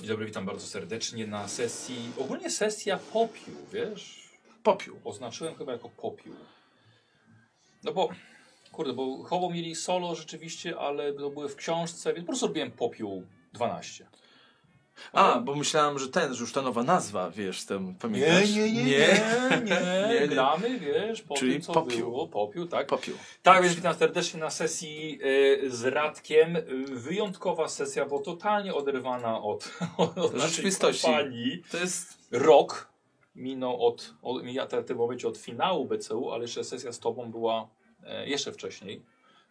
Dzień dobry, witam bardzo serdecznie na sesji. Ogólnie sesja popiół, wiesz? Popiół. Oznaczyłem chyba jako popiół. No bo, kurde, bo Hobo mieli solo rzeczywiście, ale to były w książce, więc po prostu robiłem popiół 12. A, bo myślałem, że ten, że już ta nowa nazwa, wiesz, ten, pamiętasz? nie, nie. gramy, wiesz, po Czyli tym, co popiół. było, popiół, tak? Popiół. Tak, więc witam serdecznie na sesji y, z Radkiem. Y, Wyjątkowa sesja, bo totalnie oderwana od, od naszej Rzeczywistości. kompanii. To jest... rok minął od, od ja te, te momencie od finału BCU, ale jeszcze sesja z tobą była e, jeszcze wcześniej,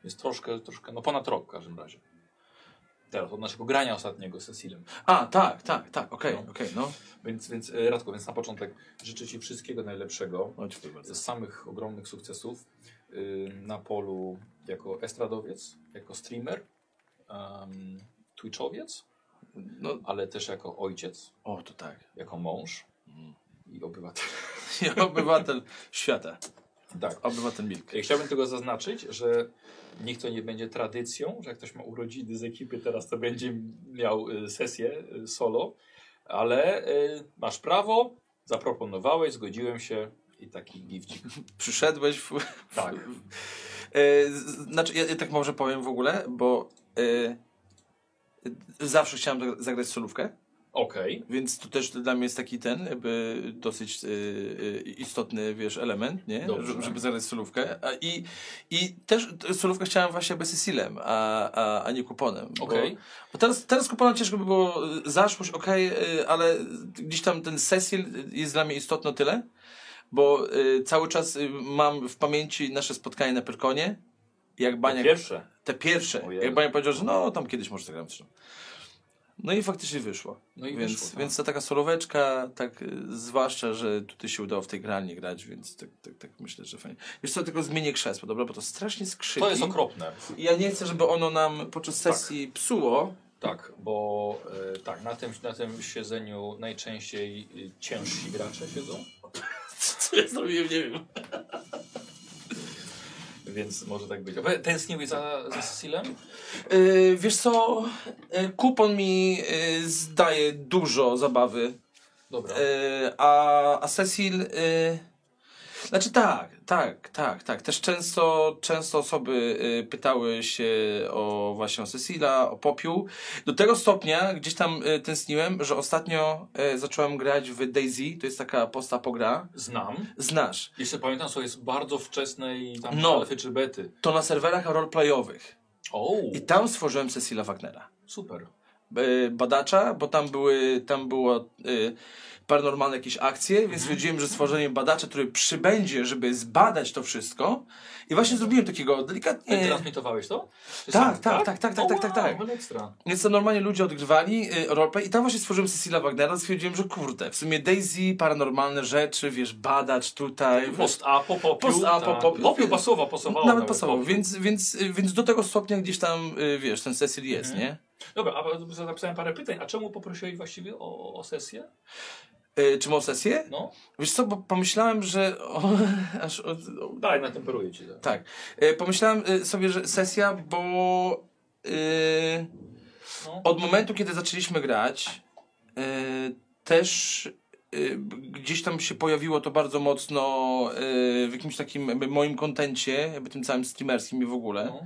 więc troszkę, troszkę, no ponad rok w każdym razie. Teraz od naszego grania ostatniego z Cecilem. A, tak, tak, tak, okej, okej, no. Więc, więc e, Radko, więc na początek życzę Ci wszystkiego najlepszego, no. Dziękuję bardzo. z samych ogromnych sukcesów y, na polu jako estradowiec, jako streamer, em, twitchowiec, No, ale też jako ojciec, o, to tak. jako mąż Mm. i obywatel. Ja obywatel świata. Tak. Obywatel Milk. Chciałbym tylko zaznaczyć, że niech to nie będzie tradycją, że jak ktoś ma urodziny z ekipy teraz, to będzie miał y, sesję y, solo, ale y, masz prawo, zaproponowałeś, zgodziłem się i taki gifcik. Przyszedłeś w... Tak. E, z- znaczy, ja, ja tak może powiem w ogóle, bo e, zawsze chciałem zagra- zagrać solówkę. Okej. Więc to też dla mnie jest taki ten, jakby dosyć y, y, istotny, wiesz, element, nie? Dobrze. Że- Żeby zagrać solówkę. A, i, I też t- solówkę chciałem właśnie bez Cecilem, a, a, a nie kuponem. bo- Okej. Bo teraz, teraz kupona ciężko by było y, zaszłość, okej, y, ale gdzieś tam ten Cecil jest dla mnie istotny o tyle, bo y, cały czas y, mam w pamięci nasze spotkanie na Pyrkonie, jak Baniak Pierwsze. te pierwsze. Ojej. Jak pani powiedział, że no tam kiedyś może zagram coś. No i faktycznie wyszło. No i więc, wyszło, tak. więc to taka soloweczka, tak y, zwłaszcza, że tutaj się udało w tej gralni grać, więc tak, tak, tak myślę, że fajnie. Wiesz co, tylko zmienię krzesło, dobra, bo to Tak. strasznie skrzypi. To jest okropne. I ja nie chcę, żeby ono nam podczas sesji psuło. Tak, bo y, tak, na tym, na tym siedzeniu najczęściej y, ciężsi gracze siedzą, Co ja zrobiłem, nie wiem. więc może tak być. Ale Tęskniłeś za, za Cecilem? Y, wiesz co, y, kupon mi y, zdaje dużo zabawy. Dobra. E, a, a Cecil. e, Znaczy tak, tak, tak, tak. Też często, często osoby e, pytały się o właśnie o Cecila, o Popiół. Do tego stopnia gdzieś tam e, tęskniłem, że ostatnio e, zacząłem grać w Daisy, to jest taka posta pogra. Znam. Znasz. Jeszcze pamiętam, co jest bardzo wczesnej tam No. alfy czy bety. To na serwerach roleplayowych. O, I tam stworzyłem Cecila Wagnera. super. e, badacza, bo tam były, tam było e, paranormalne jakieś akcje, Mhm. więc stwierdziłem, że stworzenie badacza, który przybędzie, żeby zbadać to wszystko i właśnie zrobiłem takiego Ty delikatnie, transmitowałeś to? Czy e, Tak, sam- tak, tak, tak, tak, O, tak, tak, tak. wow, Ekstra. więc to normalnie ludzie odgrywali e, roleplay i tam właśnie stworzyłem Cecilia Wagnera, stwierdziłem, że kurde, w sumie Daisy, paranormalne rzeczy, wiesz, badacz tutaj, Post A po popiu. Post A po tak. popiu. Popiu pasował, pasowało. nawet pasował, popiu. więc, więc, więc do tego stopnia gdzieś tam, e, wiesz, ten Cecil jest, Mhm. nie? Dobra, a zapisałem parę pytań. A czemu poprosiłeś właściwie o, o sesję? E, Czy mam sesję? No, Wiesz co, bo pomyślałem, że o, aż od, daj, natemperuję ci. Tak. Tak. E, Pomyślałem e, sobie, że sesja, bo e, No. od momentu, kiedy zaczęliśmy grać, e, też e, gdzieś tam się pojawiło to bardzo mocno e, w jakimś takim jakby moim kontencie, jakby tym całym streamerskim i w ogóle, No.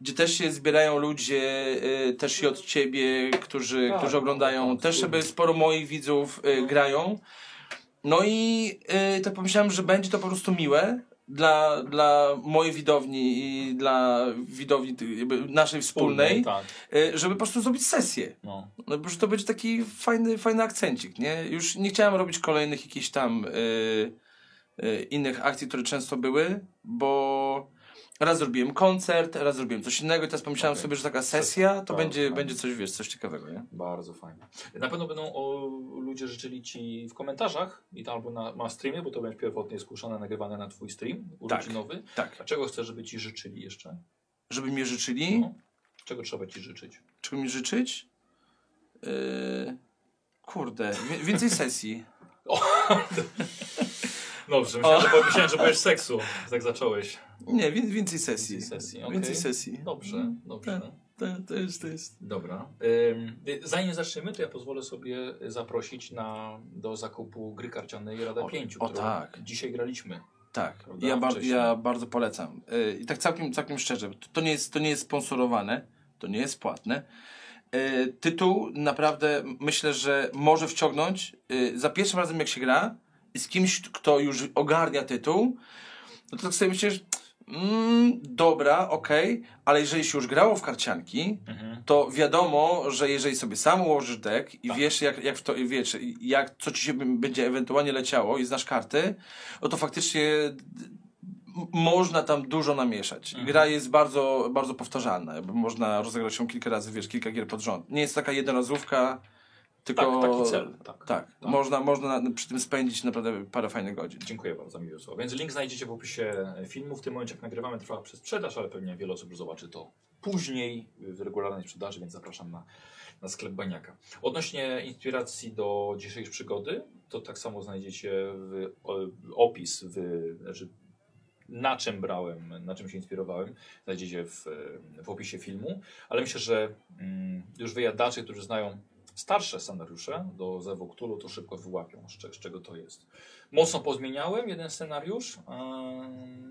gdzie też się zbierają ludzie, e, też i od ciebie, którzy, Tak, którzy oglądają, tak, też absolutnie. żeby sporo moich widzów e, grają. No i e, tak pomyślałem, że będzie to po prostu miłe dla, dla mojej widowni i dla widowni ty- jakby naszej wspólnej, Tak, e, żeby po prostu zrobić sesję. no. No, bo że to będzie taki fajny, fajny akcencik, nie? Już nie chciałem robić kolejnych jakichś tam y, y, innych akcji, które często były, bo raz zrobiłem koncert, raz zrobiłem coś innego i teraz pomyślałem Okej. sobie, że taka sesja to Tak, będzie, tak. będzie coś, wiesz, coś ciekawego, nie? Bardzo fajnie. Na pewno będą o, ludzie życzyli ci w komentarzach i tam albo na, na streamie, bo to będzie pierwotnie skuszone, nagrywane na twój stream urodzinowy. Tak. A czego chcesz, żeby ci życzyli jeszcze? Żeby mi życzyli, No. Czego trzeba ci życzyć? czego mi życzyć? Y, kurde, wie- więcej sesji. Dobrze, myślałem, że, myślałem, że powiesz seksu, jak zacząłeś. Nie, wie- więcej sesji. Więcej sesji, okej. Więcej sesji. Dobrze, dobrze. To, to jest, to jest. Dobra. Ym, y, Zanim zaczniemy, to ja pozwolę sobie zaprosić na, do zakupu gry karcianej Rada O, 5, o którą tak. dzisiaj graliśmy. Tak, Prawda? ja, bar- Wcześniej. ja bardzo polecam. Y, I tak całkiem, całkiem szczerze, to, to, nie jest, to nie jest sponsorowane, to nie jest płatne. Y, tytuł naprawdę myślę, że może wciągnąć y, za pierwszym razem jak się gra i z kimś, kto już ogarnia tytuł, no to tak sobie myślisz, mm, dobra, okej, ale jeżeli się już grało w karcianki, to wiadomo, że jeżeli sobie sam ułożysz dek i Tak. wiesz, jak, jak w to, wiesz, jak, co ci się b- będzie ewentualnie leciało i znasz karty, no to faktycznie d- m- można tam dużo namieszać. Mhm. Gra jest bardzo, bardzo powtarzalna, bo można rozegrać ją kilka razy, wiesz, kilka gier pod rząd. Nie jest taka jednorazówka, tylko... Tak, taki cel, tak. Tak. Można, można przy tym spędzić naprawdę parę fajnych godzin. Dziękuję bardzo, miłe słowo. Więc link znajdziecie w opisie filmu. W tym momencie, jak nagrywamy, trwa przez sprzedaż, ale pewnie wiele osób zobaczy to później y, w regularnej sprzedaży, więc zapraszam na, na sklep Baniaka. Odnośnie inspiracji do dzisiejszej przygody, to tak samo znajdziecie w, o, opis, w, znaczy na czym brałem, na czym się inspirowałem, znajdziecie w, e, w opisie filmu, ale myślę, że mm, już wyjadacze, którzy znają starsze scenariusze do Zewu Cthulhu, to szybko wyłapią, z, cze- z czego to jest. Mocno pozmieniałem jeden scenariusz, em,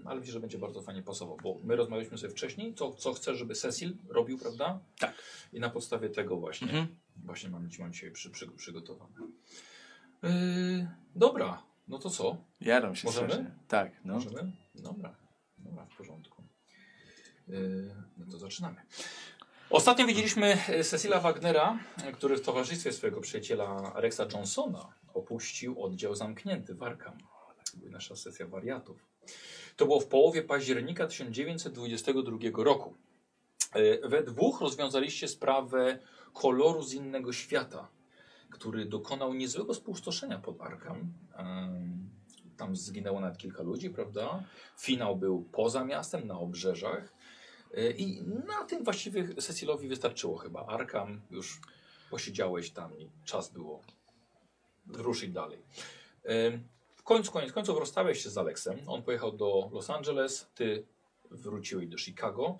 ale myślę, że będzie bardzo fajnie pasował, bo my rozmawialiśmy sobie wcześniej, co, co chcę, żeby Cecil robił, prawda? Tak. I na podstawie tego właśnie, Mhm. właśnie mam, mam dzisiaj przy, przy, przygotowane. Yy, dobra, no to co? Jaram się Możemy? strasznie. Tak, no. Możemy? Dobra, dobra, w porządku. Yy, no to zaczynamy. Ostatnio widzieliśmy e, Cecila Wagnera, e, który w towarzystwie swojego przyjaciela Rexa Johnsona opuścił oddział zamknięty w Arkham. Tak To była nasza sesja wariatów. To było w połowie października 1922 roku. E, We dwóch rozwiązaliście sprawę koloru z innego świata, który dokonał niezłego spustoszenia pod Arkham. Em, tam zginęło nawet kilka ludzi, prawda? Finał był poza miastem, na obrzeżach. Y, I na tym właściwie Cecilowi wystarczyło chyba. Arkam, już posiedziałeś tam i czas było ruszyć dalej. Y, W końcu, koniec końców rozstałeś się z Aleksem. On pojechał do Los Angeles, ty wróciłeś do Chicago.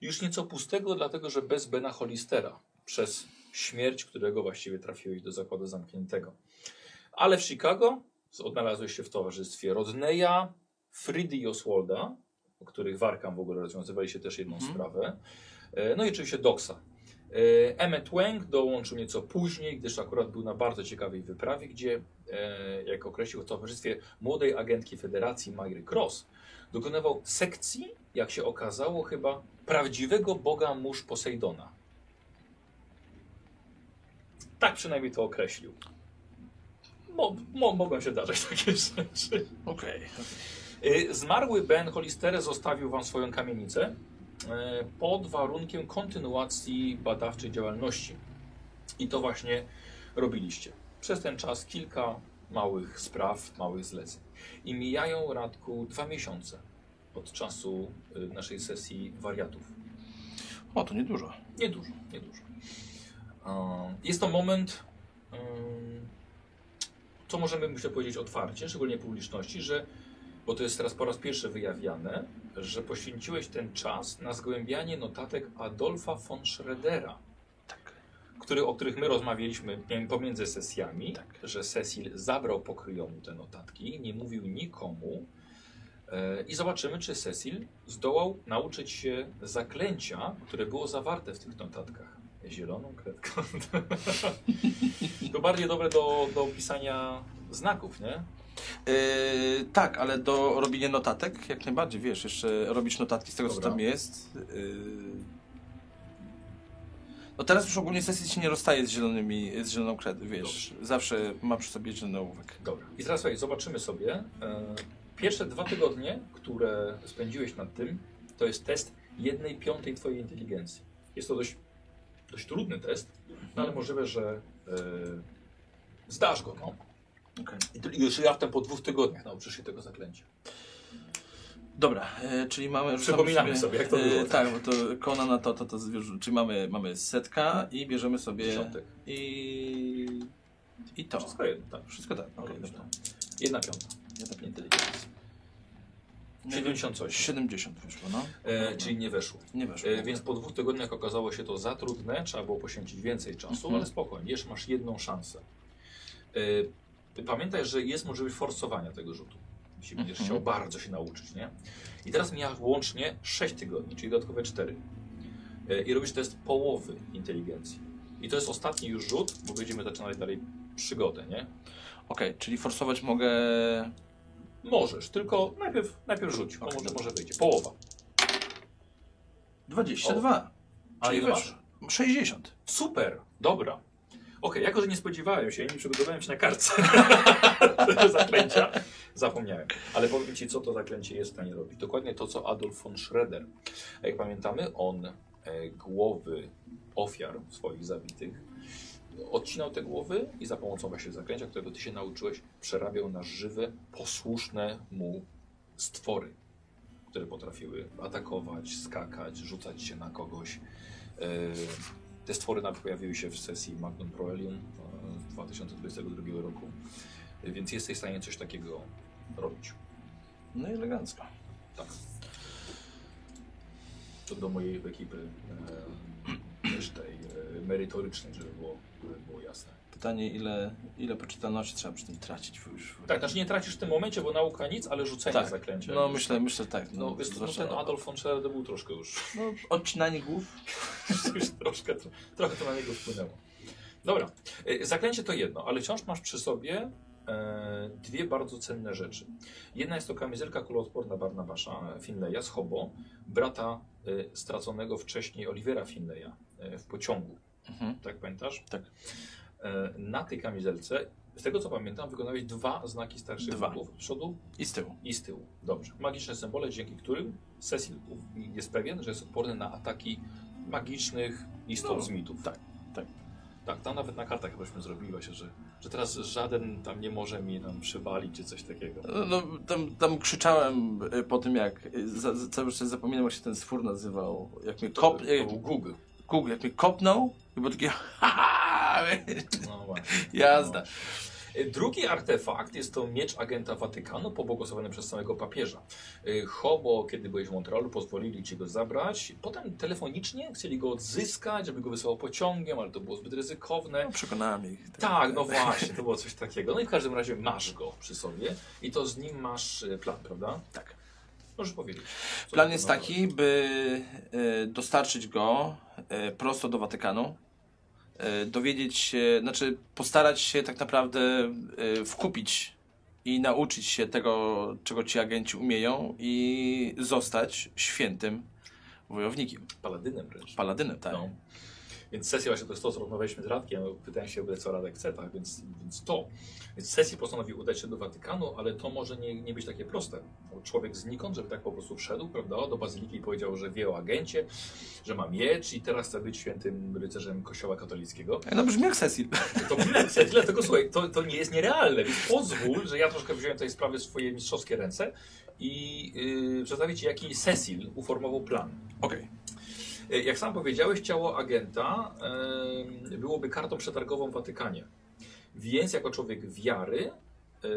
Już nieco pustego, dlatego że bez Bena Hollistera przez śmierć, którego właściwie trafiłeś do zakładu zamkniętego. Ale w Chicago odnalazłeś się w towarzystwie Rodneya, Fridy i Oswalda, o których Warkam w ogóle rozwiązywali się też jedną Mhm. sprawę. E, No i oczywiście Doxa. E, Emmet Wang dołączył nieco później, gdyż akurat był na bardzo ciekawej wyprawie, gdzie, e, jak określił, w towarzystwie młodej agentki Federacji Myry Cross dokonywał sekcji, jak się okazało, chyba prawdziwego boga mórz Posejdona. Tak przynajmniej to określił. Mo, mo, mogą się darzyć takie rzeczy. Okej. Y, Zmarły Ben Hollister zostawił wam swoją kamienicę y, pod warunkiem kontynuacji badawczej działalności. I to właśnie robiliście. Przez ten czas kilka małych spraw, małych zleceń. I mijają, Radku, dwa miesiące od czasu y, naszej sesji wariatów. O, to niedużo. Niedużo, niedużo. E, Jest to moment, em, co możemy myślę powiedzieć otwarcie, szczególnie publiczności, że, bo to jest teraz po raz pierwszy wyjawiane, że poświęciłeś ten czas na zgłębianie notatek Adolfa von Schroedera, Tak. który, o których my rozmawialiśmy nie wiem, pomiędzy sesjami, Tak. że Cecil zabrał pokryjomu te notatki, nie mówił nikomu. E, I zobaczymy, czy Cecil zdołał nauczyć się zaklęcia, które było zawarte w tych notatkach. Zieloną kredką. to bardziej dobre do, do pisania znaków, nie? Yy, tak, ale do robienia notatek jak najbardziej, wiesz, jeszcze robisz notatki z tego, co Dobra. tam jest. Yy... No teraz już ogólnie sesji się nie rozstaje z, zielonymi, z zieloną kredą, wiesz, zawsze ma przy sobie zielony ołówek. Dobra. I teraz słuchaj, zobaczymy sobie. E, Pierwsze dwa tygodnie, które spędziłeś nad tym, to jest test jednej piątej twojej inteligencji. Jest to dość, dość trudny test, no ale możliwe, że e, zdasz go. No. I ty- już ja po dwóch tygodniach nauczysz się tego zaklęcia. Dobra, yy, czyli mamy... rzucamy Przypominamy sobie, jak to yy, było, tak, bo to kona na to, to, to zwierzę, czyli mamy, mamy setka i bierzemy sobie... Dziesiątek. I... I to. Wszystko jedno, tak. Wszystko tak, okej, Robisz dobra. to. Jedna piąta Ja tak nie inteligencji. 70 coś. 70 wyszło, no. E, czyli nie weszło. Nie weszło. E, więc po dwóch tygodniach okazało się to za trudne, trzeba było poświęcić więcej czasu, Mhm. ale spokojnie, jeszcze masz jedną szansę. E, pamiętaj, że jest możliwość forsowania tego rzutu, jeśli będziesz Mhm. chciał bardzo się nauczyć, nie? I teraz miałeś łącznie 6 tygodni, czyli dodatkowe 4. E, I robisz test połowy inteligencji. I to jest ostatni już rzut, bo będziemy zaczynali dalej przygodę, nie? Okej, czyli forsować mogę... Możesz, tylko najpierw, najpierw rzuć, bo Okej, może, dobra. może wyjdzie. Połowa. 22. A czyli ile masz? weszło. 60. Super, dobra. Okej, jako że nie spodziewałem się, nie przygotowałem się na kartce tego zaklęcia, zapomniałem. Ale powiem Ci, co to zaklęcie jest w stanie robić. Dokładnie to, co Adolf von Schroeder. A Jak pamiętamy, on e, głowy ofiar swoich zabitych odcinał te głowy i za pomocą właśnie zaklęcia, którego Ty się nauczyłeś, przerabiał na żywe, posłuszne mu stwory, które potrafiły atakować, skakać, rzucać się na kogoś. E, te stwory nawet pojawiły się w sesji Magnum Proelium e, z 2022 roku, E, więc jesteś w stanie coś takiego robić. No i elegancko. Tak. To do mojej ekipy e, też tej e, merytorycznej, żeby było, żeby było jasne. Pytanie, ile, ile poczytalności trzeba przy tym tracić już? Tak, znaczy nie tracisz w tym momencie, bo nauka nic, ale rzucenie Tak. zaklęcia. No myślę, myślę tak. no, wiesz, co, no ten no, Adolf von Scherer to był troszkę już, no odcinanie głów. już troszkę, tro, trochę to na niego wpłynęło. Dobra, E, zaklęcie to jedno, ale wciąż masz przy sobie e, dwie bardzo cenne rzeczy. Jedna jest to kamizelka kuloodporna Barnabasza e, Finleya z Hobo, brata e, straconego wcześniej Olivera Finleya e, w pociągu. Mhm. Tak pamiętasz? Tak. E, na tej kamizelce, z tego co pamiętam, wykonałeś dwa znaki starszych Dwa. wrógów. Z przodu I z tyłu. i z tyłu. Dobrze. Magiczne symbole, dzięki którym Cecil u- jest pewien, że jest odporny na ataki magicznych istot No, z mitów. tak, tak. Tak, tam nawet na kartach chybaśmy zrobili właśnie, że, że teraz żaden tam nie może mi nam przywalić czy coś takiego. No, tam, tam krzyczałem y, po tym, jak y, za, za, cały czas zapominam, jak się ten stwór nazywał. Jak mnie, kop, To jak, był Google. Google, jak mnie kopnął, i było takie ha, ha, No właśnie. Jazda. No. Y, Drugi artefakt jest to miecz agenta Watykanu, pobłogosławiony przez samego papieża. Y, Hobo, kiedy byłeś w Montrealu, pozwolili ci go zabrać. Potem telefonicznie chcieli go odzyskać, żeby go wysłał pociągiem, ale to było zbyt ryzykowne. No, przekonałem ich. Tak, no właśnie, to było coś takiego. No i w każdym razie masz go przy sobie i to z nim masz y, plan, prawda? Tak. Możesz powiedzieć. No, co Plan jest planowałeś. taki, by y, dostarczyć go y, prosto do Watykanu. y, Dowiedzieć się, znaczy postarać się tak naprawdę y, wkupić i nauczyć się tego, czego ci agenci umieją, i zostać świętym wojownikiem, Paladynem wręcz. paladynem, tak? No. Więc sesja właśnie to jest to, co rozmawialiśmy z Radkiem, pytałem się w ogóle, co Radek chce, tak? więc, więc to. Więc sesji postanowił udać się do Watykanu, ale to może nie, nie być takie proste. Bo człowiek znikąd, żeby tak po prostu wszedł, prawda, do bazyliki i powiedział, że wie o agencie, że ma miecz i teraz chce być świętym rycerzem kościoła katolickiego. Ej, No brzmi jak Cecil. To źle, źle, źle, tylko słuchaj, to, to nie jest nierealne, więc pozwól, że ja troszkę wziąłem tej sprawy w swoje mistrzowskie ręce i yy, przedstawię Ci, jaki Cecil uformował plan. Okej. E, Jak sam powiedziałeś, ciało agenta em, byłoby kartą przetargową w Watykanie. Więc jako człowiek wiary, e,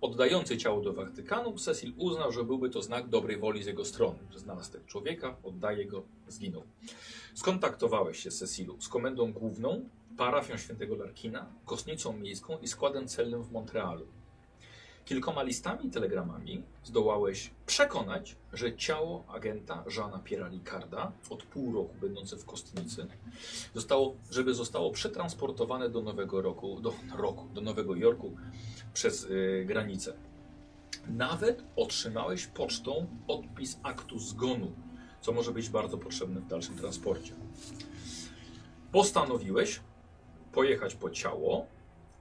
oddający ciało do Watykanu, Cecil uznał, że byłby to znak dobrej woli z jego strony. że Znalazł tego człowieka, oddaje go, zginął. Skontaktowałeś się, Cecilu, z komendą główną, parafią świętego Larkina, kostnicą miejską i składem celnym w Montrealu. Kilkoma listami i telegramami zdołałeś przekonać, że ciało agenta Żana Pieralicarda, od pół roku będące w kostnicy, zostało, żeby zostało przetransportowane do Nowego Roku, do, roku, do Nowego Jorku przez y, granicę. Nawet otrzymałeś pocztą odpis aktu zgonu, co może być bardzo potrzebne w dalszym transporcie. Postanowiłeś pojechać po ciało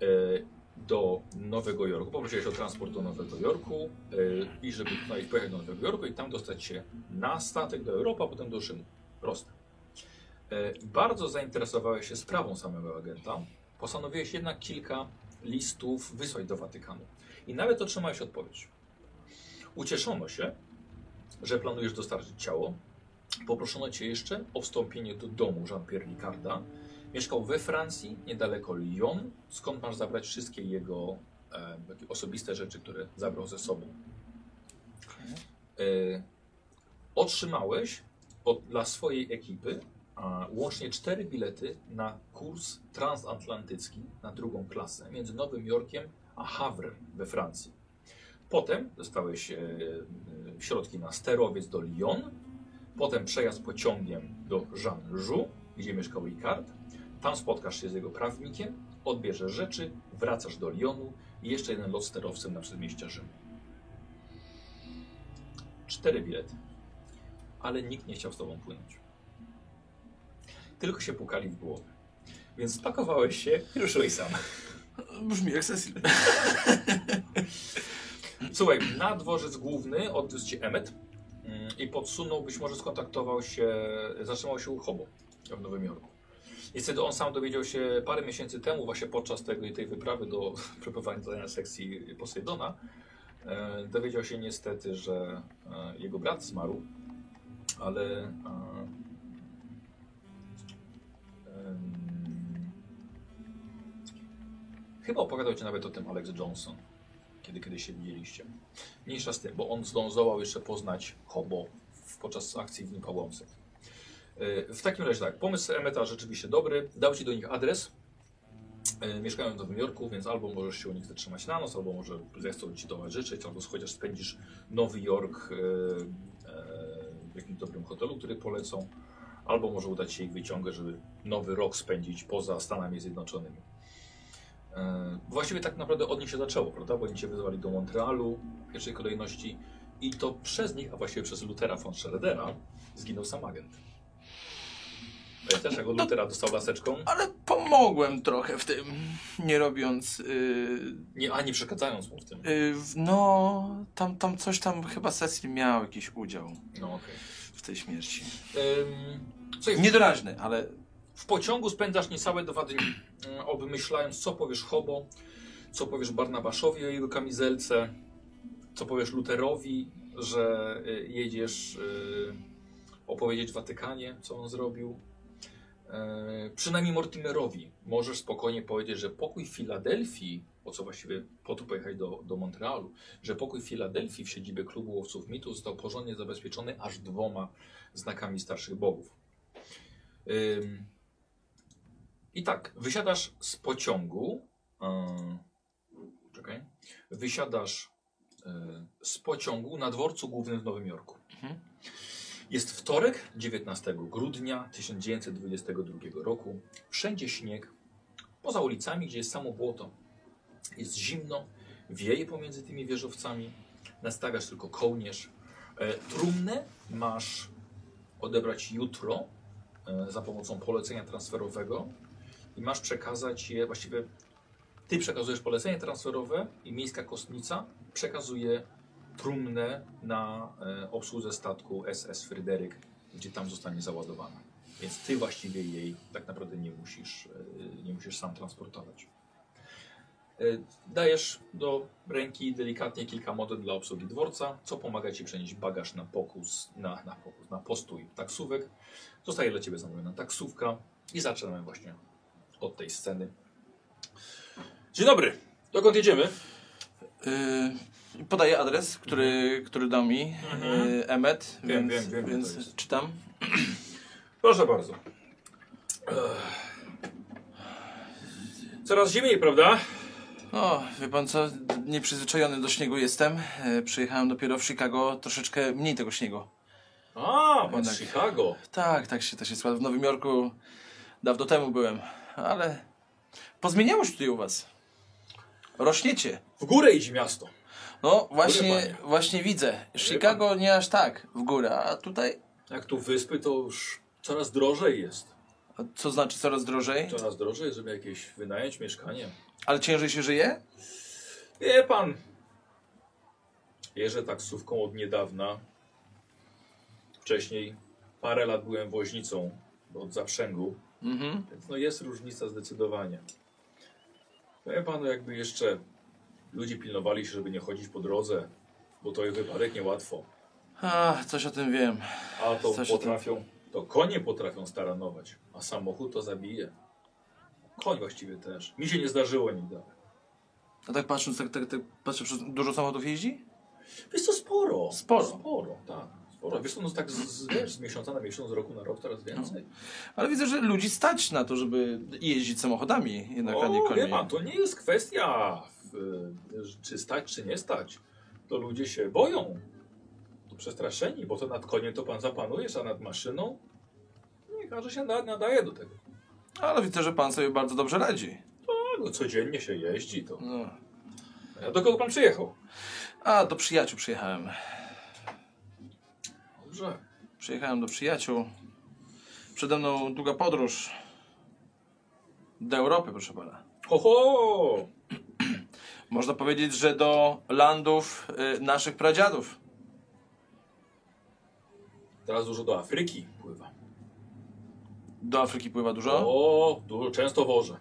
y, do Nowego Jorku. Poprosiłeś o transport do Nowego Jorku y, i żeby tutaj pojechać do Nowego Jorku i tam dostać się na statek do Europy, a potem do Rzymu. Proste. Y, bardzo zainteresowałeś się sprawą samego agenta. Postanowiłeś jednak kilka listów wysłać do Watykanu. I nawet otrzymałeś odpowiedź. Ucieszono się, że planujesz dostarczyć ciało. Poproszono cię jeszcze o wstąpienie do domu Jean-Pierre Licarda, Mieszkał we Francji, niedaleko Lyon, skąd masz zabrać wszystkie jego e, takie osobiste rzeczy, które zabrał ze sobą. Y, otrzymałeś od, dla swojej ekipy a, łącznie cztery bilety na kurs transatlantycki na drugą klasę między Nowym Jorkiem a Havrem we Francji. Potem dostałeś e, e, środki na sterowiec do Lyon, potem przejazd pociągiem do Jean-Jou, gdzie mieszkał Ricard. Tam spotkasz się z jego prawnikiem, odbierzesz rzeczy, wracasz do Lyonu i jeszcze jeden lot sterowcem na przedmieścia Rzymu. Cztery bilety. Ale nikt nie chciał z tobą płynąć. Tylko się pukali w głowę. Więc spakowałeś się i ruszyłeś sam. No, Brzmi jak Cecil. Słuchaj, na dworzec główny odwiózł cię Emmet mm, i podsunął, być może skontaktował się, zatrzymał się u Hobo w Nowym Jorku. Niestety on sam dowiedział się parę miesięcy temu, właśnie podczas tego, tej wyprawy do przeprowadzenia sekcji Posejdona, e, dowiedział się niestety, że e, jego brat zmarł, ale e, em, chyba opowiadał ci nawet o tym Alex Johnson kiedy kiedyś się widzieliście. Mniejsza z tym, bo on zdążował jeszcze poznać Hobo w- podczas akcji w Dniu Pałącek. E, W takim razie tak, pomysł Emeta rzeczywiście dobry, dał ci do nich adres. E, Mieszkają w Nowym Jorku, więc albo możesz się u nich zatrzymać na noc, albo może zechcą ci towarzyszyć, albo chociaż spędzisz Nowy Jork e, e, w jakimś dobrym hotelu, który polecą, albo może udać się ich wyciągę, żeby nowy rok spędzić poza Stanami Zjednoczonymi. E, Właściwie tak naprawdę od nich się zaczęło, prawda? Bo oni cię wyzwali do Montrealu w pierwszej kolejności i to przez nich, a właściwie przez Lutera von Schroedera zginął sam agent. Pamiętasz, jak od Lutera dostał laseczką? Ale pomogłem trochę w tym, nie robiąc... Yy, Nie, ani przeszkadzając mu w tym. yy, w- no, tam, tam coś tam chyba Cecil miał jakiś udział No okej. w tej śmierci. Ym, Słuchaj, Niedoraźny, ale... w pociągu spędzasz niecałe dwa dni, ym, obmyślając co powiesz Hobo, co powiesz Barnabaszowi o jego kamizelce, co powiesz Luterowi, że y, jedziesz y, opowiedzieć Watykanie, co on zrobił. Y, Przynajmniej Mortimerowi możesz spokojnie powiedzieć, że pokój w Filadelfii, o co właściwie po to pojechać do, do Montrealu, że pokój w Filadelfii w siedzibie klubu łowców mitu został porządnie zabezpieczony aż dwoma znakami starszych bogów. Ym, I tak, wysiadasz z pociągu. ym, Czekaj. Wysiadasz y, z pociągu na dworcu głównym w Nowym Jorku. Mhm. Jest wtorek, 19 grudnia 1922 roku. Wszędzie śnieg. Poza ulicami, gdzie jest samo błoto. Jest zimno, wieje pomiędzy tymi wieżowcami. Nastawiasz tylko kołnierz. E, Trumnę masz odebrać jutro e, za pomocą polecenia transferowego i masz przekazać je, właściwie ty przekazujesz polecenie transferowe i miejska kostnica przekazuje trumnę na e, obsłudze statku SS Fryderyk, gdzie tam zostanie załadowana. Więc ty właściwie jej tak naprawdę nie musisz, e, nie musisz sam transportować. E, Dajesz do ręki delikatnie kilka model dla obsługi dworca, co pomaga ci przenieść bagaż na pokus, na, na, pokus, na postój taksówek. Zostaje dla ciebie zamówiona taksówka i zaczynamy właśnie od tej sceny. Dzień dobry, dokąd jedziemy? Yy, podaję adres, który, który dał mi Mhm. yy, Emmet, Wiem, więc, wiem, wiem, więc to jest. czytam. Proszę bardzo. Coraz zimniej, prawda? No, wie pan co, d- nieprzyzwyczajony do śniegu jestem. E, Przyjechałem dopiero w Chicago, troszeczkę mniej tego śniegu. A, pan Jednak. z Chicago. Tak, tak się to się składa. W Nowym Jorku dawno temu byłem, ale pozmieniało się tutaj u was. Rośniecie. W górę idzie miasto. No, panie. właśnie, właśnie widzę. Chicago nie aż tak w górę, a tutaj, Jak tu wyspy, to już coraz drożej jest. a co znaczy coraz drożej, Coraz drożej, żeby jakieś wynająć mieszkanie. ale ciężej się żyje? Wie pan, jeżdżę taksówką od niedawna. Wcześniej parę lat byłem woźnicą od zaprzęgu. Mhm. Więc no jest różnica zdecydowanie. Powiem panu, jakby jeszcze ludzie pilnowali się, żeby nie chodzić po drodze, bo to jest wypadek niełatwo. A, coś o tym wiem. A to Coś potrafią, to konie potrafią staranować, a samochód to zabije. Koń właściwie też. Mi się nie zdarzyło nigdy. A tak patrząc, tak, tak, tak patrzę, przez- dużo samochodów jeździ? Wiesz co, sporo. Sporo. Sporo, tak. Sporo. Wiesz co, no tak z, z, wiesz, z miesiąca na miesiąc, z roku na rok coraz więcej. Ale widzę, że ludzi stać na to, żeby jeździć samochodami, jednak, a nie o, wie koni. pan, to nie jest kwestia y, że czy stać, czy nie stać. To ludzie się boją. To przestraszeni, bo to nad koniem to pan zapanujesz, a nad maszyną nie, każe się na, nadaje do tego. Ale widzę, że pan sobie bardzo dobrze radzi. Tak, no codziennie się jeździ to. No. A do kogo pan przyjechał? A, do przyjaciół przyjechałem. Dobrze. Przyjechałem do przyjaciół. Przede mną długa podróż. Do Europy, proszę pana. Ho, ho! Można powiedzieć, że do landów y, naszych pradziadów. Teraz dużo do Afryki pływa. Do Afryki pływa dużo. O, dużo, często wożę.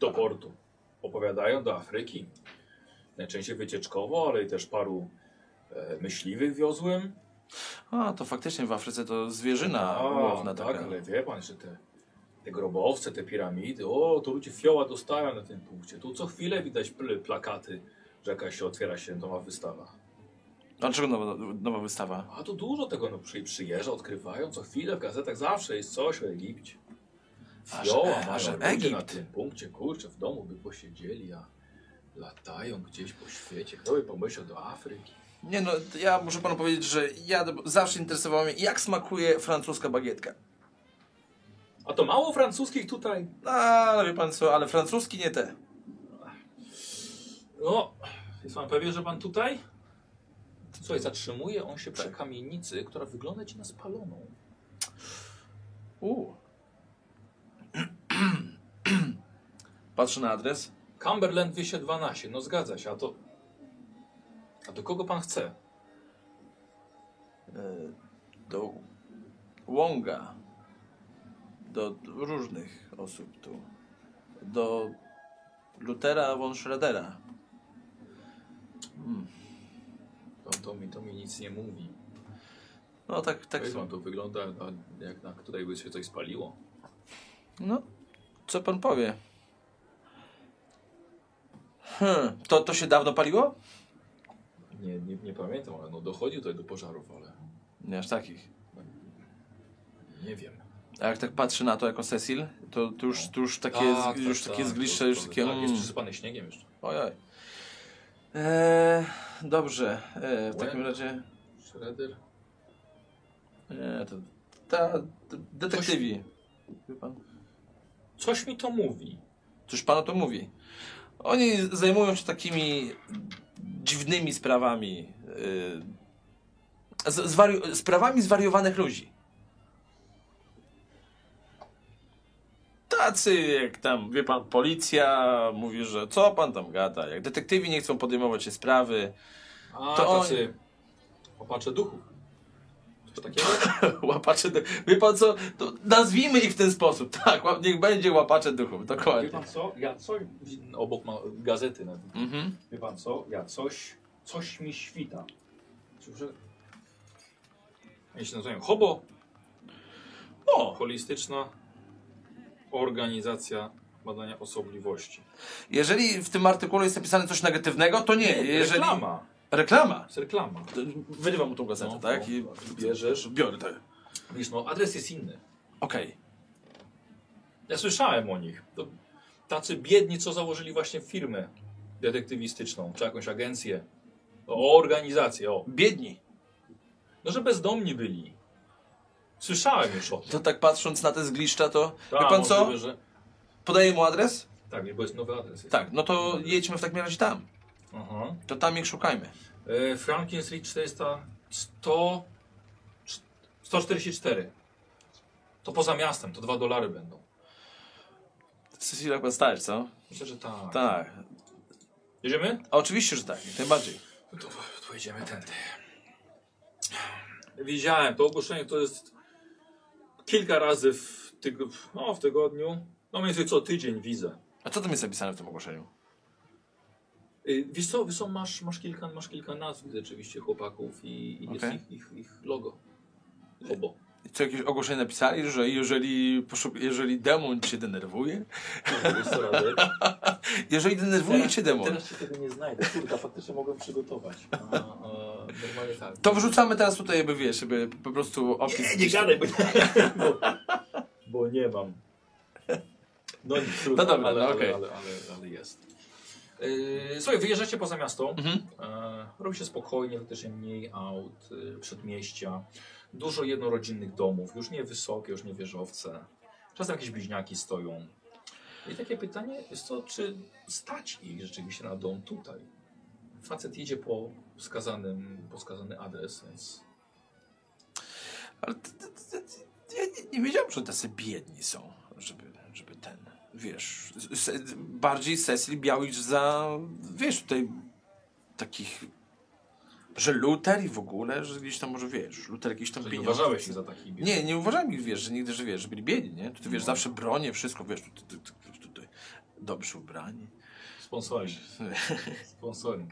Do portu. Opowiadają do Afryki. Najczęściej wycieczkowo, ale i też paru e, myśliwych wiozłem. A, to faktycznie w Afryce to zwierzyna łowna taka. tak, ale wie pan, że te, te grobowce, te piramidy, o, to ludzie fioła dostają na tym punkcie. Tu co chwilę widać pl- plakaty, że jakaś się otwiera się nowa wystawa. Dlaczego nowa, nowa wystawa? A tu dużo tego no, przy, przyjeżdża, odkrywają. Co chwilę w gazetach zawsze jest coś o Egipcie. A Fioła że- a mają że ludzie Egipt. na tym punkcie, kurczę, w domu by posiedzieli, a latają gdzieś po świecie. Kto by pomyślał do Afryki? Nie no, to ja muszę panu powiedzieć, że ja do- zawsze interesowało mnie, jak smakuje francuska bagietka. A to mało francuskich tutaj. No, ale wie pan co, ale francuski nie te. No, jest pan pewien, że pan tutaj? Słuchaj, zatrzymuje on się przy kamienicy, która wygląda ci na spaloną. U. Patrzę na adres. Cumberland 212, no zgadza się, a to... A do kogo pan chce? E, Do Łąga. Do różnych osób tu. Do Lutera von Schroedera. To, to, mi, to mi nic nie mówi. No tak, tak. Tak, pan, to wygląda a jak na tutaj by się coś spaliło. No, co pan powie? Hmm, to, to się dawno paliło? Nie, nie, nie pamiętam, ale no dochodzi tutaj do pożarów, ale Nie aż takich. nie wiem. A jak tak patrzy na to jako Cecil, to, to już, to już takie, z, już takie zgliszcze, to- już to- takie... Tak, jest mm. przysypany śniegiem jeszcze. Ojoj. Eee, dobrze. Eee, w takim Łeb. razie. Shredder? Nie, to. Ta. d- Detektywi. Wie pan? Coś mi to mówi. Cóż pan o to mówi? Oni zajmują się takimi dziwnymi sprawami. Yy, z, zwariu- sprawami zwariowanych ludzi. Tacy jak tam, wie pan, policja mówi, że co pan tam gada. Jak detektywi nie chcą podejmować się sprawy. A, to To on- tacy opacze duchów. Coś takiego? Łapacze duchów. Wie pan co? To nazwijmy ich w ten sposób. Tak, ła- niech będzie łapacze duchów, Wie dokładnie. pan co? Ja coś... Obok ma gazety na tym. Mhm. Wie pan co? Ja coś... Coś mi świta. Słyszę... Oni się nazywają Hobo. O! Holistyczna Organizacja Badania Osobliwości. Jeżeli w tym artykule jest napisane coś negatywnego, to nie. Jeżeli... Reklama. Reklama. Jest reklama. To Wyrywam mu tą gazetę, No, tak? no, I bierzesz. biorę, tak. Wiesz, no adres jest inny. Okej. Ja słyszałem o nich. To tacy biedni, co założyli właśnie firmę detektywistyczną, czy jakąś agencję. No, O, organizację, o. Biedni. No, że bezdomni byli. Słyszałem już o tym. To tak patrząc na te zgliszcza, to... Ta, wie pan co? możliwe, Że... Podaję mu adres? Tak, bo jest nowy adres. Jest. Tak, no to jedźmy w takim razie tam. Aha. To tam ich szukajmy. E, Franklin Street 400, 100, 144. To poza miastem, to dwa dolary będą. Cecilia chyba stać, co? Myślę, że tak. Tak. Jedziemy? A oczywiście, że tak. Jak najbardziej. No to, to jedziemy tędy. Widziałem, to ogłoszenie to jest kilka razy w, tyg no, w tygodniu. No mniej więcej co tydzień widzę. A co tam jest napisane w tym ogłoszeniu? Y, Wiesz co, wiesz co masz, masz, kilka, masz kilka nazw rzeczywiście chłopaków i, i jest Okej. ich, ich, ich logo. Hobo. co jakieś ogłoszenie napisali, że jeżeli, poszuk- jeżeli demon cię denerwuje, Wiesz co robię? jeżeli denerwuje cię demon, Teraz się tego nie znajdę. Kurka, faktycznie mogłem przygotować. A, a, No, normalnie tak. to wrzucamy teraz tutaj, jakby wiesz, żeby po prostu opis... Nie, nie gadaj, bo, bo, bo nie mam. No nic, trudno, No dobra, ale, no ale, okej. ale, ale, ale jest. Yy, słuchaj, wyjeżdżacie poza miasto. Mhm. E, Robi się spokojnie, faktycznie mniej aut, y, przedmieścia, dużo jednorodzinnych domów, już nie wysokie, już nie wieżowce. Czasem jakieś bliźniaki stoją. I takie pytanie jest to, czy stać ich rzeczywiście na dom tutaj? Facet jedzie po wskazanym, po wskazany adres, więc Ale ty, ty, ty, ty, ja nie, nie wiedziałem, że tacy biedni są, żeby, żeby ten, wiesz, se, bardziej Cecil Białicz za, wiesz, tutaj takich, że Luther i w ogóle, że gdzieś tam może, wiesz, Luther jakiś tam że nie pieniądze- uważałeś ich za taki biedny. Nie, nie uważałem ich, wiesz, że nigdy, że wiesz, że byli biedni, nie? Tutaj, wiesz, No. zawsze bronie, wszystko, wiesz, tutaj, tutaj, tutaj, tutaj dobrze ubrani. Sponsoring. Sponsoring.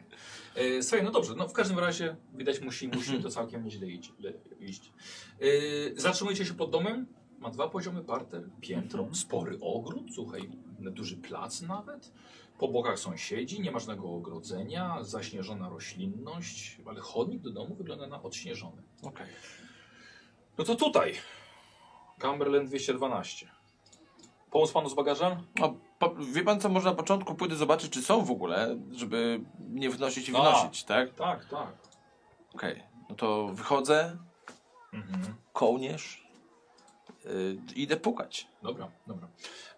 E, słuchaj, no dobrze, no w każdym razie widać musi, musi to całkiem nieźle iść. Le, iść. E, zatrzymujecie się pod domem. Ma dwa poziomy parter, piętro, spory ogród, słuchaj, duży plac nawet. Po bokach sąsiedzi, nie ma żadnego ogrodzenia, zaśnieżona roślinność, ale chodnik do domu wygląda na odśnieżony. Okej. No to tutaj, Cumberland 212. Pomóc panu z bagażem? No, po, wie pan co, może na początku pójdę zobaczyć, czy są w ogóle, żeby nie wnosić i A. wynosić, tak? Tak, tak. Okej, no to wychodzę, Mhm. kołnierz, yy, idę pukać. Dobra, dobra.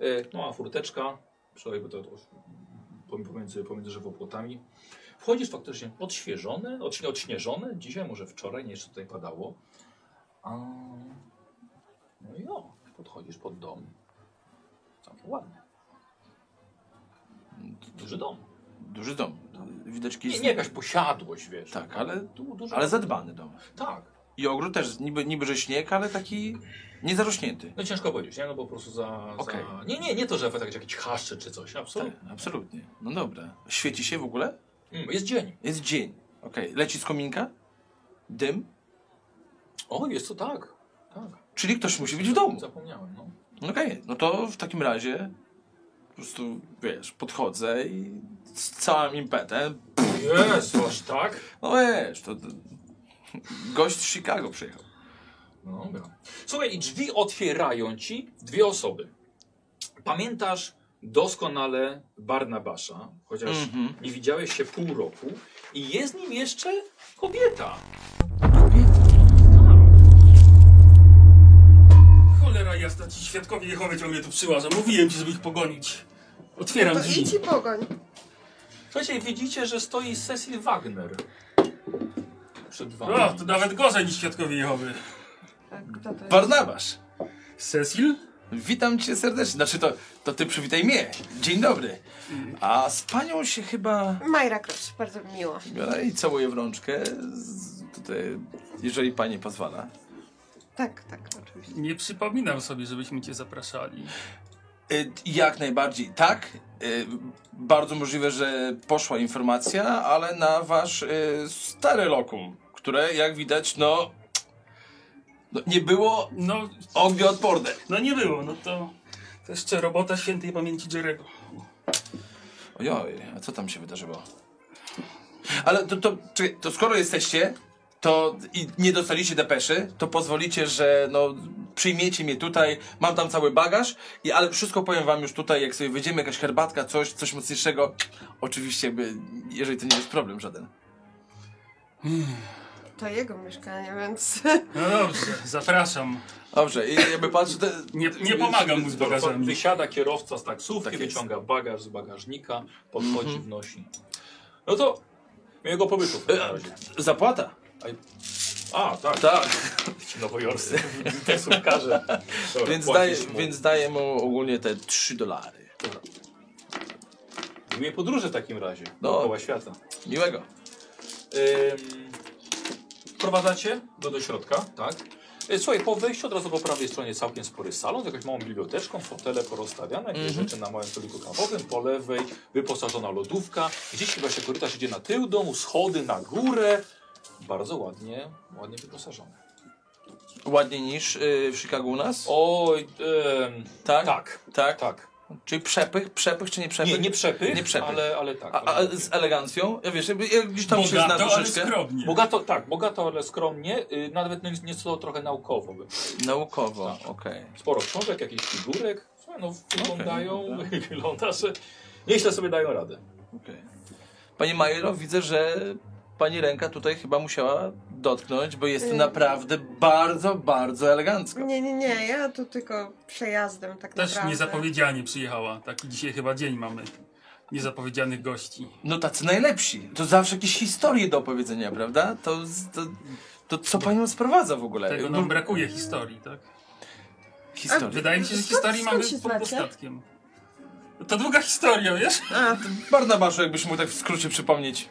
E, No a furteczka, przynajmniej bo to to już pomiędzy, pomiędzy żywopłotami. Wchodzisz faktycznie odświeżony, odśnie, odśnieżony, dzisiaj może wczoraj, nie jeszcze tutaj padało. A, no i o, podchodzisz pod dom. Całkiem ładny. Duży dom. Duży dom, widać Nie, jakiś... nie jakaś posiadłość, wiesz. Tak, ale- du, duży Ale dom. zadbany dom. Tak. I ogród też, niby, niby że śnieg, ale taki niezarośnięty. No ciężko powiedzieć, nie? No bo po prostu za... Okej. za... Nie, nie, nie to, że efekt jakiś haszczy czy coś, Tak, absolutnie. absolutnie. No dobra. Świeci się w ogóle? Mm, jest dzień. Jest dzień. Okej, leci z kominka, dym, O, jest to tak. Tak. czyli ktoś musi być w domu. Zapomniałem, no. No Okej, no to w takim razie po prostu, wiesz, podchodzę i z całym impetem, Jest, aż tak? no wiesz, to, to gość z Chicago przyjechał. No dobra. Słuchaj, i drzwi otwierają ci dwie osoby. Pamiętasz doskonale Barnabasza, chociaż Mhm. nie widziałeś się pół roku i jest nim jeszcze kobieta. Cholera jasna, ci świadkowie Jehowy ciągle tu przyłażą. Mówiłem ci, żeby ich pogonić. Otwieram No To drzwi. idź i pogoń. Słuchajcie, widzicie, że stoi Cecil Wagner przed wami. O, No, to nawet gorzej niż świadkowie Jehowy. A Kto to jest? Barnabasz, Cecil? witam cię serdecznie. Znaczy to, to ty przywitaj mnie. Dzień dobry. A z panią się chyba... Majra Cross, bardzo mi miło. biorę I całuję w rączkę, z- tutaj, jeżeli pani pozwala. Tak, tak, oczywiście. Nie przypominam sobie, żebyśmy cię zapraszali. Y, Jak najbardziej, tak. Y, Bardzo możliwe, że poszła informacja, ale na wasz y, stare lokum, które jak widać, no, no nie było No, ognioodporne. no nie było, no to... To jeszcze robota świętej pamięci Jerego. Ojoj, a co tam się wydarzyło? Ale to, to, czekaj, to skoro jesteście, to i nie dostaliście depeszy, to pozwolicie, że no, przyjmiecie mnie tutaj, mam tam cały bagaż, i, ale wszystko powiem wam już tutaj, jak sobie wyjdziemy, jakaś herbatka, coś, coś mocniejszego, oczywiście, jakby, jeżeli to nie jest problem żaden. To jego mieszkanie, więc No dobrze, zapraszam. Dobrze, i jakby patrzę... Te, Nie, nie pomagam mu z bagażami. Wysiada kierowca z taksówki, Tak jest. wyciąga bagaż z bagażnika, podchodzi, wnosi. No to miłego pobytu. w takim razie. Zapłata. E, A, tak, Tak, ci nowojorscy taksówkarze. Dobra, więc daję, płacisz mu. więc daję mu ogólnie te 3 dolary. Miłej podróży w takim razie, No. dookoła świata. Miłego. Ym, wprowadzacie do, do środka, tak? Y, Słuchaj, po wejściu od razu po prawej stronie całkiem spory salon z jakąś małą biblioteczką, fotele porozstawiane, jakieś Mhm. rzeczy na małym stoliku kawowym, po lewej wyposażona lodówka, gdzieś chyba się korytarz idzie na tył domu, schody na górę, bardzo ładnie, ładnie wyposażone. Ładniej niż y, w Chicago u nas? Oj, em, tak? tak, tak? tak. Czyli przepych, przepych czy nie przepych? Nie, nie przepych, Nie przepych. Ale, ale tak. A, a ale- z elegancją? Ja wiesz, jakby- jak gdzieś tam się zna Bogato, ale troszeczkę. skromnie. Bogato, tak, bogato, ale skromnie, y, nawet nie- nieco trochę naukowo. by- Naukowo, Tak. okej. Sporo książek, jakichś figurek, Słuchaj, no wyglądają, wygląda, że nieźle sobie dają radę. okej. Panie Majero, widzę, że pani ręka tutaj chyba musiała dotknąć, bo jest to Y. naprawdę bardzo, bardzo elegancko. Nie, nie, nie, ja tu tylko przejazdem tak Też naprawdę. niezapowiedzianie przyjechała. Taki dzisiaj chyba dzień mamy. Niezapowiedzianych gości. No tacy najlepsi. To zawsze jakieś historie do opowiedzenia, prawda? To, z- to, to co panią sprowadza w ogóle? Tego No, nam brakuje historii, tak? Historii. Wydaje mi się, że Skąd- historii skąd mamy się pod znacie? dostatkiem. To długa historia, wiesz? A, Barnabaszu, jakbyś mu tak w skrócie przypomnieć.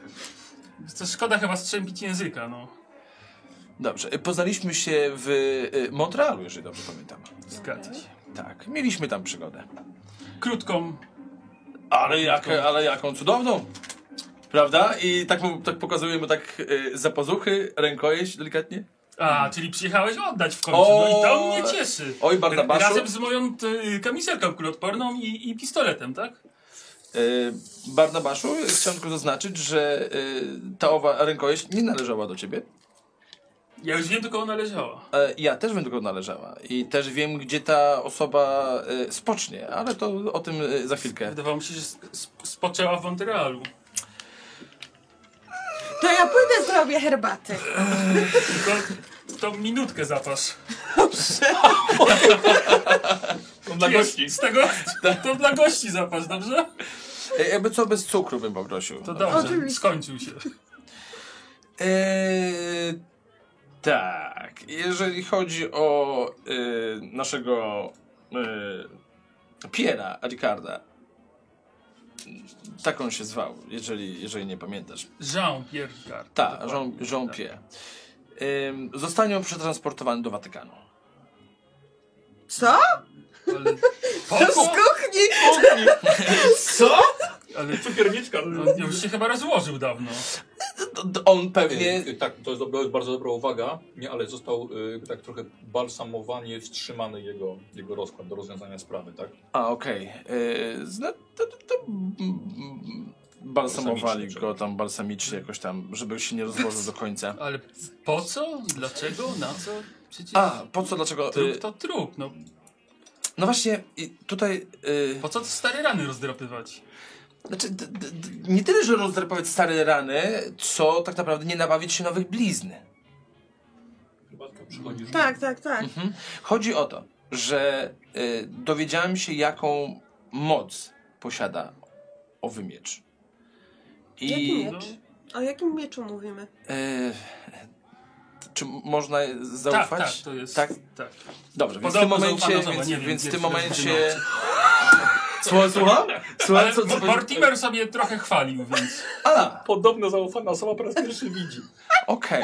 To szkoda chyba strzępić języka, no. Dobrze, y, poznaliśmy się w y, Montrealu, jeżeli dobrze pamiętam. Zgadza się. Tak, mieliśmy tam przygodę. Krótką. Ale, jak, ale jaką cudowną! Prawda? I tak, mu, tak pokazuję mu tak y, za pazuchy, rękojeść delikatnie. A, czyli przyjechałeś oddać w końcu. O! No i to mnie cieszy. Oj, Barnabaszu. Razem z moją y, kamizelką kuloodporną i, i pistoletem, tak? Y, Barnabaszu, chciałem tylko zaznaczyć, że y, ta owa rękojeść nie należała do ciebie. Ja już wiem, do kogo należała. E, Ja też bym do tego należała i też wiem, gdzie ta osoba e, spocznie, ale to o tym e, za chwilkę. Wydawało mi się, że sp- spoczęła w Montrealu. to ja pójdę zrobię herbaty. Tylko tą minutkę zapas. No, dla Jest gości. Z tego, to dla gości zapas, dobrze? E, Jakby co, bez cukru bym poprosił. To dobrze, Oczywiście. skończył się. E, Yy, tak, jeżeli chodzi o e, naszego e, Piera Ricarda, tak on się zwał, jeżeli, jeżeli nie pamiętasz. Jean-Pierre Ricard. Tak, Dokładnie, Jean- Jean-Pierre. Ym, Zostanie on przetransportowany do Watykanu. Co? tak. Ale To z kuchni! Co? Ale Cukierniczka. no, już się chyba rozłożył dawno. D- d- On pewnie... Nie, tak, to jest, dobra, jest bardzo dobra uwaga, nie, ale został y, tak trochę balsamowanie wstrzymany jego, jego rozkład do rozwiązania sprawy, tak? A, okej. Yy, zna- to, to, to mm, mm, balsamowali Balsamicznie, go tam balsamicznie jakoś tam, żeby się nie rozłożył do końca. Ale po co? Dlaczego? Na co? Przecież A, po co, dlaczego... trup Yy, to trup. No, no właśnie, i tutaj... Yy, po co te stare rany rozdrapywać? znaczy, d, d, d, nie tyle, że rozdrapywać stare rany, co tak naprawdę nie nabawić się nowych blizn. Chyba tylko przychodzisz. Tak, tak, tak. Mhm. Chodzi o to, że y, dowiedziałem się, jaką moc posiada owy miecz. Jaki I miecz? No, O jakim mieczu mówimy? y, czy można tak, zaufać? tak, to jest. Tak? tak. Dobrze, więc w tym Podobno momencie, zaufano, więc, nie wiem, więc w pierwszy tym raz momencie... wynosi. Słucham? Słucham? Ale Słucham No, co, co, Mo- Mortimer sobie trochę chwalił, więc. A, Podobno zaufana osoba po raz pierwszy widzi. okej.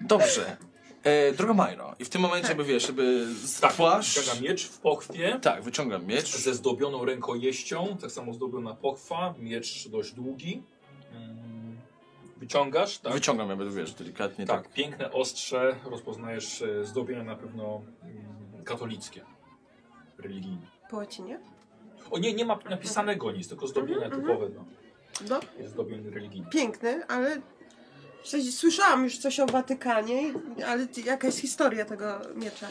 Dobrze. E, droga Majro, i w tym momencie, by wiesz, żeby spłasz... Wyciąga Tak. miecz w pochwie, Tak, wyciągam miecz. ze zdobioną rękojeścią, tak samo zdobiona pochwa, miecz dość długi. Mm, Wyciągasz, tak? Wyciągam, jakby wiesz, delikatnie. tak, piękne, ostrze, rozpoznajesz e, zdobienia na pewno mm, katolickie, religijne. Po łacinie? O nie, nie ma napisanego nic, tylko zdobienia Mhm, typowe, no. No, Jest zdobienie religijne. piękny, ale w sensie słyszałam już coś o Watykanie, ale jaka jest historia tego miecza?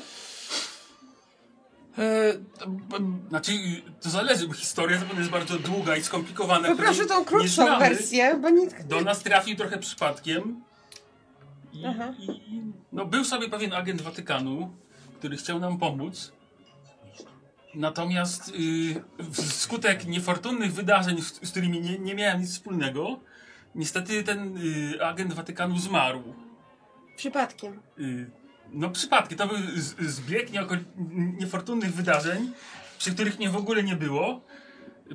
E, b- b- Znaczy, y, to zależy, bo historia zapewne jest bardzo długa i skomplikowana. Poproszę której tą nie krótszą znamy. wersję, bo nikt... Do nas trafił trochę przypadkiem. I, Aha. i, no, był sobie pewien agent Watykanu, który chciał nam pomóc. Natomiast y, wskutek niefortunnych wydarzeń, z, z którymi nie, nie miałem nic wspólnego, niestety ten y, agent Watykanu zmarł. Przypadkiem. Y, No przypadki, to był z- zbieg nieoko- n- niefortunnych wydarzeń, przy których mnie w ogóle nie było.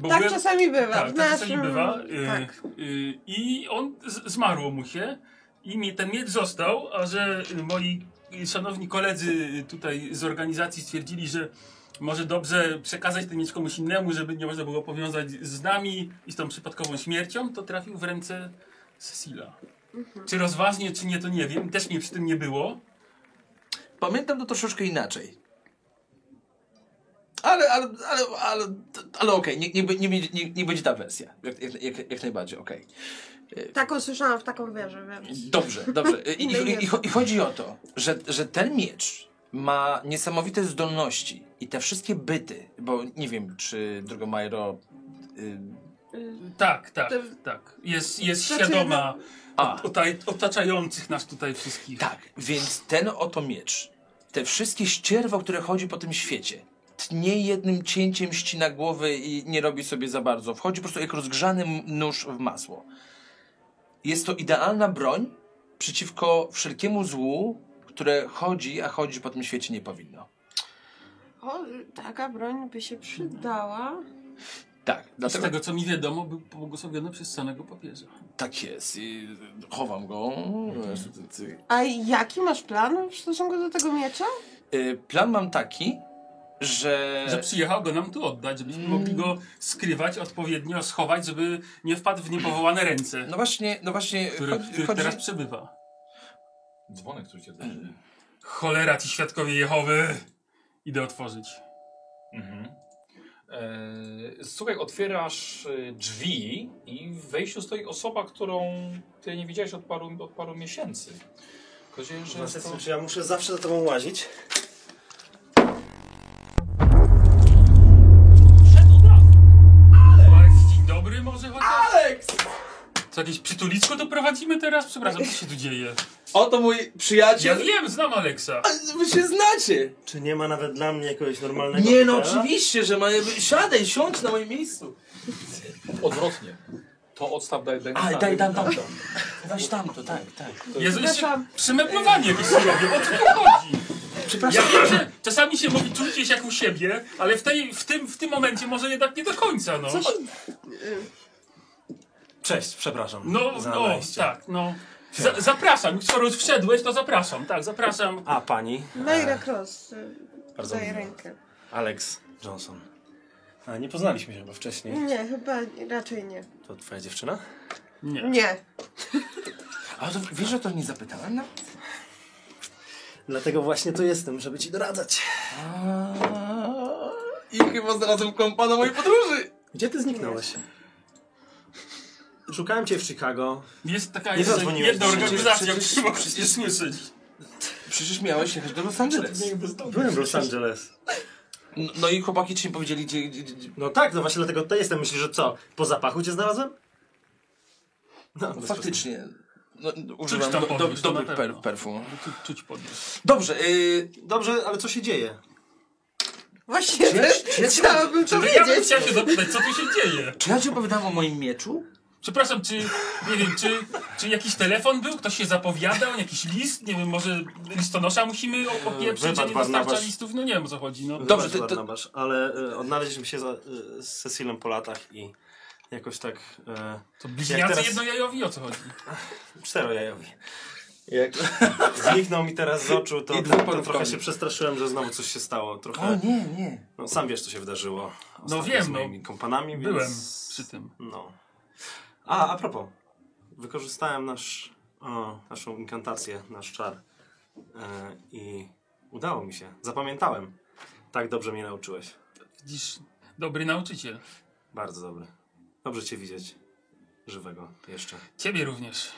Bo tak byłem- czasami bywa. tak, w tak czasami naszym- bywa. Y, Tak. y, I on z- zmarło mu się i mi ten miecz został, a że y, moi y, szanowni koledzy y, tutaj z organizacji stwierdzili, że może dobrze przekazać ten miecz komuś innemu, żeby nie można było powiązać z nami i z tą przypadkową śmiercią, to trafił w ręce Mhm. Cecila. Czy rozważnie, czy nie, to nie wiem. Też mnie przy tym nie było. Pamiętam to troszeczkę inaczej. Ale, ale, ale, ale, ale okej, nie, nie, nie, będzie- nie, nie będzie ta wersja. Jak, jak, jak, jak najbardziej, okej. Taką słyszałam, w taką wierzę, więc... Dobrze, dobrze. E, I, No i, i, i, cho- I chodzi o to, że, że ten miecz ma niesamowite zdolności i te wszystkie byty, bo nie wiem, czy Drogomajro... Y, Tak, tak, To- tak. Jest, jest Znaczy, no- świadoma a, otaj- otaczających nas tutaj wszystkich. tak, więc ten oto miecz, te wszystkie ścierwo, które chodzi po tym świecie, tnie jednym cięciem, ścina głowy i nie robi sobie za bardzo. Wchodzi po prostu jak rozgrzany m- nóż w masło. Jest to idealna broń przeciwko wszelkiemu złu, które chodzi, a chodzi po tym świecie nie powinno. O, taka broń by się przydała. Tak, Z dlatego tego co mi wiadomo, był błogosławiony przez samego papieża. tak jest. I chowam go. Mhm. A jaki masz plan w stosunku do tego miecza? Y, Plan mam taki, że. Że przyjechał go nam tu oddać, żebyśmy Mm. mogli go skrywać, odpowiednio schować, żeby nie wpadł w niepowołane ręce, No właśnie, no właśnie. który, chodzi- który chodzi- teraz przebywa. Dzwonek, który cię drży. Cholera ci świadkowie Jehowy! Idę otworzyć. Mhm. E, słuchaj, otwierasz e, drzwi i w wejściu stoi osoba, którą ty nie widziałeś od paru, od paru miesięcy. Tylko dzieje, że Na jest to... sesji, czy ja muszę zawsze za tobą łazić? Alex, dzień dobry może chociaż? Aleks! Co, jakieś przytulisko doprowadzimy teraz? Przepraszam, co się tu dzieje? Oto mój Ja przyjaciel. wiem, znam Aleksa. Ale Wy się znacie! Czy nie ma nawet dla mnie jakiegoś normalnego Nie no, hotela? oczywiście, że ma. Siadaj, siądź na moim miejscu. Odwrotnie. To odstaw, daj, daj. A, na daj tam, tamto. tam. Weź tamto, tak, tak. Jezu, jeszcze Przepraszam. przymeblowanie jakieś się robią. O co tu chodzi? Ja Przepraszam. wiem, że czasami się mówi, czujcie się jak u siebie, ale w, tej, w, tym, w tym momencie może jednak nie do końca, no. Co ci... Cześć, przepraszam. No, za no, wejście. tak, no. Za, zapraszam, skoro już wszedłeś, to zapraszam, tak, zapraszam. A pani? Naira Cross. E, y, Bardzo Daję miło. rękę. Alex Johnson. A nie poznaliśmy się chyba wcześniej. Nie, chyba raczej nie. To twoja dziewczyna? Nie. Nie. A to wiesz, że to nie zapytałem? No? Dlatego właśnie tu jestem, żeby ci doradzać. I chyba znalazłem kąpa na mojej podróży. Gdzie ty zniknąłeś? Szukałem cię w Chicago. Jest taka Nie jest zadzwoniłeś jedna przecież, organizacja, przecież- której możesz nie słyszeć. Przecież miałeś jechać do Los Angeles. Byłem w Los Angeles. No, no i chłopaki ci nie powiedzieli, gdzie, gdzie, gdzie, No tak, no właśnie dlatego tutaj jestem. Myślisz, że co? Po zapachu cię znalazłem? No, bez Faktycznie. No, używam tam do, do, podniósł, to na dobrych per, pewno. perfum. Czuć, czuć podniósł. Dobrze, yy, problemu. Dobrze, ale co się dzieje? Właśnie chciałabym to No ja bym wiedzieć. chciał się zapytać, co tu się dzieje? czy ja ci opowiadałem o moim mieczu? Przepraszam, czy, nie wiem, czy, czy jakiś telefon był? Ktoś się zapowiadał? Jakiś list? Nie wiem, może listonosza musimy Eee, o- opieprzyć, a wypadł nie dostarcza Barnabas. listów? No nie wiem, o co chodzi, no. Dobrze, Dobrze, to- to- Barnabasz, ale e, odnaleźliśmy się za, e, z Cecilem po latach i jakoś tak e, To Jak bliźniacy teraz- jednojajowi, o co chodzi? czterojajowi. Jak zniknął mi teraz z oczu, to, I to, dwóch to panów trochę koni. się przestraszyłem, że znowu coś się stało. O Trochę, nie, nie. no, sam wiesz, co się wydarzyło. wiem, z no. moimi kompanami, więc... Byłem przy tym. No. A, a propos. Wykorzystałem nasz, o, naszą inkantację, nasz czar. E, I udało mi się. Zapamiętałem. Tak dobrze mnie nauczyłeś. Widzisz, dobry nauczyciel. Bardzo dobry. Dobrze cię widzieć. Żywego jeszcze. Ciebie również.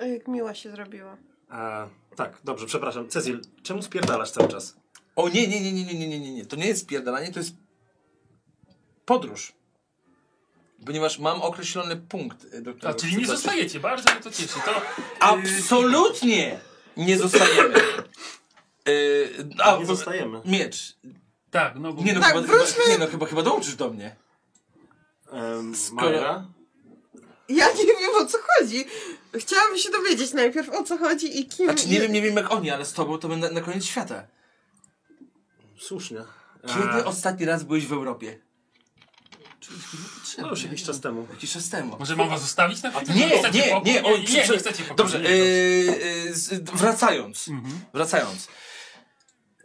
O, Jak miła się zrobiła. E, tak, dobrze, przepraszam. Cezil, czemu spierdalasz cały czas? O nie, nie, nie, nie, nie, nie, nie, nie, nie. To nie jest spierdalanie, to jest podróż. Ponieważ mam określony punkt, y, do A, którego czyli chcę nie dotrzeć. zostajecie, bardzo mnie to cieszy. To, Absolutnie nie zostajemy. Yy, a, Nie zostajemy. Miecz. tak, no bo... Nie no, Tak, chyba, chyba, wróćmy. nie no, chyba, chyba dołączysz do mnie. Um, Majra? Ja nie wiem o co chodzi. Chciałabym się dowiedzieć najpierw o co chodzi i kim. Znaczy nie wiem, nie wiem jak oni, ale z tobą to będę na koniec świata. Słusznie. Kiedy E, ostatni raz byłeś w Europie? no już jakiś czas temu. Jakiś czas temu. Może mam was zostawić na chwilę? Nie, chcecie nie, pokoju? nie, nie, o, nie, prze- nie prze- chcecie pokoju. Dobrze, Nie, Mhm. yy, yy, z- wracając. Wracając.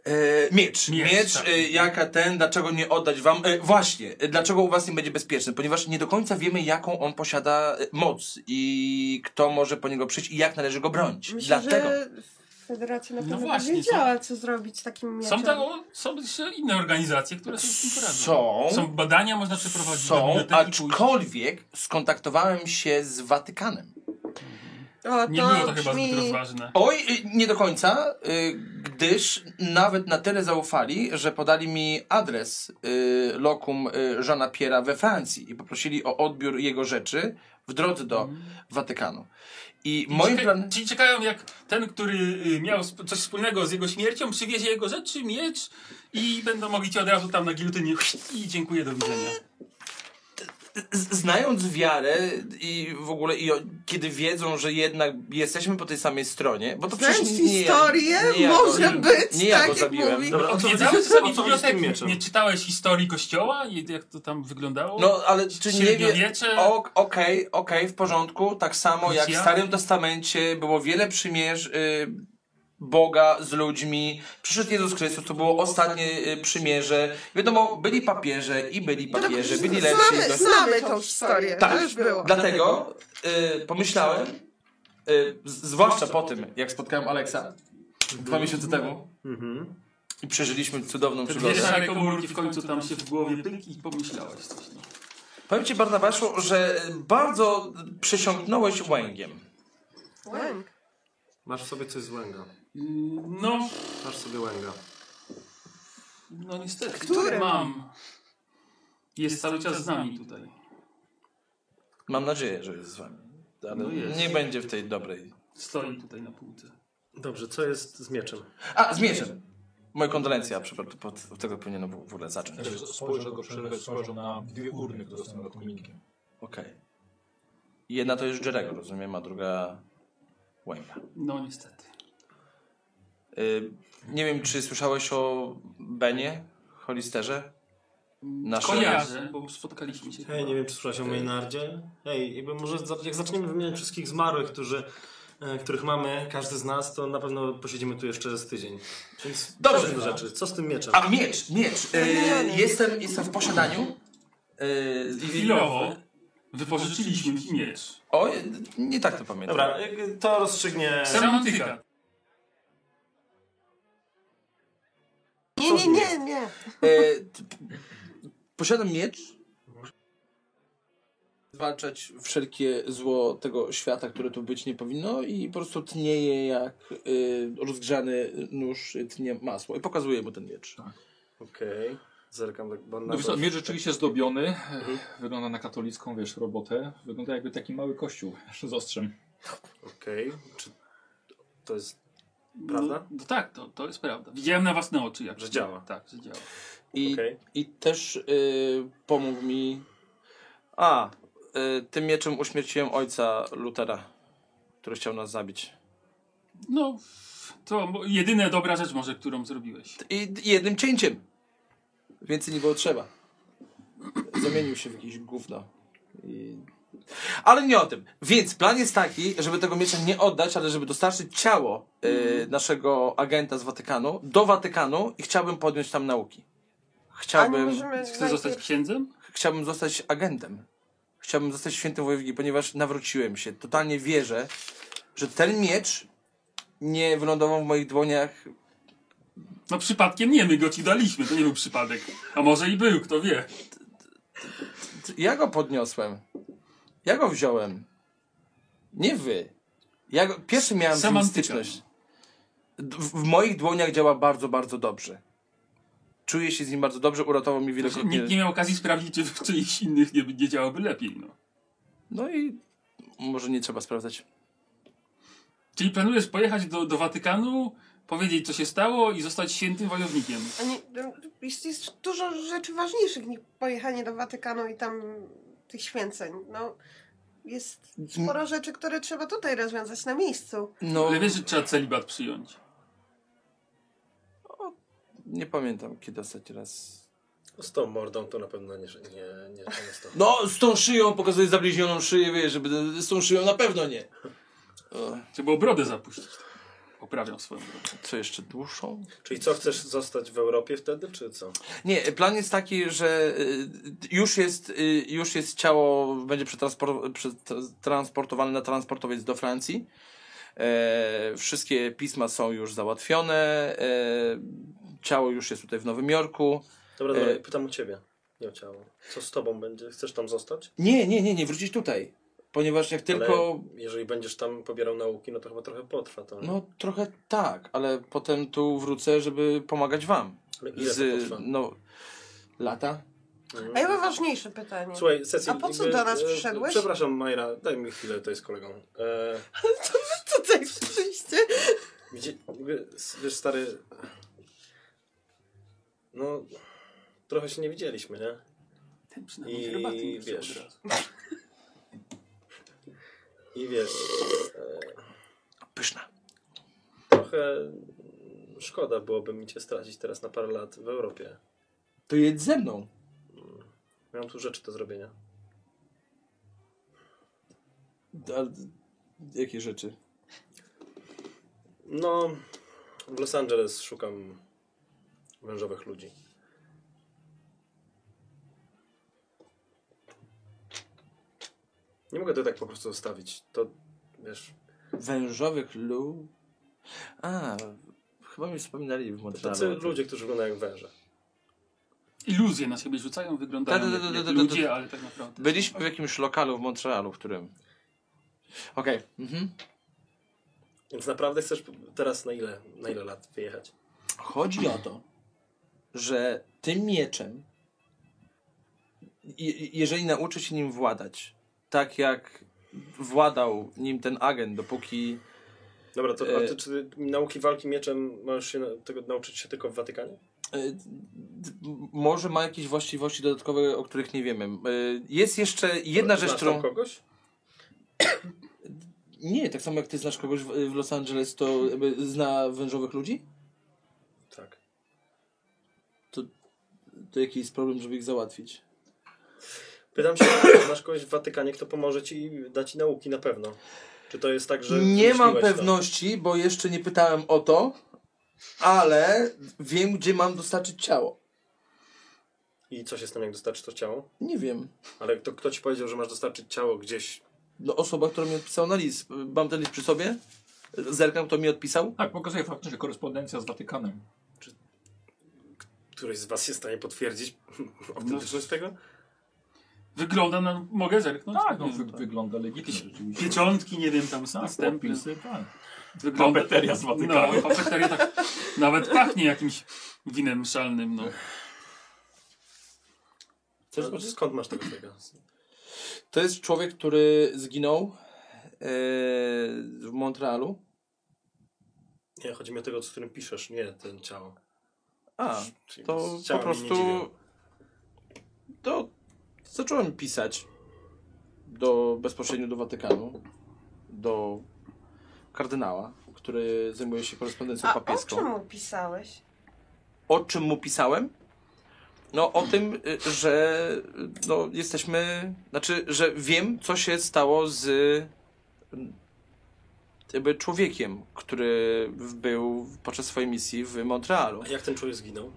E, miecz. Miecz, Miecz, tak. e, jaka ten, dlaczego nie oddać wam. E, właśnie, e, dlaczego u was nie będzie bezpieczny? Ponieważ nie do końca wiemy, jaką on posiada e, moc i kto może po niego przyjść i jak należy go bronić. Myślę, Dlatego. że Federacja na No pewno właśnie, by wiedziała, co zrobić z takim mieczem. Są, tam, o, są jeszcze inne organizacje, które są z tym poradzą. Są. Są badania, można przeprowadzić do Są, biblioteki pójść. aczkolwiek skontaktowałem się z Watykanem. O, Nie było to brzmi... chyba zbyt rozważne. Oj, y, nie do końca, y, gdyż nawet na tyle zaufali, że podali mi adres y, lokum y, Jeana Pierre'a we Francji i poprosili o odbiór jego rzeczy w drodze do Watykanu. I moim Czeka- planem... Czyli czekają jak ten, który y, miał sp- coś wspólnego z jego śmiercią, przywiezie jego rzeczy, miecz i będą mogli cię od razu tam na gilotynie i dziękuję, do widzenia. z- znając wiarę i w ogóle i o, kiedy wiedzą, że jednak jesteśmy po tej samej stronie, bo to Znając przecież historię, ja może go- być, nie ja tak go jak zabiłem. mówi. Dobra, o co chodzi, Odwiedzałeś czasami o co chodzi z tym biblioteki? mieczem? Nie czytałeś historii kościoła i jak to tam wyglądało? No, ale czy nie wie... Średniowiecze? O, Okej, okej, w porządku. Tak samo jak w Krucjaty? Starym Testamencie było wiele przymierz y, Boga z ludźmi. Przyszedł Jezus Chrystus, to było ostatnie y, przymierze. Wiadomo, byli papieże i byli papieże, byli lepsi. i Znamy, gorsi. znamy tą historię, Tak. to już było. Dlatego y, pomyślałem, y, z- zwłaszcza po tym, jak spotkałem Aleksa dwa miesiące temu Mhm. i przeżyliśmy cudowną Te dwie przygodę. szare komórki w końcu tam się w głowie pyk i pomyślałeś coś. No. Powiem Ci, Barnabaszu, że bardzo przesiąknąłeś łęgiem. Łęk. Masz w sobie coś z łęga. Mm, No, Masz w sobie łęga. no niestety. Który? Mam. Jest cały czas z nami tutaj. Mam nadzieję, że jest z wami. Ale No jest. nie będzie w tej dobrej. Stoi tutaj na półce. Dobrze, co jest z mieczem? A, z mieczem. Moje kondolencje, a przykład pod, od tego powinienem w ogóle zacząć. Okej. Spojrzał Znaczy, go przerwać, spojrzał na dwie urny, które są nad kominkiem. Jedna to jest Jerego, rozumiem, a druga Wayne'a. No niestety. Y, nie wiem, czy słyszałeś o Benie, Holisterze? Nasze... Kojarzę, bo spotkaliśmy się. Hej, nie wiem, czy słyszałeś o Maynardzie? Hej, jakby może za- jak zaczniemy wymieniać wszystkich zmarłych, którzy, e, których mamy, każdy z nas, to na pewno posiedzimy tu jeszcze z tydzień. Więc Dobrze. przejdźmy do rzeczy. Co z tym mieczem? A miecz, miecz. Y, jestem, jestem w posiadaniu. Y, i- Chwilowo wypożyczyliśmy ci miecz. O, nie tak to pamiętam. Dobra, jak- to rozstrzygnie... Semantyka. Nie, nie, nie, nie. E, t- p- posiadam miecz. Zwalczać wszelkie zło tego świata, które tu być nie powinno i po prostu tnieje jak y, rozgrzany nóż tnie masło. I pokazuję mu ten miecz. Okej, zerkam tak bo na No wiesz co, miecz rzeczywiście zdobiony, wygląda na katolicką, wiesz, robotę. Wygląda jakby taki mały kościół z ostrzem. Okej, czy to jest prawda? No, tak, to, to jest prawda. Widziałem na własne oczy, jak Że to działa. Tak, że działa. I, Okej. i też y, pomógł mi... A, y, tym mieczem uśmierciłem ojca Lutera, który chciał nas zabić. No, to mo- jedyna dobra rzecz może, którą zrobiłeś. I d- jednym cięciem. Więcej nie było trzeba. Zamienił się w jakieś gówno. I... Ale nie o tym. Więc plan jest taki, żeby tego miecza nie oddać, ale żeby dostarczyć ciało e, naszego agenta z Watykanu do Watykanu i chciałbym podjąć tam nauki. A nie Chciałbym, możemy Chcesz najpierw- zostać księdzem? chciałbym zostać agentem. Chciałbym zostać świętym wojownikiem, ponieważ nawróciłem się. Totalnie wierzę, że ten miecz nie wylądował w moich dłoniach No przypadkiem nie, my go ci daliśmy, to nie był przypadek. A może i był, kto wie. Ja go podniosłem. Ja go wziąłem. Nie wy. Ja go, pierwszy miałem z nim Semantyka. styczność. D- W, w moich dłoniach działa bardzo, bardzo dobrze. Czuję się z nim bardzo dobrze, uratował mi wielokrotnie. Nikt nie miał okazji sprawdzić, czy w czyichś innych nie, nie działałoby lepiej. No. No i może nie trzeba sprawdzać. Czyli planujesz pojechać do, do Watykanu, powiedzieć co się stało i zostać świętym wojownikiem. A nie, jest, jest dużo rzeczy ważniejszych niż pojechanie do Watykanu i tam tych święceń. No, jest sporo rzeczy, które trzeba tutaj rozwiązać na miejscu. No, Ale wiesz, że trzeba celibat przyjąć. nie pamiętam kiedy ostatni raz. no Z tą mordą to na pewno nie, nie, nie często. No, z tą szyją pokazuję zabliźnioną szyję, wiesz, żeby z tą szyją na pewno nie. O, Trzeba było brodę zapuścić. Poprawiam swoją brodę. co jeszcze dłuższą? Czyli co, chcesz zostać w Europie wtedy, czy co? Nie, plan jest taki, że y, już jest, y, już jest ciało, będzie przetranspor- przetransportowane na transportowiec do Francji. E, wszystkie pisma są już załatwione. E, ciało już jest tutaj w Nowym Jorku. Dobra, dobra, E, pytam o ciebie. Nie o ciało. Co z tobą będzie? Chcesz tam zostać? Nie, nie, nie, nie, wrócić tutaj. Ponieważ jak tylko. Ale jeżeli będziesz tam pobierał nauki, no to chyba trochę potrwa to. No trochę tak, ale potem tu wrócę, żeby pomagać wam. Ale ile to Z, potrwa? no, lata? Mhm. A ja mam ważniejsze pytanie. Słuchaj, Cecil, A po co jakby, do nas e, przyszedłeś? Przepraszam, Majra, daj mi chwilę tutaj z kolegą. E, Tutaj przyszliście. Gdzie, w ogóle, s- wiesz, stary. No, trochę się nie widzieliśmy, nie? Ten No, przynajmniej I herbaty nie chce wiesz. od razu. I wiesz, e, Pyszna. trochę szkoda byłoby mi cię stracić teraz na parę lat w Europie. To jedź ze mną. Miałem tu rzeczy do zrobienia. A, jakie rzeczy? No, w Los Angeles szukam wężowych ludzi. Nie mogę tego tak po prostu zostawić. To, wiesz, Wężowych lu. A, chyba mi wspominali w Montrealu. tacy ludzie, którzy wyglądają jak węże. Iluzje na siebie rzucają, wyglądają Ta, ta, ta, jak- ta, jak ta, ta, ta. ludzie, ale tak naprawdę. Byliśmy w jakimś lokalu w Montrealu, w którym. Okej. Mhm. Więc naprawdę chcesz teraz na ile, na ile lat wyjechać? Chodzi o to, że tym mieczem, je, jeżeli nauczy się nim władać, tak jak władał nim ten agent, dopóki. Dobra, to a E. ty, czy ty nauki walki mieczem możesz się na- tego nauczyć się tylko w Watykanie? e, d- d- Może ma jakieś właściwości dodatkowe, o których nie wiemy. E, Jest jeszcze jedna Znasz rzecz, tam którą. kogoś? Nie, tak samo jak ty znasz kogoś w, w Los Angeles, to jakby zna wężowych ludzi? Tak. To jaki jest problem, żeby ich załatwić? Pytam się, znasz kogoś w Watykanie, kto pomoże ci i da ci nauki na pewno. Czy to jest tak, że... Nie mam wymyśliłeś pewności, bo jeszcze nie pytałem o to, ale wiem, gdzie mam dostarczyć ciało. To? I co się stanie, jak dostarczy to ciało? Nie wiem. Ale to, kto ci powiedział, że masz dostarczyć ciało gdzieś? No, osoba, która mi odpisała na list. Mam ten list przy sobie? Zerkam, kto mi odpisał? Tak, pokazuje faktycznie, że korespondencja z Watykanem. Któryś z was jest w stanie potwierdzić autentyczność tego? Wygląda na... Mogę zerknąć? Tak, no, Nie wy, wiem, wygląda legitnie Jakieś rzeczywiście. Pieczątki, nie wiem, tam są Tak, następne. opisy, tak. Wygląda... Papeteria z Watykanu. No, papeteria tak nawet pachnie jakimś winem szalnym, no. Co, skąd masz tego tego? To jest człowiek, który zginął e, w Montrealu. Nie, chodzi mi o tego, z którym piszesz, nie ten ciało. A, Czyli to z po ciałem mnie prostu. dziwią. To zacząłem pisać do, bezpośrednio do Watykanu, do kardynała, który zajmuje się korespondencją A o papieską. czym mu pisałeś? O czym mu pisałem? No o tym, y, że y, no, jesteśmy, znaczy, że wiem, co się stało z y, jakby człowiekiem, który był podczas swojej misji w Montrealu. A jak ten człowiek zginął?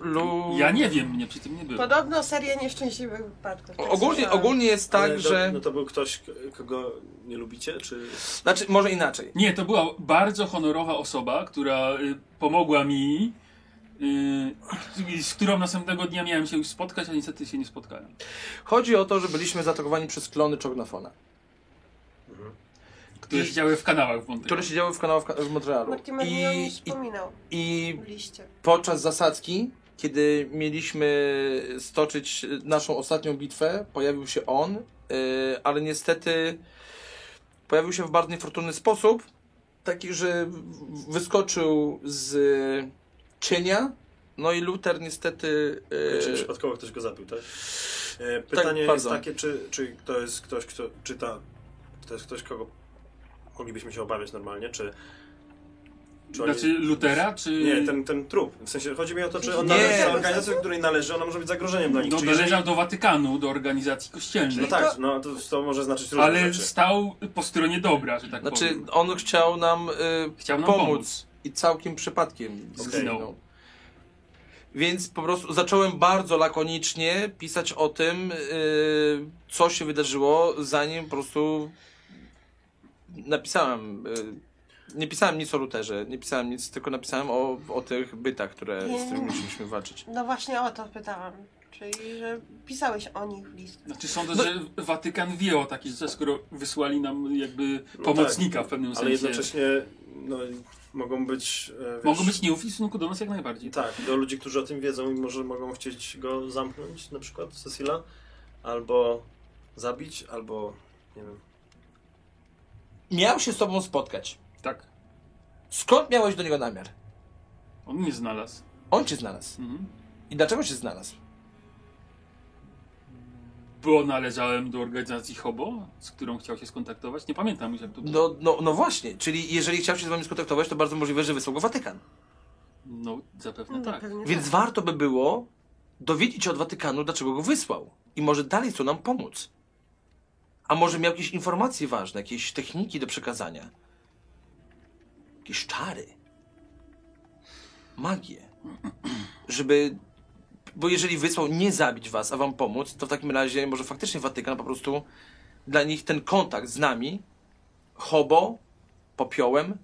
Lu... Ja nie wiem, mnie przy tym nie było. Podobno seria nieszczęśliwych wypadków. Tak Ogólnie, słyszałam. ogólnie jest tak, Ale do- że... No to był ktoś, k- kogo nie lubicie, czy... Znaczy, może inaczej. Nie, to była bardzo honorowa osoba, która y, pomogła mi, y, i- z którą następnego dnia miałem się już spotkać, a niestety się nie spotkałem. Chodzi o to, że byliśmy zaatakowani przez klony Czognofona, Które I- siedziały w kanałach w Montyku. które siedziały w kanałach w Montrealu. Mortimer mi o I, niej i, wspominał I w liście. podczas zasadzki, kiedy mieliśmy stoczyć naszą ostatnią bitwę, pojawił się on, yy, ale niestety pojawił się w bardzo niefortunny sposób, taki, że w- wyskoczył z cienia, no i Luther niestety... yy, Czy przypadkowo ktoś go zabił, tak? E, Pytanie jest Tak, bardzo. takie, czy, czy to jest ktoś, kto, czy ta, to jest ktoś, kogo moglibyśmy się obawiać normalnie, czy... czy oni- Znaczy Lutera, czy... Nie, ten, ten trup. W sensie chodzi mi o to, czy on Nie. należy do organizacji, do której należy, ona może być zagrożeniem dla nich. znaczy- No, czy należał do Watykanu, do organizacji kościelnej. no tak, no to, to może znaczyć różne ale rzeczy. stał po stronie dobra, że tak Znaczy, powiem. on chciał nam, y, Chciał nam pomóc. pomóc. i całkiem przypadkiem zginął. Zginął. Więc po prostu zacząłem bardzo lakonicznie pisać o tym, y, co się wydarzyło, zanim po prostu napisałem. y, Nie pisałem nic o Luterze, nie pisałem nic, tylko napisałem o, o tych bytach, które, z którymi musieliśmy walczyć. No właśnie o to pytałam. Czyli, że pisałeś o nich w list. Znaczy sądzę, No- że Watykan wie o takich rzeczach, skoro wysłali nam jakby pomocnika w pewnym sensie. No tak, Ale jednocześnie no, mogą być. e, Wiesz, Mogą być nieufni w stosunku do nas jak najbardziej. Tak, do ludzi, którzy o tym wiedzą i może mogą chcieć go zamknąć, na przykład Cecila, albo zabić, albo nie wiem. Miał się z tobą spotkać. Tak. Skąd miałeś do niego namiar? On mnie znalazł. On cię znalazł. Mhm. I dlaczego cię znalazł? Bo należałem do organizacji Hobo, z którą chciał się skontaktować. Nie pamiętam już jak to było. No, no, no właśnie, czyli jeżeli chciał się z wami skontaktować, to bardzo możliwe, że wysłał go Watykan. No, zapewne tak. Pewnie Więc warto by było dowiedzieć się od Watykanu, dlaczego go wysłał. I może dalej chcą nam pomóc. A może miał jakieś informacje ważne, jakieś techniki do przekazania. Jakieś czary. Magię. Żeby... Bo jeżeli wysłał nie zabić was, a wam pomóc, to w takim razie może faktycznie Watykan po prostu dla nich ten kontakt z nami, hobo, popiołem,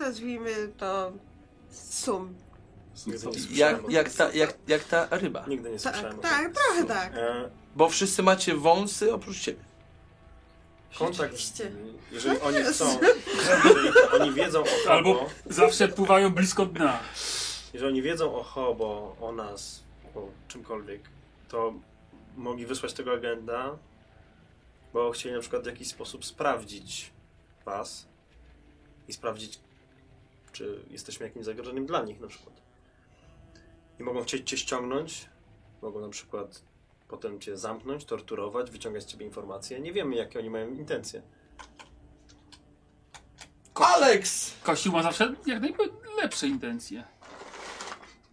Nazwijmy to sum. Nigdy nie słyszałem o jak, tym. jak, ta, jak, jak ta ryba. Nigdy nie Tak, słyszałem. o tak, tym. trochę tak. E, Bo wszyscy macie wąsy oprócz ciebie. kontakt, Rzeczywiście. jeżeli oni chcą, jeżeli oni wiedzą o Albo Albo... zawsze pływają blisko dna. jeżeli oni wiedzą o Hobo, o nas, o czymkolwiek, to mogli wysłać tego agenda, bo chcieli na przykład w jakiś sposób sprawdzić was i sprawdzić, czy jesteśmy jakimś zagrożeniem dla nich na przykład. I mogą chcieć cię ściągnąć, mogą na przykład potem cię zamknąć, torturować, wyciągać z ciebie informacje. Nie wiemy, jakie oni mają intencje. Alex! Kościół ma zawsze jak najlepsze intencje.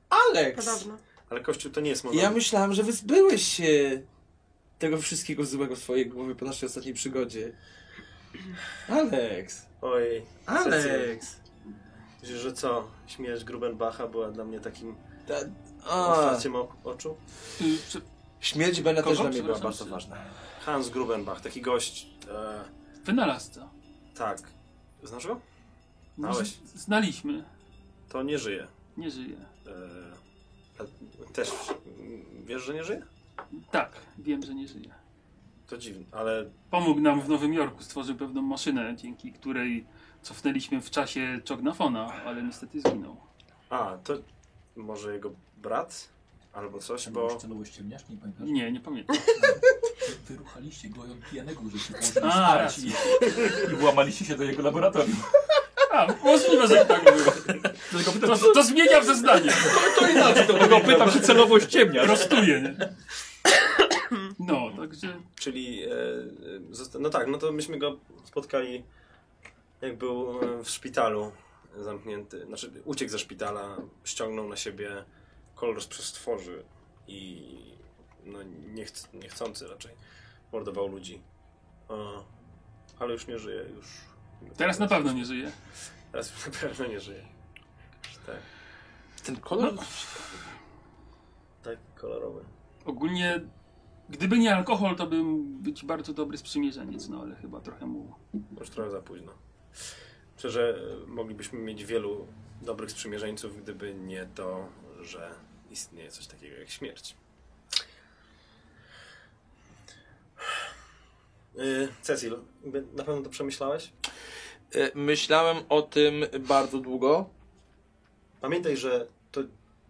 Alex! Podobno. Ale Kościół to nie jest Ja monolit. myślałem, że wyzbyłeś się tego wszystkiego złego w swojej głowie po naszej ostatniej przygodzie. Alex! Ojej, Alex! myślisz, że co? Śmierć Grubenbacha była dla mnie takim Ta, a, otwarciem o- oczu? Y, prze- śmierć Bena też Kogo? dla mnie była Przepraszam, bardzo czy- ważna. Hans Grubenbach, taki gość. E, Wynalazca. tak. Znasz go? No, Znałeś? z- Znaliśmy. To nie żyje. Nie żyje. E, a- też mm, wiesz, że nie żyje? Tak, wiem, że nie żyje. To dziwne, ale Pomógł nam w Nowym Jorku, stworzył pewną maszynę, dzięki której cofnęliśmy w czasie Czognafona, ale niestety zginął. a to może jego brat albo coś, Bo... bo Celowo ściemniasz, nie pamiętasz? Nie, nie pamiętam. Wyruchaliście go ją pijanego, że się położyli A, spać i, i włamaliście się do jego laboratorium. A, możliwe, że tak było. Dlatego pytam, To, to zmieniam zeznanie. to inaczej, to tylko pytam, czy celowo ściemniasz. Prostuję, nie? No, także czyli. E, zosta- no tak, no to myśmy go spotkali, jak był e, w szpitalu zamknięty. Znaczy, uciekł ze szpitala, ściągnął na siebie kolor z przestworzy i no niechc- niechcący raczej mordował ludzi. E, ale już nie żyje, już. teraz na pewno nie żyje. Teraz już na pewno nie żyje. Tak, Ten kolor... tak kolorowy. Ogólnie, gdyby nie alkohol, to bym być bardzo dobry sprzymierzeniec, no ale chyba trochę mu... Już trochę za późno. Myślę, że e, moglibyśmy mieć wielu dobrych sprzymierzeńców, gdyby nie to, że istnieje coś takiego jak śmierć. Yy, Cecil, jakby na pewno to przemyślałeś? E, Myślałem o tym bardzo długo. Pamiętaj, że to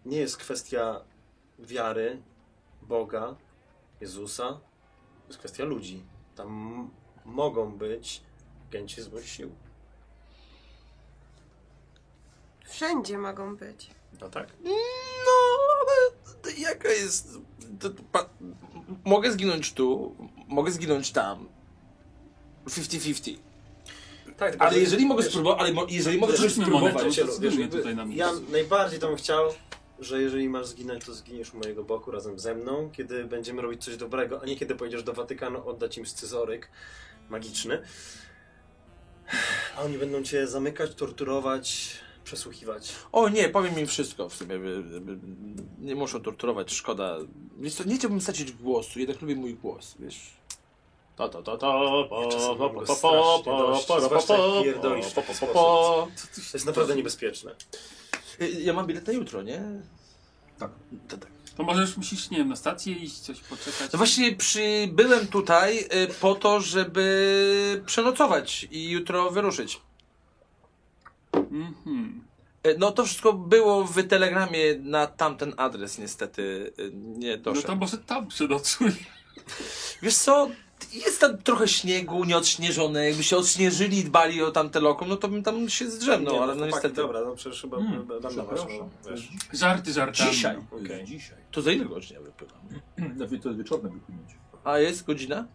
nie jest kwestia wiary, Boga, Jezusa. To jest kwestia ludzi. Tam m- mogą być gęci złych sił. Wszędzie mogą być. No tak? No, ale jaka jest. to- to pa- Mogę zginąć tu, mogę zginąć tam. 50-50. Tak, Ale jeżeli mogę spróbować, ale mo- jeżeli mogę coś Rzućmy monetę. spróbować. Cielu, zdecydujmy wiesz, jakby tutaj na miejscu. ja najbardziej to bym chciał, że jeżeli masz zginąć, to zginiesz u mojego boku razem ze mną, kiedy będziemy robić coś dobrego, a nie kiedy pojedziesz do Watykanu oddać im scyzoryk magiczny. A oni będą cię zamykać, torturować, przesłuchiwać. O nie, powiem im wszystko w sumie. by- by- by- Nie muszą torturować, szkoda. Wiesz co, nie chciałbym stracić głosu, jednak lubię mój głos, wiesz. Ta, ta, ta, ta, po, czasem po, mam po, go po, strasznie po, dość, po, po, zwłaszcza jak po, po, pierdolisz w po, ten po, po. To jest naprawdę niebezpieczne. Y, Ja mam bilet na jutro, nie? To może już musisz, nie wiem, na stację iść, coś poczekać. No właśnie przybyłem tutaj y, po to, żeby przenocować i jutro wyruszyć. Mhm. Y, No to wszystko było w telegramie na tamten adres niestety y, nie No doszedł. to może tam przenocuj. Wiesz co, jest tam trochę śniegu nieodśnieżone, jakby się odśnieżyli i dbali o tamte lokum, no to bym tam się zdrzemnął, Nie, ale no chłopaki, niestety. Dobra, no przecież chyba Hmm, dam na przepraszam. waszą, wiesz. Żarty żartami. no. Dzisiaj. Okay. Dzisiaj. To za ile godzin ja wypływam? Hmm, no Na wie- To jest wieczorne wypłynięcie. A jest godzina?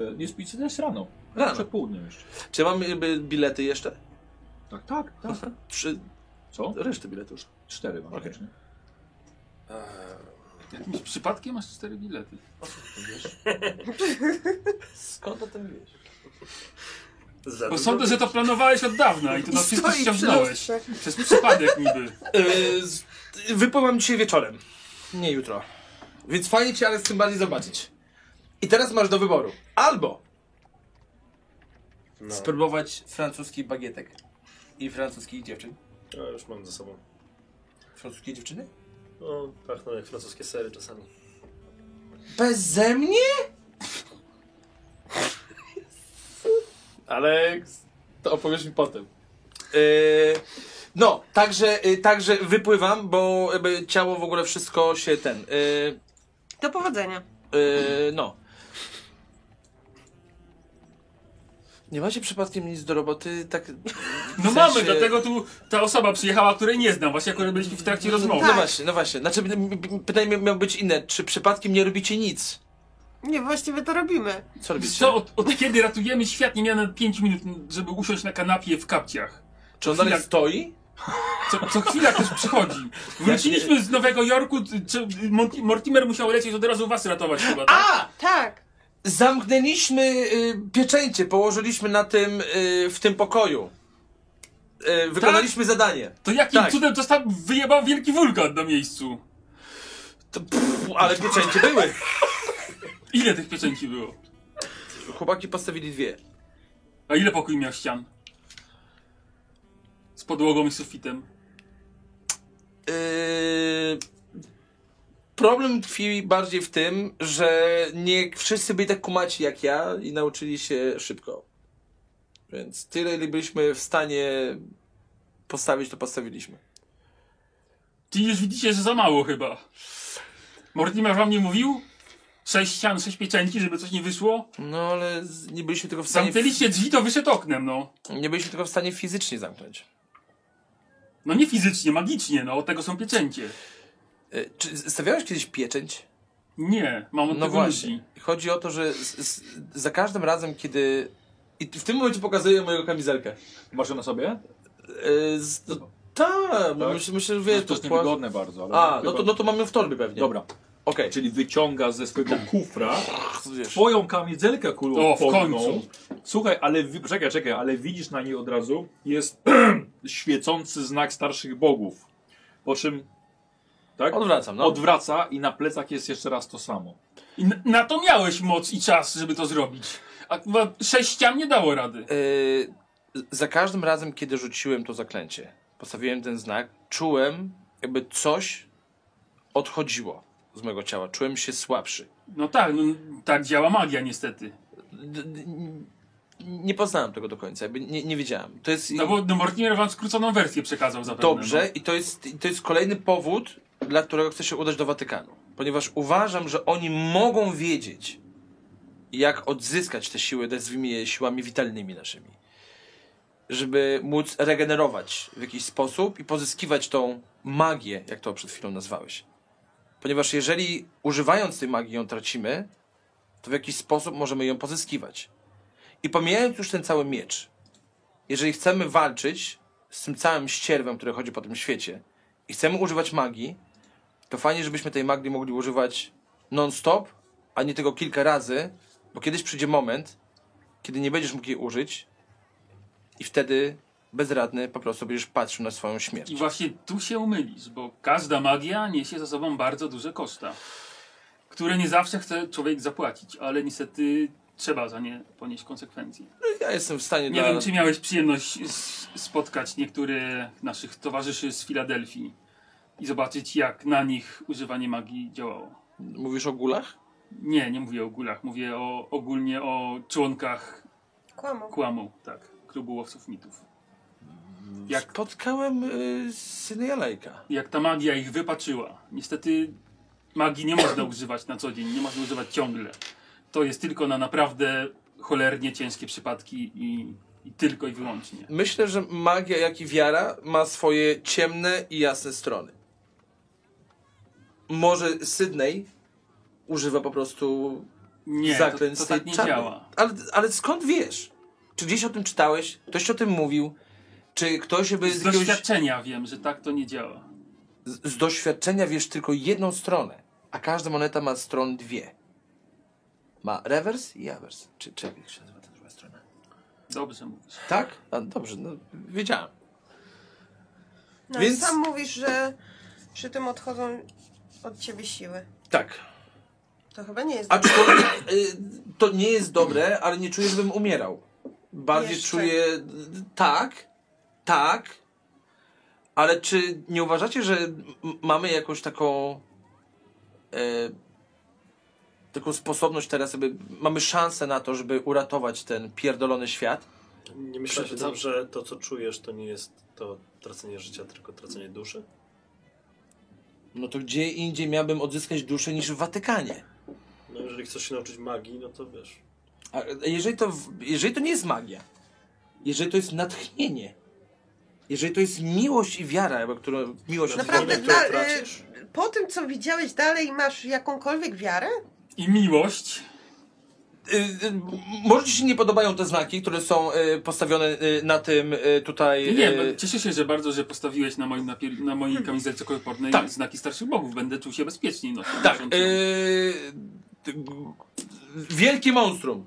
E, Jest pizza też rano. Rano. Przed południem jeszcze. Czy ja mam jakby bilety jeszcze? Tak, tak, tak. Trzy, Co? reszty biletów. Cztery mam. Okay. Jakimś przypadkiem masz cztery bilety. Skąd o tym wiesz? Za Bo dużo- sądzę, że to planowałeś od dawna i to I na wszystko stoi przy ściągnąłeś. Przez przypadek niby. E, wypływam dzisiaj wieczorem. Nie jutro. Więc fajnie cię, ale z tym bardziej zobaczyć. I teraz masz do wyboru. Albo No, spróbować francuskich bagietek i francuskich dziewczyn. ja już mam ze sobą. Francuskie dziewczyny? No, tak, pachną jak francuskie sery czasami. Beze mnie? Alex, to opowiesz mi potem. Yy, no, także, yy, także wypływam, bo jakby ciało w ogóle wszystko się ten... Yy, Do powodzenia. Yy, no. Nie macie przypadkiem nic do roboty? Tak. No W mamy, sensie- dlatego tu ta osoba przyjechała, której nie znam, właśnie akurat byliśmy w trakcie rozmowy. No właśnie, no właśnie. Znaczy, m- m- pytanie miało być inne. Czy przypadkiem nie robicie nic? Nie, właściwie to robimy. Co robicie? Co, od, od kiedy ratujemy świat, nie miałem nawet 5 minut, żeby usiąść na kanapie w kapciach. Czy on dalej chwila- stoi? Co, co chwila ktoś przychodzi. Wróciliśmy z Nowego Jorku, t- czy Monti- Mortimer musiał lecieć od razu was ratować chyba, tak? A! Tak. Zamknęliśmy y, pieczęcie, położyliśmy na tym, y, w tym pokoju. Y, wykonaliśmy zadanie. To jakim tak. cudem to tam wyjebał wielki wulkan na miejscu? To, pff, ale pieczęcie były. Ile tych pieczęci było? Chłopaki postawili dwie. A ile pokój miał ścian? Z podłogą i sufitem. Yy, problem tkwi bardziej w tym, że nie wszyscy byli tak kumaci jak ja i nauczyli się szybko. Więc tyle, ile byliśmy w stanie postawić, to postawiliśmy. Czyli już widzicie, że za mało chyba. Mortimer wam nie mówił? Sześć ścian, sześć pieczęci, żeby coś nie wyszło? No ale z- nie byliśmy tylko w stanie. Zamknęliście drzwi, to wyszedł oknem, no. Nie byliśmy tylko w stanie fizycznie zamknąć. No nie fizycznie, magicznie, no. Od tego są pieczęcie. Yy, czy z- stawiałeś kiedyś pieczęć? Nie, mam od No tego właśnie. ludzi. Chodzi o to, że z, z, za każdym razem, kiedy. I w tym momencie pokazuję mojego kamizelkę. Masz ją na sobie? Yy, z, no, tak, Tak? myślę, myślę, że Wiesz, wiesz, to jest pła- niewygodne bardzo, ale... A, chyba- no to, no to mamy w torbie pewnie. Dobra, Okej. czyli wyciąga ze swojego kufra Wiesz. twoją kamizelkę kulą O, w końcu. Słuchaj, ale wi- czekaj, czekaj, ale widzisz na niej od razu jest świecący znak starszych bogów. Po czym tak? Odwracam, no. odwraca i na plecach jest jeszcze raz to samo. I na, na to miałeś moc i czas, żeby to zrobić. A kurwa, sześć ścian nie dało rady. Yy, za każdym razem, kiedy rzuciłem to zaklęcie, postawiłem ten znak, czułem, jakby coś odchodziło z mojego ciała. Czułem się słabszy. No tak, no, tak działa magia niestety. D- d- n- nie poznałem tego do końca, jakby nie, nie wiedziałem. To jest No bo no, Mortimer wam skróconą wersję przekazał zapewne. no. dobrze i to jest, i to jest kolejny powód, dla którego chcę się udać do Watykanu. Ponieważ uważam, że oni mogą wiedzieć, jak odzyskać te siły, nazwijmy je siłami witalnymi naszymi. żeby móc regenerować w jakiś sposób i pozyskiwać tą magię, jak to przed chwilą nazwałeś. Ponieważ jeżeli używając tej magii ją tracimy, to w jakiś sposób możemy ją pozyskiwać. I pomijając już ten cały miecz, jeżeli chcemy walczyć z tym całym ścierwem, który chodzi po tym świecie i chcemy używać magii, to fajnie, żebyśmy tej magii mogli używać non-stop, a nie tylko kilka razy, bo kiedyś przyjdzie moment, kiedy nie będziesz mógł jej użyć i wtedy bezradny po prostu będziesz patrzył na swoją śmierć. I właśnie tu się mylisz, bo każda magia niesie za sobą bardzo duże koszta, które nie zawsze chce człowiek zapłacić, ale niestety trzeba za nie ponieść konsekwencje. Ja jestem w stanie Nie dla... wiem, czy miałeś przyjemność s- spotkać niektóre naszych towarzyszy z Filadelfii i zobaczyć, jak na nich używanie magii działało. Mówisz o gulach? Nie, nie mówię o gulach, mówię o, ogólnie o członkach Kłamał. kłamu, tak, klubu łowców mitów. Jak, Spotkałem y, Syrialejka. jak ta magia ich wypaczyła. Niestety magii nie można używać na co dzień, nie można używać ciągle. To jest tylko na naprawdę cholernie ciężkie przypadki i, i tylko i wyłącznie. Myślę, że magia, jak i wiara ma swoje ciemne i jasne strony. Może Sydney używa po prostu Nie, to, zaklęć to z tej tak nie czarnej. działa. Ale, ale skąd wiesz? Czy gdzieś o tym czytałeś? Ktoś ci o tym mówił? Czy ktoś by z, Z jakiegoś... doświadczenia wiem, że tak to nie działa. z z doświadczenia wiesz tylko jedną stronę, a każda moneta ma stron dwie. Ma rewers i awers. Czy, czy jak się nazywa ta druga strona? Dobrze mówisz. Tak? A, dobrze, no wiedziałem. No Więc- Więc... sam mówisz, że przy tym odchodzą od ciebie siły. Tak. To chyba nie jest dobre. Aczkolwiek y, to nie jest dobre, ale nie czuję, żebym umierał. Bardziej Jeszcze. czuję y, tak, tak, ale czy nie uważacie, że m- mamy jakąś taką e, taką sposobność teraz, żeby mamy szansę na to, żeby uratować ten pierdolony świat? Myślę, Nie myślę, że że tam- dobrze to, co czujesz, to nie jest to tracenie życia, tylko tracenie duszy? No to gdzie indziej miałbym odzyskać duszę niż w Watykanie? No jeżeli chcesz się nauczyć magii, no to wiesz. A jeżeli to, w- jeżeli to nie jest magia, jeżeli to jest natchnienie, jeżeli to jest miłość i wiara, jakby, która miłość Naprawdę, Które dla, y, tracisz? po tym co widziałeś dalej masz jakąkolwiek wiarę? I miłość. Y, y, Może ci się nie podobają te znaki, które są y, postawione y, na tym y, tutaj. Nie, nie, no y, bo E, cieszę się, że bardzo, że postawiłeś na, moim napier- na mojej kamizelce korpornej Mhm. Tak. znaki starszych bogów. Będę czuł się bezpieczniej. No, tak. y, y, Wielkie monstrum.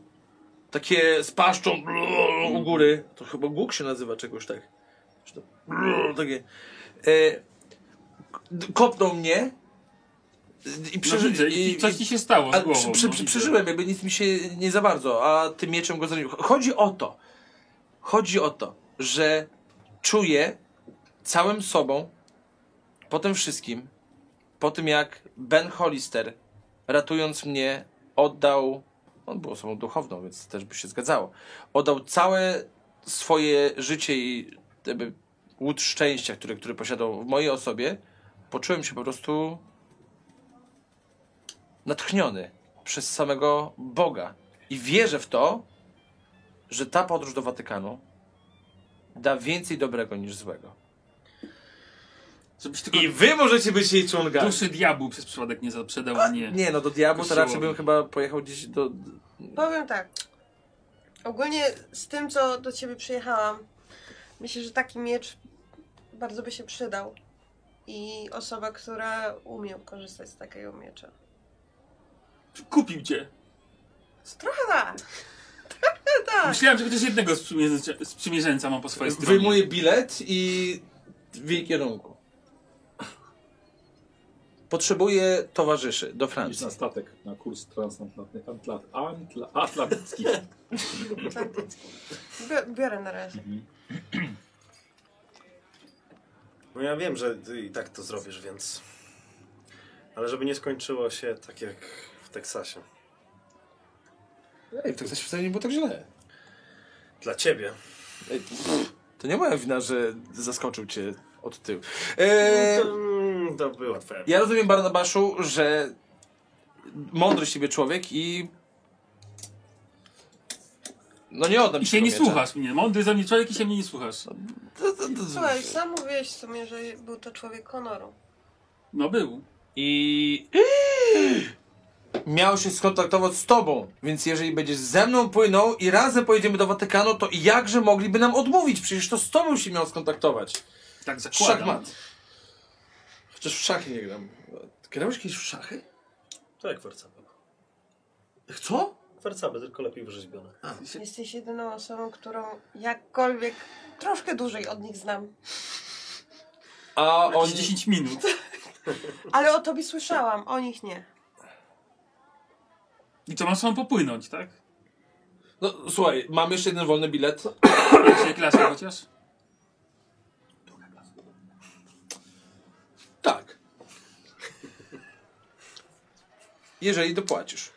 Takie z paszczą blu, u góry. To chyba głuk się nazywa czegoś tak. Czy to blu, Takie. Y, k- Kopnął mnie. y, I, no przeży- widzę, i, coś ci się stało A z głową. przy, przy, no, przy, widzę. przeżyłem, jakby nic mi się nie za bardzo, a tym mieczem go zranił. Chodzi o to, chodzi o to, że czuję całym sobą, po tym wszystkim, po tym jak Ben Hollister, ratując mnie, oddał, on był osobą duchowną, więc też by się zgadzało, oddał całe swoje życie i jakby łód szczęścia, który, który posiadał w mojej osobie, poczułem się po prostu natchniony przez samego Boga. I wierzę w to, że ta podróż do Watykanu da więcej dobrego niż złego. Żebyś tylko I wy możecie być jej członkami. duszy diabłu przez przypadek nie zaprzedał, a nie. Nie, no do diabła to Kościołowi. raczej bym chyba pojechał gdzieś do... Powiem tak. Ogólnie z tym co do ciebie przyjechałam, myślę, że taki miecz bardzo by się przydał. I osoba, która umie korzystać z takiego miecza. Kupił cię. Trochę tak. Trochę tak. Myślałem, że chociaż jednego sprzymierzeńca, sprzymierzeńca mam po swojej stronie. Wyjmuję bilet i w jej kierunku. Potrzebuję towarzyszy do Idź Francji. na statek, na kurs transatlantycki, antla, antla, atlantycki. Bi- Biorę na razie. No ja wiem, że ty i tak to zrobisz, więc. Ale żeby nie skończyło się tak jak w Teksasie. Ej, w Teksasie wcale nie było tak źle. Dla ciebie. Ej, pff, to nie moja wina, że zaskoczył cię od tyłu. Eee, No To, mm, to była twoja. Ja rozumiem, Barnabaszu, że mądry z ciebie człowiek i... No nie oddam I ci się tego nie miecza. słuchasz mnie. Mądry ze mnie człowiek i się mnie nie słuchasz. To- to- to- Słuchaj, sam mówiłeś w sumie, że był to człowiek honoru. No był. I... Miał się skontaktować z tobą, więc jeżeli będziesz ze mną płynął i razem pojedziemy do Watykanu, to jakże mogliby nam odmówić? Przecież to z tobą się miał skontaktować. Tak zakładam. Szachmat. Chociaż w szachy nie gram. Grałeś kiedyś w szachy? To jak Warcaby. Co? Warcaby, tylko lepiej wyrzeźbione. Jesteś jedyną osobą, którą jakkolwiek troszkę dłużej od nich znam. A Jakieś oni... 10 minut. Ale o tobie słyszałam, o nich nie. I to masz tam popłynąć, tak? No słuchaj, mam jeszcze jeden wolny bilet. Pierwszej klasy chociaż? Tak. Jeżeli dopłacisz.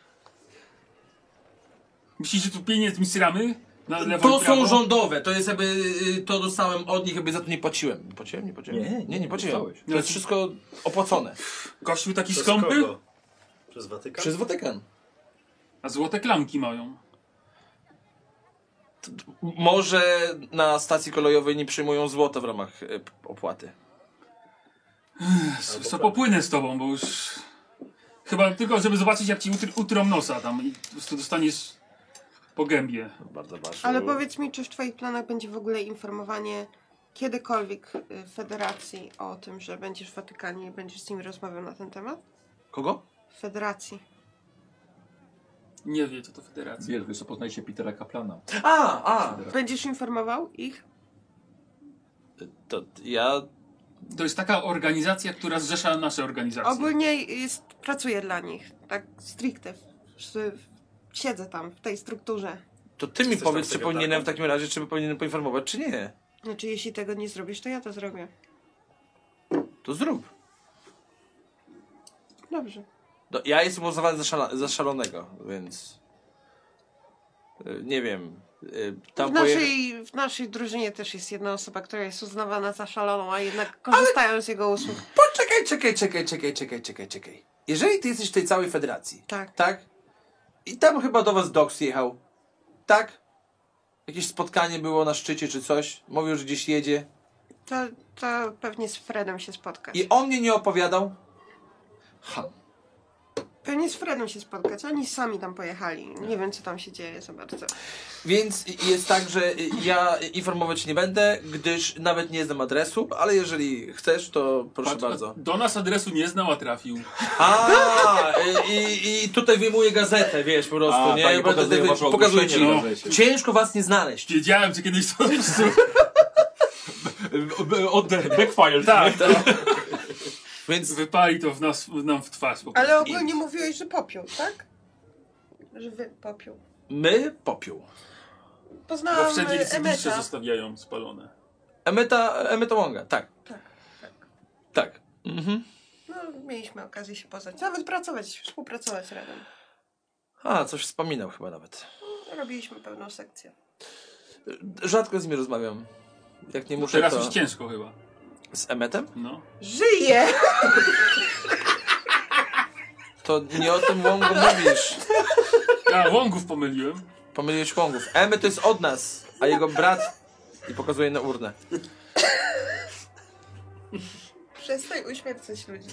Myślisz, że tu pieniądz mi sramy? Na lewo To i są prawo? rządowe, to jest jakby, y, to dostałem od nich, jakby za to nie płaciłem. Nie Płaciłem? Nie płaciłem? Nie, nie, nie, nie płaciłem. dostałeś. To jest wszystko opłacone. Kościół taki Przez skąpy? kogo? Przez Watykan? Przez Watykan. A złote klamki mają. Może na stacji kolejowej nie przyjmują złota w ramach y, p- opłaty. Co tak. popłynę z tobą, bo już... Chyba tylko, żeby zobaczyć, jak ci utr utrom nosa tam i po prostu dostaniesz po gębie. Bardzo ważne. Ale powiedz mi, czy w Twoich planach będzie w ogóle informowanie kiedykolwiek y, Federacji o tym, że będziesz w Watykanie i będziesz z nimi rozmawiał na ten temat? Kogo? Federacji. Nie wie, co to federacja. Wiesz, wiesz, co, poznajcie Petera Kaplana. A, a! Będziesz informował ich? To ja... To jest taka organizacja, która zrzesza nasze organizacje. Ogólnie jest, pracuję dla nich, tak stricte. w- w- Siedzę tam, w tej strukturze. To ty mi Jesteś tam powiedz, czy sekretarką. powinienem w takim razie, czy powinienem poinformować, czy nie. Znaczy, jeśli tego nie zrobisz, to ja to zrobię. To zrób. Dobrze. No, ja jestem uznawany za, szala, za szalonego, więc... y, Nie wiem. y, W Tam poje... naszej, w naszej drużynie też jest jedna osoba, która jest uznawana za szaloną, a jednak korzystają z jego usług. Poczekaj, czekaj, czekaj, czekaj, czekaj, czekaj, czekaj. Jeżeli ty jesteś w tej całej federacji, Tak. tak? I tam chyba do was Dox jechał, tak? Jakieś spotkanie było na szczycie czy coś. Mówił, że gdzieś jedzie. To, to pewnie z Fredem się spotkać. I on mnie nie opowiadał. Ha. Pewnie z Fredem E, się spotkać. Oni sami tam pojechali. No. Nie wiem, co tam się dzieje za bardzo. Więc i- jest tak, że y, ja informować nie będę, gdyż nawet nie znam adresu, ale jeżeli chcesz, to proszę Patrz, no, bardzo. Do nas adresu nie znał, a trafił. A, i- i, i tutaj wyjmuję gazetę, wiesz, po prostu, A, nie? pani Będę- pokazuje wasze pokazuję ci. ogłoszenie na no. rzezie. Ciężko was nie znaleźć. Wiedziałem, że kiedyś to Oddech, backfire. Tak, Więc wypali to w nas, nam w twarz. Po Ale prostu. ogólnie mówiłeś, że popiół, tak? Że wy popiół. my popiół. Bo Poznałam wszędzie e, licybisze Emeta. zostawiają spalone. Emeta, Emeta Wonga, tak. Tak, tak. Tak. Mhm. No, mieliśmy okazję się poznać. Nawet pracować, współpracować razem. A, coś wspominał chyba nawet. Robiliśmy pełną sekcję. Rzadko z nim rozmawiam. Jak nie muszę Teraz to... już ciężko chyba. Z Emetem? No. Żyję! To nie o tym Wongu mówisz. A, łągów pomyliłem. Pomyliłeś Wongów. Emet to jest od nas, a jego brat... I pokazuje na urnę. Przestań uśmiercać ludzi.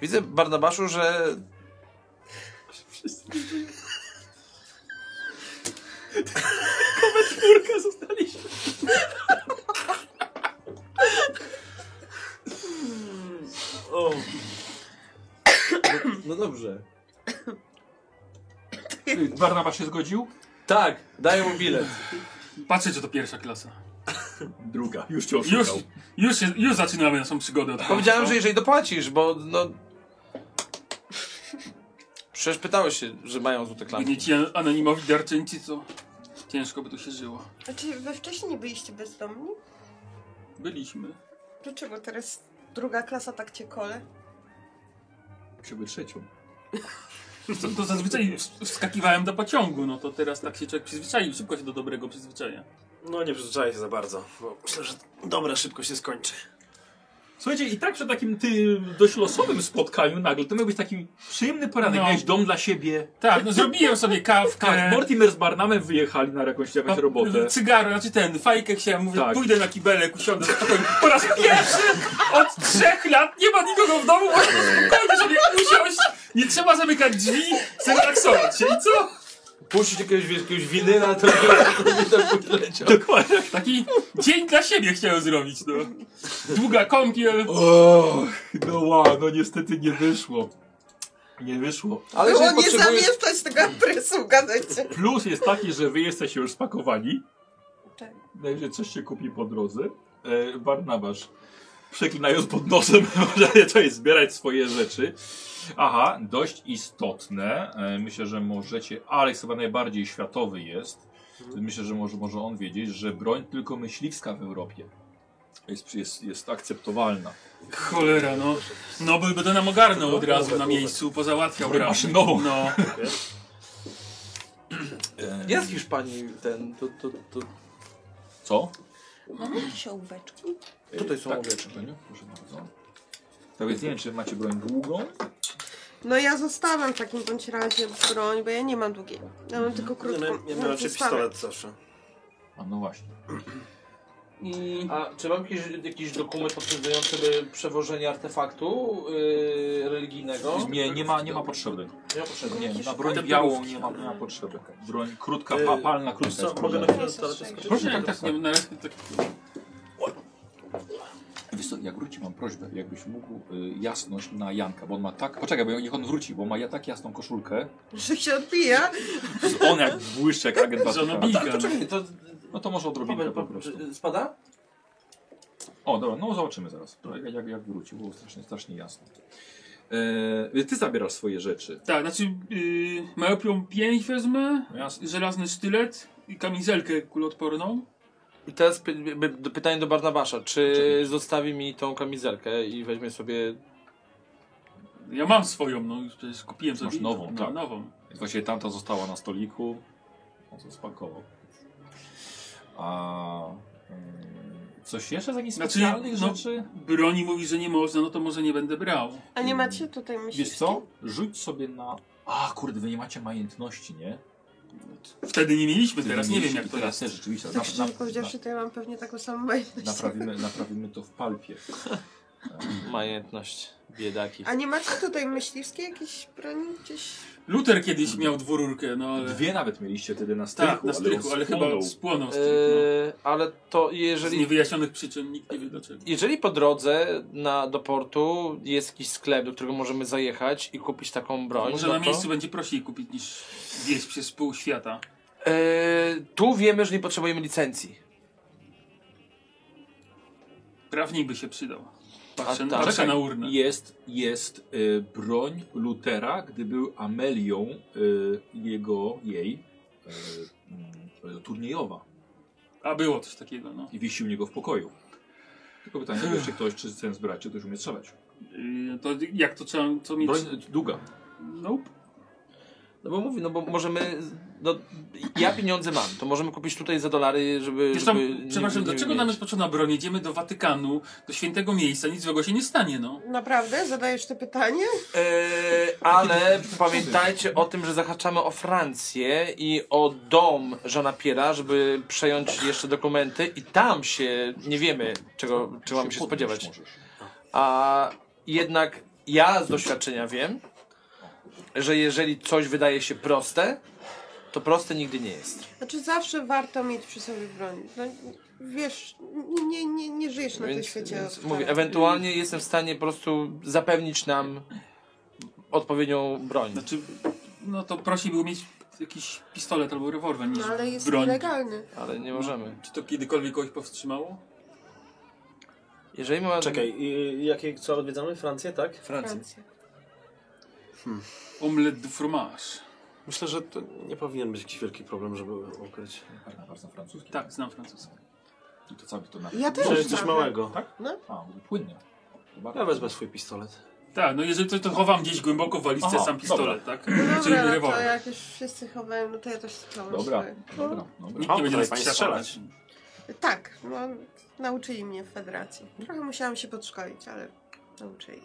Widzę, Barnabaszu, że... Kurka, zostaliśmy. No dobrze. Barnabasz się zgodził? Tak, daję mu bilet. Patrzę, że to pierwsza klasa. Druga. Już cię Już, już, się, już zaczynamy naszą przygodę od końca. Powiedziałem, że jeżeli dopłacisz, bo no... Przecież pytałeś się, że mają złote Gdy nie klamki. ci an- anonimowi darczyńcy, co? Ciężko by tu się żyło. Znaczy, wy wcześniej nie byliście bezdomni? Byliśmy. Dlaczego teraz druga klasa tak cię kole? Żeby trzecią. To, to zazwyczaj ws- wskakiwałem do pociągu, no to teraz tak się człowiek przyzwyczaił. Szybko się do dobrego przyzwyczaja. No nie przyzwyczaję się za bardzo, bo myślę, że dobra szybko się skończy. Słuchajcie, i tak przy takim ty, dość losowym spotkaniu nagle, to miał być taki przyjemny poranek, No. miałeś dom dla siebie. Tak, no zrobiłem sobie kawkę. E. Tak, Mortimer z Barnamem wyjechali na jakąś, jakąś Pa- robotę. Cygaro, znaczy ten, fajkę chciałem, mówię, Tak. pójdę na kibelek, usiądę spokojnie. Po raz pierwszy od trzech lat nie ma nikogo w domu, można spokojnie sobie usiąść, nie trzeba zamykać drzwi, zrelaksować się i co? Puścić jakiegoś, jakiegoś winyla, to by tam leciał. Dokładnie. Taki dzień dla siebie chciałem zrobić, no. Długa kąpiel, Och, no ła, no niestety nie wyszło. Nie wyszło. Ale Było jeżeli nie potrzebujesz... zamieszczać tego adresu w gazecie. Plus jest taki, że wy jesteście już spakowani. Tak. Także coś się kupi po drodze. E, Barnabasz, przeklinając pod nosem, może to jest zbierać swoje rzeczy. Aha, dość istotne. E, myślę, że możecie. Alex chyba najbardziej światowy jest. Myślę, że może, może on wiedzieć, że broń tylko myśliwska w Europie jest, jest, jest akceptowalna. Cholera, no. No by to nam ogarnął od razu na miejscu, pozałatwiał Dobra, raz. maszynową. No. Jest w Hiszpanii ten, to, to, to, Co? Mam jakieś ołóweczki? Tutaj są tak, owieczki. Pewnie? Proszę bardzo. Tak więc nie wiem, czy macie broń długą. No ja zostawiam w takim bądź razie broń, bo ja nie mam długiej. Ja mam tylko Ja krótką. miałem ja No, miałem raczej zostawiam. pistolet zawsze. A no właśnie. I A czy mam jakiś, jakiś dokument potwierdzający by przewożenie artefaktu yy, religijnego? Nie, nie ma, nie ma potrzeby. Nie ma potrzeby. Nie, na Te broń białą parówki. nie ma, nie ma potrzeby. Broń krótka, Yy, pa, palna krótka. Co, jest mogę na problem. chwilę z toalety skoczyć? proszę tak, tak, nie, na razie tak. Wiesz co, jak wróci, mam prośbę, jakbyś mógł y, jasność na Janka, bo on ma tak... Poczekaj, bo niech on wróci, bo ma ja tak jasną koszulkę. Że się odbija. On jak błyszczy, jak agent Że ona Batman. bije. Tak, to czekaj, to... No to może odrobinkę Paweł, y- po po, prostu. spada? O, dobra, no zobaczymy zaraz, To jak, jak, jak wróci, było strasznie, strasznie jasno. E, ty zabierasz swoje rzeczy. Tak, znaczy yy, małpią pięć wezmę, No Jasne. żelazny sztylet i kamizelkę kuloodporną. I teraz py, by- do- pytanie do Barnabasza. Czy zostawi mi tą kamizelkę i weźmie sobie... Ja mam swoją, no już przecież kupiłem sobie. Masz nową, no, tak. nową. Więc Właściwie tamta została na stoliku. On to spakował. A... y, Coś jeszcze z jakichś Znaczy, specjalnych no- rzeczy? Broni mówi, że nie można, no to może nie będę brał. A nie macie tutaj myśli? Wiesz co? Rzuć sobie na... A, kurde, wy nie macie majętności, nie? Wtedy nie mieliśmy, Ty teraz nie wiem jak to Teraz jest. też rzeczywiście. Tak na, szczerze na, powiedziawszy, to ja mam pewnie taką samą majętność. naprawimy, naprawimy to w palpie. Majętność. Biedaki. A nie macie tutaj myśliwskiej jakiejś broni gdzieś? Luther kiedyś miał dwururkę, no ale... Dwie nawet mieliście wtedy na strychu, tak, na stryku, ale, spłonął. chyba spłonął stryk. No. Yy, ale to Z jeżeli... niewyjaśnionych przyczyn, nikt nie wie dlaczego. Jeżeli po drodze na, do portu jest jakiś sklep, do którego możemy zajechać i kupić taką broń, Może no na to- miejscu będzie prościej kupić niż wieść przez pół świata. Eee, tu wiemy, że nie potrzebujemy licencji. Prawnik by się przydał. Patrzę, A, tak. patrzę Czekaj, na urnę. Jest, jest y, broń Lutera, gdy był Amelią y, jego, jej y, mm, turniejowa A było coś takiego, no. i wiesił u niego w pokoju. Tylko pytanie, czy jeszcze ktoś, czy ten z braci, ktoś umie strzelać. Yy, to jak to trzeba, co mieć? Broń e, długa. Nope. No bo mówi, no bo możemy. No, ja pieniądze mam, to możemy kupić tutaj za dolary, żeby. Zresztą, żeby nie- przepraszam, nie dlaczego nam jest potrzebna broń? Jedziemy do Watykanu, do świętego miejsca, nic złego się nie stanie, no. Naprawdę? Zadajesz to pytanie? Eee, ale pamiętajcie o tym, że zahaczamy o Francję i o dom Żana Piera, żeby przejąć jeszcze dokumenty i tam się nie wiemy, czego, czego mamy się podnieść spodziewać. możesz. A jednak ja z doświadczenia wiem, że jeżeli coś wydaje się proste, to proste nigdy nie jest. Znaczy zawsze warto mieć przy sobie broń. No, wiesz, nie, nie, nie żyjesz na tym No Więc, świecie. tak. więc od mówię, wczoraj. ewentualnie jestem w stanie po prostu zapewnić nam odpowiednią broń. Znaczy, no to prosi było mieć jakiś pistolet albo rewolwer niż No ale jest broń. legalny. Ale nie możemy. Czy to kiedykolwiek kogoś powstrzymało? Jeżeli mamy. Czekaj, i, jakie, co odwiedzamy? Francję, tak? Francja. Omlet du fromage. Myślę, że to nie powinien być jakiś wielki problem, żeby ukryć. Karnawal na francuski. Tak, znam francuski. I to cały to na... Ja też. Że jest coś prawie. małego. A, mówi płynnie. Ja wezmę swój pistolet. Tak, no jeżeli coś, to chowam gdzieś głęboko w walizce Aha, sam pistolet, tak? Czyli Dobra, no to rewolwer. jak już wszyscy chowają, no to ja też schowam Dobra, swoje. dobra, dobra. Nikt nie będzie nas Pani strzelał. strzelać. Tak, no, nauczyli mnie w federacji. Trochę musiałam się podszkolić, ale nauczyli.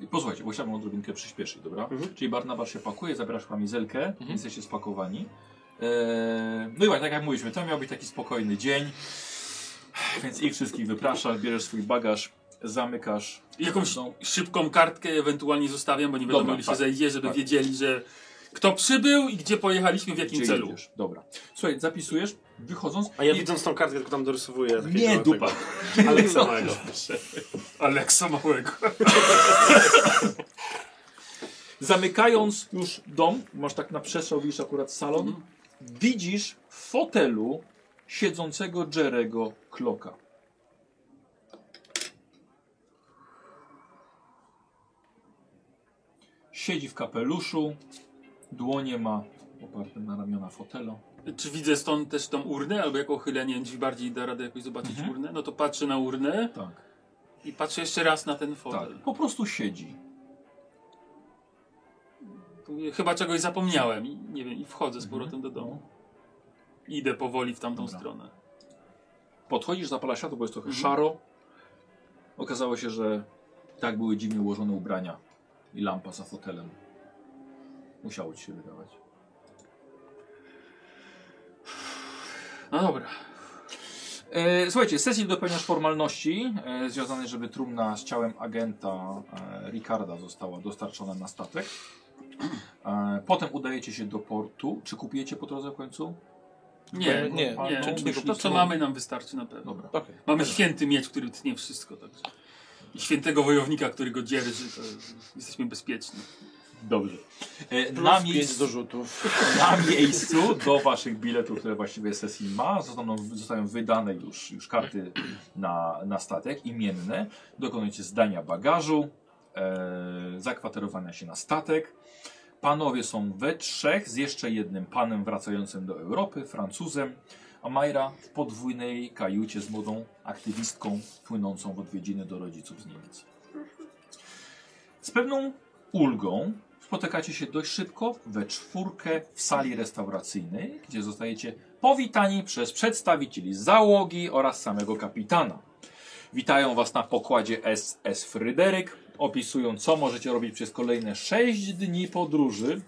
I Posłuchajcie, bo chciałbym odrobinkę przyspieszyć, dobra? Mhm. Czyli Barnabasz się pakuje, zabierasz kamizelkę, jesteście spakowani. Eee, no i właśnie, tak jak mówiliśmy, to miał być taki spokojny dzień, więc ich wszystkich wypraszasz, bierzesz swój bagaż, zamykasz. Jakąś No, szybką kartkę ewentualnie zostawiam, bo nie wiadomo Dobra, ile się tak, zejdzie, żeby tak. wiedzieli, że kto przybył i gdzie pojechaliśmy, w jakim gdzie celu. jedziesz. Dobra. Słuchaj, zapisujesz, wychodząc... A ja i- widząc tą kartkę, tylko tam dorysowuję. takiego Nie, tego- dupa. Ale co małego. Aleksa Małego. Zamykając już dom, masz tak na przestrzał, widzisz akurat salon, widzisz w fotelu siedzącego Jerego Kloka. Siedzi w kapeluszu, dłonie ma oparte na ramiona fotela. Czy widzę stąd też tą urnę, albo jako chylenie drzwi bardziej da radę jakoś zobaczyć Mhm. urnę? No to patrzę na urnę Tak, i patrzę jeszcze raz na ten tak. fotel. Po prostu siedzi. Tak. Mówię, Chyba czegoś zapomniałem i nie wiem, i wchodzę z powrotem do domu. Idę powoli w tamtą Mhm. Dobra. stronę. Podchodzisz, zapalasz światło, bo jest trochę Mhm. szaro. Okazało się, że tak były dziwnie ułożone ubrania i lampa za fotelem. Musiało ci się wydawać. No dobra. E, słuchajcie, Cecil dopełniasz formalności e, związane, żeby trumna z ciałem agenta e, Ricarda została dostarczona na statek. E, potem udajecie się do portu. Czy kupujecie po drodze w końcu? Nie, Nie, nie, nie, nie. czy- czy- To, co mamy, nam wystarczy na pewno. Dobra. Okej. Mamy święty miecz, który tnie wszystko. Także. I świętego wojownika, który go dzierży. To jesteśmy bezpieczni. Dobrze. E, na, Plus pięć miejsc, do rzutów. na miejscu do waszych biletów, które właściwie sesji ma, zostaną, zostają wydane już, już karty na, na statek imienne. Dokonujecie zdania bagażu, e, zakwaterowania się na statek. Panowie są we trzech z jeszcze jednym panem wracającym do Europy, Francuzem, a Majra w podwójnej kajucie z młodą aktywistką płynącą w odwiedziny do rodziców z Niemiec. Z pewną ulgą spotykacie się dość szybko we czwórkę w sali restauracyjnej, gdzie zostajecie powitani przez przedstawicieli załogi oraz samego kapitana. Witają Was na pokładzie SS Fryderyk, opisują co możecie robić przez kolejne 6 dni podróży.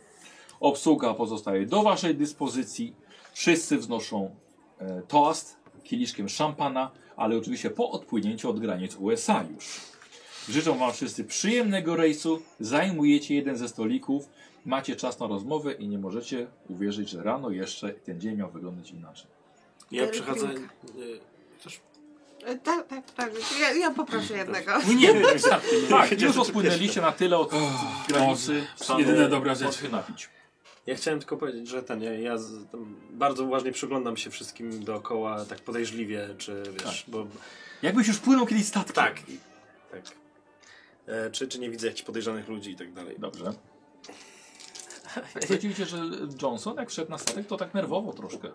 Obsługa pozostaje do Waszej dyspozycji. Wszyscy wznoszą e, toast kieliszkiem szampana, ale oczywiście po odpłynięciu od granic USA już. Życzą Wam wszyscy przyjemnego rejsu, zajmujecie jeden ze stolików, macie czas na rozmowę i nie możecie uwierzyć, że rano jeszcze ten dzień miał wyglądać inaczej. Ja przechodzę... Piłka. y, E, Tak, tak, tak. Ja, ja poproszę jednego. No nie, wystarczy. Tak, już odpłynęliście na tyle od granicy. Boże, jedyna dobra rzecz. Możecie napić. Ja chciałem tylko powiedzieć, że ten, ja, ja z, tam bardzo uważnie przyglądam się wszystkim dookoła, tak podejrzliwie, czy wiesz, Tak. bo Jakbyś już płynął kiedyś statkiem. tak, i- tak. E, czy, czy nie widzę jakichś podejrzanych ludzi i tak dalej. Dobrze. Stwierdziliście, że Johnson jak wszedł na statek, to tak nerwowo troszkę.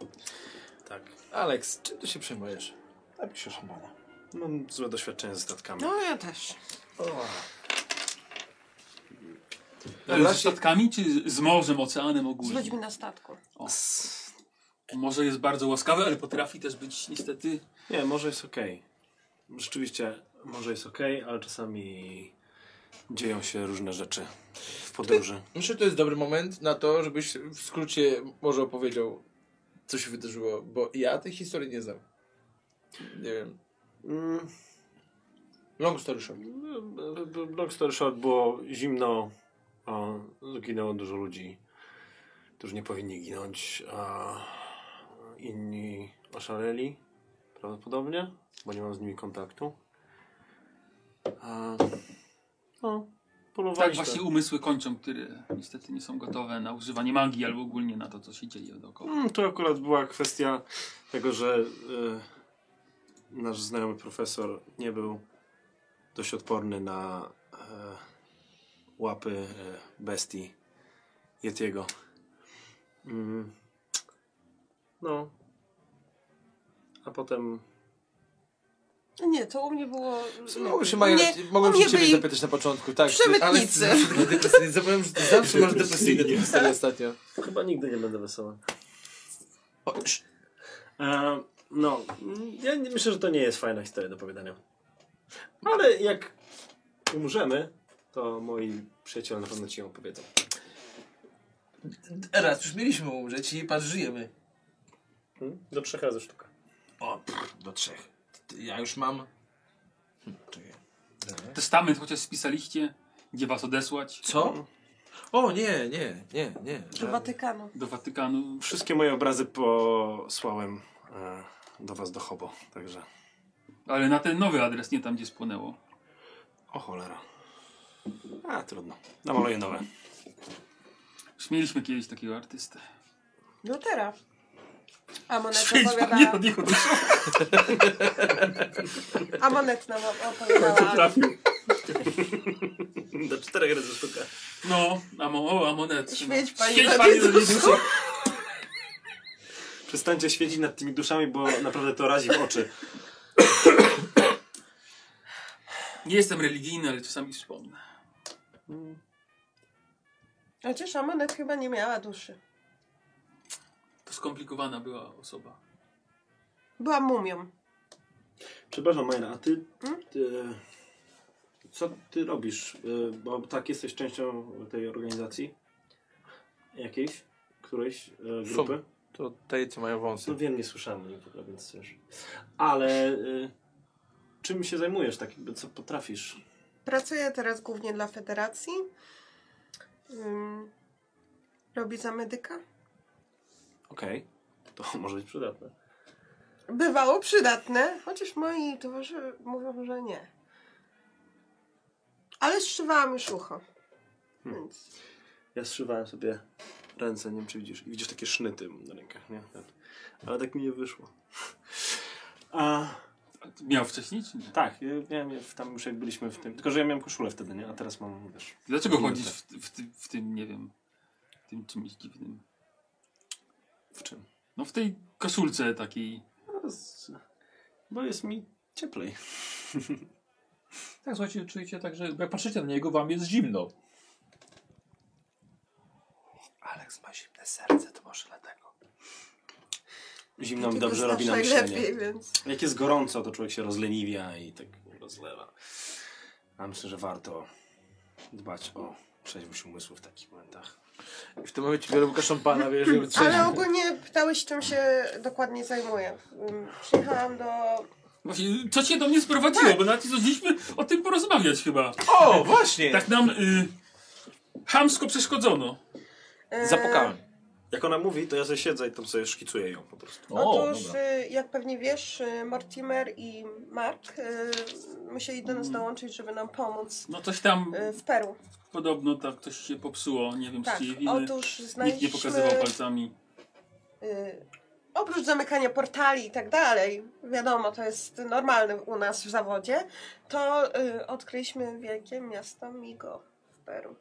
Tak. Alex, czym ty się przejmujesz? Napiszę szampana. Mam złe doświadczenie ze statkami. No ja też. Ale z statkami, czy z morzem, oceanem Z ogólnie? ludźmi na statku. Może jest bardzo łaskawy, ale potrafi też być niestety... Nie, może jest okej. Rzeczywiście, może jest okej, ale czasami dzieją się różne rzeczy w podróży. Myślę, że to jest dobry moment na to, żebyś w skrócie może opowiedział, co się wydarzyło, bo ja tej historii nie znam. Nie wiem. Mm, Long story short. b- b- Long story short, było zimno, o, zginęło dużo ludzi, którzy nie powinni ginąć, a inni oszaleli prawdopodobnie, bo nie mam z nimi kontaktu. A, no, polowaliśmy. Tak właśnie umysły kończą, które niestety nie są gotowe na używanie magii albo ogólnie na to, co się dzieje dookoła. Mm, To akurat była kwestia tego, że y, nasz znajomy profesor nie był dość odporny na e, łapy e, bestii Yetiego. Mm. No. A potem No Nie, to u mnie było... Mogłem się, Maja, Nie, mogłem u się mnie ciebie byli- zapytać na początku, tak. Przemytnicy. Ale ty zawsze takie depresyjne- Zapomniałem, że ty zawsze masz depresyjne te historie ostatnio. chyba nigdy nie będę wesoła. O, E, no, mm, ja nie- myślę, że to nie jest fajna historia do powiadania. Ale jak umrzemy, to moi przyjaciele na pewno ci ją opowiedzą. raz już mieliśmy umrzeć i patrz, żyjemy. Hmm? Do trzech razy sztuka. O, pff, do trzech. Ty- Ja już mam... Hm, Czekaj. Testament chociaż spisaliście, gdzie was odesłać Co? O, nie, nie, nie, nie. Do Watykanu. do Watykanu. Wszystkie moje obrazy posłałem e, do was do Hobo, także Ale na ten nowy adres, nie tam, gdzie spłonęło. o cholera. A, trudno. Namaluję nowe. Już mieliśmy kiedyś takiego artystę. Lutera. A monet Przyjdź pan nie opowiadała. od nich od A monet nam opowiadała. Do czterech razy sztuka. No, a mo, o, a monet. Śmieć no. pani Śmieć na pani Jezusu. Jezusu. Przestańcie świecić nad tymi duszami, bo naprawdę to razi w oczy. Nie jestem religijny, ale czasami wspomnę. Znaczy, szamanek chyba nie miała duszy. To skomplikowana była osoba. Była mumią. Przepraszam, Majra, a ty, Hmm? ty... Co ty robisz? Y, Bo tak jesteś częścią tej organizacji? Jakiejś? Którejś? y, Grupy? To tej, co mają wąsy. No wiem, nie słyszałem o nim, więc też. Ale y, czym się zajmujesz tak jakby, co potrafisz? Pracuję teraz głównie dla federacji. Ym, robię za medyka. Okej, to może być przydatne. Bywało przydatne, chociaż moi towarzysze mówią, że nie. Ale zszywałam już ucho. Hmm. Więc Ja zszywałem sobie ręce, nie wiem czy widzisz. I widzisz takie sznyty na rękach, nie? Ale tak mi nie wyszło. A, A ty Miał wcześniej czy nie? tak, ja miałem, ja w- tam już jak byliśmy w tym, tylko że ja miałem koszulę wtedy, nie? A teraz mam, wiesz... Dlaczego Nie, chodzisz tak. w, w, ty- w tym, nie wiem, w tym czymś dziwnym? W czym? No w tej koszulce takiej. No, z- Bo jest mi cieplej. Tak, słuchajcie, czujecie tak, że jak patrzycie na niego, wam jest zimno. Aleks ma zimne serce, to może dlatego. Zimno mi tylko dobrze znasz robi na najlepiej, myślenie. więc Jak jest gorąco, to człowiek się rozleniwia i tak rozlewa. A myślę, że warto dbać o trzeźwość umysłu w takich momentach. I w tym momencie biorę Łukaszą pana, wiesz, żeby Ale ogólnie pytałeś, czym się dokładnie zajmuję. Ym, Przyjechałam do... Właśnie, co cię do mnie sprowadziło? Tak. Bo nawet nie zdążyliśmy o tym porozmawiać chyba. O, właśnie! Tak nam y, hamsko przeszkodzono. e, Zapukałem. Jak ona mówi, to ja sobie siedzę i tam sobie szkicuję ją po prostu. Otóż, y, jak pewnie wiesz, y, Mortimer i Mark y, musieli do nas Mhm. dołączyć, żeby nam pomóc No coś tam y, w Peru. podobno tak coś się popsuło. Nie wiem, Tak, czy jej winy. otóż y, Nikt znaleźliśmy... nie pokazywał palcami. y, Oprócz zamykania portali i tak dalej, wiadomo, to jest normalne u nas w zawodzie, to y, odkryliśmy wielkie miasto Migo w Peru.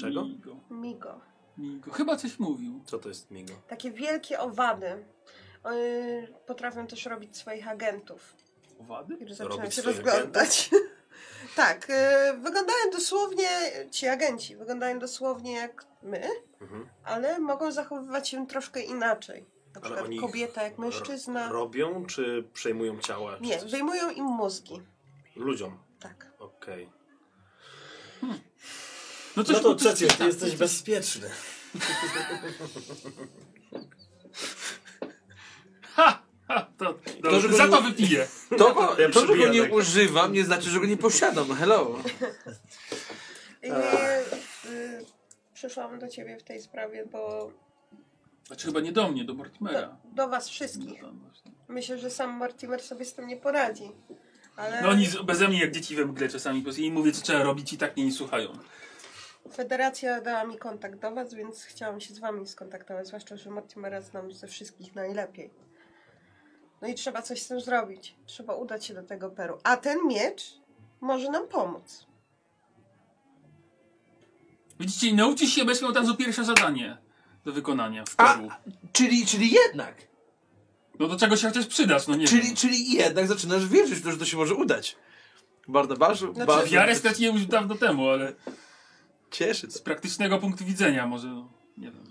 Czego? Migo. Migo. Migo. Chyba coś mówił. Co to jest migo? Takie wielkie owady. Yy, potrafią też robić swoich agentów. Owady? Już zaczynam Robić się swoich rozglądać. tak, yy, wyglądają dosłownie, ci agenci wyglądają dosłownie jak my, Mhm. ale mogą zachowywać się troszkę inaczej. Na Ale przykład oni ich kobieta jak mężczyzna. Robią czy przejmują ciała? czy Nie, coś? wyjmują im mózgi. Ludziom. Tak. Okej. Okay. No, No coś to mu- przecież ty tak, jesteś coś- bezpieczny. Ha! Ha! To, To, żeby za było- to wypiję. To, bo, Ja to, że go przebijam nie tak. używam, nie znaczy, że go nie posiadam. Hello. I yy, przyszłam do ciebie w tej sprawie, bo Znaczy chyba nie do mnie, do do, Mortimera. do was No, wszystkich. tam właśnie. Myślę, że sam Mortimer sobie z tym nie poradzi. Ale... no oni z- beze mnie jak dzieci we mgle czasami po prostu im mówię co trzeba robić i tak mnie nie słuchają. Federacja dała mi kontakt do Was, więc chciałam się z Wami skontaktować, zwłaszcza, że Mortimera znam ze wszystkich najlepiej. No i trzeba coś z tym zrobić. Trzeba udać się do tego Peru. A ten miecz może nam pomóc. Widzicie, nauczysz się, będziesz miał tam za pierwsze zadanie do wykonania w A- Peru. Czyli, czyli jednak. No do czego się chociaż przydasz, no nie Czyli, wiem. czyli jednak zaczynasz wierzyć w to, że to się może udać. Bardzo, bardzo, Znaczy, bardzo Wiarę straciłem już dawno temu, ale cieszy z to. praktycznego punktu widzenia może, no, nie wiem.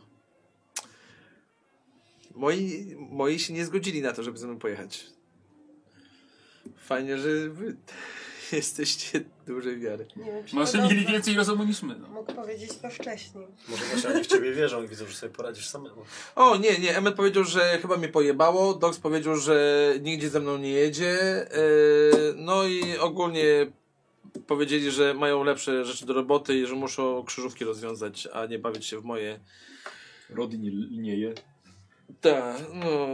Moi, moi się nie zgodzili na to, żeby ze mną pojechać. Fajnie, że wy jesteście dużej wiary. Nie wiem, czy to Może mieli dobrze. więcej rozumu niż my, no. Mógł powiedzieć to wcześniej. Może właśnie oni w ciebie wierzą i widzą, że sobie poradzisz samemu. O, nie, nie, Emmet powiedział, że chyba mnie pojebało, Dox powiedział, że nigdzie ze mną nie jedzie, yy, no i ogólnie powiedzieli, że mają lepsze rzeczy do roboty i że muszą krzyżówki rozwiązać, a nie bawić się w moje... Rody nie linieje. Tak, no...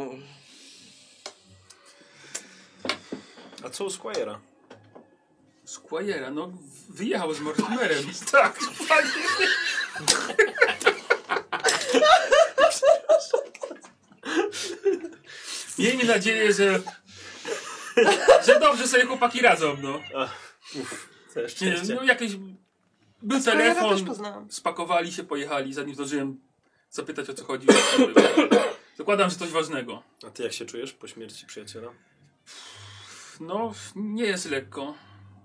A co u Squire'a? Square'a, no wyjechał z Mortimerem. tak, fajnie. Miejmy nadzieję, że, że dobrze sobie chłopaki radzą, no. Całe Nie wiem, szczęście. no jakieś... Był Square'a No, też telefon, poznałam. spakowali się, pojechali, zanim zdążyłem zapytać o co chodziło. to było. Zakładam, że coś ważnego. A ty jak się czujesz po śmierci przyjaciela? No, nie jest lekko.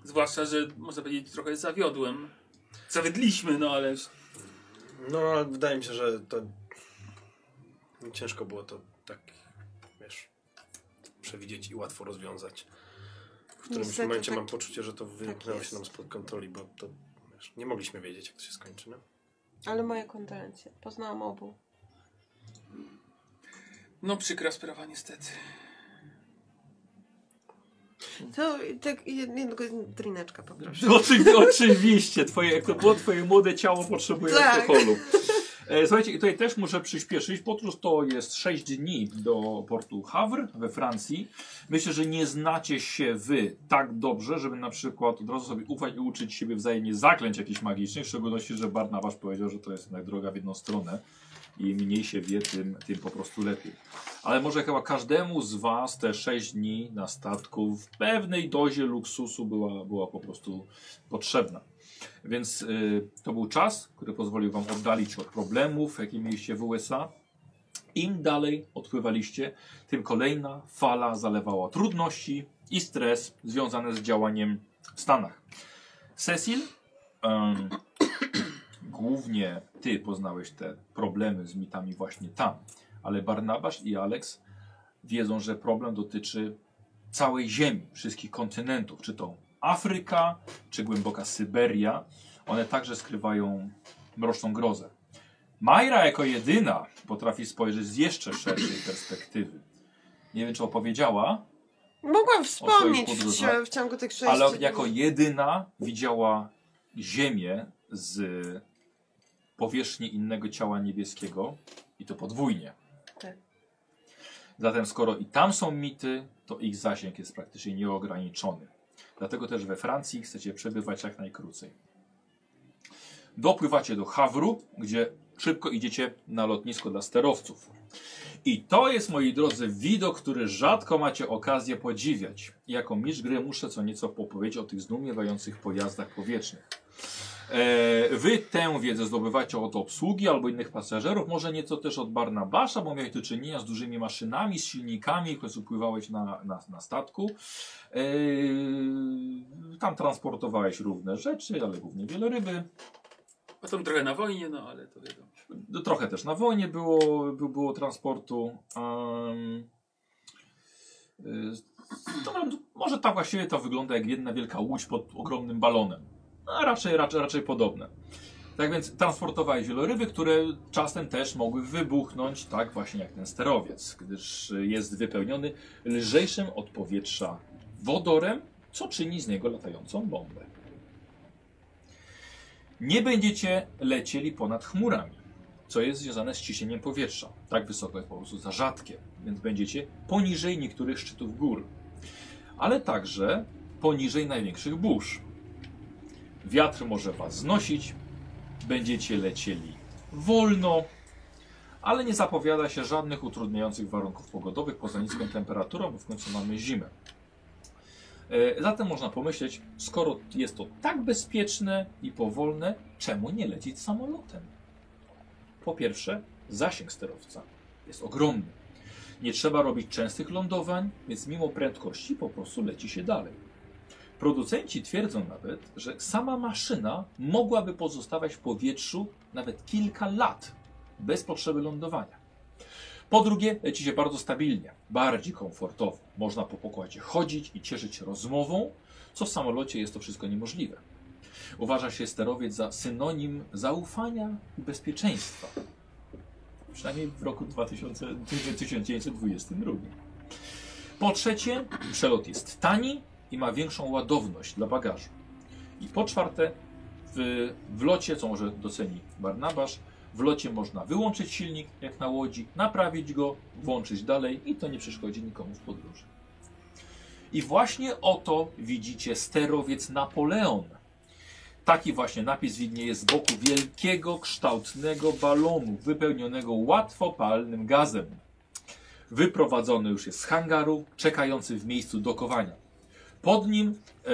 Zwłaszcza, że można powiedzieć, trochę zawiodłem. Zawiedliśmy, no ale No, ale wydaje mi się, że to ciężko było to tak, wiesz, przewidzieć i łatwo rozwiązać. W którymś Niestety momencie tak- mam poczucie, że to wymknęło jest. się nam spod kontroli, bo to, wiesz, nie mogliśmy wiedzieć, jak to się skończy, no. Ale moje kondolencje. Poznałam obu. no przykra sprawa niestety. To tak jed- jednego drineczka poproszę. Oczy, oczywiście, twoje, jak to było twoje młode ciało potrzebuje Tak. alkoholu. E, słuchajcie, tutaj też muszę przyspieszyć. Potrus to jest 6 dni do portu Havre we Francji. Myślę, że nie znacie się wy tak dobrze, żeby na przykład od razu sobie ufać i uczyć siebie wzajemnie zaklęć jakichś magicznych, w szczególności, że Barnabasz powiedział, że to jest jednak droga w jedną stronę. Im mniej się wie, tym, tym po prostu lepiej. Ale może chyba każdemu z Was te 6 dni na statku w pewnej dozie luksusu była, była po prostu potrzebna. Więc y, to był czas, który pozwolił Wam oddalić od problemów, jakie mieliście w USA. Im dalej odpływaliście, tym kolejna fala zalewała trudności i stres związane z działaniem w Stanach. Cecil, em, głównie Ty poznałeś te problemy z mitami właśnie tam, ale Barnabasz i Alex wiedzą, że problem dotyczy całej Ziemi, wszystkich kontynentów, czy to Afryka, czy głęboka Syberia. One także skrywają mroczną grozę. Majra jako jedyna potrafi spojrzeć z jeszcze szerszej perspektywy. Nie wiem, czy opowiedziała, Mogłam O wspomnieć swoich w, podróżach. w ciągu tych sześciu ale dni. jako jedyna widziała Ziemię z powierzchni innego ciała niebieskiego i to podwójnie. Tak. Zatem skoro i tam są mity, to ich zasięg jest praktycznie nieograniczony. Dlatego też we Francji chcecie przebywać jak najkrócej. Dopływacie do Hawru, gdzie szybko idziecie na lotnisko dla sterowców. I to jest, moi drodzy, widok, który rzadko macie okazję podziwiać. Jako mistrz gry muszę co nieco popowiedzieć o tych zdumiewających pojazdach powietrznych. E, wy tę wiedzę zdobywacie od obsługi albo innych pasażerów, może nieco też od Barnabasza, bo miałeś do czynienia z dużymi maszynami, z silnikami, które pływałeś na, na, na statku. E, tam transportowałeś równe rzeczy, ale głównie wieloryby. Potem trochę na wojnie, no ale to wiadomo. No, Trochę też na wojnie było, by- było transportu. Um, dobra, no, może tak właściwie to wygląda jak jedna wielka łódź pod ogromnym balonem. No, A raczej, raczej, raczej podobne. Tak więc transportowałeś wieloryby, które czasem też mogły wybuchnąć, tak właśnie jak ten sterowiec, gdyż y, jest wypełniony lżejszym od powietrza wodorem, co czyni z niego latającą bombę. Nie będziecie lecieli ponad chmurami, co jest związane z ciśnieniem powietrza. Tak wysoko jest po prostu za rzadkie, więc będziecie poniżej niektórych szczytów gór, ale także poniżej największych burz. Wiatr może was znosić, będziecie lecieli wolno, ale nie zapowiada się żadnych utrudniających warunków pogodowych poza niską temperaturą, bo w końcu mamy zimę. E, Zatem można pomyśleć, skoro jest to tak bezpieczne i powolne, czemu nie lecieć samolotem? Po pierwsze, zasięg sterowca jest ogromny. Nie trzeba robić częstych lądowań, więc mimo prędkości po prostu leci się dalej. Producenci twierdzą nawet, że sama maszyna mogłaby pozostawać w powietrzu nawet kilka lat bez potrzeby lądowania. Po drugie, leci się bardzo stabilnie, bardziej komfortowo. Można po pokładzie chodzić i cieszyć się rozmową, co w samolocie jest to wszystko niemożliwe. Uważa się sterowiec za synonim zaufania i bezpieczeństwa. Przynajmniej w roku 2000, 1922. Po trzecie, przelot jest tani i ma większą ładowność dla bagażu. I po czwarte, w, w locie, co może doceni Barnabasz, w locie można wyłączyć silnik jak na łodzi, naprawić go, włączyć dalej i to nie przeszkodzi nikomu w podróży. I właśnie oto widzicie sterowiec Napoleon. Taki właśnie napis widnieje z boku wielkiego, kształtnego balonu, wypełnionego łatwopalnym gazem. Wyprowadzony już jest z hangaru, czekający w miejscu dokowania. Pod nim e,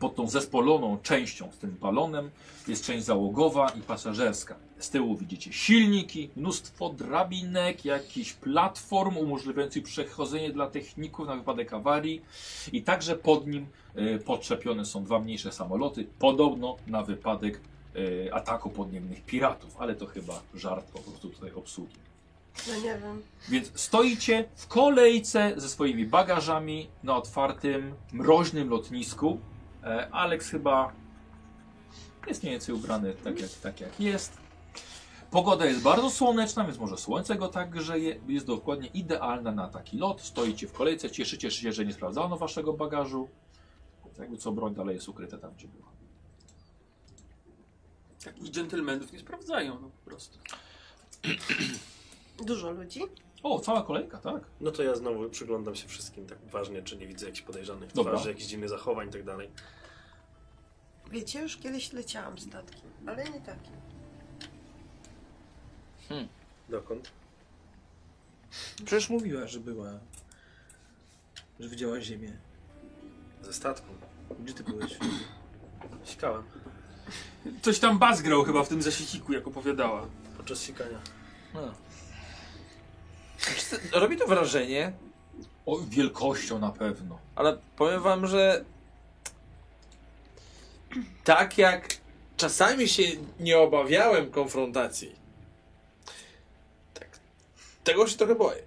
Pod tą zespoloną częścią z tym balonem jest część załogowa i pasażerska. Z tyłu widzicie silniki, mnóstwo drabinek, jakichś platform umożliwiających przechodzenie dla techników na wypadek awarii i także pod nim e, podczepione są dwa mniejsze samoloty, podobno na wypadek e, ataku podniemnych piratów, ale to chyba żart po prostu tutaj obsługi. No nie wiem. Więc stoicie w kolejce ze swoimi bagażami na otwartym, mroźnym lotnisku. E, Alex chyba jest mniej więcej ubrany tak jak, tak jak jest. Pogoda jest bardzo słoneczna, więc może słońce go tak grzeje. Jest dokładnie idealna na taki lot. Stoicie w kolejce, cieszycie się, że nie sprawdzano waszego bagażu. Jakby co, broń dalej jest ukryta tam, gdzie była. Takich dżentelmenów nie sprawdzają, no po prostu. Dużo ludzi. O, cała kolejka, tak. No to ja znowu przyglądam się wszystkim tak uważnie, czy nie widzę jakichś podejrzanych Dobra. twarzy, jakichś dziwnych zachowań i tak dalej. Wiecie, już kiedyś leciałam statkiem, ale nie takim. Dokąd? Przecież mówiła, że była. Że widziała Ziemię. Ze statku. Gdzie ty byłeś? Sikałem. Coś tam bas grał chyba w tym zasieciku, jak opowiadała. Podczas sikania. No. Znaczy, Robi to wrażenie, O, wielkością na pewno. ale powiem wam, że tak jak czasami się nie obawiałem konfrontacji, tak, tego się trochę boję.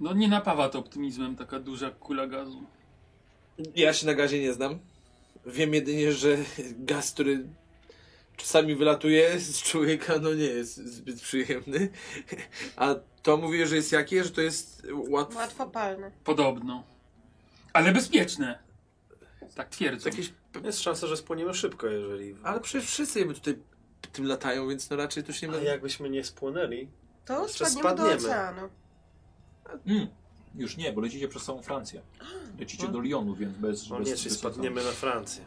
No nie napawa to optymizmem taka duża kula gazu. Ja się na gazie nie znam. Wiem jedynie, że gaz, który czasami wylatuje z człowieka, no nie jest zbyt przyjemny. A to mówię, że jest jakie? Że to jest łatwo... Łatwo palne. Podobno. Ale bezpieczne. Tak twierdzą. Jakieś... Jest szansa, że spłoniemy szybko, jeżeli... Ale przecież wszyscy jakby tutaj tym latają, więc no raczej to się nie A ma... jakbyśmy nie spłonęli... To Jeszcze spadniemy, spadniemy. do oceanu. Mm. Już nie, bo lecicie przez całą Francję. Lecicie do Lyonu, więc bez... No bez, nie, czy bez spadniemy na Francję.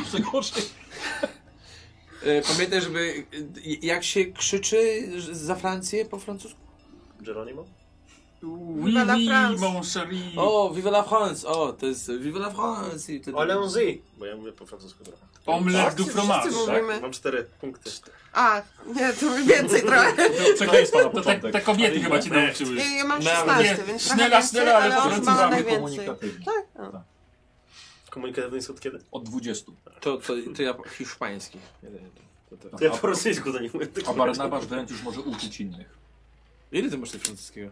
Jeszcze gorzej. E, Pamiętaj, żeby... e, Jak się krzyczy za Francję po francusku? Geronimo? Oui, Vive la oui, France. mon chéri. O, vive la France! O, to jest vive la France! i wtedy- Allons-y! Bo ja mówię po francusku trochę. Tak, Omelette du Tak, Wszyscy fromage. tak? mówimy. Mam cztery punkty. A, nie, to już więcej trochę. Przekleństwa na To te, początek. te kobiety chyba ci nauczyły. Ja, ja mam No, Nie, 16, nie, więc snela, trochę więcej, snela, ale ale po on prostu ma mamy najwięcej. komunikatywni. Tak? O. Komunikatywny jest od kiedy? Od 20. To, to, to ja po- hiszpański. Tak. Ja po rosyjsku do nich mówię. A, a Barnabasz wręcz już może uczyć innych. Ile ty masz tego francuskiego?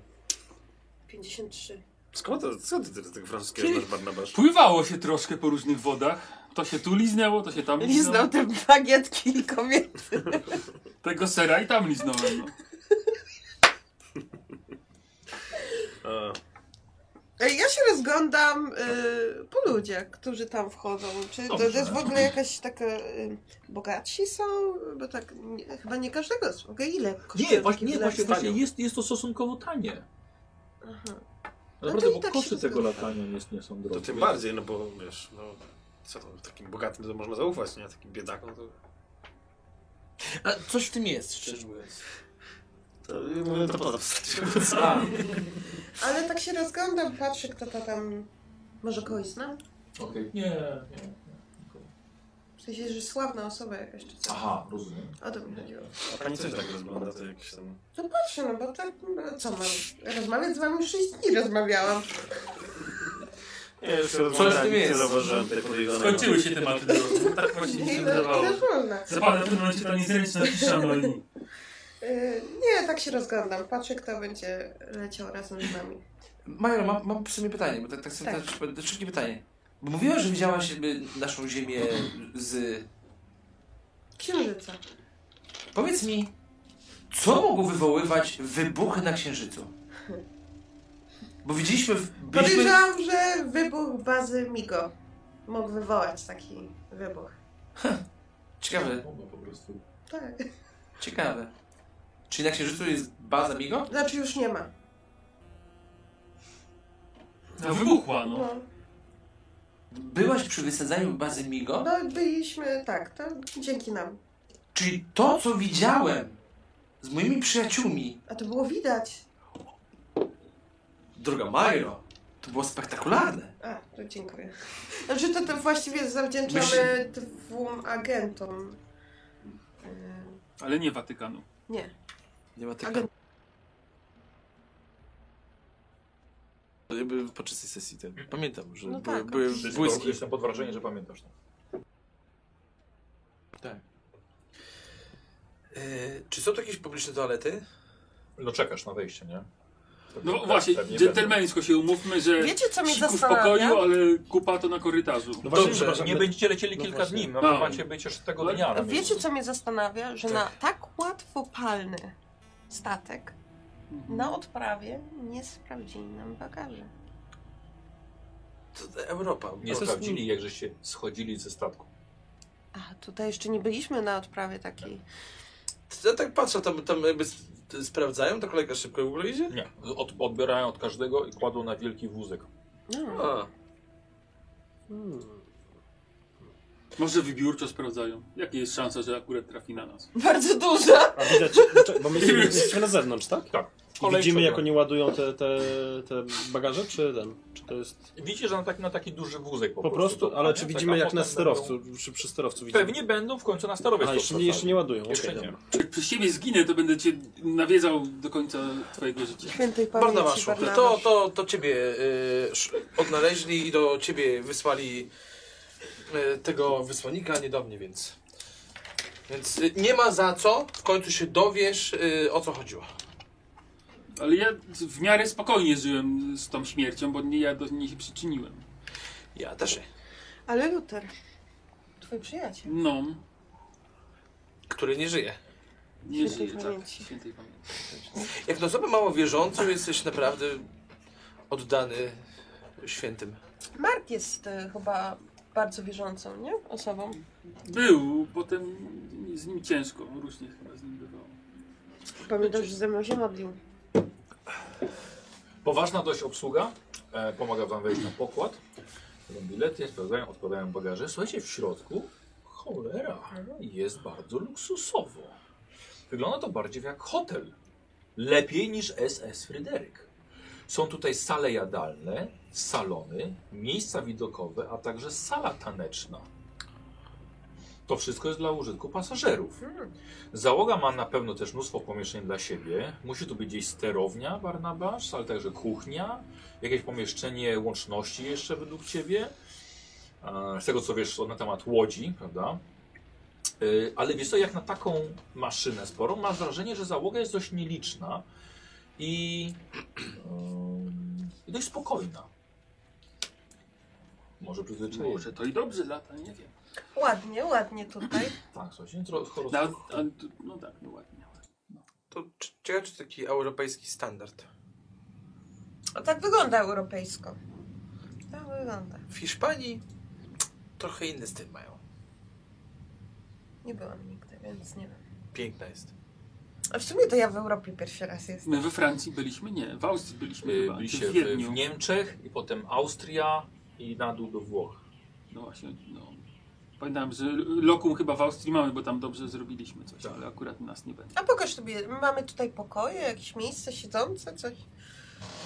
53. Skąd to? Co ty tyle tego francuskiego znasz, Barnabasz? Pływało się troszkę po różnych wodach. To się tu liznęło, to się tam Liznął liznęło. te bagietki i kobiety. Tego sera i tam liznąłem. No. A, Ej, Ja się rozglądam y, po ludziach, którzy tam wchodzą. Czy to, to Dobrze. jest w ogóle jakaś taka... Y, bogatsi są? Bo tak nie, chyba nie każdego jest. Mogę ile kosztuje? Nie, taki właśnie, nie, bilet? No właśnie, właśnie jest, jest to stosunkowo tanie. Aha. Naprawdę, to i bo tak się koszty tego zgadza. latania jest, nie są drogie. to tym bardziej, no bo wiesz, no... Co tam, takim bogatym to można zaufać, nie? Takim biedakom to... A coś w tym jest, szczerze mówiąc. To, to, to, to, Ale tak się rozglądam, patrzę kto to tam... Może kogoś znam? Okej. Nie, nie. W sensie, że sławna osoba jakaś czy co? Aha, rozumiem. O to mi chodziło. Pani też tak rozgląda, to jakiś tam... No patrzę, no bo tak... No, co mam? Rozmawiać z wami już 6 dni rozmawiałam. Nie, już co rozglądam, nic nie zauważyłem tej podejrzanej. Skończyły się tematy drogi. Tak właśnie mi Nie, się no, wydawało. też można. Zapewne w tym momencie ta niezręczna cisza Noemi. Y, Nie, tak się rozglądam. Patrzę, kto będzie leciał razem z nami. Major, mam, mam przy sobie pytanie, bo tak, tak sobie Tak. tak. Też, szybkie pytanie. Bo mówiłaś, że widziałaś jakby naszą ziemię z... Księżyca. Powiedz mi, co mogło wywoływać wybuchy na Księżycu? Bo widzieliśmy... w- Byliśmy... Podejrzewam, że wybuch bazy Migo mógł wywołać taki wybuch. Ciekawe, Tak. ciekawe. Czyli na Księżycu jest baza Migo? Znaczy już nie ma. No, wybuchła, no. No, Byłaś przy wysadzaniu bazy Migo? no byliśmy, tak, to dzięki nam. Czyli to, co widziałem z moimi przyjaciółmi... A to było widać. Droga Majro, To było spektakularne. A, to dziękuję. Znaczy to, to właściwie zawdzięczamy dwóm agentom. E, Ale nie Watykanu. Nie, Nie ma tego. agent. Jakby po czystej sesji ten. Pamiętam, że No były, tak, były oczywiście. błyski. Jestem pod wrażeniem, że pamiętasz to. Y, czy są tu jakieś publiczne toalety? No czekasz na wejście, nie? No Tak, właśnie, pewnie dżentelmeńsko się umówmy, że Wiecie co mnie E, siku w zastanawia? pokoju, ale kupa to na korytarzu. No właśnie, Dobrze, przepraszam, nie my- będziecie lecieli no kilka właśnie. dni, no, No. macie być jeszcze tego Ale- dnia. na Wiecie miejscu. co mnie zastanawia? Że na tak łatwopalny statek Mhm. na odprawie nie sprawdzili nam bagaży. To Europa. Nie Bo- sprawdzili, jak żeście schodzili ze statku. A, tutaj jeszcze nie byliśmy na odprawie takiej. Ja tak patrzę, tam, tam jakby s- sprawdzają, to kolega szybko w ogóle idzie? Nie, od, odbierają od każdego i kładą na wielki wózek. No. A, Może wybiórczo sprawdzają. Jakie jest szansa, że akurat trafi na nas? Bardzo duża. A widać, no, bo my jesteśmy, jesteśmy na zewnątrz, tak? Tak. I widzimy, Kolejka- jak oni ładują te, te, te bagaże, czy ten? Czy to jest. Widzicie, że na taki, na taki duży wózek po, Po prostu, to- ale nie? czy Tak, widzimy, a jak potem na będą- sterowcu, czy przy sterowcu widzimy? Pewnie będą w końcu na sterowiec. A, jeszcze nie, powracali. jeszcze nie ładują. Jeszcze okej, nie. dobra. Jak przez ciebie zginę, to będę cię nawiedzał do końca twojego życia. Świętej pamięci Barnabaszu, Barnabasz. to, to, to ciebie y, sz- odnaleźli i do ciebie wysłali y, tego wysłannika, nie do mnie, więc... Więc y, nie ma za co, w końcu się dowiesz y, o co chodziło. Ale ja w miarę spokojnie żyłem z tą śmiercią, bo nie ja do niej się przyczyniłem. Ja też nie. Ale Luther, twój przyjaciel. No, Który nie żyje. nie Świętej żyję, tak. pamięci. Świętej pamięci. Jak na osobę mało wierzącą jesteś naprawdę oddany świętym. Mark jest e, chyba bardzo wierzącą, nie? Osobą. Był, potem z nim ciężko, różnie chyba z nim bywało. Pamiętam, że ze mną się modlił. Poważna dość obsługa. E, pomaga wam wejść na pokład. Są bilety, sprawdzają, odkładają bagaże. Słuchajcie, w środku cholera jest bardzo luksusowo. Wygląda to bardziej jak hotel. Lepiej niż SS Fryderyk. Są tutaj sale jadalne, salony, miejsca widokowe, a także sala taneczna. To wszystko jest dla użytku pasażerów. Załoga ma na pewno też mnóstwo pomieszczeń dla siebie. Musi tu być gdzieś sterownia, Barnabasz, ale także kuchnia, jakieś pomieszczenie łączności jeszcze według Ciebie. E, Z tego co wiesz na temat łodzi, prawda? E, Ale wiesz co, jak na taką maszynę sporą, masz wrażenie, że załoga jest dość nieliczna i, em, i dość spokojna. Może przyzwyczajenie. Może tak. to i dobrze lata, nie wiem. Ładnie, ładnie tutaj. Tak, słuchajcie, tro- choro- No, a, no tak, no ładnie. To c- ciekawe, czy taki europejski standard. O, tak wygląda europejsko. Tak wygląda. W Hiszpanii trochę inny styl mają. Nie byłam nigdy, więc nie wiem. Piękna jest. A w sumie to ja w Europie pierwszy raz jestem. My we Francji byliśmy? Nie, w Austrii byliśmy Y, chyba, byliście czy w w, Wiedniu. w Niemczech i potem Austria i na dół do Włoch. No właśnie, no. Pamiętam, że lokum chyba w Austrii mamy, bo tam dobrze zrobiliśmy coś, Tak. ale akurat nas nie będzie. A pokaż sobie, mamy tutaj pokoje, jakieś miejsce siedzące, coś.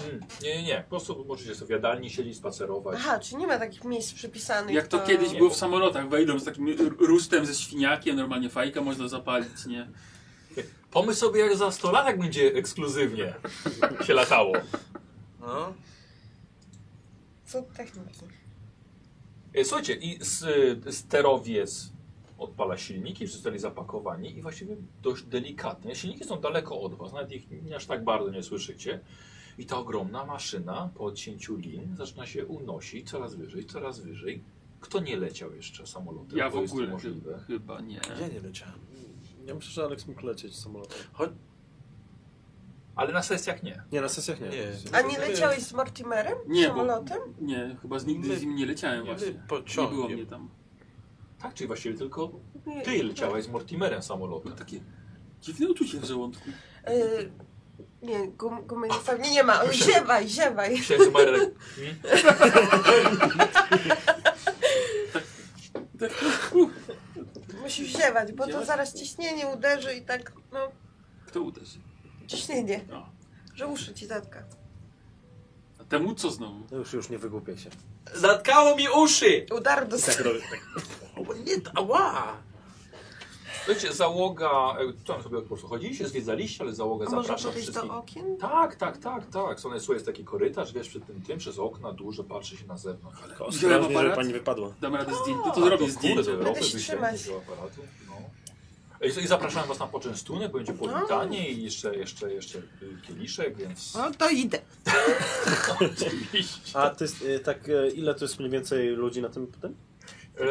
Hmm. Nie, nie, nie. Po prostu możecie sobie w jadalni siedzieć, spacerować. Aha, czy nie ma takich miejsc przypisanych? Jak to do- kiedyś Nie, było bo- w samolotach, wejdą z takim r- rusztem ze świniakiem, normalnie fajkę można zapalić, nie? Pomyśl sobie, jak za 100 lat jak będzie ekskluzywnie się latało. No. Co techniki? E, Słuchajcie, i s- y, sterowiec odpala silniki, wszyscy zostali zapakowani i właściwie dość delikatnie. Silniki są daleko od was, nawet ich nie aż tak bardzo nie słyszycie. I ta ogromna maszyna po odcięciu lin zaczyna się unosić coraz wyżej, coraz wyżej. Kto nie leciał jeszcze samolotem? Ja w bo jest to ogóle możliwe. chy- chyba nie. Ja nie leciałem. Ja myślę, że Aleks mógł lecieć samolotem. Ale na sesjach nie. Nie, na sesjach nie. Nie. A nie leciałeś z Mortimerem? Nie, bo- Samolotem? Nie, chyba z nigdy z nim nie leciałem właśnie. Nie było mnie Pociągiem. tam. Tak, czyli właściwie tylko Nie. ty leciałeś z Mortimerem Było samolotem. takie dziwne uczucie w żołądku. Y, nie, gum, gumy pewnie nie ma. Ziewaj, ziewaj. Myślałem, że Marek... Musisz ziewać, bo to Ziewać? zaraz ciśnienie uderzy i tak, no, Kto uderzy? ciśnienie, No. że uszy ci zatka. A Temu co znowu? No już, już nie wygłupię się. Zatkało mi uszy! Udar do Tak robię. Tak. O, nie, to- ała! Słuchajcie, załoga, e, tam sobie po prostu chodziliście, zwiedzaliście, ale załoga A może zaprasza podejść wszystkich. do okien? Tak, tak, tak, tak. Są słuchaj, jest taki korytarz, wiesz, przed tym, tym przez okna duże patrzy się na zewnątrz. Tak, Ale Wziąłem Ostrożnie, żeby aparat. pani wypadła. Dam radę zdjęć. To, to zrobię zdjęcie. Europy się wyśledzenie trzymać. do aparatu. No. I co, I zapraszam was na poczęstunek, będzie powitanie i jeszcze, jeszcze, jeszcze y, kieliszek, więc... No to idę. A ty, y, tak, y, ile to jest mniej więcej ludzi na tym potem? E,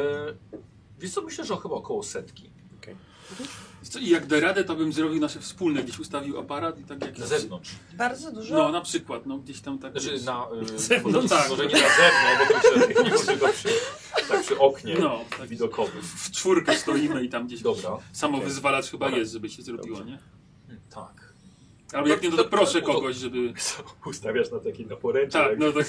wiesz co, myślę, że chyba około setki. Co, I jak da radę, to bym zrobił nasze wspólne. Gdzieś ustawił aparat i tak jak... Na zewnątrz. Bardzo dużo. No, na przykład, no gdzieś tam tak... Znaczy na... y, zewnątrz, tak. Może nie na zewnątrz, bo to już nie możliwe przy, tak przy oknie No, tak. widokowym. W czwórkę stoimy i tam gdzieś Dobra. samowyzwalacz chyba jest, żeby się zrobiło, nie? Tak. Albo jak nie, no to proszę kogoś, żeby... Ustawiasz na taki na poręczy. Tak, no tak.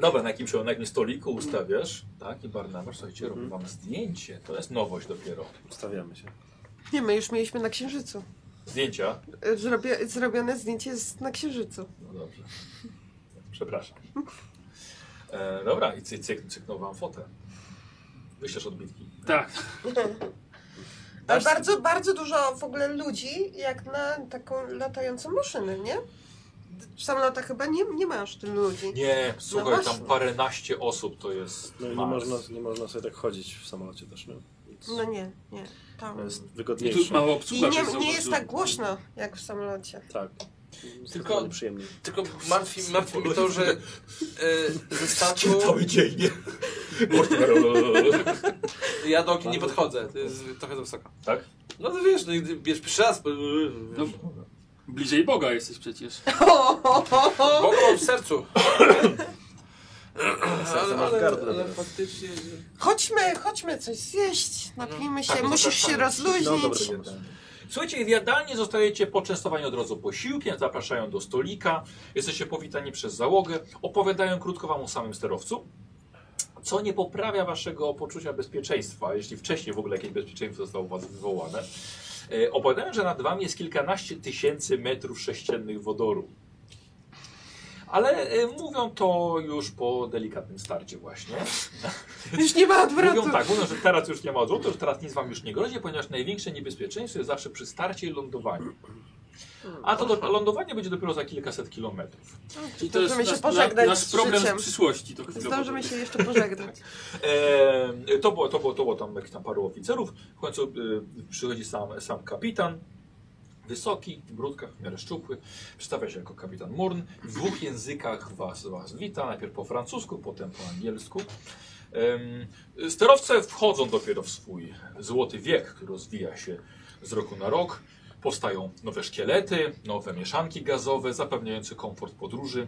Dobra, na jakimś na jakimś stoliku ustawiasz, tak, i Barnabas, słuchajcie, Mhm. robi wam zdjęcie. To jest nowość dopiero. Ustawiamy się. Nie, my już mieliśmy na księżycu. Zdjęcia? Y, Zrobię, zrobione zdjęcie jest na księżycu. No dobrze. Przepraszam. E, dobra, i cy, cyk, cyknął wam fotę. Wyślesz odbitki. Tak, Ale Yy, bardzo, bardzo dużo w ogóle ludzi, jak na taką latającą maszynę, nie? Sam lata chyba nie, nie masz tylu ludzi. Nie, słuchaj, właśnie. tam paręnaście osób to jest No i nie Mars. można, nie można sobie tak chodzić w samolocie też, nie? No nie, nie. Tam. To jest i tu wygodniejsze. mała I obsługa. nie, że nie jest zauważyłem. tak głośno, jak w samolocie. Tak. Tylko- przyjemnie. Tylko martwi, martwi mnie to, że y, ze statku Cały dzień, nie? ja do okien nie podchodzę. To jest trochę za wysoko. tak? No to wiesz, no i ty bierz pierwszy raz. No, bliżej Boga jesteś przecież. Bogu w sercu. Ale, masz ale, gardle ale teraz. faktycznie... Chodźmy, chodźmy coś zjeść, napijmy się, Tak, musisz się zapraszamy. No rozluźnić. dobra, nie, tak. Słuchajcie, w jadalni zostajecie poczęstowani od razu posiłkiem, zapraszają do stolika, jesteście powitani przez załogę, opowiadają krótko wam o samym sterowcu, co nie poprawia waszego poczucia bezpieczeństwa, jeśli wcześniej w ogóle jakieś bezpieczeństwo zostało u was wywołane. E, Opowiadają, że nad wami jest kilkanaście tysięcy metrów sześciennych wodoru. Ale e, mówią to już po delikatnym starcie właśnie. Już nie ma Mówią odwrotu. tak, mówią, że teraz już nie ma odwrotu, że teraz nic wam już nie grozi, ponieważ największe niebezpieczeństwo jest zawsze przy starcie i lądowaniu. A to do, lądowanie będzie dopiero za kilkaset kilometrów. Czyli to jest Zdążymy się nasz, pożegnać na, nasz z problem życiem. z przyszłości. To chwilowo. Zdążymy się jeszcze pożegnać. Eee, to, było, to, było, to było tam jakieś tam paru oficerów. W końcu e, przychodzi sam, sam kapitan. Wysoki, w brudkach, w miarę szczupły. Przedstawia się jako kapitan Murn. W dwóch językach was, was wita. Najpierw po francusku, potem po angielsku. Em, Sterowce wchodzą dopiero w swój złoty wiek, który rozwija się z roku na rok. Powstają nowe szkielety, nowe mieszanki gazowe zapewniające komfort podróży.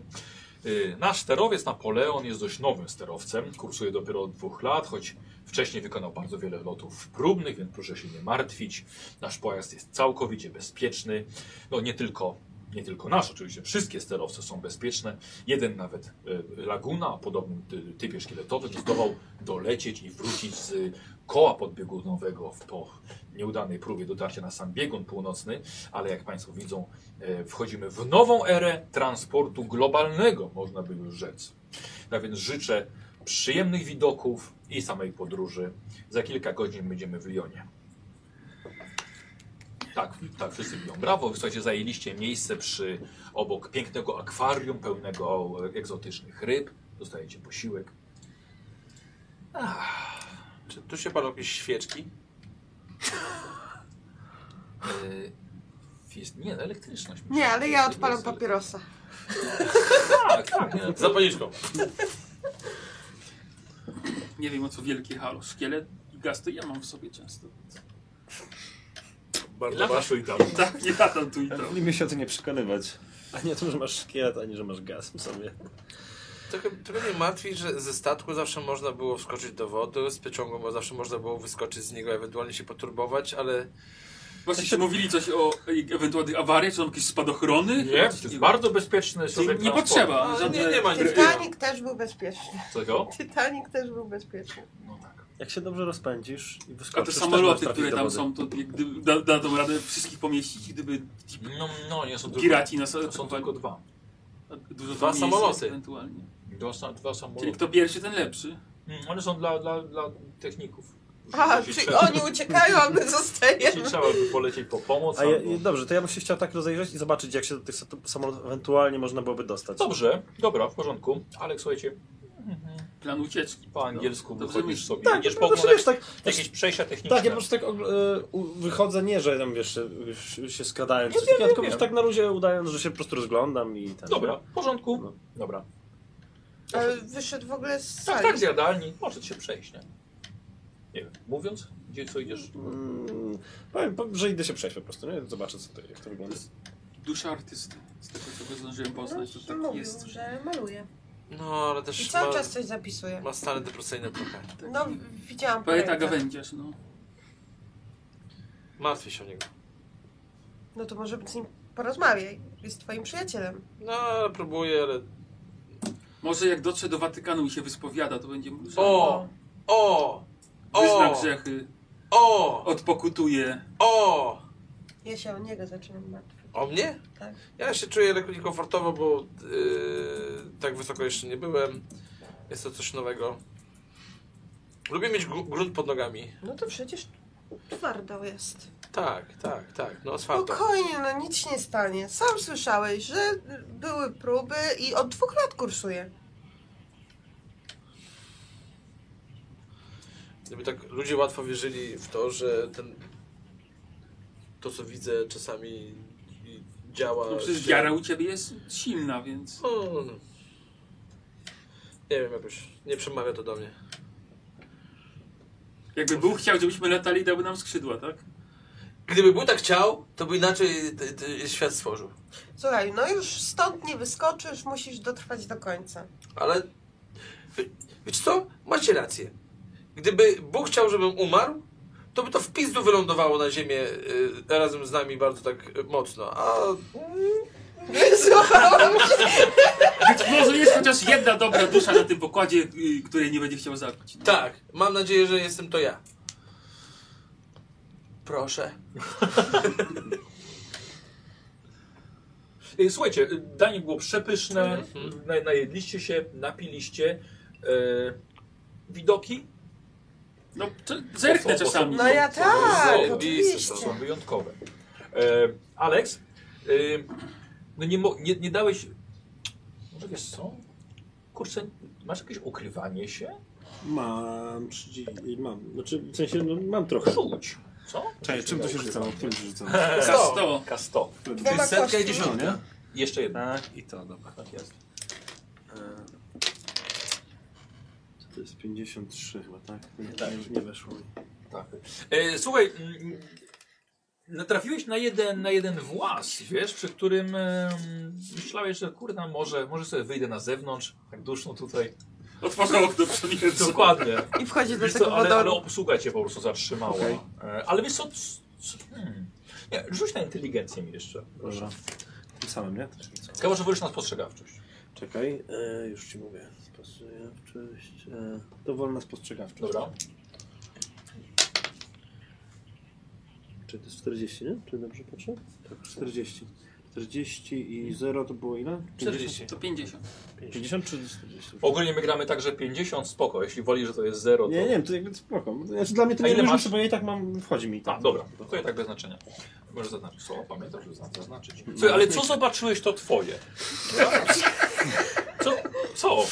Y, Nasz sterowiec Napoleon jest dość nowym sterowcem. Kursuje dopiero od dwóch lat, choć wcześniej wykonał bardzo wiele lotów próbnych, więc proszę się nie martwić. Nasz pojazd jest całkowicie bezpieczny. No nie tylko, nie tylko nasz, oczywiście wszystkie sterowce są bezpieczne. Jeden nawet y, Laguna o podobnym ty- typie szkieletowym zdołał dolecieć i wrócić z koła podbiegunowego w- po nieudanej próbie dotarcia na sam biegun północny, ale jak Państwo widzą, e, wchodzimy w nową erę transportu globalnego, można by już rzec. Tak więc życzę przyjemnych widoków i samej podróży. Za kilka godzin będziemy w Lyonie. Tak, tak, wszyscy biją brawo. Słuchajcie, zajęliście miejsce przy, obok pięknego akwarium pełnego e, egzotycznych ryb. Dostajecie posiłek. Czy tu się palą jakieś świeczki? E, Jest, nie, no elektryczność. Nie, ale ja Jest- odpalam jest- papierosa. Tak, tak. Nie, Zapalniczką. Nie wiem o co wielkie halo. Szkielet i gaz to ja mam w sobie często. więc- Lata i tam. Tak, ja tam tu i tam. Wolimy się o to nie przekonywać. A nie o tym, że masz szkielet, ani że masz gaz w sobie. Trochę, trochę mnie martwi, że ze statku zawsze można było wskoczyć do wody, z pociągu bo zawsze można było wyskoczyć z niego, ewentualnie się poturbować, ale Właśnie się mówili coś o e- ewentualnych awariach, czy tam jakieś spadochrony? Nie, to jest bardzo bezpieczny środek nie transportu. potrzeba. Ale Żadne... nie, nie ma nic. Titanic też był bezpieczny. Czego? Titanic też był bezpieczny. No tak. Jak się dobrze rozpędzisz i A wyskoczysz... te też samoloty, które możesz tam trafić do wody. są, to jak gdyby da, da tą radę wszystkich pomieścić, gdyby No, no nie są tylko, piraci nas są tylko dwa. Dużo Dwa miejsc samoloty. Ewentualnie. Dwa, dwa Czyli samoloty. kto pierwszy, ten lepszy. Mm, One są dla, dla, dla techników. A, Jeśli czyli trzeba- oni uciekają, a my Jeśli zostajemy. trzeba by polecieć po pomoc. A ja, albo- dobrze, to ja bym się chciał tak rozejrzeć i zobaczyć, jak się do tych sat- samolotów ewentualnie można byłoby dostać. Dobrze, dobra, w porządku. Alek, słuchajcie, Plan ucieczki. po angielsku Dobrze wychodzisz mi- sobie. Tak, idziesz no, po znaczy, wiesz, tak, jakieś przejścia techniczne. tak, ja po prostu tak ogl- y, u- wychodzę, nie, że tam wiesz, y, się skradając, coś takiego, tylko po wiem. prostu tak na luzie udając, że się po prostu rozglądam i tak. Dobra, w porządku. No. Dobra. Ale wyszedł w ogóle z Tak, sali. tak, z jadalni. Możecie się przejść, nie? Nie wiem, mówiąc, gdzie co idziesz? Mm, powiem, powiem, że idę się przejść po prostu, nie? Zobaczę, co to, jak to wygląda. Dusza artysty. Z tego, co go zdążyłem poznać, to No, tak Mówił, jest. że maluje. No, ale też I cały ma, czas coś zapisuje. ma stany depresyjne trochę. No, widziałam Poeta projekty. gawędziarz, no. Martwię się o niego. No to może z nim porozmawiaj. Jest twoim przyjacielem. No, próbuję, ale... Może jak dotrze do Watykanu i się wyspowiada, to będzie mógł, że O! O! wyzna O! grzechy, O! odpokutuje. O! Ja się o niego zaczynam martwić. O mnie? Tak. Ja się czuję lekko niekomfortowo, bo yy, tak wysoko jeszcze nie byłem. Jest to coś nowego. Lubię mieć gru- grunt pod nogami. No to przecież twardo jest. Tak, tak, tak. No, asfalto. Spokojnie, no nic się nie stanie. Sam słyszałeś, że były próby i od dwóch lat kursuje. Gdyby tak ludzie łatwo wierzyli w to, że ten... To, co widzę czasami i działa... No przecież się- wiara u ciebie jest silna, więc... Hmm. Nie wiem, jakoś nie przemawia to do mnie. Jakby Bóg chciał, żebyśmy latali, dałby nam skrzydła, tak? Gdyby był tak chciał, to by inaczej t- t- świat stworzył. Słuchaj, no już stąd nie wyskoczysz, musisz dotrwać do końca. Ale wie- wiecie co? Macie rację. Gdyby Bóg chciał, żebym umarł, to by to w pizdu wylądowało na ziemię y, razem z nami bardzo tak y, mocno. A Złapałam się. Być może jest chociaż jedna dobra dusza na tym pokładzie, y, której nie będzie chciał zabić. tak, mam nadzieję, że jestem to ja. Proszę. Y, Słuchajcie, y, danie było przepyszne, na- najedliście się, napiliście. y, widoki No, to zerknę To są- czasami. No ja tak, Zajebiste to oczywiście. są wyjątkowe. E, Alex, e, no nie, mo- nie, nie dałeś... Może wiesz co? Kurczę, masz jakieś ukrywanie się? Mam, trzydzie- mam, znaczy w sensie no, mam trochę. Rzuć. Co? Cześć, czym to się rzucało? Którym się rzucało? No, Sto. Sto. K100. Dwoma Setka i kości. dziesiątka. nie? Jeszcze jedna. Tak, i to, dobra. Tak jest. To jest 53 chyba, tak? Nie, tak. nie weszło. Tak. E, słuchaj, mm, natrafiłeś na jeden, na jeden włas, wiesz, przy którym e, myślałeś, że kurna, może, może sobie wyjdę na zewnątrz, tak duszno tutaj. Otworzę okno przed Dokładnie. I wchodzi do Wiesz tego co, ale, ale wodoru. obsługa cię po prostu zatrzymała. E, ale wiesz co, c- c- hmm. nie, rzuć na inteligencję mi jeszcze. Dobra. Tym samym, nie? Też nic. Chyba, że wyrzuć na spostrzegawczość. Czekaj, e, już ci mówię. Spostrzegawczość. E, dowolna spostrzegawczość. Dobra. Czy to jest 40, nie? Czy dobrze patrzę? Tak, 40. 40 i 0 to było ile? 40. To 50. 50 czy 40? Ogólnie my gramy także 50, spoko, jeśli woli, że to jest 0, to... Nie, nie wiem, to jakby spoko. Znaczy, dla mnie to A nie ile różni, masz? bo ja i tak mam, wchodzi mi. A, Tak. dobra, to i tak bez znaczenia. Możesz zaznaczyć słowa, pamiętasz, że zna- zaznaczyć. Słuchaj, ale co zobaczyłeś, to twoje. Co? Co?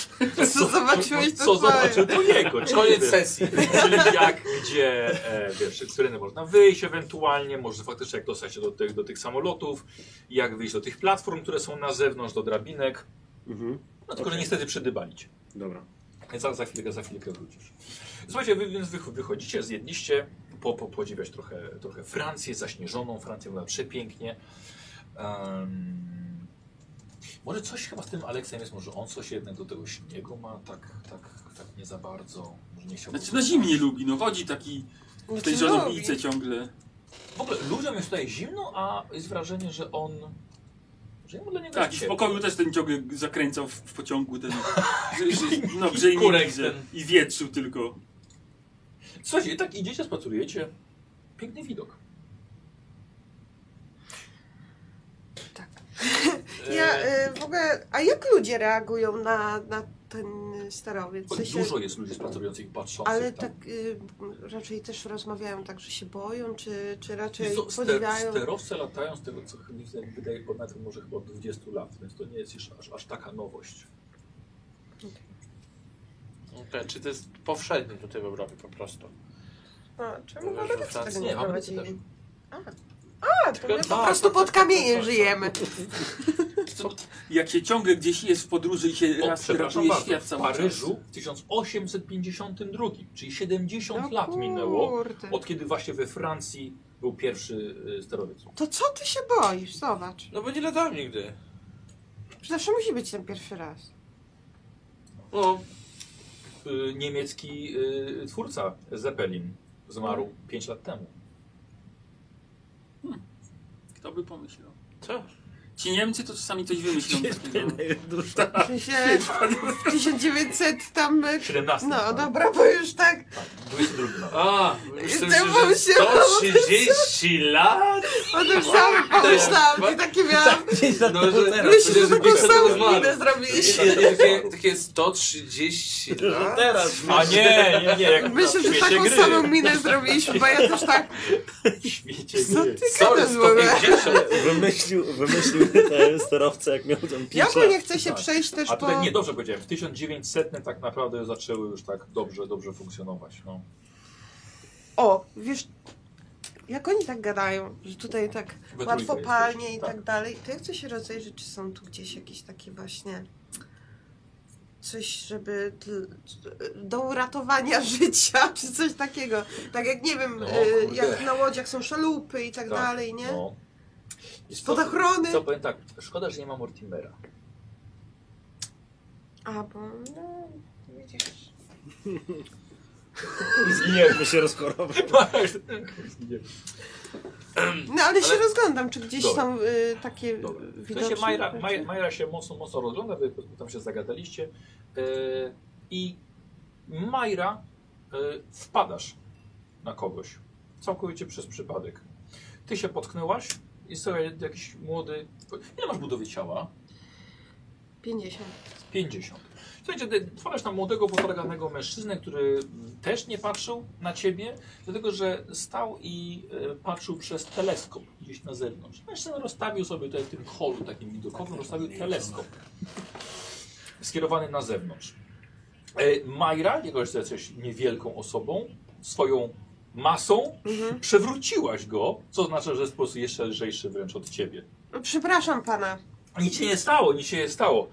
Co zobaczyłeś, Co to zobaczył, twoje. to jego. Czyli Koniec wiesz, sesji. Czyli jak, gdzie, e, wiesz, z którego można wyjść ewentualnie, może faktycznie jak dostać się do tych, do tych samolotów, jak wyjść do tych platform, które są na zewnątrz, do drabinek. Mhm. No tylko, że niestety przydybalić. Dobra. Za, za chwilkę, za chwilkę wrócisz. Słuchajcie, wy więc wych- wychodzicie, zjedliście, po, po, podziwiać trochę, trochę Francję, zaśnieżoną Francję, była przepięknie. Em, może coś chyba z tym Aleksem jest, może on coś jednak do tego śniegu ma, tak, tak, tak nie za bardzo, może nie chciałby. Znaczy na zimnie lubi, no chodzi taki w tej Znaczy, lubi. żonownicy ciągle. no- W ogóle ludziom jest tutaj zimno, a jest wrażenie, że on, że jemu dla niego Tak, i jest w ciepło. pokoju też ten ciągle zakręcał w, w pociągu ten... że- że- No, że i nie kurek widzę. ten. I wietrzył tylko. Słuchajcie, i tak idziecie, spacerujecie, piękny widok. Ja y, w ogóle, a jak ludzie reagują na, na ten y, sterowiec? W sensie- Dużo jest ludzi pracujących patrzących. Ale tam. tak y, raczej też rozmawiają tak, że się boją, czy, czy raczej Wiesz co, ster- podziwiają. Sterowce latają z tego, co widzę, wydaje się, ponad może chyba od 20 lat, więc to nie jest jeszcze aż, aż taka nowość. Okej, czy to jest powszednie tutaj w Europie po prostu? A, czemu Zależy mamy od też czasu. tego Nie, nie mamy też. prowadzili? A, to my tak. po prostu pod kamieniem żyjemy. Jak się ciągle gdzieś jest w podróży i się O, raz przepraszam ratuje bardzo, świat w cały czas. Paryżu w 1852, czyli 70 No lat minęło, kurde. od kiedy właśnie we Francji był pierwszy y, sterowiec. To co ty się boisz? Zobacz. No bo nie latałem nigdy. Zawsze musi być ten pierwszy raz. No, Y, Niemiecki y, twórca Zeppelin zmarł No. 5 lat temu. Kto by pomyślał? co? Ci Niemcy to czasami coś wymyślą. takiego. W sensie w 1900 tam... y, 17. No tak, dobra, bo już tak... 22 nawet. A, myślę, że Zdawało się, to 30 lat? O tym samym pomyślałam i takie miałam... No, że Myślę, że taką Myślę, że samą zmarł. minę zrobiliście. Takie, takie 130 lat? Teraz A nie, nie, nie. Jak Myślę, w że świecie taką gry. samą minę zrobiliśmy, bo ja też tak. W świecie Co gry. ty Sorry, gadasz w ogóle? 150. wymyślił, wymyślił te sterowce, jak miał tam Ja pisze. ogólnie chcę się Tak. przejść też A tutaj po. nie, dobrze powiedziałem. W 1900 tak naprawdę zaczęły już tak dobrze, dobrze funkcjonować. No. O, wiesz. Jak oni tak gadają, że tutaj tak trójkę łatwo jest palnie też, i tak. tak dalej, to ja chcę się rozejrzeć, czy są tu gdzieś jakieś takie właśnie coś, żeby dl- do uratowania życia, czy coś takiego. Tak jak, nie wiem, No, y, kurde. jak na łodziach są szalupy i tak, Tak, dalej, nie? No. Spod ochrony. Co powiem tak, szkoda, że nie ma Mortimera. A, bo no, widzisz. Zginiemy się rozchorował. No ale, się rozglądam, czy gdzieś Dobra. są y, takie Dobra. y, W sensie widoczne Majra, rzeczy? Maj, Majra się mocno, mocno rozgląda, wy tam się zagadaliście. E, I Majra, e, wpadasz na kogoś. Całkowicie przez przypadek. Ty się potknęłaś i sobie jakiś młody... Ile masz budowy ciała? 50. 50. Słuchajcie, ty wpadasz na młodego, potarganego mężczyznę, który też nie patrzył na ciebie, dlatego że stał i e, patrzył przez teleskop gdzieś na zewnątrz. Mężczyzna rozstawił sobie tutaj w tym holu takim widokowym, rozstawił teleskop skierowany na zewnątrz. E, Majra, jako że jesteś niewielką osobą, swoją masą przewróciłaś go, co oznacza, że jest po prostu jeszcze lżejszy wręcz od ciebie. Przepraszam pana. Nic się nie stało, nic się nie stało.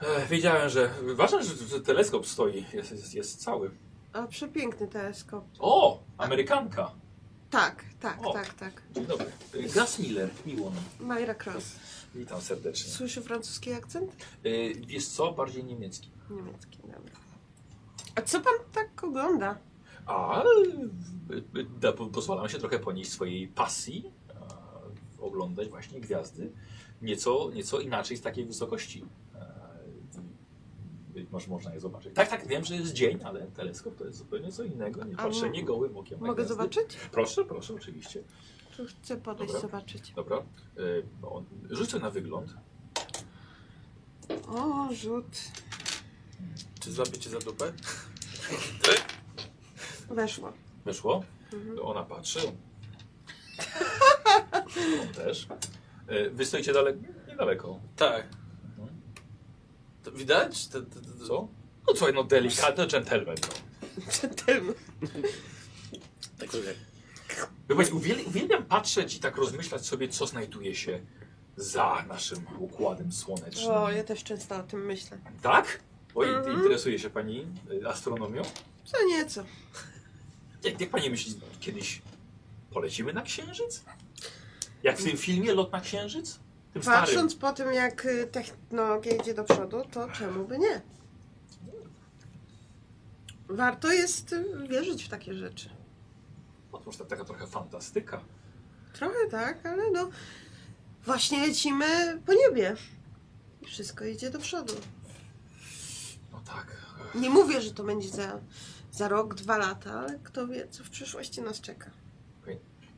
Ech, wiedziałem, że. Ważne, że, że teleskop stoi, jest, jest, jest cały. O, przepiękny teleskop. O! Amerykanka! Tak, tak, O. tak, tak. Dzień dobry. Gas Miller, miło nam. Majra Cross. Witam serdecznie. Słyszy francuski akcent? Yy, wiesz co? Bardziej niemiecki. Niemiecki, dobra. A co pan tak ogląda? A y, y, da- po- pozwalam się trochę ponieść swojej pasji, a, oglądać właśnie gwiazdy nieco, nieco inaczej z takiej wysokości. E, y, Może można je zobaczyć. Tak, tak, wiem, że jest dzień, ale teleskop to jest zupełnie co innego. Nie A patrzenie m- gołym okiem na Mogę gwiazdy. zobaczyć? Proszę, proszę, oczywiście. Czy chcę podejść Dobra. zobaczyć? Dobra. Y, on- Rzucę na wygląd. O, rzut. Czy złapiecie za dupę? Weszło. Weszło. Ona patrzy. On też. Y, Wy stoicie daleko, niedaleko. No. Tak. To widać? To, to, to, to. Co? No słuchaj, no delikatny gentleman. No. Przedtem. Tak, Wybacz, uwiel- uwielbiam patrzeć i tak rozmyślać sobie, co znajduje się za naszym układem słonecznym. O, ja też często o tym myślę. Tak? Oj, interesuje się pani y, astronomią? Co nieco. Jak, jak pani myśli, kiedyś polecimy na księżyc? Jak w tym filmie Lot na księżyc? Tym starym. Patrząc po tym, jak y, technologia idzie do przodu, to czemu by nie? Warto jest y, wierzyć w takie rzeczy. No, to już ta- taka trochę fantastyka. Trochę tak, ale no. Właśnie lecimy po niebie. I wszystko idzie do przodu. No tak. Nie mówię, że to będzie za, za rok, dwa lata, ale kto wie, co w przyszłości nas czeka.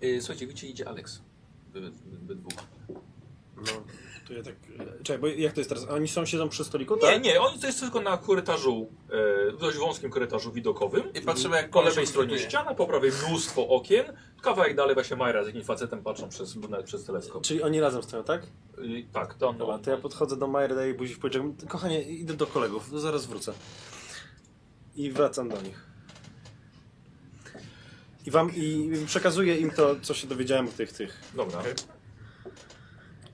Y, Słuchajcie, widzicie, idzie Alex. Wy, wy, wy dwóch. No. To ja tak... Czekaj, bo jak to jest teraz? Oni są siedzą przy stoliku, Nie, tak? nie, on to jest tylko na korytarzu, e, w dość wąskim korytarzu widokowym. I patrzymy jak Po koleś lewej stronie dyskutuje. ściana, po prawej mnóstwo okien. Kawałek dalej właśnie Majra z jakimś facetem patrzą przez, nawet przez teleskop. Czyli oni razem stoją, tak? Y, tak, to on. Dobra, to ja podchodzę do Majery, daję jej buzi w policzek. Kochanie, idę do kolegów, no zaraz wrócę. I wracam do nich. I wam i przekazuję im to, co się dowiedziałem o tych tych. Dobra.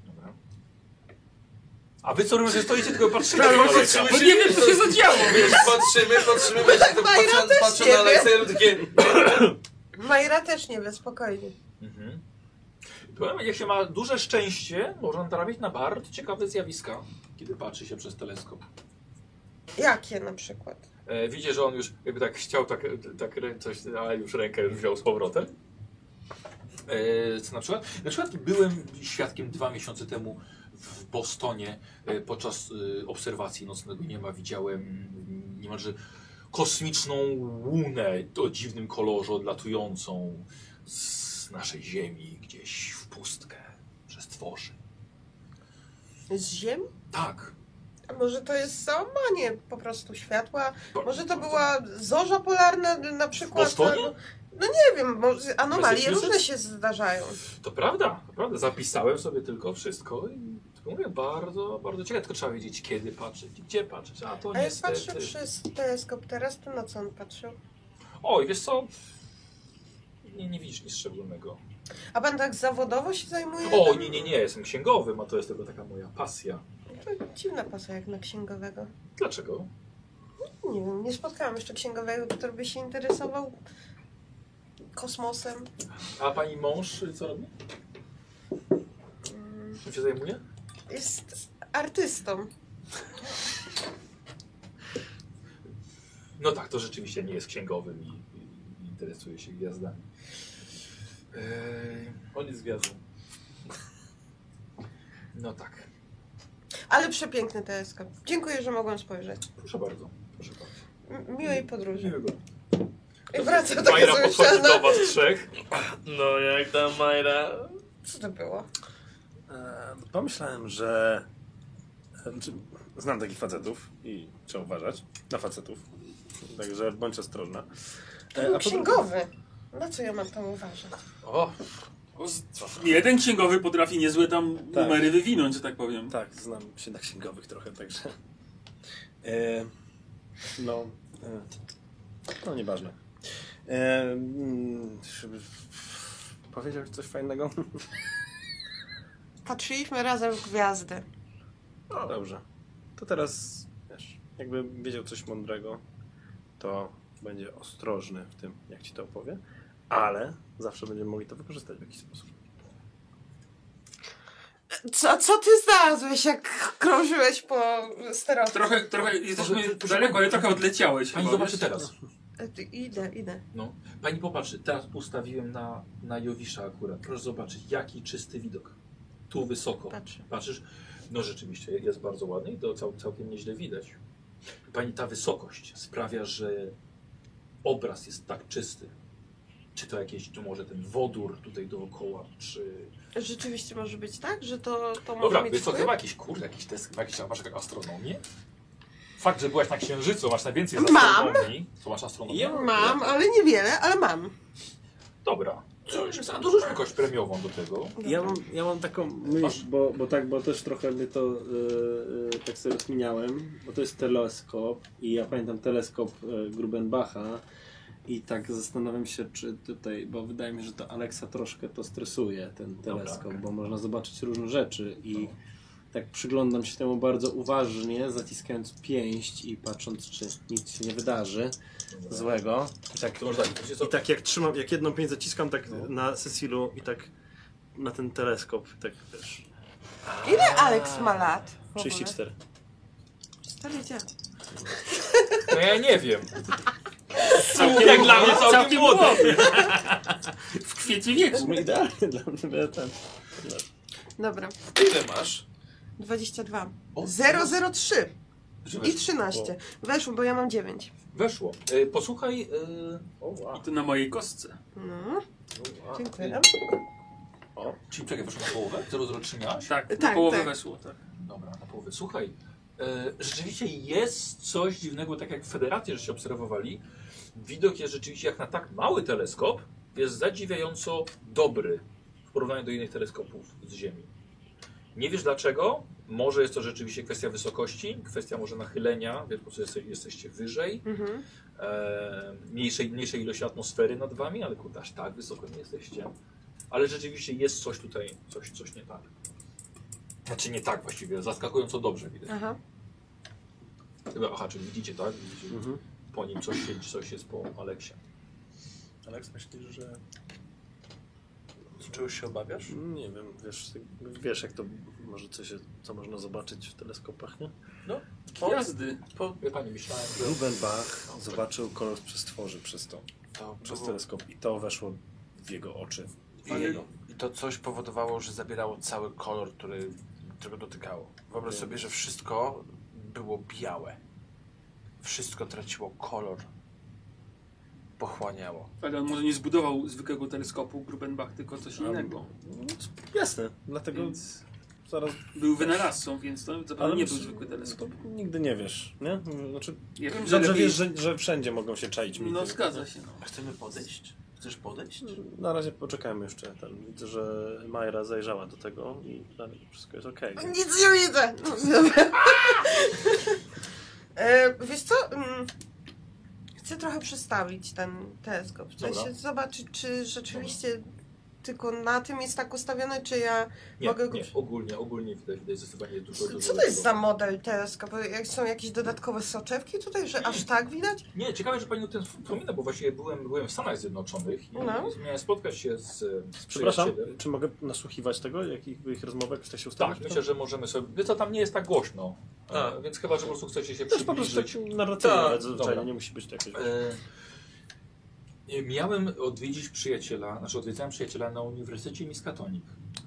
Dobra. A wy co robisz, że stoicie tylko patrzycie Tak, no, na kolejka. Bo nie wiem, co się zadziało, wiesz? Patrzymy, patrzymy, patrzymy, to Majra patrzą, też patrzą nie na Alekseju takie... Majra też nie wie, spokojnie. Mhm. Powiem, jak się ma duże szczęście, można natrafić na bardzo ciekawe zjawiska, kiedy patrzy się przez teleskop. Jakie na przykład? E, widzę, że on już jakby tak chciał tak, tak rę- coś, ale już rękę już wziął z powrotem. E, co na przykład? Na przykład byłem świadkiem dwa miesiące temu w Bostonie e, podczas e, obserwacji nocnego nieba widziałem mm, niemalże kosmiczną łunę o dziwnym kolorze odlatującą z naszej Ziemi gdzieś w pustkę przez tworzy. Z ziemi? Tak. A może to jest załamanie po prostu światła? Ba- Może to była zorza polarna na przykład? Bostonie? No, no nie wiem, może anomalie Massachusetts? różne się zdarzają. To prawda, to prawda. Zapisałem sobie tylko wszystko i tylko mówię, bardzo, bardzo ciekawe. Tylko trzeba wiedzieć, kiedy patrzeć i gdzie patrzeć. A to A jak niestety... E, patrzę przez teleskop teraz, to na co on patrzył? Oj, wiesz co? Nie, nie widzisz nic szczególnego. A pan tak zawodowo się zajmuje? O, nie, nie, nie, jestem księgowym, a to jest tylko taka moja pasja. To dziwna pasa jak na księgowego. Dlaczego? Nie wiem, nie spotkałam jeszcze księgowego, który by się interesował kosmosem. A pani mąż y, co robi? Czym się zajmuje? Jest artystą. No tak, to rzeczywiście nie jest księgowym i, i- i interesuje się gwiazdami. Eee, On jest gwiazdą. no tak, Ale przepiękny teleskop. Dziękuję, że mogłam spojrzeć. proszę bardzo, proszę bardzo. M- Miłej podróży. Miłego. I wracam do Majra podchodzi do Jezusa. was trzech. No jak tam Majra? Co to było? E, pomyślałem, że... e, czy- Znam takich facetów i trzeba uważać na facetów. Także bądź ostrożna. To E, był a po drugie- księgowy. Na co ja mam tam uważać? O, Jeden księgowy potrafi niezłe tam numery wywinąć, że tak powiem. Tak, znam się na księgowych trochę, także... E, no... E, no, nieważne. E, mm, żeby- powiedział coś fajnego? Patrzyliśmy razem w gwiazdy. No dobrze. To teraz, wiesz, jakby wiedział coś mądrego, to będzie ostrożny w tym, jak ci to opowie, ale zawsze będziemy mogli to wykorzystać w jakiś sposób. Co, co ty znalazłeś, jak krążyłeś po sterowcu? Trochę, trochę jesteśmy proszę- daleko, ale trochę odleciałeś. Pani chyba, zobaczy wiesz? teraz. E, ty- Idę, idę. No. Pani popatrzy, teraz ustawiłem na, na Jowisza akurat. Proszę zobaczyć, jaki czysty widok. Tu wysoko. Patrzę. Patrzysz? No rzeczywiście, jest bardzo ładny i to cał, całkiem nieźle widać. Pani ta wysokość sprawia, że obraz jest tak czysty. Czy to jakieś, tu może ten wodór tutaj dookoła, czy... Rzeczywiście może być tak, że to, to może Dobra, mieć wiesz co, wpływ? chyba jakiś, kurde, jakiś test, chyba jakiś, masz taką astronomię? Fakt, że byłaś na Księżycu, masz najwięcej z Mam. astronomii. Co masz astronomię? Mam, ale niewiele, ale mam. Dobra. Co, a dorzućmy kość premiową do tego. Ja mam, ja mam taką myśl, bo, bo tak, bo też trochę mnie to yy, tak sobie rozmieniałem, bo to jest teleskop i ja pamiętam teleskop yy, Grubenbacha i tak zastanawiam się, czy tutaj, bo wydaje mi się, że to Aleksa troszkę to stresuje, ten No teleskop, tak. bo można zobaczyć różne rzeczy i tak przyglądam się temu bardzo uważnie, zaciskając pięść i patrząc, czy nic się nie wydarzy złego. I tak To No. może tak, wiecie co? i tak jak trzymam, jak jedną pięć zaciskam tak na Cecilu i tak na ten teleskop, tak wiesz, Ile Aleks ma lat? w ogóle? 34. Stary dziad. No ja nie wiem. Całkiem, Jak dla mnie całkiem młody. W kwiecie wieku. Idealnie dla mnie ja ten. Dobra, ile masz? 22. 003 i 13. Weszło, bo ja mam 9. Weszło. E, Posłuchaj. e, O wow. I to na mojej kostce. No, dziękuję. O, czyli czekaj, weszło na połowę? 0,03 miałaś? Tak, Tak, tak połowę tak. weszło, tak. Dobra, na połowę. Słuchaj, e, rzeczywiście jest coś dziwnego, tak jak w Federacji, że się obserwowali. Widok jest rzeczywiście jak na tak mały teleskop, jest zadziwiająco dobry w porównaniu do innych teleskopów z Ziemi. Nie wiesz dlaczego? Może jest to rzeczywiście kwestia wysokości, kwestia może nachylenia, wiesz, po prostu jeste- jesteście wyżej, Mhm. e, mniejszej, mniejszej ilości atmosfery nad wami, ale kurde, aż tak wysoko nie jesteście. Ale rzeczywiście jest coś tutaj, coś, coś nie tak. Znaczy nie tak właściwie, zaskakująco dobrze widać. Aha. Chyba, aha, czyli widzicie, tak? Widzicie, Mhm. Po nim coś, się- coś jest po Aleksie. Aleks, myślisz, że czegoś się obawiasz? Nie wiem, wiesz, wiesz jak to może co, się, co można zobaczyć w teleskopach, nie? Gwiazdy. Wie pani, myślałem, że... Rubenbach zobaczył kolor przez tworzy przez to, No. przez teleskop i to weszło w jego oczy. I, I to coś powodowało, że zabierało cały kolor, który, którego dotykało. Wyobraź sobie, że wszystko było białe. Wszystko traciło kolor. Pochłaniało. Ale on może nie zbudował zwykłego teleskopu Grubenbach, tylko coś innego. Jasne, dlatego Więc zaraz... był wynalazcą, więc to zapewne nie był myśl- zwykły teleskop. Nigdy nie wiesz, nie? Znaczy, Ja wiem, że dobrze lepiej- wiesz, że, że wszędzie mogą się czaić mity. No zgadza się. No. Chcemy podejść? Chcesz No, podejść? Na razie poczekajmy jeszcze. Ten, widzę, że Majra zajrzała do tego i na razie wszystko jest okej. Nic nie widzę. No, dobra. e, wiesz co? Mm, Chcę trochę przestawić ten teleskop. W sensie Dobra. zobaczyć, czy rzeczywiście tylko na tym jest tak ustawiony, czy ja Nie, mogę go... nie, ogólnie, ogólnie widać, widać zdecydowanie dużo, dużo Co to jest dużo. za model teleskopu? Jak są jakieś dodatkowe soczewki tutaj, że aż tak widać? Nie, ciekawe, że pani o tym wspomina, bo właściwie byłem, byłem w Stanach Zjednoczonych i No. miałem spotkać się z, z Przepraszam, przyjacielem. czy mogę nasłuchiwać tego, jakich ich rozmowek chce się No, ustawić? Tak, myślę, że możemy sobie... Wie co, tam nie jest tak głośno, A. e, więc chyba, że po prostu chcecie się To jest po prostu przybliżyć. taki narracyjny, Tak, ale zwyczajnie dobra. nie musi być to jakieś... E, Miałem odwiedzić przyjaciela, znaczy odwiedzałem przyjaciela na Uniwersytecie Miskatonik.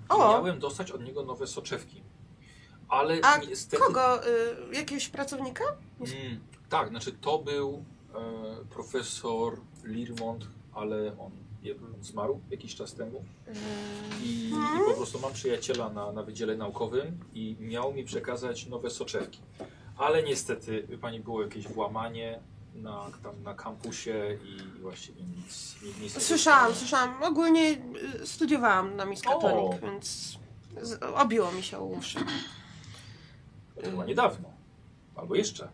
O! Miałem dostać od niego nowe soczewki. Ale A niestety... Kogo? Y, jakiegoś pracownika? Mm, tak, znaczy to był e, profesor Lirmont, ale on je- zmarł jakiś czas temu. Y, I, i po prostu mam przyjaciela na, na wydziale naukowym i miał mi przekazać nowe soczewki. Ale niestety, wie pani, było jakieś włamanie na, tam, na kampusie i właściwie nic, nic, nic nie Słyszałam, zostało. słyszałam. Ogólnie y, studiowałam na O. miskatonik, więc z- obiło mi się o uszy. To chyba niedawno. Albo jeszcze.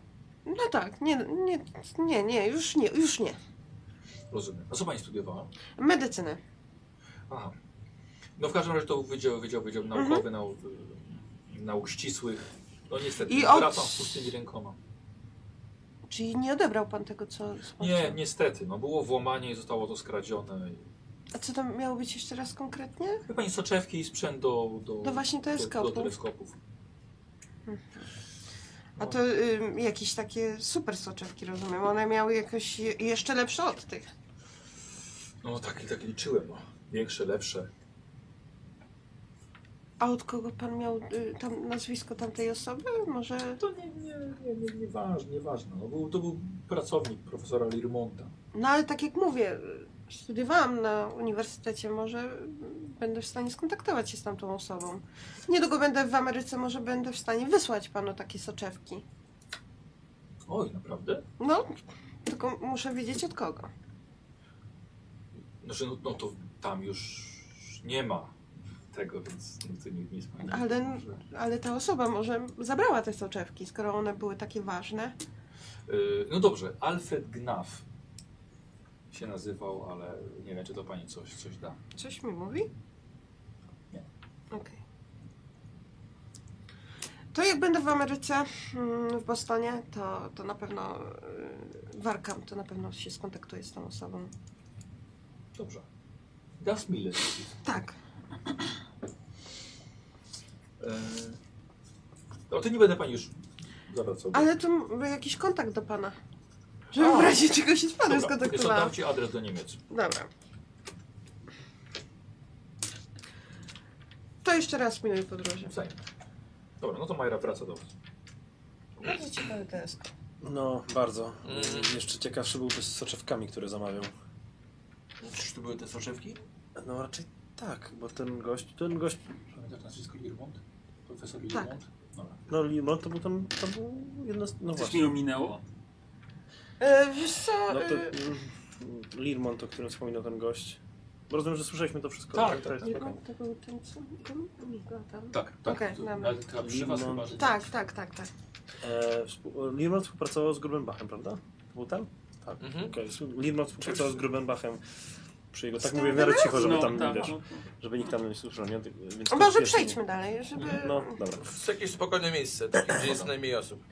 No tak, nie, nie, nie, nie, już nie, już nie. Rozumiem. A co pani studiowała? Medycynę. Aha. No w każdym razie to był wydział, wydział, wydział Mhm. naukowy, nauk, nauk ścisłych. No niestety, I I od- wracam z pustymi rękoma. Czyli nie odebrał pan tego, co Nie, zobaczył? niestety, no było włamanie i zostało to skradzione. A co tam miało być jeszcze raz konkretnie? Wie pani, soczewki i sprzęt do, do, No właśnie do, do teleskopów. teleskopów. A to ym, jakieś takie super soczewki, rozumiem. One miały jakoś je, jeszcze lepsze od tych. No tak, tak liczyłem, no. Większe, lepsze. A od kogo pan miał y, tam nazwisko tamtej osoby? Może... To nie, nie, nie, nie, nieważne, nieważne. No, był, to był pracownik profesora Lirmonta. No ale tak jak mówię, y, studiowałam na uniwersytecie, może y, będę w stanie skontaktować się z tamtą osobą. Niedługo będę w Ameryce, może będę w stanie wysłać panu takie soczewki. Oj, naprawdę? No, tylko muszę wiedzieć od kogo. Znaczy, no, no to tam już nie ma tego, więc no, to nie, nie jest pani. Ale- może. Ale ta osoba może zabrała te soczewki, skoro one były takie ważne. Yy, No dobrze, Alfred Gnaf się nazywał, ale nie wiem, czy to pani coś, coś da. Coś mi mówi? Nie. Okej. To jak będę w Ameryce, mm, w Bostonie, to, to na pewno y, warkam, to na pewno się skontaktuję z tą osobą. Dobrze. Das Mille. Tak. Yy, No to nie będę pani już zawracał. Ale to m- jakiś kontakt do pana. Żebym w razie czego się z panem Dobra, wiesz co, dam skontaktowała. ci adres do Niemiec. Dobra. To jeszcze raz miłej podróży. Wzajemnie. Dobra, no to Majra wraca do was. Bardzo ciekawy teleskop. No, bardzo. Jeszcze ciekawszy byłby z soczewkami, które zamawiał. Czyż to były te soczewki? No raczej Tak, bo ten gość, ten gość, Pamiętasz nazwisko Lirmont? Profesor Tak. Lirmont? Dobra. no Limon to był tam, to był jedno z, no Coś właśnie. mi ominęło? E, wiesz co, No to e, mm, Lirmont, o którym wspominał ten gość. Bo rozumiem, że słyszeliśmy to wszystko. Tak, to jest nie, spoko. to był ten co? Migo tam. Tak, tak. Okej, to, dobra. nawet ta przy was Lirmont. chyba, że... Tak, tak, tak, tak. E, współ- Lirmont współpracował z Grubenbachem, prawda? To Był tam? Tak. Mhm. Okej, Lirmont współpracował z Grubenbachem przy jego, tak Stąd mówię w miarę cicho, żeby No, tam, tak, wiesz, no. żeby nikt tam nie słyszał, nie? Ty- Więc A to Może jest- przejdźmy dalej, żeby... No, dobra. W jakieś spokojne miejsce, takie, gdzie jest najmniej osób.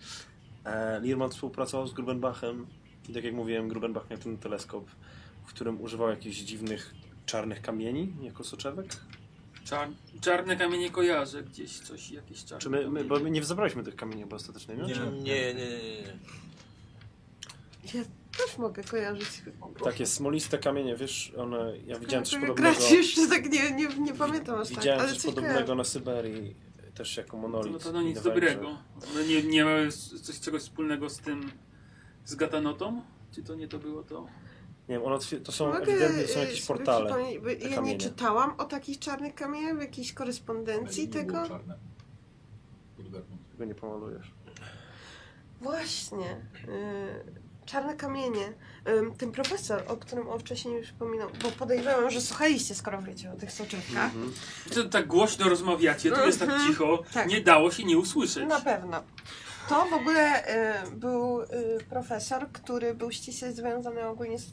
Tak, E, Lirmont współpracował z Grubenbachem i tak jak mówiłem, Grubenbach miał ten teleskop, w którym używał jakichś dziwnych czarnych kamieni jako soczewek. Czar, czarne kamienie kojarzę gdzieś, coś, jakieś czarne Czy my, my, kamienie. bo my nie zabraliśmy tych kamieni chyba ostatecznie, nie? Nie. tak. Czy- Nie, nie, nie, nie. Ja też mogę kojarzyć. Takie smoliste kamienie, wiesz, one, ja widziałem coś podobnego, Grać już tak nie, nie, nie pamiętam aż tak, widziałem ale coś coś podobnego kojarzę. na Syberii, też jako To monolit. na pewno nic Wydawało mi się- dobrego. One nie, nie mają s- coś, czegoś wspólnego z tym, z gatanotą? Czy to nie to było to? Nie wiem, one, otwier- to są Mogę, ewidentnie to są e, jakieś sobie portale. przypomnieć, bo Ja nie kamienie. czytałam o takich czarnych kamieniach w jakiejś korespondencji Nie było tego. czarne. Bulgarmont. Tego nie pomalujesz. Właśnie. y, czarne kamienie. Ym, ten profesor, o którym on wcześniej już wspominał, bo podejrzewam, że słuchaliście, skoro wiecie o tych soczewkach. To tak głośno rozmawiacie, to jest tak Mhm. cicho, Tak. nie dało się nie usłyszeć. Na pewno. To w ogóle y, był y, profesor, który był ściśle związany ogólnie z,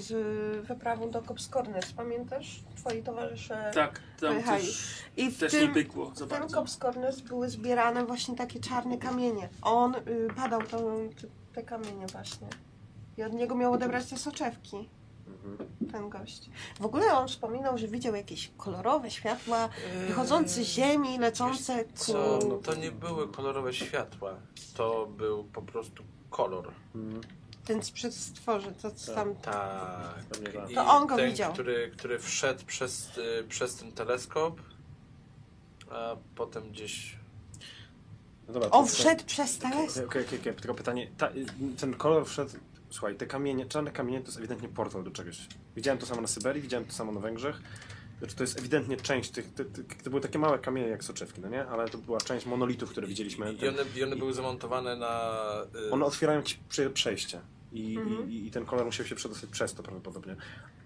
z wyprawą do Cops Corners. Pamiętasz? Twoi towarzysze. Tak, tam Pojechali. też, I w też nie tym, pykło za w tym bardzo. Cops Corners były zbierane właśnie takie czarne kamienie. On y, badał tą, te, te kamienie właśnie. I od niego miał odebrać te soczewki. Mhm. Ten gość. W ogóle on wspominał, że widział jakieś kolorowe światła Yy, wychodzące z ziemi, lecące ku... Co? No, no. To nie były kolorowe światła. To był po prostu kolor. Mhm. Ten sprzed stworzy, to co Tak. tam... Tak. Pewnie tak. I To on go ten, widział. Który, który wszedł przez, y, przez ten teleskop, a potem gdzieś. No dobra, On to- wszedł przez teleskop. Okej, okej, okej, okej, tylko pytanie. Ta, y, ten kolor wszedł. Słuchaj, te kamienie, czarne kamienie to jest ewidentnie portal do czegoś. Widziałem to samo na Syberii, widziałem to samo na Węgrzech. Znaczy, to jest ewidentnie część tych. Te, te, to były takie małe kamienie jak soczewki, no nie? Ale to była część monolitów, które widzieliśmy. tak. I Ten, one, i one były zamontowane na. y, one otwierają jakieś prze, przejścia. I, i, I ten kolor musiał się przedostać przez to prawdopodobnie.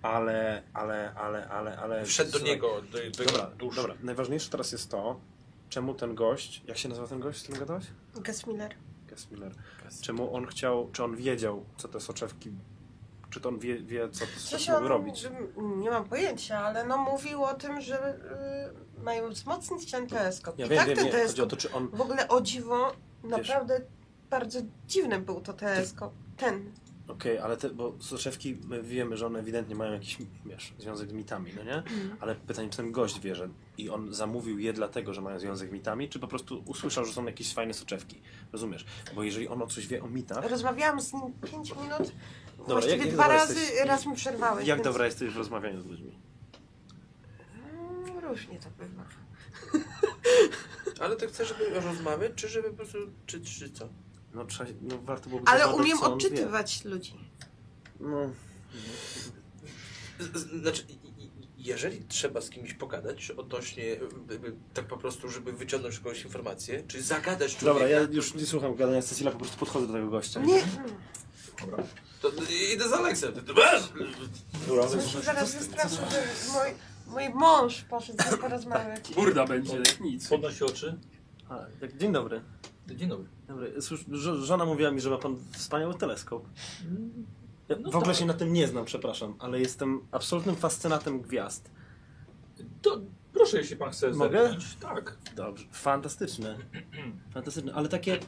Ale, ale, ale, ale, ale. Wszedł do słuchaj, niego, do, do jego Dobra, duszy. dobra. Najważniejsze teraz jest to, czemu ten gość. Jak się nazywa ten gość, z którym gadałeś? Gas Miller. Gas Miller. Czemu on chciał, czy on wiedział, co te soczewki, czy to on wie, wie co te Coś soczewki on, mogą robić? m, nie mam pojęcia, ale no mówił o tym, że y, mają wzmocnić ten teleskop. Ja I wiem, tak wiem, ten nie, chodzi o teleskop, to, czy on... w ogóle o dziwo, naprawdę bardzo dziwny był to teleskop. Ten. Okej, ale te, bo soczewki, my wiemy, że one ewidentnie mają jakiś, wiesz, związek z mitami, no nie? Mhm. Ale pytanie, czy ten gość wie, że i on zamówił je dlatego, że mają związek z mitami, czy po prostu usłyszał, że są jakieś fajne soczewki, rozumiesz? Bo jeżeli on o coś wie o mitach, Rozmawiałam z nim 5 minut, właściwie dwa dobra razy, jesteś- raz mi przerwałeś. jak więc- dobra jesteś w rozmawianiu z ludźmi? Mm, Różnie to bywa. Ale ty chcesz, żeby rozmawiać, czy żeby po prostu. Czy, czy co? No, trzeba, no warto byłoby Ale zobaczyć, umiem co on wie. odczytywać ludzi. No, Z- z- Znaczy, i- i- jeżeli trzeba z kimś pogadać odnośnie, y, y, y, tak po prostu, żeby wyciągnąć jakąś informację, czy zagadać człowieka, Dobra, ja już nie słucham gadania Cecilia, po prostu podchodzę do tego gościa. Nie, to y, idę za Aleksem. Dobra, no, słuchajcie, zaraz co- co- wystraszę, że mój, mój mąż poszedł z nim porozmawiać. Tak. Burda będzie, jak nic. Podnosi oczy. A, tak, dzień dobry. Dzień dobry. Dobry, Słysz, żo- żona mówiła mi, że ma pan wspaniały teleskop. Ja No w ogóle tak. się na tym nie znam, przepraszam, ale jestem absolutnym fascynatem gwiazd. To proszę, jeśli pan chce Mogę? zerknąć. Tak. Dobrze, fantastyczne. Fantastyczne, ale takie...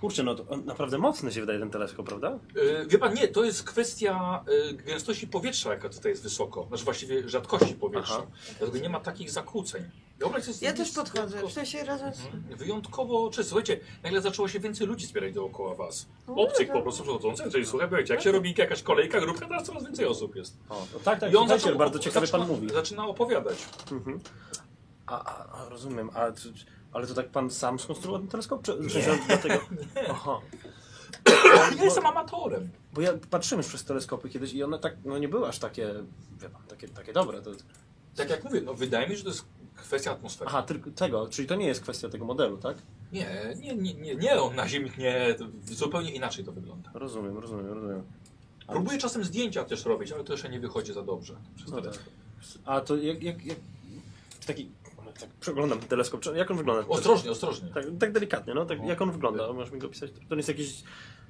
Kurczę, no to on naprawdę mocny się wydaje ten teleskop, prawda? E, Wie pan, nie, to jest kwestia e, gęstości powietrza, jaka tutaj jest wysoko. Znaczy właściwie rzadkości powietrza. Aha. Dlatego nie ma takich zakłóceń. Obraz jest, Ja też jest podchodzę, w wyjątkowo- sensie razem z... Mhm. Wyjątkowo czysty. Słuchajcie, nagle zaczęło się więcej ludzi zbierać dookoła was. Obcych po prostu przechodzących, czyli słuchaj, powiecie, jak się robi jakaś kolejka, grupka, teraz coraz więcej osób jest. O, no tak, tak, I on słuchajcie, zaczął bardzo op- ciekawie pan zaczyna- mówi. Zaczyna opowiadać. Mhm. A, a, a, rozumiem, a, czy- ale to tak pan sam skonstruował ten teleskop? Czy, czy że do tego... Aha. Ja jestem amatorem. Bo ja patrzyłem już przez teleskopy kiedyś i one tak, no nie były aż takie, wie pan, takie, takie dobre. To, Tak jak mówię, no wydaje mi się, że to jest kwestia atmosfery. Aha, tylko tego, czyli to nie jest kwestia tego modelu, tak? Nie, nie, nie, nie, nie, on na Ziemi nie, to zupełnie inaczej to wygląda. Rozumiem, rozumiem, rozumiem. Próbuję czasem zdjęcia też robić, ale to jeszcze nie wychodzi za dobrze. Przez No teleskop. A to jak, jak, jak taki, tak przeglądam ten teleskop, czy- jak on wygląda? Ostrożnie, ostrożnie. Tak, tak delikatnie, no, tak, O. jak on wygląda? Możesz mi go opisać? To on jest jakiś,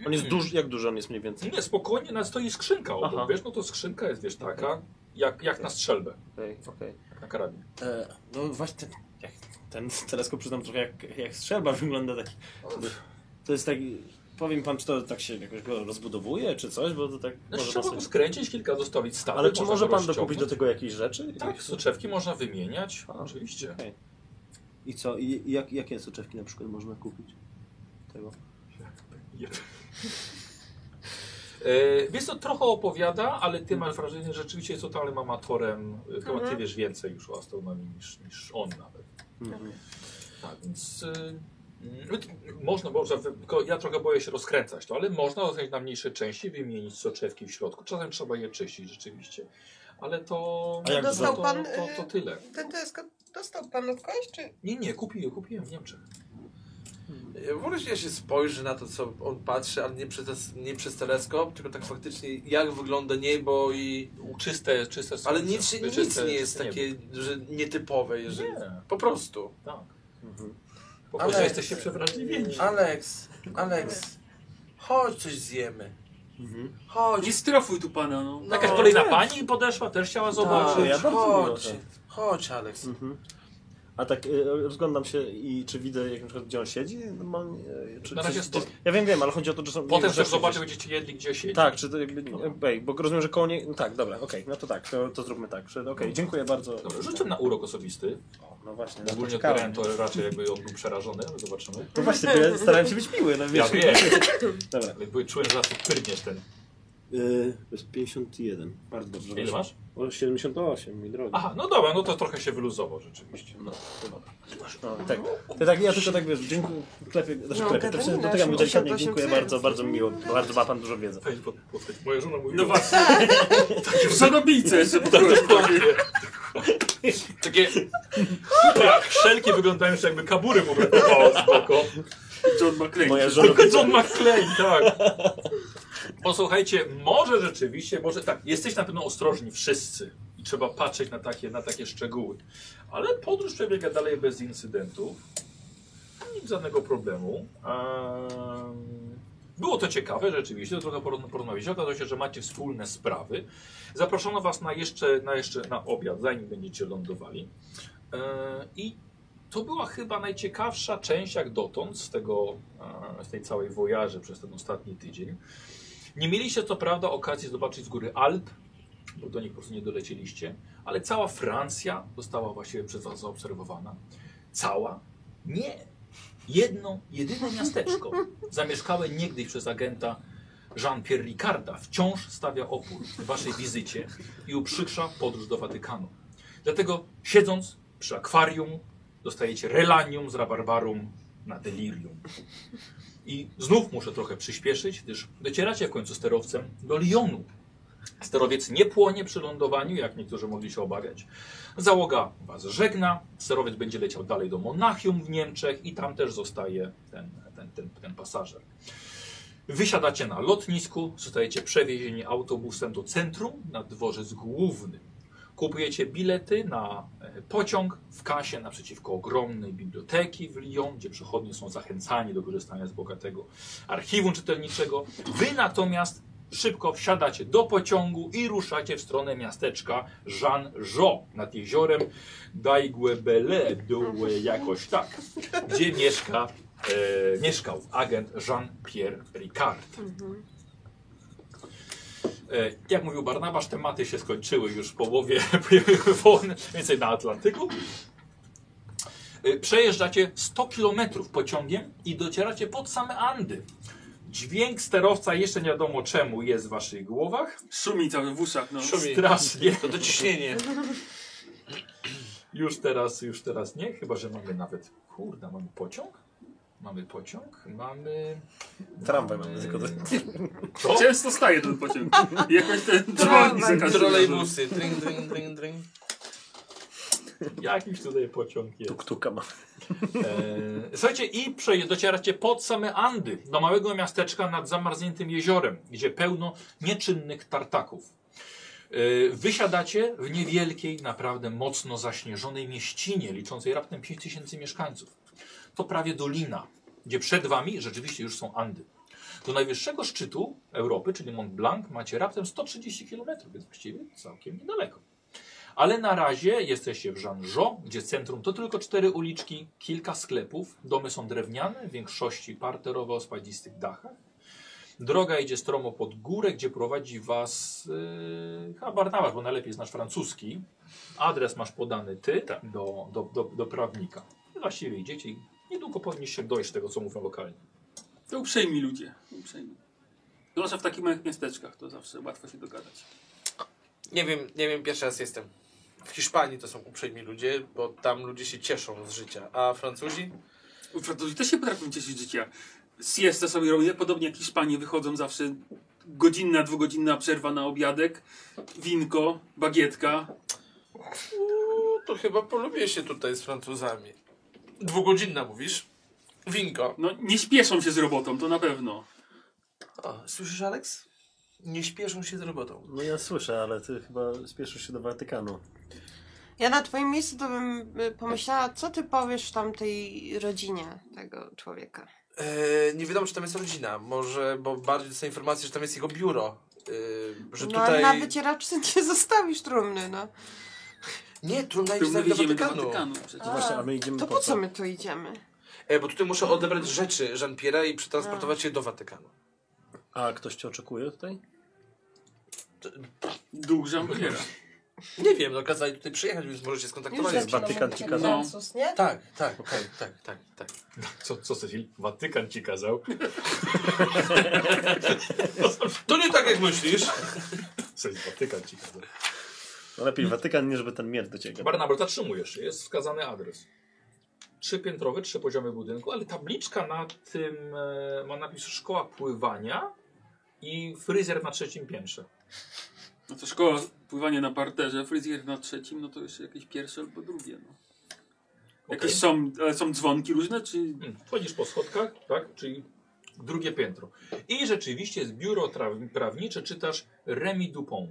on jest duży, jak duży on jest mniej więcej? Nie, spokojnie, nawet stoi skrzynka obok, Aha. wiesz, no to skrzynka jest, wiesz, taka, jak, jak na strzelbę, Okej, okej. jak na karabin. E, No właśnie, ten, jak, ten teleskop przyznam trochę jak, jak strzelba wygląda taki. To jest tak, powiem pan, czy to tak się jakoś go rozbudowuje, czy coś, bo to tak No, może trzeba pasuje. go skręcić, kilka zostawić stawy. Ale czy można może go pan rozciągnąć. dokupić do tego jakieś rzeczy? Tak, soczewki można wymieniać, oczywiście. Okej. I co? I, i jak, jakie soczewki na przykład można kupić? Tego. E, Wiesz co, trochę opowiada, ale ty masz wrażenie, że rzeczywiście jest totalnym amatorem. E, Chyba Mhm. ty wiesz więcej już o astronomii niż, niż on nawet. Mhm. Tak, więc y, mm, można, można, wy- tylko ja trochę boję się rozkręcać to, ale można rozkręcić na mniejsze części, wymienić soczewki w środku. Czasem trzeba je czyścić rzeczywiście, ale to, A jak to, Dostał to, pan, to, to y, tyle. Ten teleskop dostał pan od kogoś, czy... Nie, nie, kupiłem, kupiłem w Niemczech. E, W ogóle jak się spojrzy na to, co on patrzy, ale nie przez, nie przez teleskop, tylko tak faktycznie jak wygląda niebo i... Czyste, czyste słońce. Ale nic, się- Czyste- nic czyste nie jest niebo. takie, że nietypowe, jeżeli... Nie, Po prostu. tak. Mhm. Po prostu Ale- jesteście przewrażliwieni. Aleks, Aleks, chodź coś zjemy. Mhm. Chodź. No, Nie strofuj tu pana, no. No, Tak. Jakaś kolejna pani podeszła, też chciała zobaczyć. ja Chodź, bardzo chodź, lubię chodź Aleks. Mhm. A tak y, rozglądam się i czy widzę jak na przykład gdzie on siedzi? Normalnie, y, czy, Na czy, razie czy, stoi. Ja wiem, wiem, ale chodzi o to, że są... Potem że też rzeczy zobaczy, będziecie jedli gdzie siedzi. Tak, czy to jakby. Ej, bo rozumiem, że koło nie. No tak, dobra, okej, no to tak, to, to zróbmy tak. że- Okej, dziękuję bardzo. No. Dobra, rzucę na urok osobisty. O, No właśnie, na to Ogólnie czekałem. Karen to raczej jakby on był przerażony, ale zobaczymy. No właśnie, to ja starałem się być miły, no Ja wiesz. wiem, Dobra. jakby czułem, że zaraz pyrniesz ten. Yy, 51. Bardzo dobrze. Ile masz? O, 78, mój drogi. Aha, no dobra, no to trochę się wyluzował rzeczywiście. No, to dobra. No, tak. Ja, tak, ja tylko tak wiesz, dziękuję. Klepię, znaczy No, klepię. To Katarzyna, do tego mi delikatnie 88 dziękuję psy. bardzo, bardzo miło. Bardzo ma pan dużo wiedzy. Weź, bo- bo- Moja żona mówi. No właśnie. Żonobijce jeszcze podałeś. Takie tak, szelki wyglądają jeszcze jakby kabury mu brakowało z boku. John McClane. Moja żona. Tylko John McClane, tak. Posłuchajcie, może rzeczywiście, może tak, jesteś na pewno ostrożni wszyscy i trzeba patrzeć na takie, na takie szczegóły. Ale podróż przebiega dalej bez incydentów. Nic żadnego problemu. Em, było to ciekawe rzeczywiście, trochę porozma- porozmawialiście. Okazało się, że macie wspólne sprawy. Zaproszono was na jeszcze, na jeszcze na obiad, zanim będziecie lądowali. E, I to była chyba najciekawsza część jak dotąd z, tego, e, z tej całej wojaży przez ten ostatni tydzień. Nie mieliście co prawda okazji zobaczyć z góry Alp, bo do nich po prostu nie dolecieliście, ale cała Francja została właściwie przez was zaobserwowana. Cała? Nie. Jedno, jedyne miasteczko zamieszkałe niegdyś przez agenta Jean-Pierre Ricarda wciąż stawia opór waszej wizycie i uprzykrza podróż do Watykanu. Dlatego siedząc przy akwarium dostajecie relanium z rabarbarum na delirium. I znów muszę trochę przyspieszyć, gdyż docieracie w końcu sterowcem do Lyonu. Sterowiec nie płonie przy lądowaniu, jak niektórzy mogli się obawiać. Załoga was żegna, sterowiec będzie leciał dalej do Monachium w Niemczech i tam też zostaje ten, ten, ten, ten pasażer. Wysiadacie na lotnisku, zostajecie przewiezieni autobusem do centrum na dworzec główny. Kupujecie bilety na e, pociąg w kasie naprzeciwko ogromnej biblioteki w Lyon, gdzie przechodnie są zachęcani do korzystania z bogatego archiwum czytelniczego. Wy natomiast szybko wsiadacie do pociągu i ruszacie w stronę miasteczka Jean-Jo nad jeziorem Daiguebele, Due jakoś tak, gdzie mieszka, e, mieszkał agent Jean-Pierre Ricard. E, Jak mówił Barnabasz, tematy się skończyły już w połowie pojawiły wojny, więcej na Atlantyku. E, Przejeżdżacie 100 km pociągiem i docieracie pod same Andy. Dźwięk sterowca jeszcze nie wiadomo czemu jest w waszych głowach. Szumi cały w uszach, no. Szumi. Strasznie. To dociśnienie. Już teraz, już teraz nie, chyba że mamy nawet. Kurde, mamy pociąg? Mamy pociąg? Mamy. e, Tramwaj mamy tylko. Co? Często staje ten pociąg. Jakoś ten dzwoni za każdym razem. Trolejbusy, dring, dring, dring, dring. Jakiś tutaj pociąg jest. Tuktuka ma. E, Słuchajcie, i przeje- docieracie pod same Andy, do małego miasteczka nad zamarzniętym jeziorem, gdzie pełno nieczynnych tartaków. E, Wysiadacie w niewielkiej, naprawdę mocno zaśnieżonej mieścinie, liczącej raptem 5000 mieszkańców. To prawie dolina, gdzie przed wami rzeczywiście już są Andy. Do najwyższego szczytu Europy, czyli Mont Blanc, macie raptem 130 km, więc właściwie całkiem niedaleko. Ale na razie jesteście w Żanżo, gdzie centrum to tylko cztery uliczki, kilka sklepów, domy są drewniane, w większości parterowe o spadzistych dachach. Droga idzie stromo pod górę, gdzie prowadzi was yy, chyba Barnabasz, bo najlepiej znasz francuski. Adres masz podany ty do, do, do, do prawnika. I właściwie idziecie i niedługo powinniście dojść tego, co mówią lokalni. To uprzejmi ludzie. Uprzejmi. Zwłaszcza w takich małych miasteczkach, to zawsze łatwo się dogadać. Nie wiem, nie wiem, pierwszy raz jestem. W Hiszpanii to są uprzejmi ludzie, bo tam ludzie się cieszą z życia, a Francuzi? Francuzi też się potrafią cieszyć życia. Siesta sobie robię, podobnie jak Hiszpanie wychodzą zawsze godzinna, dwugodzinna przerwa na obiadek, winko, bagietka. Uuu, to chyba polubię się tutaj z Francuzami. Dwugodzinna mówisz? Winko. No nie śpieszą się z robotą, to na pewno. O, słyszysz, Alex? Nie śpieszą się z robotą. No ja słyszę, ale ty chyba spieszysz się do Watykanu. Ja na twoim miejscu to bym y, pomyślała, co ty powiesz tamtej rodzinie tego człowieka. E, nie wiadomo, czy tam jest rodzina. Może, bo bardziej dostaję informację, że tam jest jego biuro. E, że No ale tutaj... na wycieraczce nie zostawisz trumny, no. Nie, trudno Tu iść z my nami do jedziemy do Watykanu. Watykanu przecież. A, Właśnie, a my idziemy To po po co my tu idziemy? E, bo tutaj muszę odebrać rzeczy Jean-Pierre'a i przetransportować je do Watykanu. A ktoś cię oczekuje tutaj? Duch Jean-Pierre'a. Nie wiem, no kazali tutaj przyjechać, więc możecie Już skontaktować. się. zaczynam Watykan mówić ci jak kazał. Francuz, nie? Tak, tak, tak, tak, tak, tak. Co, co Cecil? Watykan ci kazał. To nie tak jak myślisz. Cecil, Watykan ci kazał. No lepiej Watykan, niż żeby ten miecz do ciebie. Barnabas, zatrzymujesz się, jest wskazany adres. Trzypiętrowy, trzypoziomy budynku, ale tabliczka na tym e, ma napis szkoła pływania i fryzjer na trzecim piętrze. No to szkoła, pływanie na parterze, fryzjer na trzecim, no to jeszcze jakieś pierwsze albo drugie. No. Jakieś Okej. są, ale są dzwonki różne, czy... Mm, Wchodzisz po schodkach, tak? Czyli drugie piętro. I rzeczywiście jest biuro traw- prawnicze, czytasz Remi Dupont.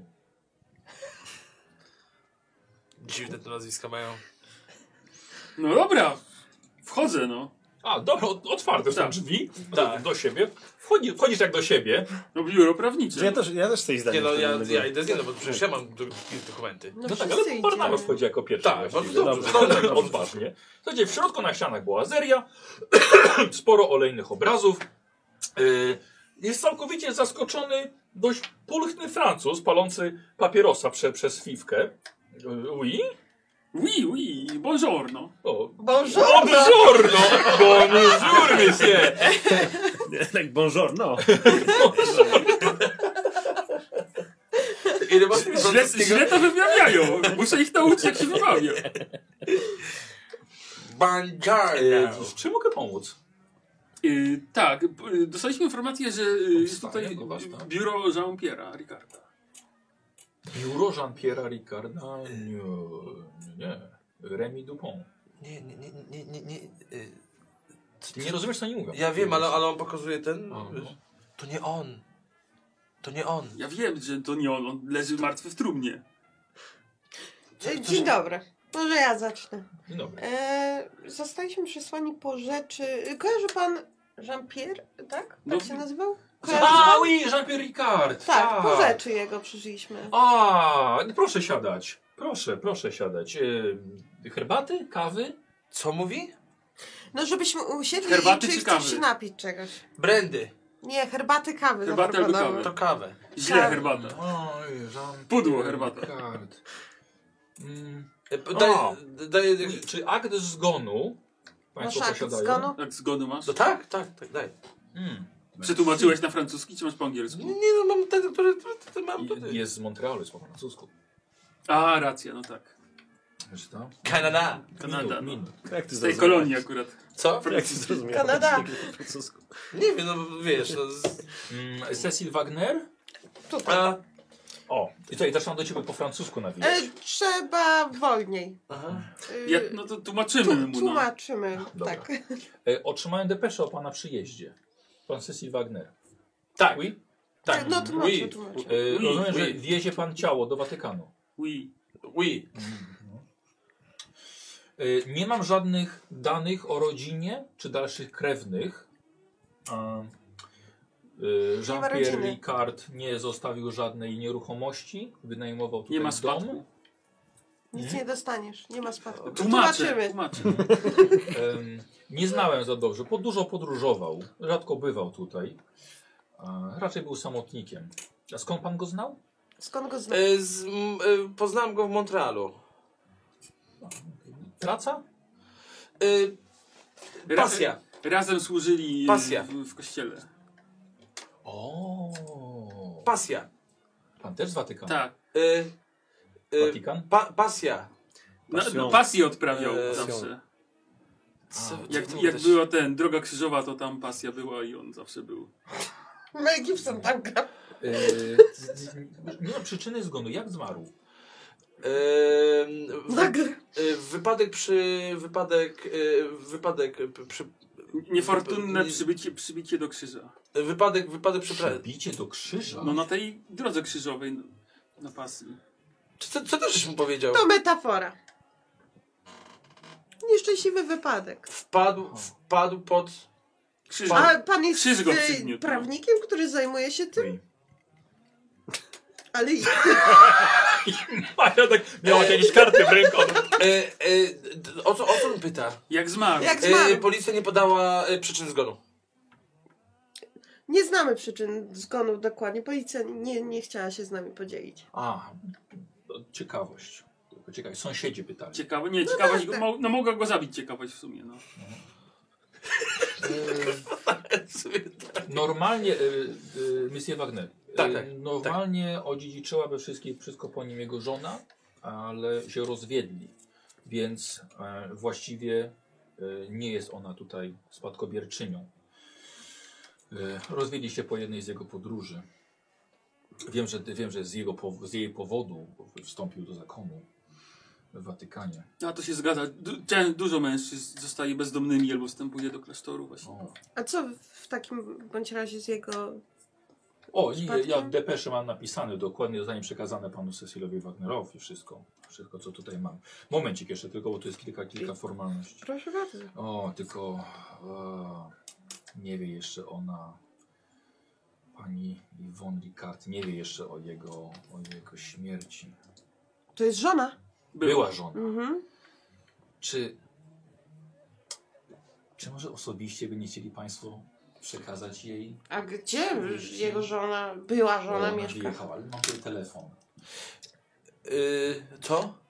Dziwne te nazwiska mają. No dobra, wchodzę no. A, dobra, ot- otwarte są Tak. drzwi do, do siebie. Wchodzi, wchodzisz jak do siebie. No biuro prawnicze. Ja też, ja też tej zdanie. Nie no, wtedy ja, będę ja miał. idę z nie, no bo przecież ja mam do, dokumenty. No tak, ale Barnabas wchodzi jako pierwszy. Tak, właściwie. bardzo dobrze. No, tak, odważnie. Słuchajcie, w środku na ścianach była azeria, sporo olejnych obrazów. Yy, Jest całkowicie zaskoczony dość pulchny Francuz palący papierosa prze, przez fiwkę. Yy, Oui? Oui, oui, no. buongiorno. O, Boże! Buongiorno! Bonjour, monsieur! Tak, bonjour, no. Ile masz Źle, źle to wymawiają, muszę ich nauczyć jak się wymawia. Banjarna. E, Czy mogę pomóc? Yy, tak, b- yy, dostaliśmy informację, że yy, jest Powstaje, tutaj no ważne. biuro Jean-Pierre'a Ricarda. Biuro Jean-Pierre'a Ricarda? Nie, nie, nie. Remy Dupont. Nie, nie, nie, nie, nie, nie. y, Ty nie rozumiesz, co oni mówią. Ja wiem, ale, ale on pokazuje ten. A, no. To nie on. To nie on. Ja wiem, że to nie on, on leży martwy w trumnie. E, Dzień dobry. Może ja zacznę. Dzień dobry. E, zostaliśmy przysłani po rzeczy... Kojarzy pan Jean-Pierre, tak? Tak No. się nazywał? Kojarzy A, pan? oui, Jean-Pierre Ricard! Tak, po rzeczy jego przyszliśmy. A, proszę siadać. Proszę, proszę siadać. E, herbaty? Kawy? Co mówi? No żebyśmy usiedli Herbaty i czy czy chcesz kawy? się napić czegoś. Brandy. Nie, herbaty kawy Herbaty albo zaproponował. To kawę. Źle Tak. herbata. Oj, Jean-Pierre Pudło herbata. Ricard. Mm, Y, p- Daj, O. daj, czy akt zgonu państwo Masz akt posiadają? zgonu? Jak zgody masz? No tak, tak, tak, daj. Mm. Przetłumaczyłeś na francuski, czy masz po angielsku? Nie no, mam ten, który to, to, to mam I- tutaj. Jest z Montrealu, jest po francusku. A, racja, no tak. Wiesz co? Kanada. Kanada, no. Minut, Jak ty Z tej kolonii akurat. Co? Jak ty zrozumiałeś? Kanada. Po francusku. Nie wiem, no wiesz. No, z... minut. Mm, Cecil Wagner? Tutaj. A, O, i tutaj zaczynam do ciebie po francusku E, nawijać. trzeba wolniej. Aha. Y, Ja, no to tłumaczymy tu, mu. No. tłumaczymy, Dobra. tak. E, otrzymałem depeszę o pana przyjeździe. Pan Cecil Wagner. Tak. Oui? Tak, no tłumaczę, Oui. tłumaczę. E, Oui, rozumiem, że oui. wiezie pan ciało do Watykanu. Oui. Oui. E, Nie mam żadnych danych o rodzinie czy dalszych krewnych. A, e, Jean-Pierre rodziny. Ricard nie zostawił żadnej nieruchomości, wynajmował tutaj Nie ma dom. spadku. Nic nie dostaniesz, nie ma spadku. Tłumaczę. Tłumaczymy. Tłumaczę. Em, nie znałem za dobrze, bo dużo podróżował, rzadko bywał tutaj. A, raczej był samotnikiem. A skąd pan go znał? Skąd go znasz? E, z, m, e, poznałem go w Montrealu. Praca? E, Ra- pasja. Razem służyli y, Pasja. w, w kościele. O, Pasja. pan też z Watykanu. Tak. E, e, Watykan? pa, pasja. No, Pasją. no, pasję odprawiał Eee, zawsze. Co, co Jak, to jak też- była ten, Droga Krzyżowa, to tam pasja była i on zawsze był. Mel Gibson tam gra. E, z- z- nie mam przyczyny zgonu. Jak zmarł? E, w, Nagle. e, wypadek przy... Wypadek... E, wypadek e, p- przy... Niefortunne Nie- przybycie, przybicie do krzyża. e, Wypadek, wypadek przy... pra- Bicie do krzyża? No na tej drodze krzyżowej, no, na pasji. Czy Co, co też mu powiedział? To metafora. Nieszczęśliwy wypadek. No. Wpadł, wpadł pod... Krzyż. A pan jest krzyż go y, przygniótł. prawnikiem, który zajmuje się tym? Ale i- Tak. Maja tak miała jakieś karty w ręku. E, e, d- o, co, o co on pyta? Jak zmarł. jak E, zmarł. policja nie podała e, przyczyn zgonu. Nie znamy przyczyn zgonu dokładnie. Policja nie, nie chciała się z nami podzielić. A, to ciekawość. Tylko ciekawość. Sąsiedzi pytali. Ciekawe, nie, ciekawość, tak, go- tak. mo- no mogła go zabić ciekawość w sumie, no. Tak, Normalnie, y, y, Monsieur Wagner, y, Tak, tak, normalnie odziedziczyłaby wszystkie, wszystko po nim jego żona, ale się rozwiedli. Więc e, właściwie y, nie jest ona tutaj spadkobierczynią. Y, rozwiedli się po jednej z jego podróży. Wiem, że, wiem, że z, jego, powo- z jej powodu wstąpił do zakonu w Watykanie. A to się zgadza. Du czę- dużo mężczyzn zostaje bezdomnymi albo wstępuje do klasztoru No. właśnie. O, A co w- w takim bądź razie z jego... o i Spadkiem? ja depesze mam napisane, dokładnie zostanie przekazane panu Cecilowi Wagnerowi wszystko, wszystko co tutaj mam. Momencik jeszcze tylko, bo tu jest kilka, kilka formalności. Proszę bardzo. O, tylko e, nie wie jeszcze ona, pani Yvonne Ricard, nie wie jeszcze o jego, o jego śmierci. To jest żona. Była żona. Mhm. Czy, czy może osobiście by nie chcieli państwo przekazać jej? A gdzie jego żona, była Bo żona mieszka? wyjechała, ale mam tutaj telefon. E, to?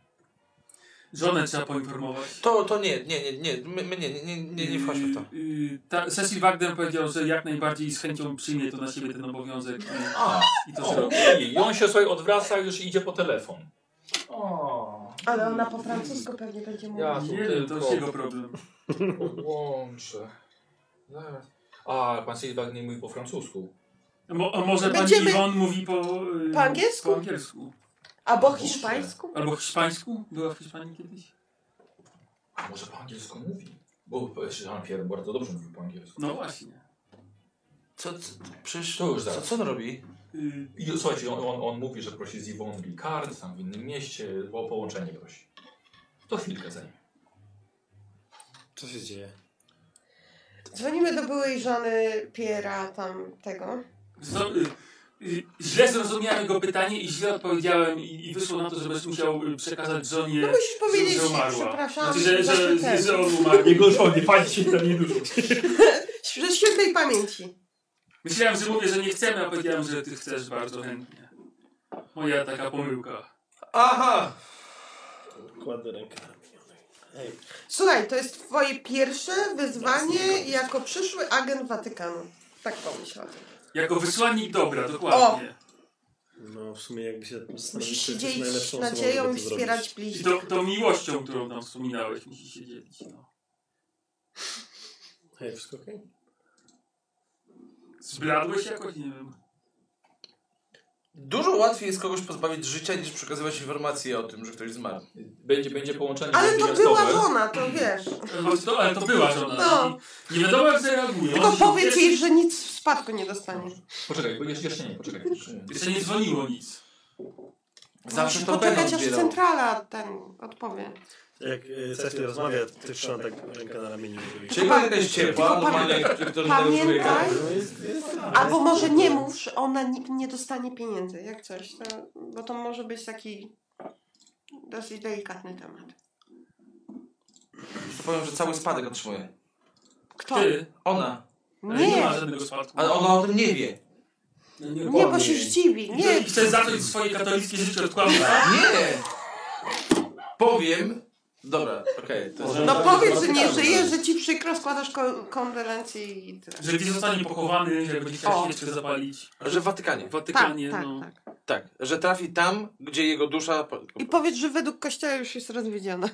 Żonę trzeba poinformować. To, to nie, nie, nie, nie, my, my nie, nie, nie, nie wchodźmy w to. Yy, yy, ta, Cecil Wagner powiedział, że jak najbardziej z chęcią przyjmie to na siebie ten obowiązek i, A, i to O, zrobi. okej. I on się sobie odwraca już idzie po telefon. O, Ale ona po francusku pewnie będzie mówiła. Ja tu Nie wiem, to tylko jest jego problem. podłączę. Zaraz. A, pan Sylwak Wagner mówi po francusku. A mo- a może pani Będziemy- Iwon mówi po, yy, Po angielsku? po angielsku? Albo hiszpańsku? Albo hiszpańsku? Była w Hiszpanii kiedyś? A może po angielsku mówi? Bo Jean-Pierre bardzo dobrze mówi po angielsku. No właśnie. Co, co, przecież, To już co, zaraz. co on robi? Yy, I słuchajcie, on, on, on mówi, że prosi z Yvonne Ricard, tam w innym mieście, bo o połączenie prosi. To chwilkę zajmie. Co się dzieje? Dzwonimy do byłej żony Piera tam tego. zo- yy, yy, Źle zrozumiałem jego pytanie i źle odpowiedziałem i, i wyszło na to, że będziesz musiał yy, przekazać żonie... No musisz powiedzieć, że umarła. przepraszam, Znaczy, że, za że, ten. że, że on umarł. Jego żonie, pani się tam nie dużo. Ze świętej pamięci. Myślałem, że mówię, że nie chcemy, a powiedziałem, że ty chcesz bardzo chętnie. Moja taka pomyłka. Aha! Kładę rękę na minionej. Ej, Słuchaj, to jest twoje pierwsze wyzwanie jako przyszły agent Watykanu. Tak pomyślałem. Jako wysłannik dobra, dokładnie. no w sumie jakby się zastanowić, Musisz czy się jesteś dzielić najlepszą osobą, nadzieją żeby i to wspierać zrobić. I bliźnich. to, to miłością, którą tam wspominałeś, musi się dzielić. No. Hej, wszystko okej? Zbladłeś jakoś, nie wiem. Dużo łatwiej jest kogoś pozbawić życia, niż przekazywać informacje o tym, że ktoś zmarł. Będzie, będzie połączenie Ale to była natychmiastowe. żona, to wiesz. No, to, ale to była żona. No. I Nie wiadomo jak zareagują. Tylko powiedz jej, że nic w spadku nie dostaniesz. Poczekaj, bo jeszcze, jeszcze nie, poczekaj. jeszcze nie. Jeszcze nie dzwoniło nic. Zawsze to będę Poczekać aż odbierał. centrala ten odpowie. e, Jak y, Cecil rozmawia, ty trzymam tak rękę na ramieniu. Czyli ma jakaś ciepła, Tylko normalnie jak który Pamiętaj, albo może nie mów, że ona nikt nie dostanie pieniędzy, jak coś, to, bo to może być taki dosyć delikatny temat. To powiem, że cały spadek otrzymuje. Kto? Ty. Ona. No. Ale nie Nie, ma żadnego spadku. Ale ona o tym nie wie. nie, bo się zdziwi, nie. I chcesz zacząć swoje katolickie życie od kłamstwa. Nie! Powiem. Dobra, okej. to jest- No powiedz, że nie żyjesz, że ci przykro, składasz ko- kondolencje i tyle. Że gdzieś zostanie pochowany, że będzie chciał O. świeczkę zapalić. Że w Watykanie. W Tak, Watykanie, tak, no. tak. Tak, że trafi tam, gdzie jego dusza. I powiedz, że według kościoła już jest rozwiedziona.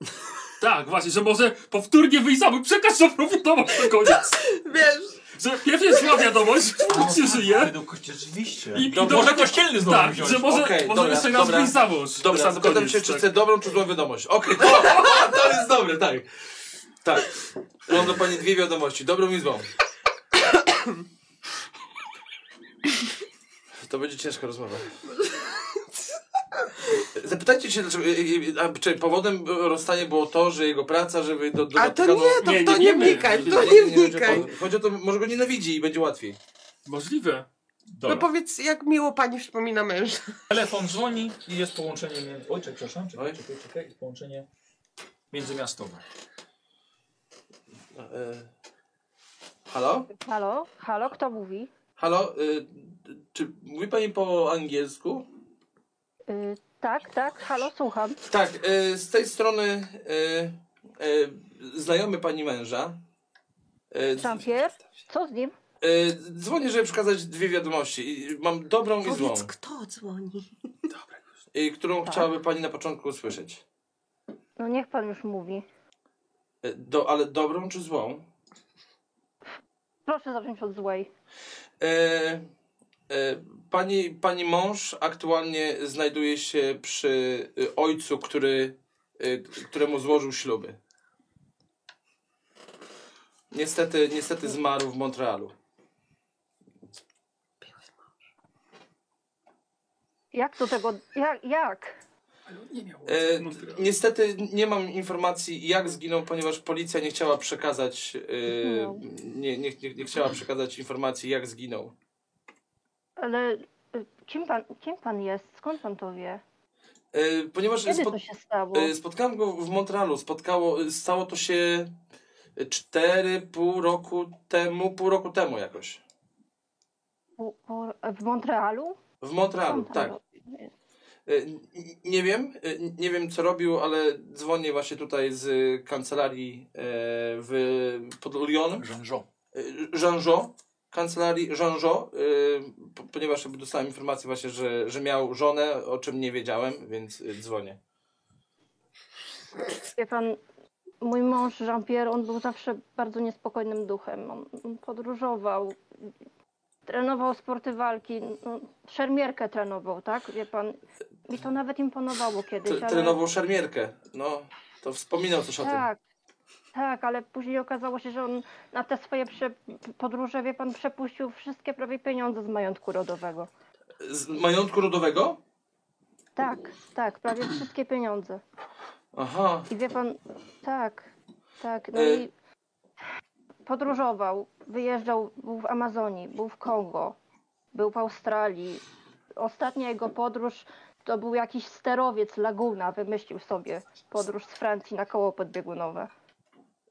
Tak, właśnie, że może powtórnie wyjść za mój przekaz, że wiadomość na koniec. Wiesz, Że pierwszy zła wiadomość, Bóg się żyje. Według kości- rzeczywiście. I, i To dobrze- może kościelny znowu Tak, wziąć. że może, Okej, może dobra, jeszcze raz dobra. wyjść za mąż. Dobra, Sam zapytam koniec, się, czy tak. chcę dobrą, czy złą wiadomość. Okej, to, to jest dobre, tak. Tak. Mam do pani dwie wiadomości, dobrą i złą. To będzie ciężka rozmowa. Zapytajcie się, dlaczego, y, a, czy powodem rozstania było to, że jego praca, żeby do, do a to Watykanu- nie, to Nie, w to nie, nie nie, wnikaj, nie, w to nie nie będzie wnikaj. powód. Chodzi o to, może go nienawidzi i będzie łatwiej. Możliwe. No Dobra. powiedz, jak miło pani wspomina męża. Telefon dzwoni i jest połączenie między... Oj, czekaj, przepraszam, czekaj, Oj. czekaj, czekaj, jest połączenie międzymiastowe. E, Halo? Halo? Halo, kto mówi? Halo, y, czy mówi pani po angielsku? Y, tak, tak, halo, słucham. Tak, y, z tej strony y, y, znajomy pani męża. Y, Jean-Pierre? Co z nim? y, dzwonię, żeby przekazać dwie wiadomości. I Mam dobrą i złą, Powiedz, kto dzwoni. y, którą Tak. chciałaby pani na początku usłyszeć. No niech pan już mówi. Y, do, ale dobrą czy złą? Proszę zacząć od złej. Y, y, pani, pani mąż aktualnie znajduje się przy y, ojcu, który, y, któremu złożył śluby. Niestety, niestety zmarł w Montrealu. Jak do tego... Jak? jak? E, niestety nie mam informacji jak zginął, ponieważ policja nie chciała przekazać e, Zginął. nie, nie, nie, nie chciała przekazać informacji jak zginął. Ale y, kim pan, kim pan jest? Skąd pan to wie? E, ponieważ Kiedy spo- to się stało? e, spotkałem go w Montrealu, spotkało, e, stało to się 4,5 roku temu, pół roku temu jakoś. Po, po, w Montrealu? W Skąd Montrealu, pan tak. to- E, n- Nie wiem, e, n- nie wiem co robił, ale dzwonię właśnie tutaj z e, kancelarii e, w, pod Lyon. Jean-Jean. Jean-Jo, Y, kancelarii Jean-Jo, y, po- ponieważ jakby dostałem informację właśnie, że, że miał żonę, o czym nie wiedziałem, więc y, dzwonię. Wie pan, mój mąż Jean-Pierre, on był zawsze bardzo niespokojnym duchem. On, on podróżował, trenował sporty walki, no, szermierkę trenował, tak? Wie pan, mi to nawet imponowało kiedyś, Tre- ale... Trenował szermierkę, no, to wspominał coś o tym. Tak, tak, ale później okazało się, że on na te swoje prze... podróże, wie pan, przepuścił wszystkie prawie pieniądze z majątku rodowego. Z majątku rodowego? Tak, tak, prawie wszystkie pieniądze. Aha, I wie pan, tak, tak. No E. i podróżował, wyjeżdżał, był w Amazonii, był w Kongo, był w Australii. Ostatnia jego podróż to był jakiś sterowiec Laguna, wymyślił sobie podróż z Francji na koło podbiegunowe.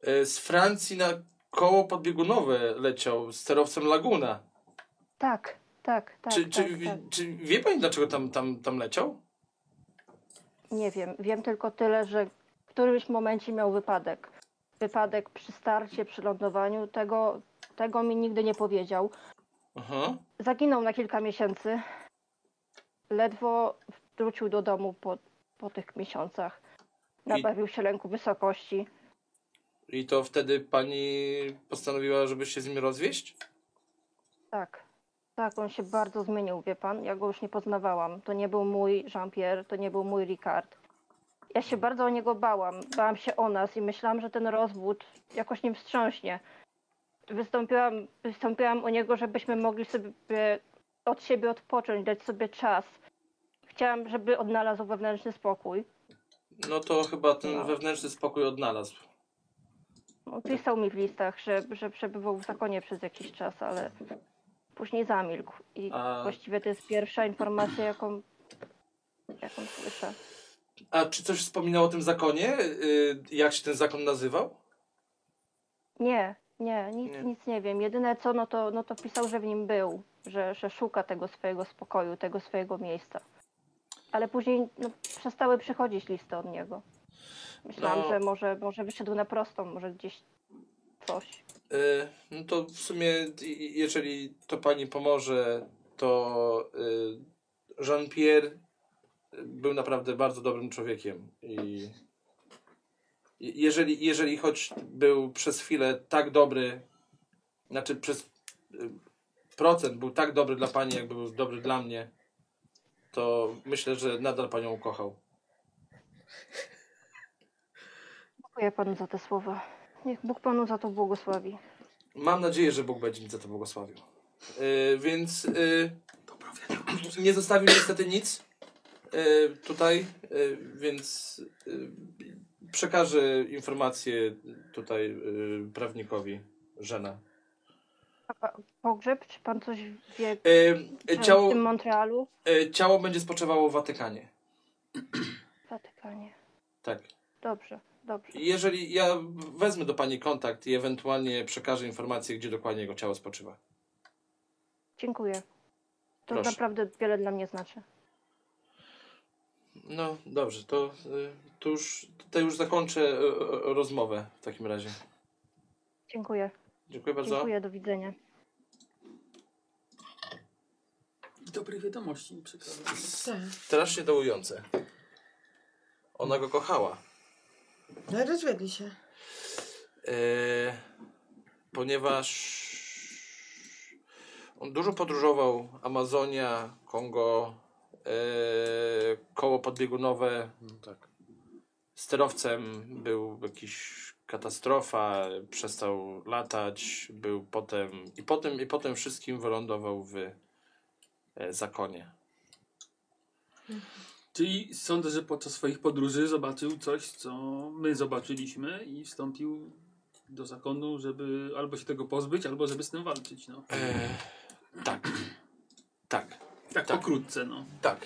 y, z Francji na koło podbiegunowe leciał z sterowcem Laguna. Tak, tak, tak. czy, tak, czy, tak. czy wie pani dlaczego tam, tam, tam leciał? Nie wiem, wiem tylko tyle, że w którymś momencie miał wypadek. Wypadek przy starcie, przy lądowaniu, tego, tego mi nigdy nie powiedział. Aha. Zaginął na kilka miesięcy. Ledwo wrócił do domu po, po tych miesiącach. Nabawił się lęku wysokości. I to wtedy pani postanowiła, żeby się z nim rozwieść? Tak, Tak, on się bardzo zmienił, wie pan. Ja go już nie poznawałam. To nie był mój Jean-Pierre, to nie był mój Ricard. Ja się bardzo o niego bałam. Bałam się o nas i myślałam, że ten rozwód jakoś nim wstrząśnie. Wystąpiłam, wystąpiłam o niego, żebyśmy mogli sobie e, od siebie odpocząć, dać sobie czas. Chciałam, żeby odnalazł wewnętrzny spokój. No to chyba ten No. wewnętrzny spokój odnalazł. On pisał mi w listach, że, że przebywał w zakonie przez jakiś czas, ale później zamilkł. I A- właściwie to jest pierwsza informacja, jaką, jaką słyszę. A czy coś wspominał o tym zakonie? Y, Jak się ten zakon nazywał? Nie, nie, nic Nie. nie, nic nie wiem. Jedyne co, no to, no to pisał, że w nim był, że, że szuka tego swojego spokoju, tego swojego miejsca. Ale później no, przestały przychodzić listy od niego. Myślałam, No. że może, może wyszedł na prostą, może gdzieś coś. Y, No to w sumie, i- i- jeżeli to pani pomoże, to y, Jean-Pierre był naprawdę bardzo dobrym człowiekiem. I i- jeżeli, jeżeli choć był przez chwilę tak dobry, znaczy przez y, procent był tak dobry dla pani, jakby był dobry dla mnie, to myślę, że nadal panią ukochał. Dziękuję panu za te słowa. Niech Bóg panu za to błogosławi. Mam nadzieję, że Bóg będzie mi za to błogosławił. Y, więc y, nie zostawił niestety nic y, tutaj, y, więc y, przekażę informację tutaj y, prawnikowi Żena. Pogrzeb, czy pan coś wie Y, y, w ciało, Tak, tym Montrealu? y, ciało będzie spoczywało w Watykanie. Watykanie. Tak. Dobrze, dobrze. Jeżeli ja wezmę do pani kontakt i ewentualnie przekażę informację, gdzie dokładnie jego ciało spoczywa. Dziękuję. To Proszę. naprawdę wiele dla mnie znaczy. No dobrze, to, y, to już, to już zakończę y, y, rozmowę w takim razie. Dziękuję. Dziękuję bardzo. Dziękuję, do widzenia. Dobrej wiadomości nie przekazał. Strasznie dołujące. Ona go kochała. No i rozwiedli się. Yy, ponieważ on dużo podróżował. Amazonia, Kongo, yy, koło podbiegunowe. tak. Sterowcem był jakiś katastrofa, przestał latać, był potem i potem i potem wszystkim wylądował w e, zakonie. Czyli sądzę, że podczas swoich podróży zobaczył coś, co my zobaczyliśmy i wstąpił do zakonu, żeby albo się tego pozbyć, albo żeby z tym walczyć. No. E, tak. Tak. Tak. Tak, pokrótce. No. Tak.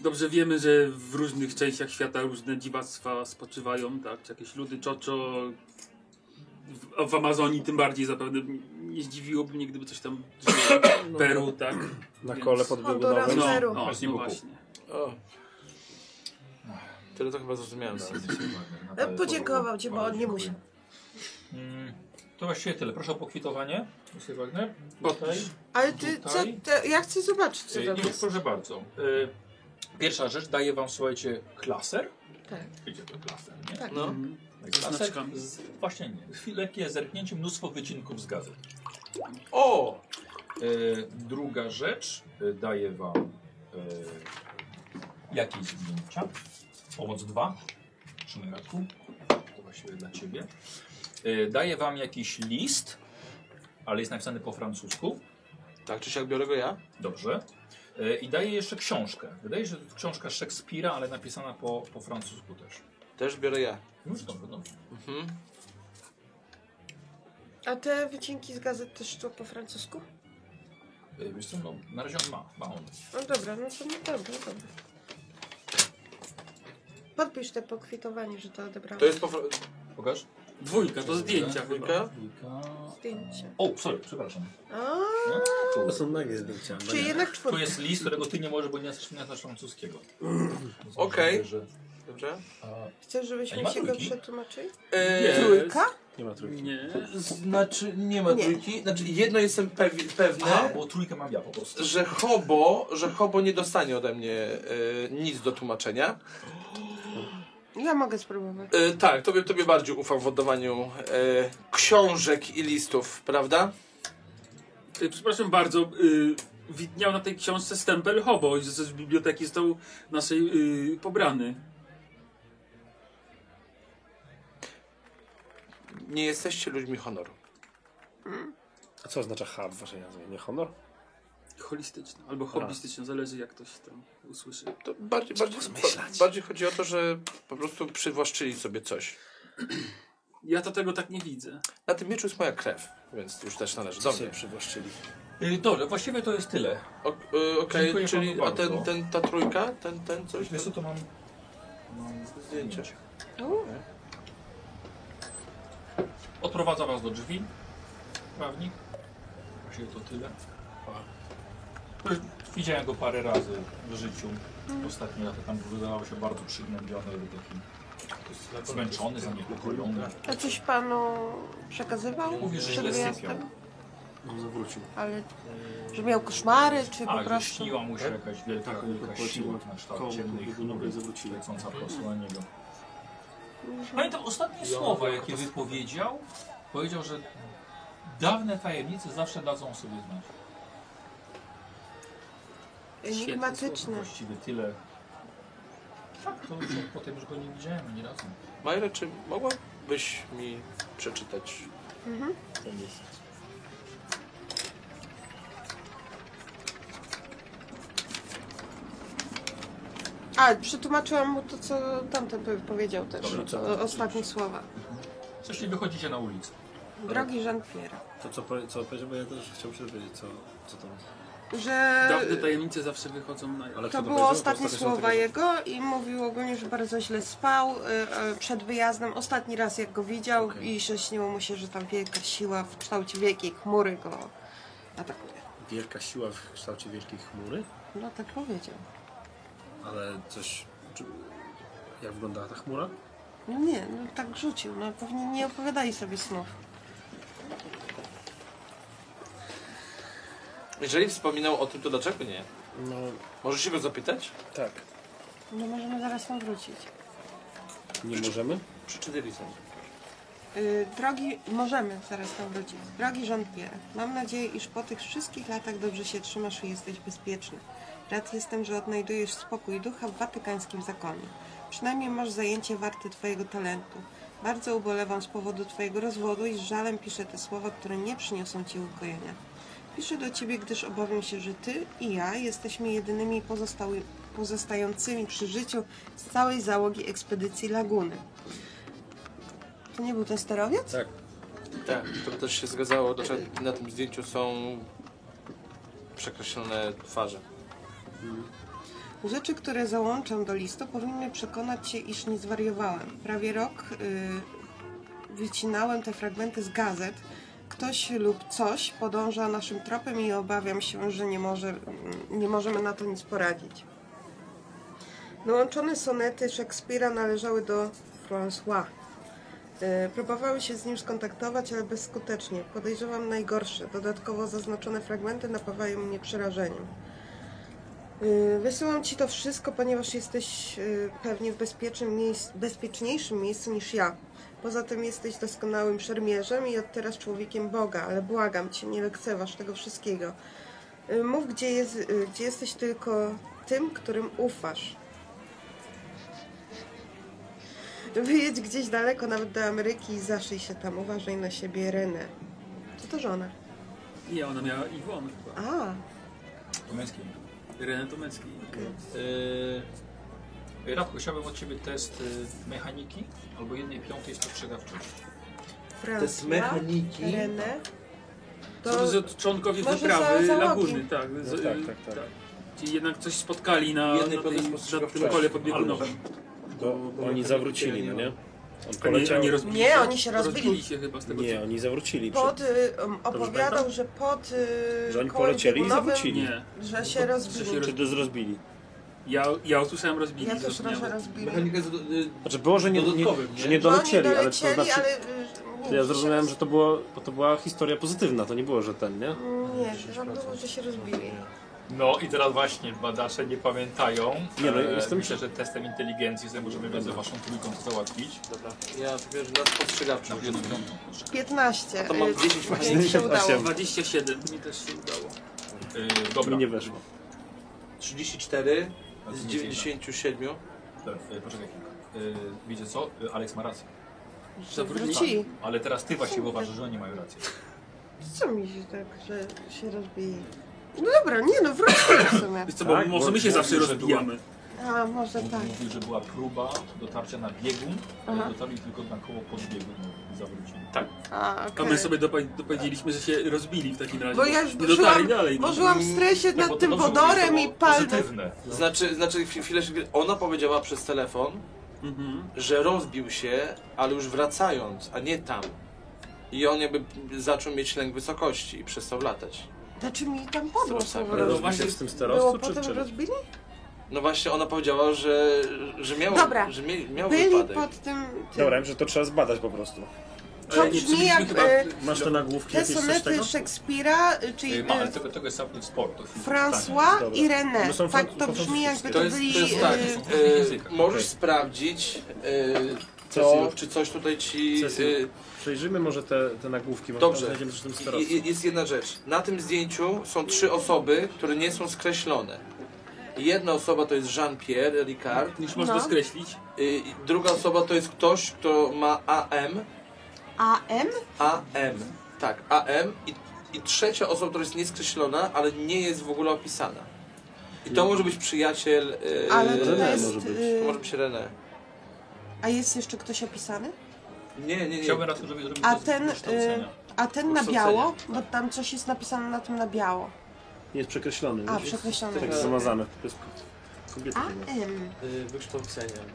Dobrze wiemy, że w różnych częściach świata różne dziwactwa spoczywają, tak? Czy jakieś ludy czoczo. W, w Amazonii tym bardziej zapewne nie zdziwiłoby mnie, gdyby coś tam żyło. Peru, tak? Na Więc- kole Honduras. podbiegunowym. No, Peru. no, Właśnie no Bogu. właśnie. O. Tyle to chyba zrozumiałem nawet. E, podziękował ci, bo Bardzo on nie dziękuję. musi. Mm, to właściwie tyle. Proszę o pokwitowanie. Mr. Wagner. Tutaj. Podpisz. Ale ty, co, Tutaj? te, ja chcę zobaczyć, co Y, tam I jest. proszę bardzo. y, Pierwsza rzecz, daję wam, słuchajcie, klaser. Tak. Wiecie, to klaser, nie? Tak. No. Mhm. Klaser znaczkami. z, właśnie nie. Chwilekkie zerknięcie, mnóstwo wycinków z gazet. O! Y, druga rzecz, y, daję wam y, jakieś zdjęcia. Pomoc 2. Trzymaj Radku. To właściwie dla ciebie. Y, daję wam jakiś list, ale jest napisany po francusku. Tak czy siak biorę go ja? Dobrze. E, I daje jeszcze książkę. Wydaje się, że to jest książka Szekspira, ale napisana po, po francusku też. Też biorę ja. No dobrze, dobrze. Mhm. A te wycinki z gazet też tu po francusku? E, Wiesz co, no, na razie on ma. ma on. No dobra, no to no dobra, dobra. Podpisz te pokwitowanie, że to odebrałeś. To jest po fr- Pokaż. Dwójka, to zdjęcia chyba. dwójka. Dwójka. Zdjęcie. O, sorry, przepraszam. A, Tu, To są nagie zdjęcia. czy jednak tu czwórka? jest list, którego ty nie możesz, bo nie znasz, nie znasz francuskiego. Okej. Możliwe, że- Dobrze. a, Chcesz, A żebyśmy nie ma się go trójki? przetłumaczyli? Eee, Jest. Trójka? Nie ma trójki. Nie. Znaczy, nie ma Nie. trójki. Znaczy, jedno jestem pewi- Aha, pewne, bo trójkę mam ja po prostu. że Hobo, że Hobo nie dostanie ode mnie e, nic do tłumaczenia. Ja mogę spróbować. E, tak, tobie, tobie bardziej ufam w oddawaniu e, książek i listów, prawda? Y, Przepraszam bardzo, y, widniał na tej książce stempel Hobo i z, z biblioteki został naszej y, pobrany. Nie jesteście ludźmi honoru. A co oznacza H w waszej nazwie? Nie honor? Holistyczny albo hobbystyczny, zależy jak ktoś tam usłyszy. To bardziej, bardziej, bardziej chodzi o to, że po prostu przywłaszczyli sobie coś. Ja to tego tak nie widzę. Na tym mieczu jest moja krew, więc już też należy do mnie. przywłaszczyli. Y, Dobrze, właściwie to jest tyle. O- y, Okej, Dziękuję czyli panu a ten, bardzo. ten, ta trójka, ten, ten coś? Wiesz co, to mam... Zdjęcie. Odprowadza was do drzwi. Prawnik. Właściwie to tyle. Pa. Już Widziałem go parę razy w życiu. Ostatnio lata tam wydawał się bardzo przygnębiony, taki zmęczony, zaniepokojony. A coś panu przekazywał? Mówi, że przed źle sypiał. wyjazdem? On zawrócił. Ale że miał koszmary, czy po A, że prostu... śniła mu się jakaś wielka, Tak, wielka odpłaciła siła na kształt komu, ciemnych komu, chmur, zawróciła. lecąca prosto na niego. Pamiętam ostatnie słowa, jakie wypowiedział. Powiedział, że dawne tajemnice zawsze dadzą sobie znać. Enigmatyczny. Właściwie tyle. Tak, to już potem już go nie widziałem ani razu. Majra, czy mogłabyś mi przeczytać? A, przetłumaczyłam mu to, co tamten pe- powiedział też. Dobra, co o, ostatnie słowa. Coś nie wychodzicie na ulicę. Drogi Jean-Pierre, To co, powie- co powiedział, bo ja też chciałbym się dowiedzieć, co, co tam. że Dawne tajemnice zawsze wychodzą na jaw. Ale kto to powiedział? było ostatnie Ostatnio się słowa tego- jego i mówił ogólnie, że bardzo źle spał y, y, przed wyjazdem. Ostatni raz jak go widział i że śniło mu się, że tam wielka siła w kształcie wielkiej chmury go atakuje. Wielka siła w kształcie wielkiej chmury, No tak powiedział. ale coś... Czy, jak wyglądała ta chmura? No nie, no tak rzucił. No pewnie nie opowiadali sobie snów. Jeżeli wspominał o tym, to dlaczego nie? No, Możesz się go zapytać? tak. No możemy zaraz tam wrócić. Nie możemy? Przyczyny są. Y, Drogi, możemy zaraz tam wrócić. Drogi Jean-Pierre, mam nadzieję, iż po tych wszystkich latach dobrze się trzymasz i jesteś bezpieczny. Rad jestem, że odnajdujesz spokój ducha w watykańskim zakonie. Przynajmniej masz zajęcie warte twojego talentu. Bardzo ubolewam z powodu twojego rozwodu i z żalem piszę te słowa, które nie przyniosą ci ukojenia. Piszę do ciebie, gdyż obawiam się, że ty i ja jesteśmy jedynymi pozostały, pozostającymi przy życiu z całej załogi ekspedycji Laguny. To nie był ten sterowiec? Tak, to by też się zgadzało. Dlaczego na tym zdjęciu są przekreślone twarze? Rzeczy, które załączam do listu, powinny przekonać się, iż nie zwariowałem. Prawie rok y, wycinałem te fragmenty z gazet. Ktoś lub coś podąża naszym tropem i obawiam się, że nie, może, mm, nie możemy na to nic poradzić. Dołączone sonety Szekspira należały do François. E, Próbowały się z nim skontaktować, ale bezskutecznie. Podejrzewam najgorsze. Dodatkowo zaznaczone fragmenty napawają mnie przerażeniem. Y, Wysyłam ci to wszystko, ponieważ jesteś y, pewnie w bezpiecznym miejsc, bezpieczniejszym miejscu niż ja. Poza tym jesteś doskonałym szermierzem i od teraz człowiekiem Boga, ale błagam cię, nie lekceważ tego wszystkiego. Y, Mów, gdzie, jest, y, gdzie jesteś tylko tym, którym ufasz. Wyjedź gdzieś daleko, nawet do Ameryki i zaszyj się tam. Uważaj na siebie, Renę. Co to żona? Nie, ona miała Iwon chyba. A, To męskie. Renę Tomecki. Yy, Radku, chciałbym od Ciebie test y, mechaniki albo jednej piątej spostrzegawczości. Francja, mechaniki. Renę. To, to, że to członkowie może wyprawy za załogi. Laguny, tak. z- No tak, tak, tak. Czyli jednak coś spotkali na, Jednej na, podróż tej, na tym spostrzegawczości. kole podbiegunowym. Bo, No, oni zawrócili, no nie? On A nie, a poleciał. nie, Nie, rozbili Nie, się? oni się rozbili. Rozbili się chyba z tego co- oni zawrócili. Pod, y, um, opowiadał, pamiętam? że pod y, Że oni kołem polecieli i biegunowym, zawrócili. Nie. Że Że się się rozbili. roz- Czy to zrozbili? Ja, ja usłyszałem rozbili. Ja też zrozumiałem. trochę rozbili. Mechanika jest... y, Znaczy było, że nie, nie, Dodatkowym, nie? że nie Że No, oni dolecieli, ale to dolecieli, znaczy... ale, y, To ja zrozumiałem, że to, było, bo to była historia pozytywna, to nie było, że ten, nie? Nie, że, że, że się rozbili. No i teraz właśnie badacze nie pamiętają. Nie, no, E, jestem- Myślę, że testem inteligencji sobie możemy między waszą trójką to załatwić. Ja wiesz, na spostrzegawczym. Jedną piątą. 15. to mam y, 10 mi się udało. 27, mi też się udało. E, Dobra. Mi nie weszło. 34 z Bardzo nie 97. Dobra, e, Poczekaj chwilkę. E, Wiecie co? E, Aleks ma rację. Wróci. Ale teraz ty właśnie uważasz, że oni mają rację. Co mi się tak, że się rozbije? No dobra, nie no, wróćmy w sumie. Wiesz co, bo Tak, może my bo- się bo- zawsze że rozbijamy. A, może tak. Mówił, że była próba dotarcia na biegun, Aha. ale dotarli tylko na koło podbiegun i zawrócili. Tak, A, A okej. my sobie dopa- dopowiedzieliśmy, że się rozbili w takim razie. Bo ja już nie dotarli żyłam- dalej. no. Bo żyłam w Tak, stresie bo nad to tym dobrze wodorem mówię, i to było palcem. Pozytywne. Znaczy, znaczy chwi- chwileczkę, ona powiedziała przez telefon, Mhm. że rozbił się, ale już wracając, a nie tam. I on jakby zaczął mieć lęk wysokości i przestał latać. Znaczy mi tam podło słowo Ale No rozbić. właśnie z tym Było sterowcu, czy, potem czy... rozbili? No właśnie ona powiedziała, że, że miał, Dobra. że mie, miał Byli wypadek. pod tym... tym. Dobra, że to trzeba zbadać po prostu. To Ale nie brzmi przebiliśmy jak chyba- e, Masz to na główki te jakieś coś tego? E, sonety Szekspira, y, czyli Y, Ma, ale y, tego, tego jest Sapnik Sport. to chwilę François Dobra. i No René. są Tak fran- to po brzmi jakby francusku. to To jest, byli... to jest tak, y, są e, języka. możesz Okej. sprawdzić e, to, Cecil. czy coś tutaj ci... Cecil. E, Przejrzyjmy może te, te nagłówki, może Dobrze. tam znajdziemy coś w tym je- sterowcu. je- jest jedna rzecz. Na tym zdjęciu są trzy osoby, które nie są skreślone. Jedna osoba to jest Jean-Pierre Ricard, Już można No. skreślić. y, druga osoba to jest ktoś, kto ma AM, AM? AM, tak, AM i, i trzecia osoba, która jest nieskreślona, ale nie jest w ogóle opisana. I to może być przyjaciel, y, Ale René to jest... może być. y, to może być René. A jest jeszcze ktoś opisany? Nie, nie, nie. Chciałbym raz, żeby zrobić A test ten, y, kształcenia. A ten na Ukształcenie. biało? Bo tam coś jest napisane na tym na biało. Jest przekreślony. A, wiesz? przekreślone. Tak zamazane. To jest kobieta. nie? AM. Y, wykształceniem.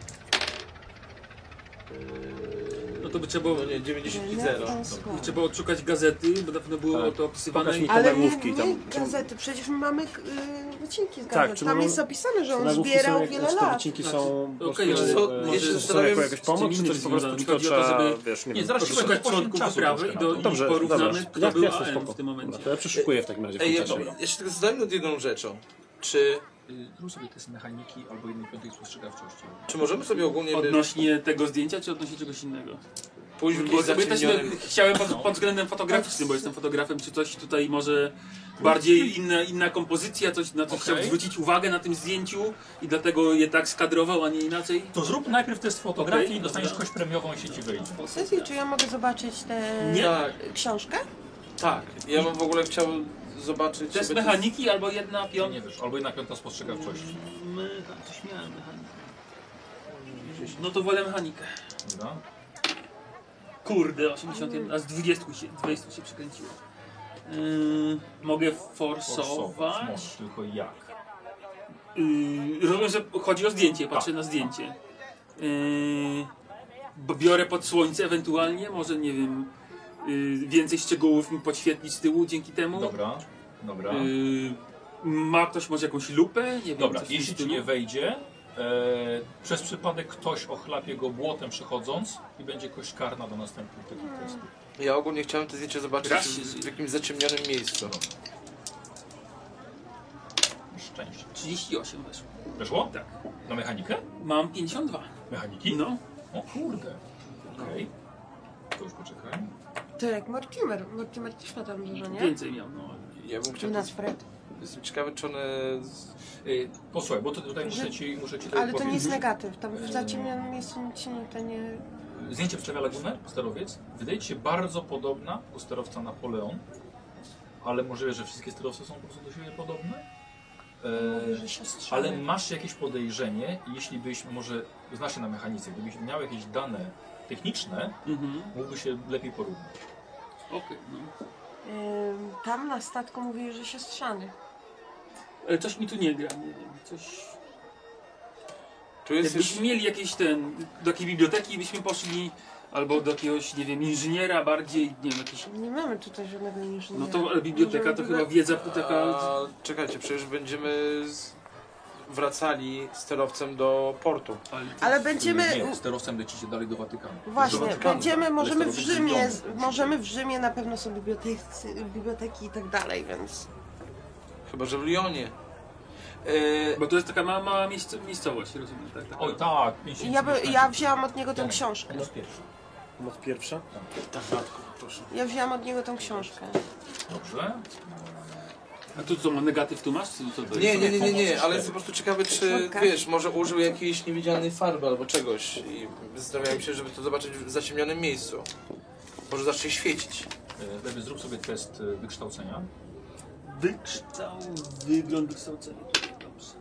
Y, No to by trzeba było, no nie, 90 i René 0. François. trzeba było odszukać gazety, bo na pewno było Tak. to Pokaż opisywane. mi I... to. Ale nie, nagłówki nie tam- gazety, przecież my mamy y, wycinki z Tak, gazet. czy tam mamy- jest opisane, że on Nagłówki zbierał jak- wiele czy te lat. wycinki Znaczy, są po okej, prostu, ale e, co- ja się czy są zastanawiam, jako jakaś z pomoc, tymi czy to jest po prostu związane. tylko Chodzi o to, trzeba, żeby- wiesz, nie, Nie, wiem, zaraz poszukać. szukać Poszukać członków wyprawy i, do, i No Dobrze, porównamy, dobra. kto Ja- był jasne, AM spoko. w tym Dobra, momencie. to ja przeszukuję w takim razie. Ej, ja, chociaż. ja się tylko zastanawiam nad jedną rzeczą. Czy, Y, Zrób sobie test mechaniki albo jednej piątej spostrzegawczości. czy możemy sobie ogólnie by- Odnośnie tego zdjęcia, czy odnośnie czegoś innego? pójść w Bo jakieś ja też zaciemnione... bym- chciałem No. pod, pod względem fotograficznym, bo jestem fotografem, czy coś tutaj może bardziej inna, inna kompozycja, coś na co Okej. chciał zwrócić uwagę na tym zdjęciu i dlatego je tak skadrował, a nie inaczej. To zrób najpierw test fotografii Okej. i dostaniesz kość premiową i się ci wyjdzie. Cecil, czy ja mogę zobaczyć tę Nie. Tak, książkę? tak. Ja bym w ogóle chciał zobaczyć... To jest sobie mechaniki albo jedna Ja piąta. No nie wiesz, albo jedna piąta spostrzegawczości. My, tak, coś miałem mechanikę. No to wolę mechanikę. Dobra? Kurde, 81, a z 20 się, 20 się przekręciło. Yy, mogę Możesz, forsować. tylko jak. Yy, rozumiem, że chodzi o zdjęcie, patrzę Tak. na zdjęcie. Yy, b- biorę pod słońce ewentualnie, może nie wiem, yy, więcej szczegółów mi podświetlić z tyłu dzięki No. temu. Dobra, E, dobra. Yy, ma ktoś może jakąś lupę? Nie wiem, Dobra, coś w tym jeśli ci stylu. nie wejdzie, e, przez przypadek ktoś ochlapie go błotem przechodząc i będzie kość karna do następnych takich Hmm. testów. Ja ogólnie chciałem to zdjęcie zobaczyć Raz się w, w zje- jakimś zaciemnionym miejscu. Szczęście. 38 weszło. Weszło? Tak. Na mechanikę? Mam 52. Mechaniki? No. O kurde. Okej. To już poczekaj. To jak Mortimer. Mortimer też ma tam dużo, nie? Więcej miał, no. Ja bym Czy chciał... nas Fred? Jestem ciekawy, czy one... z- Y, Posłuchaj, bo to- tutaj Że- muszę ci, muszę ci Ale to nie jest Mhm. powiedzieć. negatyw. Tam w zaciemnionym miejscu nic się nie... To nie... Zdjęcie przedstawia lagunę, sterowiec. Wydaje ci się bardzo podobna do sterowca Napoleon, ale możliwe, że wszystkie sterowce są po prostu do siebie podobne. Mówi, E, że się strzela. ale masz jakieś podejrzenie, i jeśli byś może, znasz się na mechanice, gdybyś miał jakieś dane techniczne, Mhm. mógłby się lepiej porównać. Okej, no. Ym, Tam na statku mówili, że się strzany. Ale coś mi tu nie gra, nie wiem, coś... Tu jest Jakbyśmy jeszcze... mieli jakiś ten, do takiej biblioteki byśmy poszli, albo do jakiegoś, nie wiem, inżyniera bardziej, nie wiem, jakiś... Nie mamy tutaj żadnego inżyniera. No to ale biblioteka to chyba wiedza taka... A, czekajcie, przecież będziemy z... wracali sterowcem do portu. Ale będziemy... Nie, sterowcem lecicie dalej do Watykanu. Właśnie, Watykanu. będziemy, możemy w Restauracji Rzymie, Rzymie. możemy w Rzymie na pewno są biblioteki, biblioteki i tak dalej, więc Chyba, że w Lyonie. E, Bo to jest taka mała, mała miejsc- miejscowość, rozumiem, tak? Taka... Oj, tak, miesięcy, Ja, by, ja wzięłam od niego tę książkę. Jest pierwszy. Moc pierwsza? Ja wzięłam od niego tę książkę. Dobrze. A tu co, ma negatyw tu masz? Czy co to nie, jest? nie, nie, nie, nie, ale jestem po prostu ciekawy, czy Słodka. wiesz, może użył jakiejś niewidzialnej farby albo czegoś i zastanawiałem się, żeby to zobaczyć w zaciemnionym miejscu. Może zacznie świecić. E, Lewy, zrób sobie test e, wykształcenia. Wykształ... Wygląd wykształcenia. Dobrze.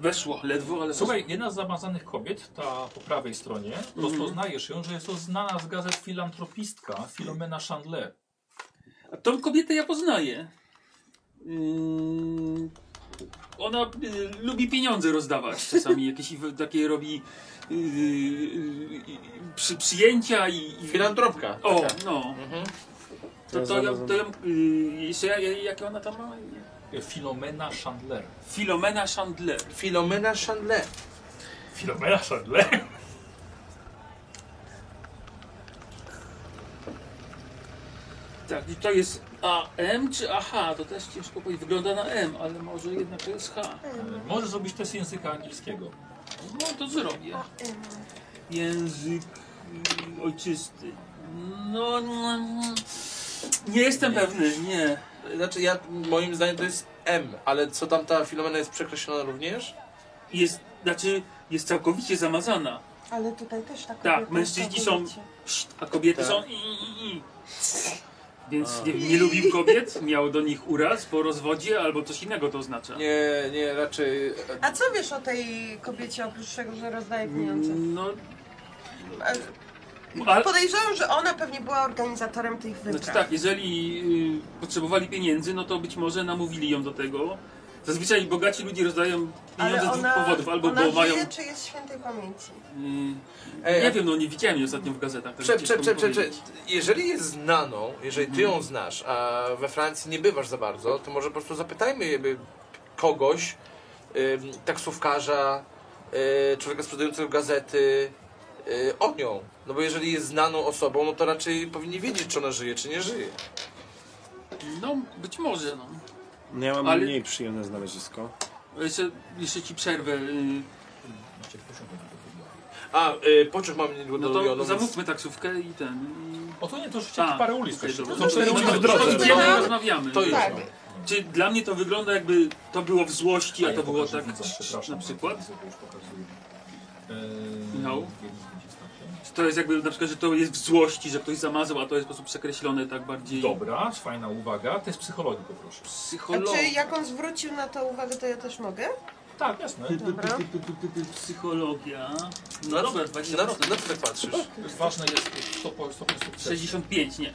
Weszło, ledwo, ale... Słuchaj, jedna z zamazanych kobiet, ta po prawej stronie, rozpoznajesz ją, że jest to znana z gazet filantropistka Filomena Chandler. A tą kobietę ja poznaję. Ym, Ona y, lubi pieniądze rozdawać czasami, jakieś i- takie robi y, y, y, przy, przyjęcia i... i Filantropka. O, no. To, to, ja, Teraz to ja, y, jeszcze ja, ja, jakie ona tam ma? E, Filomena Chandler. Filomena Chandler. Filomena Chandler. Filomena Chandler? Tak, i to jest AM czy AH? To też ciężko powiedzieć. Wygląda na M, ale może jednak to jest H. E, Możesz zrobić test języka angielskiego. No to zrobię. Język y, ojczysty. No, no, no. nie jestem pewny, nie. Znaczy ja, moim zdaniem to jest M, ale co tam ta Filomena jest przekreślona również? Jest, znaczy, jest całkowicie zamazana, Ale tutaj też tak. Tak, kobiety mężczyźni są- całkowicie. a kobiety Tak. są i, i, i. Więc nie, wiem, nie lubił kobiet, miał do nich uraz po rozwodzie albo coś innego to oznacza. Nie, nie, raczej... e, A co wiesz o tej kobiecie oprócz tego, że rozdaje pieniądze? No, Ale... ale, Podejrzewam, że ona pewnie była organizatorem tych wypraw. Znaczy tak, jeżeli y, potrzebowali pieniędzy, no to być może namówili ją do tego. Zazwyczaj bogaci ludzie rozdają pieniądze Ale z dwóch ona, powodów, albo ona bo żyje, mają. czy jest świętej pamięci? Mm, Ej, nie wiem, no nie widziałem jej ostatnio w gazetach. tak także Prze, prze, ciężko prze, mi prze, prze, powiedzieć. jeżeli jest znaną, jeżeli ty ją znasz, a we Francji nie bywasz za bardzo, to może po prostu zapytajmy jakby kogoś, ym, taksówkarza, y, człowieka sprzedającego gazety, y, o nią. No bo jeżeli jest znaną osobą, no to raczej powinni wiedzieć, czy ona żyje, czy nie żyje. No, być może, no. No ja mam Ale- mniej przyjemne znalezisko. Jeszcze, jeszcze ci przerwę. y, Macie pociągu do tego. A, y, pociąg mam niedługo No do to Lyonu, więc... zamówmy taksówkę i ten. O to nie, to rzućcie A, parę ulic. okej, jeszcze, bo dobra. Są cztery No, ulice to- w to drodze. idziemy i No, rozmawiamy. To już Tak. mam. Czy dla mnie to wygląda jakby to było w złości, a ja to było pokażę tak widzom, przepraszam, na przykład? widzę, bo już pokazuję. Eee, Michał? więc będzie starcie. Czy to jest jakby na przykład, że to jest w złości, że ktoś zamazał, a to jest w sposób przekreślony tak bardziej Dobra, fajna uwaga. To jest psychologii poproszę. A psycholog... czy jak on zwrócił na to uwagę, to ja też mogę? Tak, jasne. Py, py, py, Znaczy, Dobra. py, py, py, py, Psychologia... Na No co- dobra, na, 20 co- na co tak patrzysz? Ważne jest to po stopień sukcesu. 65, nie.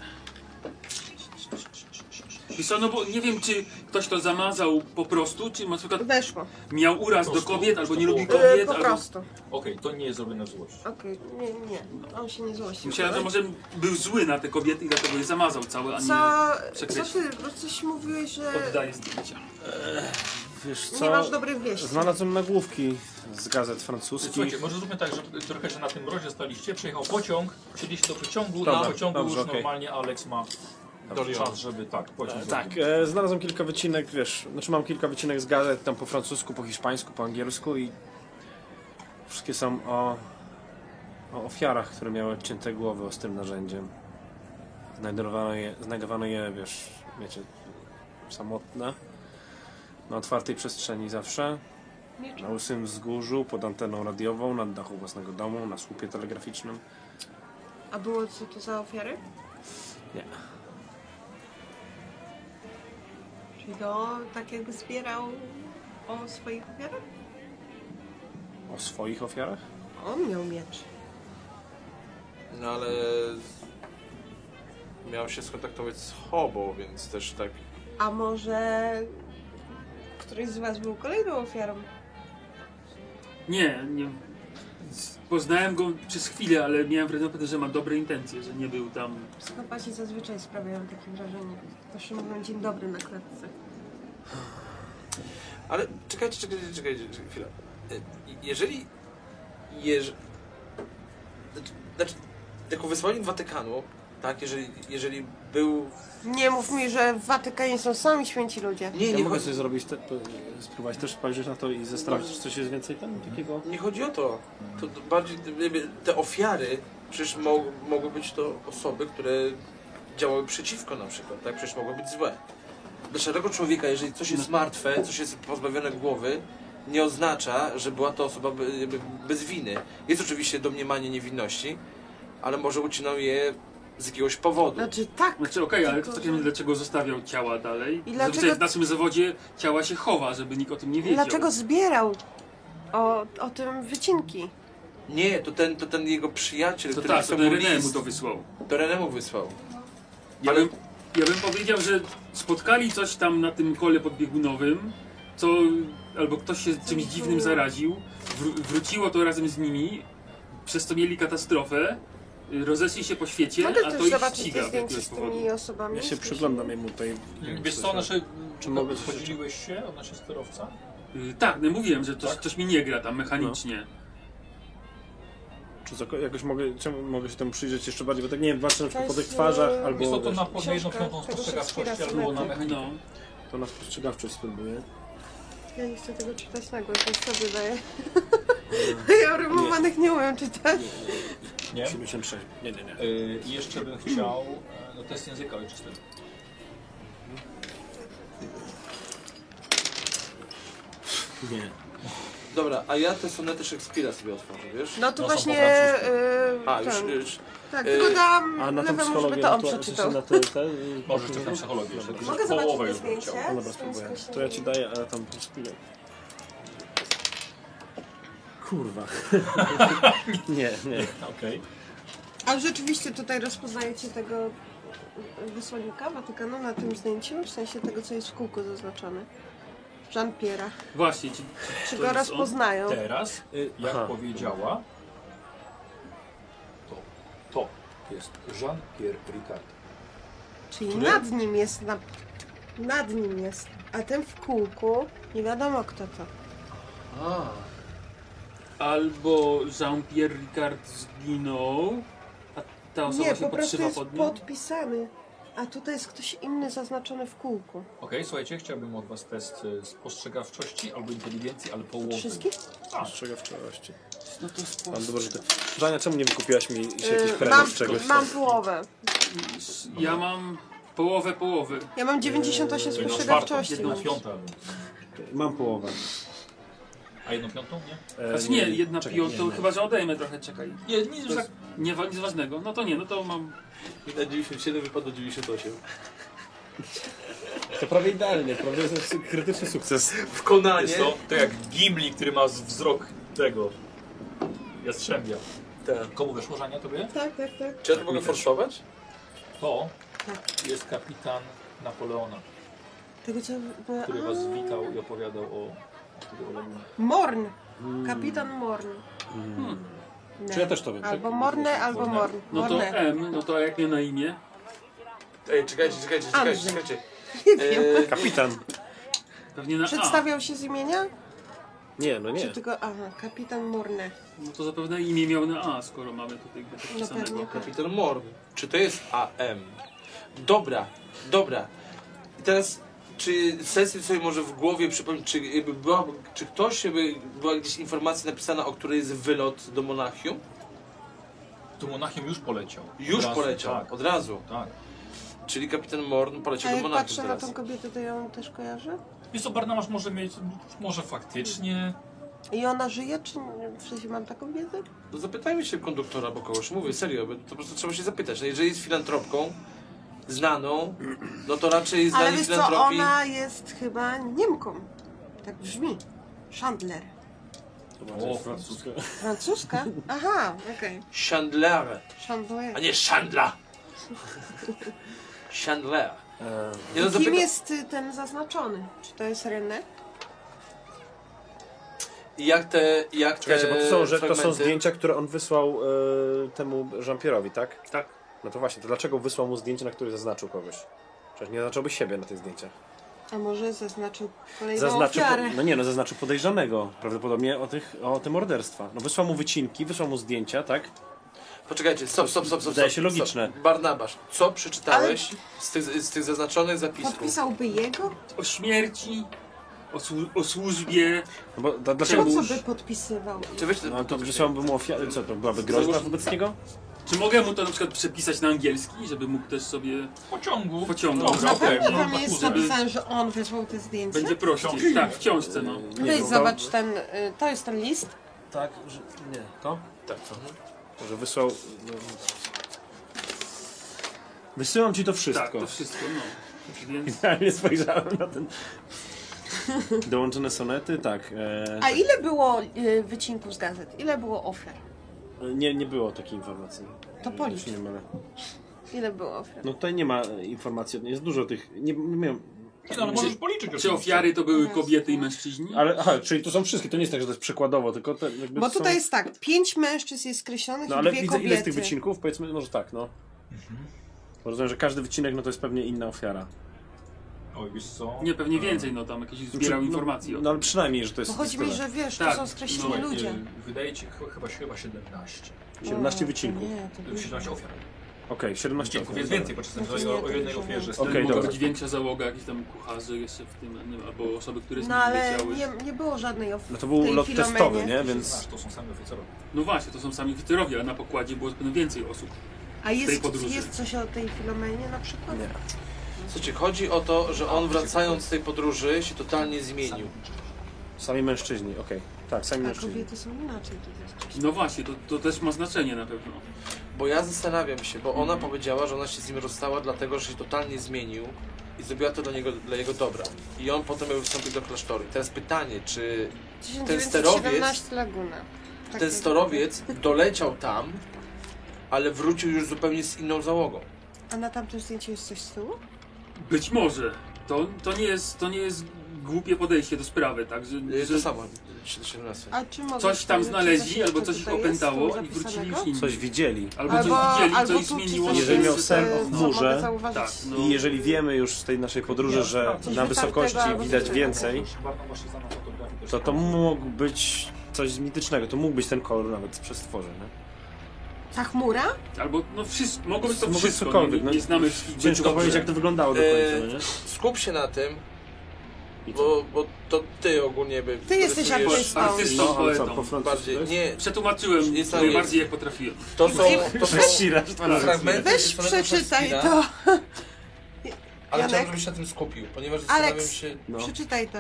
Wiesz co, no bo nie wiem, czy ktoś to zamazał po prostu, czy na przykład Weszło. miał uraz Po do prostu, kobiet, albo nie to lubi było- E, kobiet, po albo... prostu. Okej, to nie jest zrobione w złości. Okej, nie, nie. On się nie złościł. Myślałem, że tak? może był zły na te kobiety i dlatego je zamazał całe, a nie Co, co przekreślił. ty, bo coś mówiłeś, że oddaje zdjęcia. Wiesz nie masz co? dobrych wieści. Znalazłem nagłówki z gazet Słuchajcie, francuskich. może zróbmy tak, że trochę, że na tym mrozie staliście, przejechał pociąg, przyjdziecie do pociągu, na Dobra, pociągu dobrze, już okej. normalnie Alex ma czas, żeby tak, pociąg Tak, zrobił. e, znalazłem kilka wycinek, wiesz, znaczy mam kilka wycinek z gazet tam po francusku, po hiszpańsku, po angielsku i wszystkie są o, o ofiarach, które miały odcięte głowy ostrym narzędziem. Znajdowano je, znajdowano je, wiesz, wiecie, samotne, na otwartej przestrzeni zawsze, na łysym wzgórzu, pod anteną radiową, na dachu własnego domu, na słupie telegraficznym. A było co to za ofiary? Nie. Czyli to tak jakby zbierał o swoich ofiarach? O swoich ofiarach? On miał miecz. No ale... Miał się skontaktować z Hobo, więc też tak... A może któryś z was był kolejną ofiarą? Nie, nie. Z- Poznałem go przez chwilę, ale miałem wrażenie, że ma dobre intencje, że nie był tam. Psychopaci zazwyczaj sprawiają takie wrażenie. Zawsze mówią dzień dobry na klatce. Ale czekajcie, czekajcie, czekajcie, czekajcie chwilę. Y, Jeżeli. Jeż... Znaczy, znaczy, jako wysłannik Watykanu tak? Jeżeli, jeżeli był... Nie mów mi, że w Watykanie są sami święci ludzie. Nie, Ja nie, mogę chodzi, coś zrobić, te, pe- spróbować też spojrzeć na to i zastanowić, czy coś jest więcej tam takiego. nie chodzi o to. To d- bardziej gdyby te ofiary, przecież mo, mogły być to osoby, które działały przeciwko na przykład, tak? Przecież mogły być złe. Dla szarego człowieka, jeżeli coś jest No. martwe, coś jest pozbawione głowy, nie oznacza, że była to osoba be- jakby bez winy. Jest oczywiście domniemanie niewinności, ale może ucinał je z jakiegoś powodu. Znaczy tak. Znaczy okej, ale tylko to takim dlaczego zostawiał ciała dalej? I Że- dlaczego- Że w naszym zawodzie ciała się chowa, żeby nikt o tym nie wiedział. Dlaczego zbierał o, o tym wycinki? Nie, to ten, to ten jego przyjaciel, To który tak, to pisał mu René mu list, to wysłał. to Renemu wysłał. Ja, Ale- bym, ja bym powiedział, że spotkali coś tam na tym kole podbiegunowym, co albo ktoś się czymś dziwnym zaraził, wró- wróciło to razem z nimi, przez co mieli katastrofę, y, rozeszli się po świecie, Mogę a też to ich zobaczyć ściga te z zdjęcia jakiegoś z powodu. tymi osobami? Ja się Jesteś- przyglądam jemu tutaj. Wiesz co, nasze, Czy mogę coś podzieliłeś się od naszej sterowca? Y, Tak, no mówiłem, że coś, Tak? coś mi nie gra tam mechanicznie. Czy zako- jakoś mogę, czemu mogę się temu przyjrzeć jeszcze bardziej, bo tak nie wiem, patrzę na przykład po To tych jest, twarzach e, albo Jest to, to wiesz, na podwójną książka piątą tego spostrzegawczości Szekspira albo na Symetry. mechanikę. No. to na spostrzegawczość spróbuję. Ja nie chcę tego czytać tak, na głos, więc sobie daję. ja rymowanych Mm. nie umiem czytać. Nie? 76. Nie, nie, nie. Y, I jeszcze bym chciał... y, No test języka ojczystego. Nie. Dobra, a ja te sonety Szekspira sobie otworzę, wiesz? No to No są właśnie... po Yy, A, już, już. Tak, tylko dam A na tą lewemu, żeby no psychologię no to on ewentualnie- przeczytał. na te, te, Możesz też na psychologię jeszcze. Dobra. Mogę Połowę zobaczyć już to bym chciał. zdjęcie? No dobra, spróbuję. To ja ci daję, ale tam spróbuję. Kurwa. nie, nie. Okej. A rzeczywiście tutaj rozpoznajecie tego wysłannika Watykanu na tym zdjęciu, w sensie tego, co jest w kółku zaznaczone. Jean Pierre'a. Właśnie, ci, Czy To go jest rozpoznają? Teraz, y, jak Aha. powiedziała, to, to jest Jean-Pierre Ricard. Czyli Który? nad nim jest, na... nad nim jest. A ten w kółku, nie wiadomo kto to. A, albo Jean-Pierre Ricard zginął, a ta osoba się Nie, po prostu podszywa jest pod nim. podpisany. A tutaj jest ktoś inny zaznaczony w kółku. Okej, słuchajcie, chciałbym od was test y, spostrzegawczości albo inteligencji, ale połowy. Wszystkich? Tak. Spostrzegawczości. No to spo... Mam dobrze, że ty... Żania, czemu nie wykupiłaś mi się jakichś Yy, premiów mam, z czegoś? mam połowę. Ja mam połowę połowy. Ja mam 98 Jedną no czwartą, spostrzegawczości. jedną mam. piątą. Mam połowę. A jedną piątą, nie? E, Znaczy nie, jedna czekaj, piąta, nie, nie. chyba że odejmę trochę, czekaj. Nie, nic już tak. Nie, wa- nic ważnego. No to nie, no to mam... na 97 wypadło 98. To prawie idealnie, prawie jest krytyczny sukces. W Konanie. Jest to, to jak Gimli, który ma z- wzrok tego jastrzębia. Tak. Komu weszło, Żania, tobie? Tak, tak, tak. Czy ja to mogę forsować? To jest kapitan Napoleona, Tego co... który was witał i opowiadał o... o tym Orleniu. Morn. Kapitan Morn. Nie. Czy ja też to wiem? Albo Morne, albo Morne. Morn. No to Morne. M, no to a jak nie na imię? Ej, czekajcie, czekajcie, czekajcie, Andrzej. czekajcie. Nie wiem. E, Kapitan. Pewnie na A. Przedstawiał się z imienia? Nie, no Czy nie. tylko... Aha, kapitan Morne. No to zapewne imię miał na A, skoro mamy tutaj go No podpisanego. pewnie. Kapitan Morn. Czy to jest AM? Dobra, dobra. I teraz, czy sesję sobie może w głowie przypomnieć, czy, jakby była, czy ktoś, jakby była gdzieś informacja napisana, o której jest wylot do Monachium? Tu Monachium już poleciał. Już Od razu, poleciał, Tak, od razu. tak. Czyli kapitan Morn A poleciał do jak Monachium patrzę na teraz. tą kobietę, to ją też kojarzę? Wiesz co, Barnamasz może mieć, może faktycznie... I ona żyje, czy nie? w sensie mam taką wiedzę? No zapytajmy się konduktora albo kogoś. Mówię, serio, bo to po prostu trzeba się zapytać. No jeżeli jest filantropką, znaną, no to raczej Ale znani wiesz co, filantropii... ona jest chyba Niemką. Tak brzmi. Chandler. O, francuska. Francuska? Aha, okej. Chandler, a Chandler. nie Chandla! Chandler. Nie, no Kim zapyta... jest y, ten zaznaczony? Czy to jest René? I Jak te... Jak Czekajcie, te bo to są, że to są fragmenty- zdjęcia, które on wysłał e, temu Jean-Pierre'owi, tak? Tak. No to właśnie, to dlaczego wysłał mu zdjęcie, na które zaznaczył kogoś? Przecież nie zaznaczyłby siebie na tych zdjęciach. A może zaznaczył kolejną Zaznaczył, po- ofiarę? no nie no, zaznaczył podejrzanego prawdopodobnie o, tych, o tym morderstwa. No wysłał mu wycinki, wysłał mu zdjęcia, tak? Poczekajcie, stop, stop, stop, stop. Wydaje stop, się logiczne. Stop. Barnabasz, co przeczytałeś z, tych, z tych zaznaczonych zapisków? Podpisałby jego? O śmierci, o, słu- o służbie. No bo, dla- Po dlaczego? co by podpisywał? Czy weź No ale to wysłałbym mu ofiarę. Co to byłaby groźba wobec niego? Czy mogę mu to na przykład przepisać na angielski, żeby mógł też sobie W pociągu. w pociągu? Dobra, Na okej, pewno no, tam tak jest może być. napisane, że on wysłał te zdjęcia. Będzie prościej. Tak, w książce, no. Weź zobacz ten, y, to jest ten list. Tak, że nie. To? Tak, to. Że wysłał. No. Wysyłam ci to Tak, wszystko. to wszystko, no. Więc Idealnie spojrzałem na ten. Dołączone sonety, tak. E, A ile było y, wycinków z gazet? Ile było ofiar? nie, nie było takiej informacji. To policz. Już nie ma. Ile było ofiar? No tutaj nie ma e, informacji, jest dużo tych. Nie, nie wiem. Nie, no, ale możesz policzyć Czy oczywiście. ofiary to były kobiety i mężczyźni? Ale, aha, czyli to są wszystkie, to nie jest tak, że to jest przykładowo, tylko te. Jakby Bo są... tutaj jest tak, pięć mężczyzn jest skreślonych No i ale dwie widzę kobiety. ile z tych wycinków, powiedzmy, może tak, no. Bo Rozumiem, że każdy wycinek no to jest pewnie inna ofiara. Oj, wiesz co? Nie, pewnie więcej, no tam jakieś zbierał no, informacji o No ale przynajmniej, że to jest. no Bo chodzi mi, tyle. że wiesz, Tak, to są skreśleni Słuchaj, ludzie. y, Wydaje ci ch- chyba, chyba 17. 17 wycinków. no, Nie, to Y, 17 ofiar. Okej, 17 Dziękuję, ofiar. jest więcej, bo czasem No to chodzi o, o nie, jednej to nie ofierze. Okej, Mogła no, dobra. być większa załoga, jakiś tam kucharzy jeszcze w tym, nie, wiem, albo osoby, które z No nim ale leciały. nie, nie było żadnej ofiary. No to był lot testowy, nie? Więc... Więc. To są sami oficerowie. No właśnie, to są sami oficerowie, ale na pokładzie było pewnie więcej osób. A tej jest, podróży. jest coś o tej Filomenie na przykład? Tak, Nie. Słuchajcie, chodzi o to, że on wracając z tej podróży się totalnie zmienił. Sami mężczyźni, okej. Tak, sami A mężczyźni. kobiety są inaczej tutaj skreślone. No właśnie, to, to też ma znaczenie na pewno. Bo ja zastanawiam się, bo ona powiedziała, że ona się z nim rozstała dlatego, że się totalnie zmienił i zrobiła to dla niego, dla jego dobra. I on potem miał wstąpić do klasztoru. I teraz pytanie, czy Ten sterowiec- 1917 Laguna. Tak ten to- storowiec doleciał tam, ale wrócił już zupełnie z inną załogą. A na tamtym zdjęciu jest coś z tyłu? Być może. To, to, nie, jest, to nie jest głupie podejście do sprawy, tak? Że, Y, To że samo, 17. A czy mogę coś tam sprawdzić, czy znaleźli, coś albo jeszcze coś ich tutaj jest z tym opętało i zapisanego? wrócili już inni. Coś widzieli. Albo, Albo- coś widzieli, albo co ich tu czy zmieniło. coś Jeżeli jest, miał sen y, o co chmurze, mogę zauważyć? no. Tak, no. I jeżeli wiemy już z tej naszej podróży, że Coś wytartego na wysokości albo widać coś więcej, Warto właśnie sama fotografii też. to to mógł być coś z mitycznego. To mógł być ten kolor nawet z przestworzy, nie? Ta chmura? Albo no wszystko, mogło być to Mogło być wszystko, cokolwiek, nie, no. nie znamy wszystkich. Ciężko dobrze. powiedzieć, jak to wyglądało do Eee, końca, no nie? Skup się na tym, I co? bo, bo to ty ogólnie by... Ty jesteś rysujesz- artystą. Artystą, No, ale co, poetą. po francusku Bardziej, to jest? nie, Przetłumaczyłem Jest to najbardziej jak potrafiłem. to są, to są Prześcierasz to na fragmenty Weź sonetu przeczytaj Szekspira, to. Ale Janek. chciałbym, żebyś się na tym skupił, ponieważ zastanawiam Aleks. się... No. Przeczytaj to.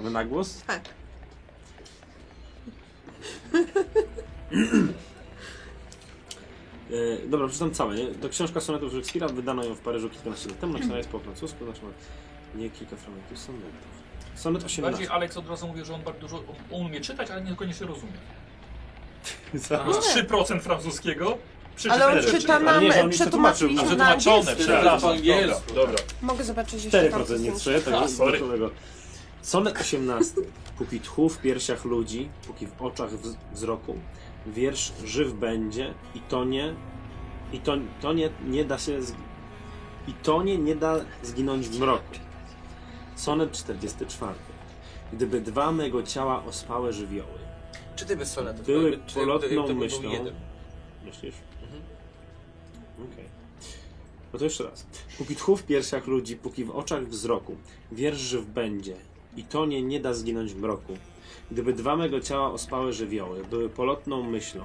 Ale Na głos? Tak. E, dobra, przeczytam całe. Nie? To książka sonetów Szekspira, wydano ją w Paryżu kilkanaście lat temu, napisana jest po francusku, znaczy ma nie kilka fragmentów sonetów. Sonet 18. Bardziej Aleks od razu mówi, że on bardzo dużo on, on umie czytać, ale niekoniecznie rozumie. Co? Masz 3% francuskiego. No Ale on Cztery, czyta cztery. Ale nam, nie, że on mi przetłumaczyliśmy przetłumaczył. Wytłumaczone, na angielski. przepraszam. po angielsku. Dobra, dobra. Mogę zobaczyć jeszcze 4% nie tam, co trzyje, tak A, jest sorry. gotowe. Sonet 18. Póki tchu w piersiach ludzi, póki w oczach wz- wzroku, wiersz żyw będzie i to nie, i to, to nie, nie da się, z- i to nie, nie da zginąć w mroku. Sonet 44. Gdyby dwa mego ciała ospałe żywioły, Czy ty bez sonetu? były Czy- czy- to polotną był myślą. jeden? Mhm. Myślisz? Okej. No to jeszcze raz. Póki tchu w piersiach ludzi, póki w oczach wzroku, wiersz żyw będzie i to nie, nie da zginąć w mroku. Gdyby dwa mego ciała ospałe żywioły były polotną myślą,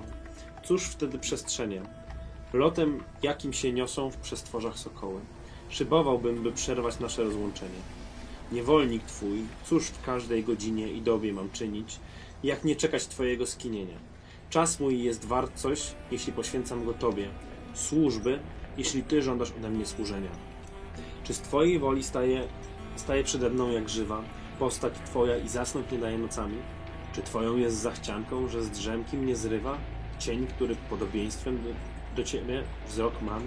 cóż wtedy przestrzenie? Lotem, jakim się niosą w przestworzach sokoły. Szybowałbym, by przerwać nasze rozłączenie. Niewolnik twój, cóż w każdej godzinie i dobie mam czynić, jak nie czekać twojego skinienia. Czas mój jest wart coś, jeśli poświęcam go Tobie. Służby, jeśli Ty żądasz ode mnie służenia. Czy z Twojej woli staje, staje przede mną jak żywa postać Twoja i zasnąć nie daje nocami? Czy Twoją jest zachcianką, że z drzemki mnie zrywa cień, który podobieństwem do, do Ciebie wzrok mam?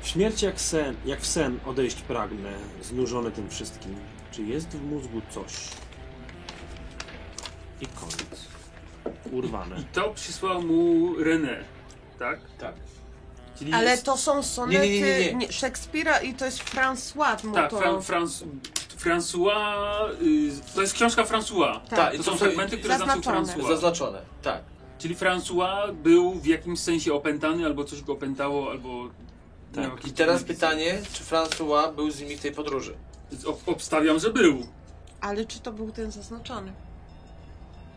W śmierci jak, sen, jak w sen odejść pragnę, znużony tym wszystkim. Czy jest w mózgu coś? I koniec. Urwane. I to przysłał mu René, tak? Tak. Czyli Ale jest, to są sonety Nie, nie, nie, nie, nie. Szekspira i to jest François tak, Motorola. Fran, Frans, François, y, to jest książka François. Tak, i To to są- są Tak. Tak. fragmenty, które zaznaczył zaznaczone. François. Zaznaczone, tak. Czyli François był w jakimś sensie opętany, albo coś go opętało, albo... miał Tak. jakieś- I teraz pytanie, czy François był z nimi w tej podróży? Ob- Obstawiam, że był. Ale czy to był ten zaznaczony?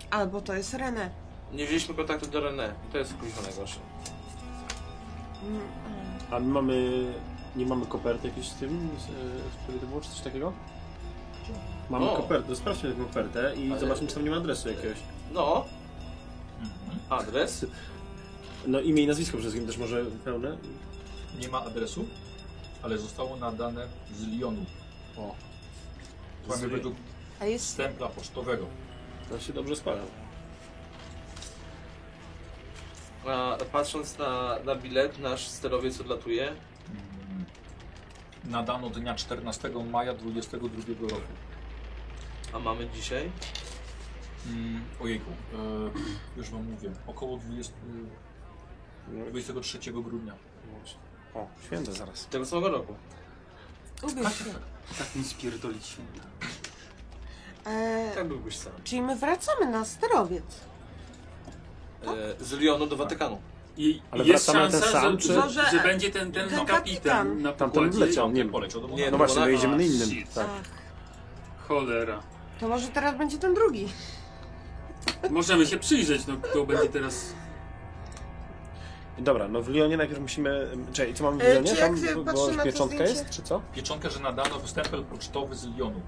Albo to jest René. Nie wzięliśmy kontaktu do René. To jest kurwa najgorsze. Mm, A my mamy... Nie mamy koperty jakiejś z tym, z, e, z której to było, czy coś takiego? Mamy O. kopertę, sprawdźmy tę kopertę i Ale- zobaczmy, czy tam nie ma adresu jakiegoś. No. Mhm. Adres? No imię i nazwisko przede wszystkim też może pełne. Tak. Nie ma adresu, ale zostało nadane z Lyonu. O. To mamy Z- według A jest... stempla pocztowego. To się dobrze składa. A, patrząc na, na bilet, nasz sterowiec odlatuje. Mm. Nadano dnia 14 maja 22 roku. A mamy dzisiaj? Mm, ojejku, e, już wam mówię, około 20, e, 23 grudnia. O, święta zaraz. Tego samego roku. Ubierz się. Tak mi spierdolić święta. E, Tak byłbyś sam. czyli my wracamy na sterowiec. E, z Lyonu do Watykanu. I Ale jest wracamy na szansa, ten sam, że, czy- że, Może- że będzie ten, ten, ten kapitan kapitan. na Tamten pokładzie. wleciał, nie Poleciał do Monachium. Nie, No no właśnie, bo my na- jedziemy na innym. shit. Tak. Cholera. To może teraz będzie ten drugi. Możemy się przyjrzeć, no kto będzie teraz... Dobra, no w Lyonie najpierw musimy... Czekaj, co mamy w E, Lyonie? czy jak się patrzy na to pieczątka zdjęcie? jest, czy co? Pieczątkę, że nadano stempel pocztowy z Lyonu.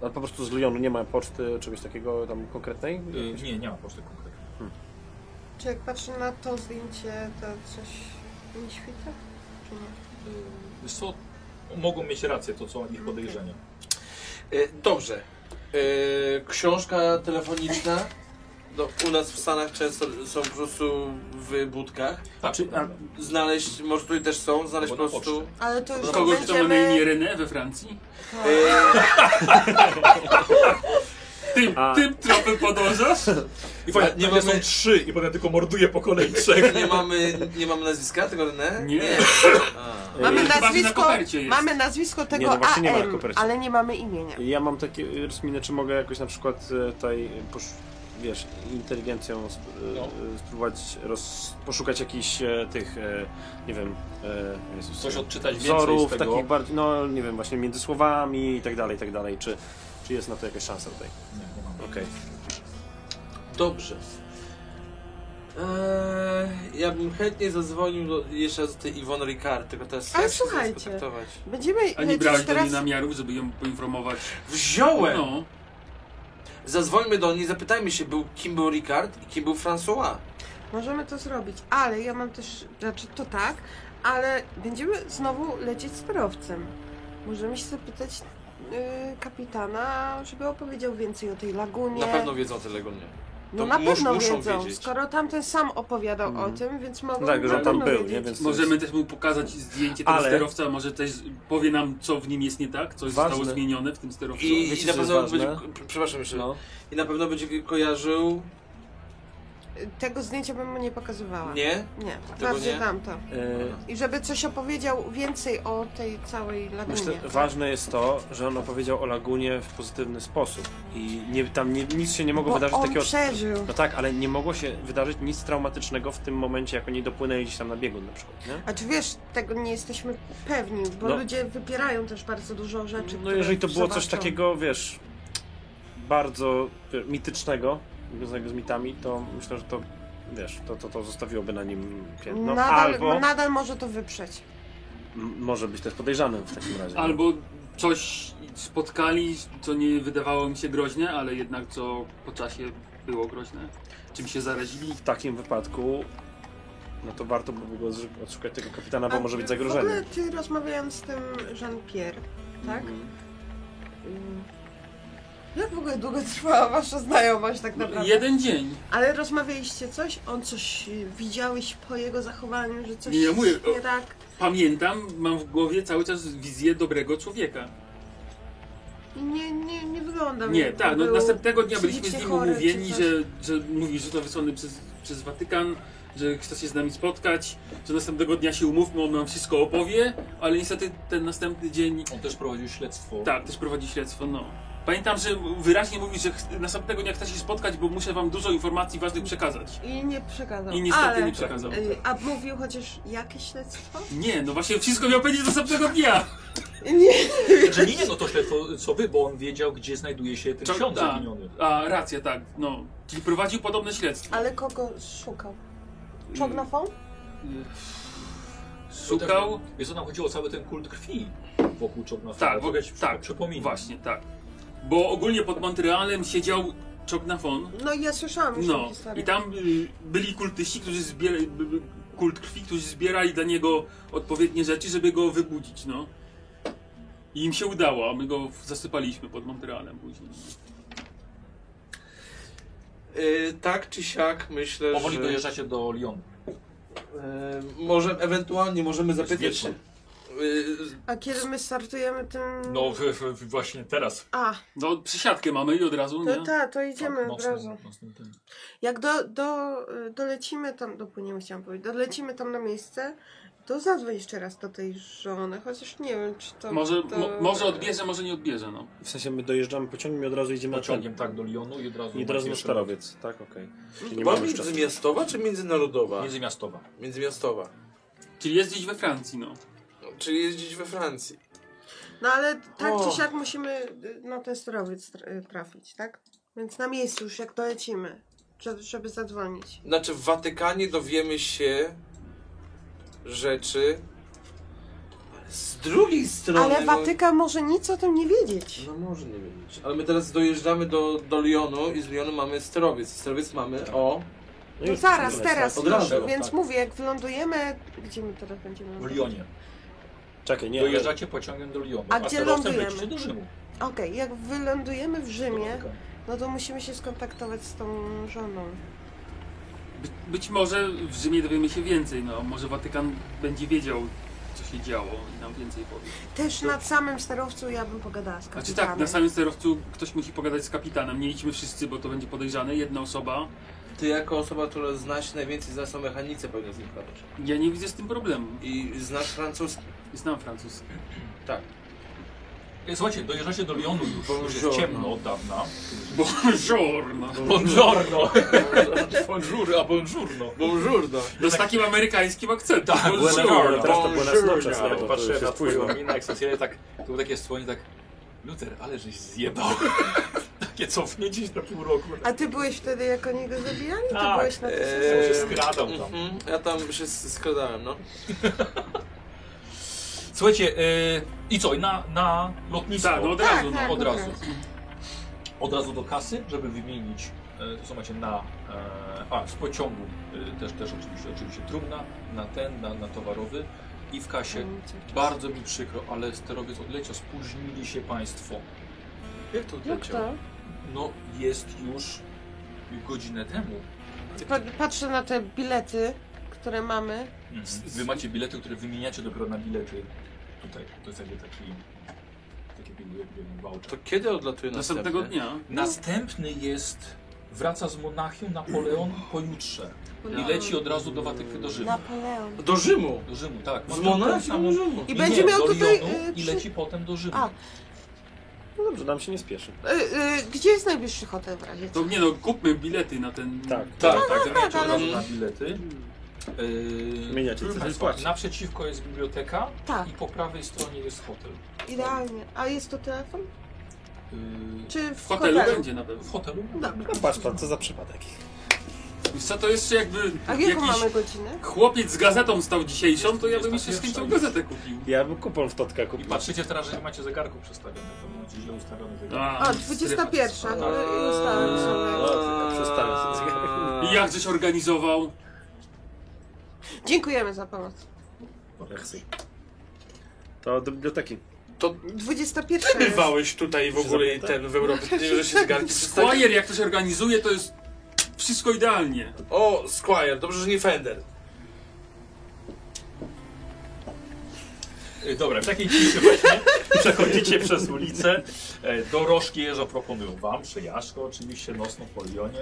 Ale No, po prostu z Lyonu nie ma poczty czegoś takiego tam konkretnej? E, nie, nie ma poczty konkretnej. Czy jak patrzę na to zdjęcie, to coś mi świta? Czy nie? Wiesz co, mogą mieć rację to, co ich podejrzenia. E, dobrze. E, książka telefoniczna. No, u nas w Stanach często są po prostu w budkach. Tak, Czy- a- Znaleźć, może tutaj też są, znaleźć Albo po na prostu... Ale to już No, Kogoś, kto ma na imię będziemy... René we Francji? E, Tym, A. tym tropem podążasz? I fajnie, Tak, nie nie mamy- są trzy i potem tylko morduje po kolei trzech. E, nie, mamy, nie mamy nazwiska tego René? Nie. A. Mamy Chyba, że na nazwisko, kopercie jest. mamy nazwisko tego Nie, no właśnie AM, nie ma na kopercie. ale nie mamy imienia. Ja mam takie rozminy, czy mogę jakoś na przykład e, tutaj, e, posz, wiesz, inteligencją sp, e, No. e, spróbować roz, poszukać jakichś e, tych, e, nie wiem, e, Jezus, Coś e, odczytać więcej wzorów, z tego. takich bardziej, no nie wiem, właśnie między słowami i tak dalej, i tak dalej. Czy, czy jest na to jakaś szansa tutaj? Nie, nie mam. Okej. Dobrze. Eee, ja bym chętnie zadzwonił do, jeszcze raz do tej Iwony Ricard, tylko teraz Ale jak się z nią słuchajcie. skontaktować? Będziemy A nie brałeś lecieć do niej teraz... namiarów, żeby ją poinformować? Wziąłem! No. Zadzwońmy do niej, zapytajmy się, był, kim był Ricard i kim był François. Możemy to zrobić, ale ja mam też... Znaczy to tak, ale będziemy znowu lecieć sterowcem. Możemy się zapytać y, kapitana, żeby opowiedział więcej o tej lagunie. Na pewno wiedzą tyle go mnie. No to na mus- pewno muszą wiedzą, wiedzieć. skoro tamten sam opowiadał o tym, więc mogą No tak, na że on tam pewno był, wiedzieć. nie? Więc to Możemy jest- też mu pokazać zdjęcie tego Ale- sterowca, może też powie nam, co w nim jest nie tak, co zostało Ważne. zmienione w tym sterowcu. I, Wiecie, i na co jest pewno będzie, ważne? p- przepraszam jeszcze, No. i na pewno będzie ko- kojarzył, Tego zdjęcia bym mu nie pokazywała. nie? Nie, bardziej nie? tamto. E, I żeby coś opowiedział więcej o tej całej lagunie. Myślę, ważne jest to, że on opowiedział o lagunie w pozytywny sposób i nie, tam nie, nic się nie mogło Bo wydarzyć on takiego... przeżył. No tak, ale nie mogło się wydarzyć nic traumatycznego w tym momencie, jak oni dopłynęli gdzieś tam na biegun na przykład, nie? A czy wiesz, tego nie jesteśmy pewni, bo No. ludzie wypierają też bardzo dużo rzeczy. No które jeżeli to było coś zobaczą. takiego, wiesz, bardzo wiesz, mitycznego, związanego z mitami, to myślę, że to, wiesz, to, to, to zostawiłoby na nim piętno. nadal, no, Albo nadal może to wyprzeć. m- może być też podejrzanym w takim razie. Albo coś spotkali, co nie wydawało mi się groźne, ale jednak co po czasie było groźne. Czym się zarazili? W takim wypadku, no to warto by było zrzy- odszukać tego kapitana, bo A może być W zagrożenie. ogóle ty rozmawiając z tym Jean-Pierre, tak? Mhm. Ym, Jak w ogóle długo trwała wasza znajomość No, tak naprawdę? Jeden dzień. Ale rozmawialiście coś? On coś y, widziałeś po jego zachowaniu, że coś Nie, ja mówię, jest nie o- tak? Pamiętam, mam w głowie cały czas wizję dobrego człowieka. I nie, nie, nie wygląda Nie, jakby tak, no był następnego dnia byliśmy z psychicznie nim chory czy umówieni, coś. że, że mówi, że to wysłany przez, przez Watykan, że chce się z nami spotkać, że następnego dnia się umówmy, on nam wszystko opowie, ale niestety ten następny dzień, On też prowadził śledztwo. tak, też prowadzi śledztwo, no. Pamiętam, że wyraźnie mówi, że ch- następnego dnia chcę się spotkać, bo muszę wam dużo informacji ważnych przekazać. I nie przekazał. I niestety Ale, nie przekazał. y, A mówił chociaż jakie śledztwo? Nie, no właśnie wszystko miał powiedzieć następnego dnia. Nie. Że nie, nie, no to śledztwo co wy, bo on wiedział, gdzie znajduje się ten Co- ksiądz tak. miniony. A, racja, tak, no. Czyli prowadził podobne śledztwo. Ale kogo szukał? Mm. Czognofon? Szukał... Więc nam chodziło o cały ten kult krwi wokół Czornofa. Tak, Mogę ci tak, przypominać. Właśnie, tak. Bo ogólnie pod Montrealem siedział Chognafon. No i ja słyszałam już No, no. historię. i tam y, byli kultyści, którzy zbierali, b- b- kult krwi, którzy zbierali dla niego odpowiednie rzeczy, żeby go wybudzić, no. I im się udało, a my go w- zasypaliśmy pod Montrealem później. Y, tak czy siak myślę, Powoli że dojeżdżacie do Lyonu. y, może ewentualnie możemy zapytać. wieczór. Y, A kiedy my startujemy tym... No w, w, właśnie teraz. A, No, przysiadkę mamy i od razu, nie? to ta, to No, idziemy Tak, od nocny- razu. nocny ten. Jak do, do, y, dolecimy tam, dopłyniemy chciałam powiedzieć, dolecimy tam na miejsce, to zadzwoń jeszcze raz do tej żony, chociaż nie wiem, czy to... Może, to... mo, może odbierze, może nie odbierze, no. W sensie my dojeżdżamy pociągiem i od razu idziemy Pociągiem tak do Lyonu i od razu... I od razu na macie sztarowiec. Tak, okej. Czyli nie była mamy już czasu. międzymiastowa czy międzynarodowa? Międzymiastowa. Międzymiastowa. Czyli jest gdzieś we Francji, no. No, Czyli jeździć we Francji. No ale tak O. czy siak musimy y, na ten sterowiec tr- y, trafić, tak? Więc na miejscu już jak dolecimy, żeby, żeby zadzwonić. Znaczy w Watykanie dowiemy się rzeczy z drugiej strony. Ale no- Watykan może nic o tym nie wiedzieć. No może nie wiedzieć. Ale my teraz dojeżdżamy do, do Lyonu i z Lyonu mamy sterowiec. Sterowiec mamy o... No zaraz, teraz Od już, razu, no więc tak. mówię, jak wylądujemy, gdzie my teraz będziemy W lądować? Lyonie. Czekaj, nie, ale... Dojeżdżacie pociągiem do Lyonu. A gdzie sterowcem lądujemy? lecicie do Rzymu. Okej, jak wylądujemy w Rzymie, no to musimy się skontaktować z tą żoną. By, być może w Rzymie dowiemy się więcej, no. Może Watykan będzie wiedział, co się działo i nam więcej powie. Też na samym sterowcu ja bym pogadała z Znaczy kapitanem. tak, na samym sterowcu ktoś musi pogadać z kapitanem. Nie idźmy wszyscy, bo to będzie podejrzane. Jedna osoba. Ty jako osoba, która zna się najwięcej, znasz o mechanice pewnie z nich patrz. Ja nie widzę z tym problemu. I znasz francuski. Znam francuski. Tak. E, Słuchajcie, dojeżdżacie do Lyonu już, już jest Buongiorno. ciemno od dawna. Buongiorno. Buongiorno! no. Bonjour, a bonjourno. Bonjourno. No z takim amerykańskim akcentem. Buongiorno, Buongiorno. teraz to Buenas Bonjour, noches, Ale no, bo to popatrzyłem już na jest twoją późno. minę, jak socjalnie tak, to było takie słonie, tak, Luter, ale żeś zjebał. takie cofnięcie się na pół roku. A ty byłeś wtedy, jak oni go zabijali? Ty Tak, byłeś na tej eee, sesji? się skradał tam. Mhm. Ja tam się s- skradałem, no. Słuchajcie, yy, i co, i na, na lotnisko? Tak, no od razu, no. tak, od od razu. razu. Od razu do kasy, żeby wymienić, e, to co macie na, e, a z pociągu e, też, też oczywiście, oczywiście trumna, na ten, na, na towarowy i w kasie. Mm. Bardzo mi przykro, ale sterowiec odleciał, spóźnili się Państwo. Jak to Jak odleciał? to? No jest już godzinę temu. Pa- Patrzę na te bilety, które mamy. Mhm. Wy macie bilety, które wymieniacie dopiero na bilety tutaj. To jest jakby taki, taki jakby, jakby voucher. To kiedy odlatuje następny? Następnego dnia. no. Następny jest, wraca z Monachium Napoleon pojutrze i leci od razu do Watyk do Rzymu. Napoleon. Do Rzymu. Do Rzymu, tak. Z Ma to- to Monachium samo- do Rzymu. I Nie, będzie miał do tutaj... Lyonu y, I przy- leci potem do Rzymu. A. No dobrze, nam się nie spieszy. y, y, Gdzie jest najbliższy hotel w razie? To nie no, kupmy bilety na ten... No Tak. Tak, tak, wymieniacie od ale- razu na bilety. Yy, Zmieniacie, proszę co państwa, zapłacić. Naprzeciwko jest biblioteka Tak, i po prawej stronie jest hotel. idealnie. A jest tu telefon? Yy, Czy w W hotelu hotelu? będzie na pewno. W hotelu? Dobra. No patrz pan, co za przypadek. Wiesz Co to jeszcze jakby A jaką jakiś mamy godzinę? chłopiec z gazetą stał dzisiejszą, to ja bym jeszcze z chęcią 21. gazetę kupił. Ja bym kupon w totka I kupił. patrzycie teraz, że nie macie zegarku przestawionego, bo macie źle ustawiony zegarek. A, 21. strefa. Y, Ustałem sobie. O, przestałem No, tak, sobie I jak żeś organizował? Dziękujemy za pomoc. To do biblioteki. 21 jest. Bywałeś tutaj w ogóle ten w Europie, że się zegarki przestawiły. Squire jak to się organizuje, to jest wszystko idealnie. O, Squire, dobrze, że nie Fender. Tak. E, Dobra, w takiej ciszy właśnie przechodzicie przez ulicę. E, Dorożki jeżo proponują wam, przejażdżkę oczywiście, nocną po Lyonie.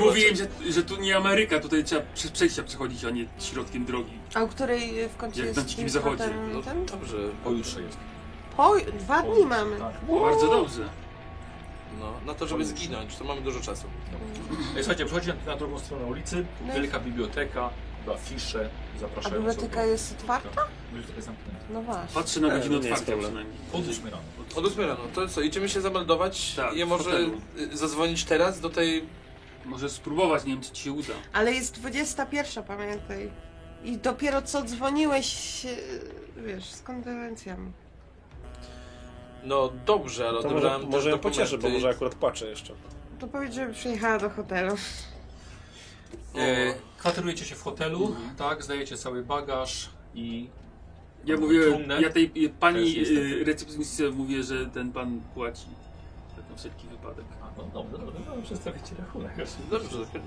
Mówiłem, że, że tu nie Ameryka, tutaj trzeba przez przejścia przechodzić, a nie środkiem drogi. A u której y, w końcu Jak jest... na Dzikim tym Zachodzie. hotel, No ten? dobrze. Pojutrze jest. Po, dwa dni mamy. Tak. Bardzo dobrze. No, na to, żeby zginąć, to mamy dużo czasu. Ej, E, Słuchajcie, przechodzi na drugą stronę ulicy, No i- wielka biblioteka, chyba fisze A zapraszają biblioteka osoby. jest otwarta? Biblioteka jest zamknięta. No właśnie. Patrzę na E, godzinę nie jest otwartą problem. przynajmniej. Od 8 rano. Od 8 rano, no, to co, idziemy się zameldować? Tak, ja w może hotelu. y, zadzwonić teraz do tej... Może spróbować, nie wiem czy ci się uda. Ale jest 21, pamiętaj. I dopiero co dzwoniłeś, e, wiesz, z kondolencjami. No dobrze, ale To może, odebrałem też może ją dokumenty. pocieszę, bo może akurat płaczę jeszcze. To powiedz, żeby przyjechała do hotelu. E, kwaterujecie się w hotelu, Mhm. tak, zdajecie cały bagaż i Ja mówię, Trumnę. ja tej y, Też pani niestety. y, recepcjonistce mówię, że ten pan płaci. Tak na wszelki wypadek. A, no dobrze, dobrze, dobrze, przedstawię ci rachunek. Dobrze, dobrze,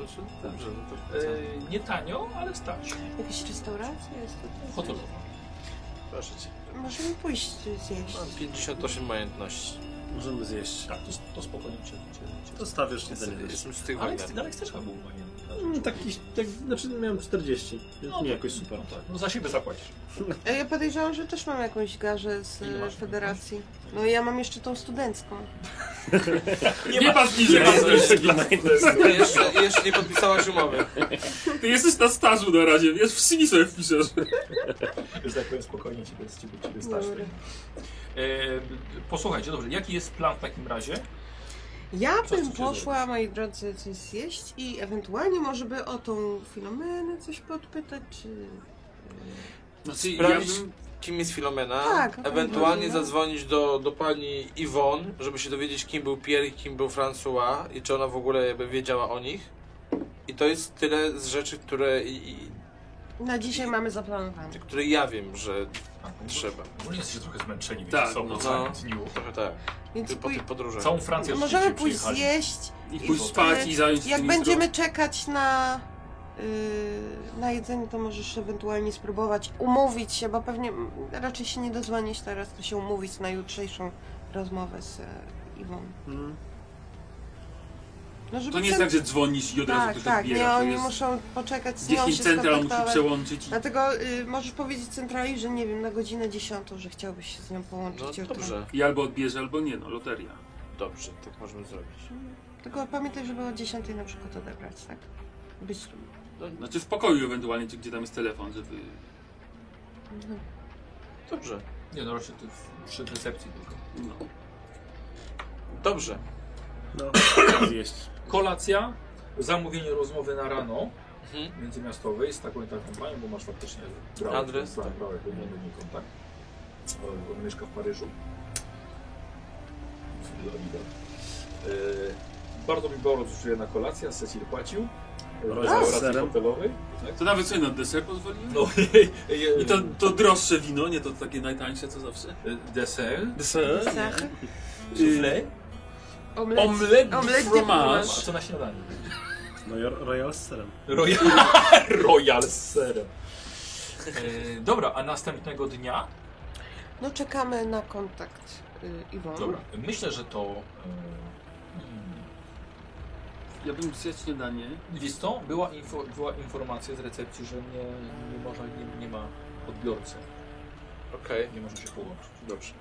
dobrze. No to... E, nie tanio, ale stać. Jakaś restauracja jest tutaj? Hotelowo. Proszę cię. Możemy pójść zjeść. Mam 58 majątności. Możemy zjeść. Tak, to, to spokojnie cię. cię, cię. Zostawiasz jedzenie. Jestem, jestem z tych Ale wojna. Alex, Alex też chyba był wojny. Mm, Taki, tak, znaczy miałem 40, więc nie jakoś super. No, tak, no za siebie zapłacisz. E, Ja podejrzewam, że też mam jakąś garzę z Ile e, masz? federacji. No i ja mam jeszcze tą studencką. Nie, nie pan bliżej, Ja jestem jesteś, jeszcze dla najlepszego. Jeszcze, jeszcze nie podpisałaś umowy. ty jesteś na stażu na razie, wiesz, w CV sobie wpiszesz. Już tak powiem spokojnie ciebie, ciebie, ciebie stać. Dobra. E, posłuchajcie, dobrze, jaki jest plan w takim razie? Ja chcecie bym zrobić? poszła, moi drodzy, coś zjeść i ewentualnie może by o tą Filomenę coś podpytać, czy... Znaczy, ja Sprawdzić, bym, kim jest Filomena. Tak, ewentualnie Filomena. zadzwonić do, do pani Iwon, żeby się dowiedzieć, kim był Pierre i kim był François i czy ona w ogóle jakby wiedziała o nich. I to jest tyle z rzeczy, które, i, i, Na dzisiaj mamy zaplanowane. Tak, które ja wiem, że trzeba. Trzeba. Może jesteście trochę zmęczeni Tak, między sobą no. w całym dniu. Trochę tak. Więc Ty- Po pój... tych podróżach. Całą Francję No, możemy żeście pójść przyjechali. zjeść. i i pójść w- spać i zająć się Jak tymi będziemy czekać na, yy, na jedzenie, to możesz ewentualnie spróbować umówić się, bo pewnie mm, raczej się nie dozwonić teraz, to się umówić na jutrzejszą rozmowę z e, Iwą. Mm. No, zdro- żeby Mhm. To nie jest cen- tak, że dzwonisz i od razu Tak, ktoś tak, nie, odbiera. oni to jest muszą poczekać z nią 10 się central musi skontaktować. przełączyć. I... Dlatego y, możesz powiedzieć centrali, że nie wiem, na godzinę 10, że chciałbyś się z nią połączyć. No jutro. dobrze, I albo odbierze, albo nie, no loteria. dobrze, tak możemy zrobić. Tylko pamiętaj, żeby o 10 na przykład odebrać, tak? Być tu. Znaczy w pokoju ewentualnie, czy gdzie tam jest telefon, żeby... No Dobrze, Nie no, raczej to w- przy recepcji tylko. No. dobrze. No, zjeść. Kolacja, zamówienie rozmowy na rano Mhm. międzymiastowej z taką i taką panią, bo masz faktycznie brałek, Adres, Tak, tak. brałek, bo nie do niej kontakt. O, e, On mieszka w Paryżu. Leonida. Yy, bardzo mi było rozrzucona kolacja, Cecil płacił. Yy, w Rozum z Restauracji serem. hotelowej. To nawet sobie na deser pozwoliłem. No, I to, to droższe wino, nie to takie najtańsze co zawsze. yy, deser. Deser? Sachy? Y- Soufflé. Omlet? Omlet, Omlet Omlet de A fromage. co na śniadanie? No i royal z serem. Royal, Royal z serem. E, dobra, a następnego dnia? No czekamy na kontakt y, Iwon. Dobra, myślę, że to. Ja bym zjadł śniadanie. E, wiesz co? Była, info, była informacja z recepcji, że nie, nie, można, nie, nie ma odbiorcy. Okej, Nie można się połączyć. dobrze.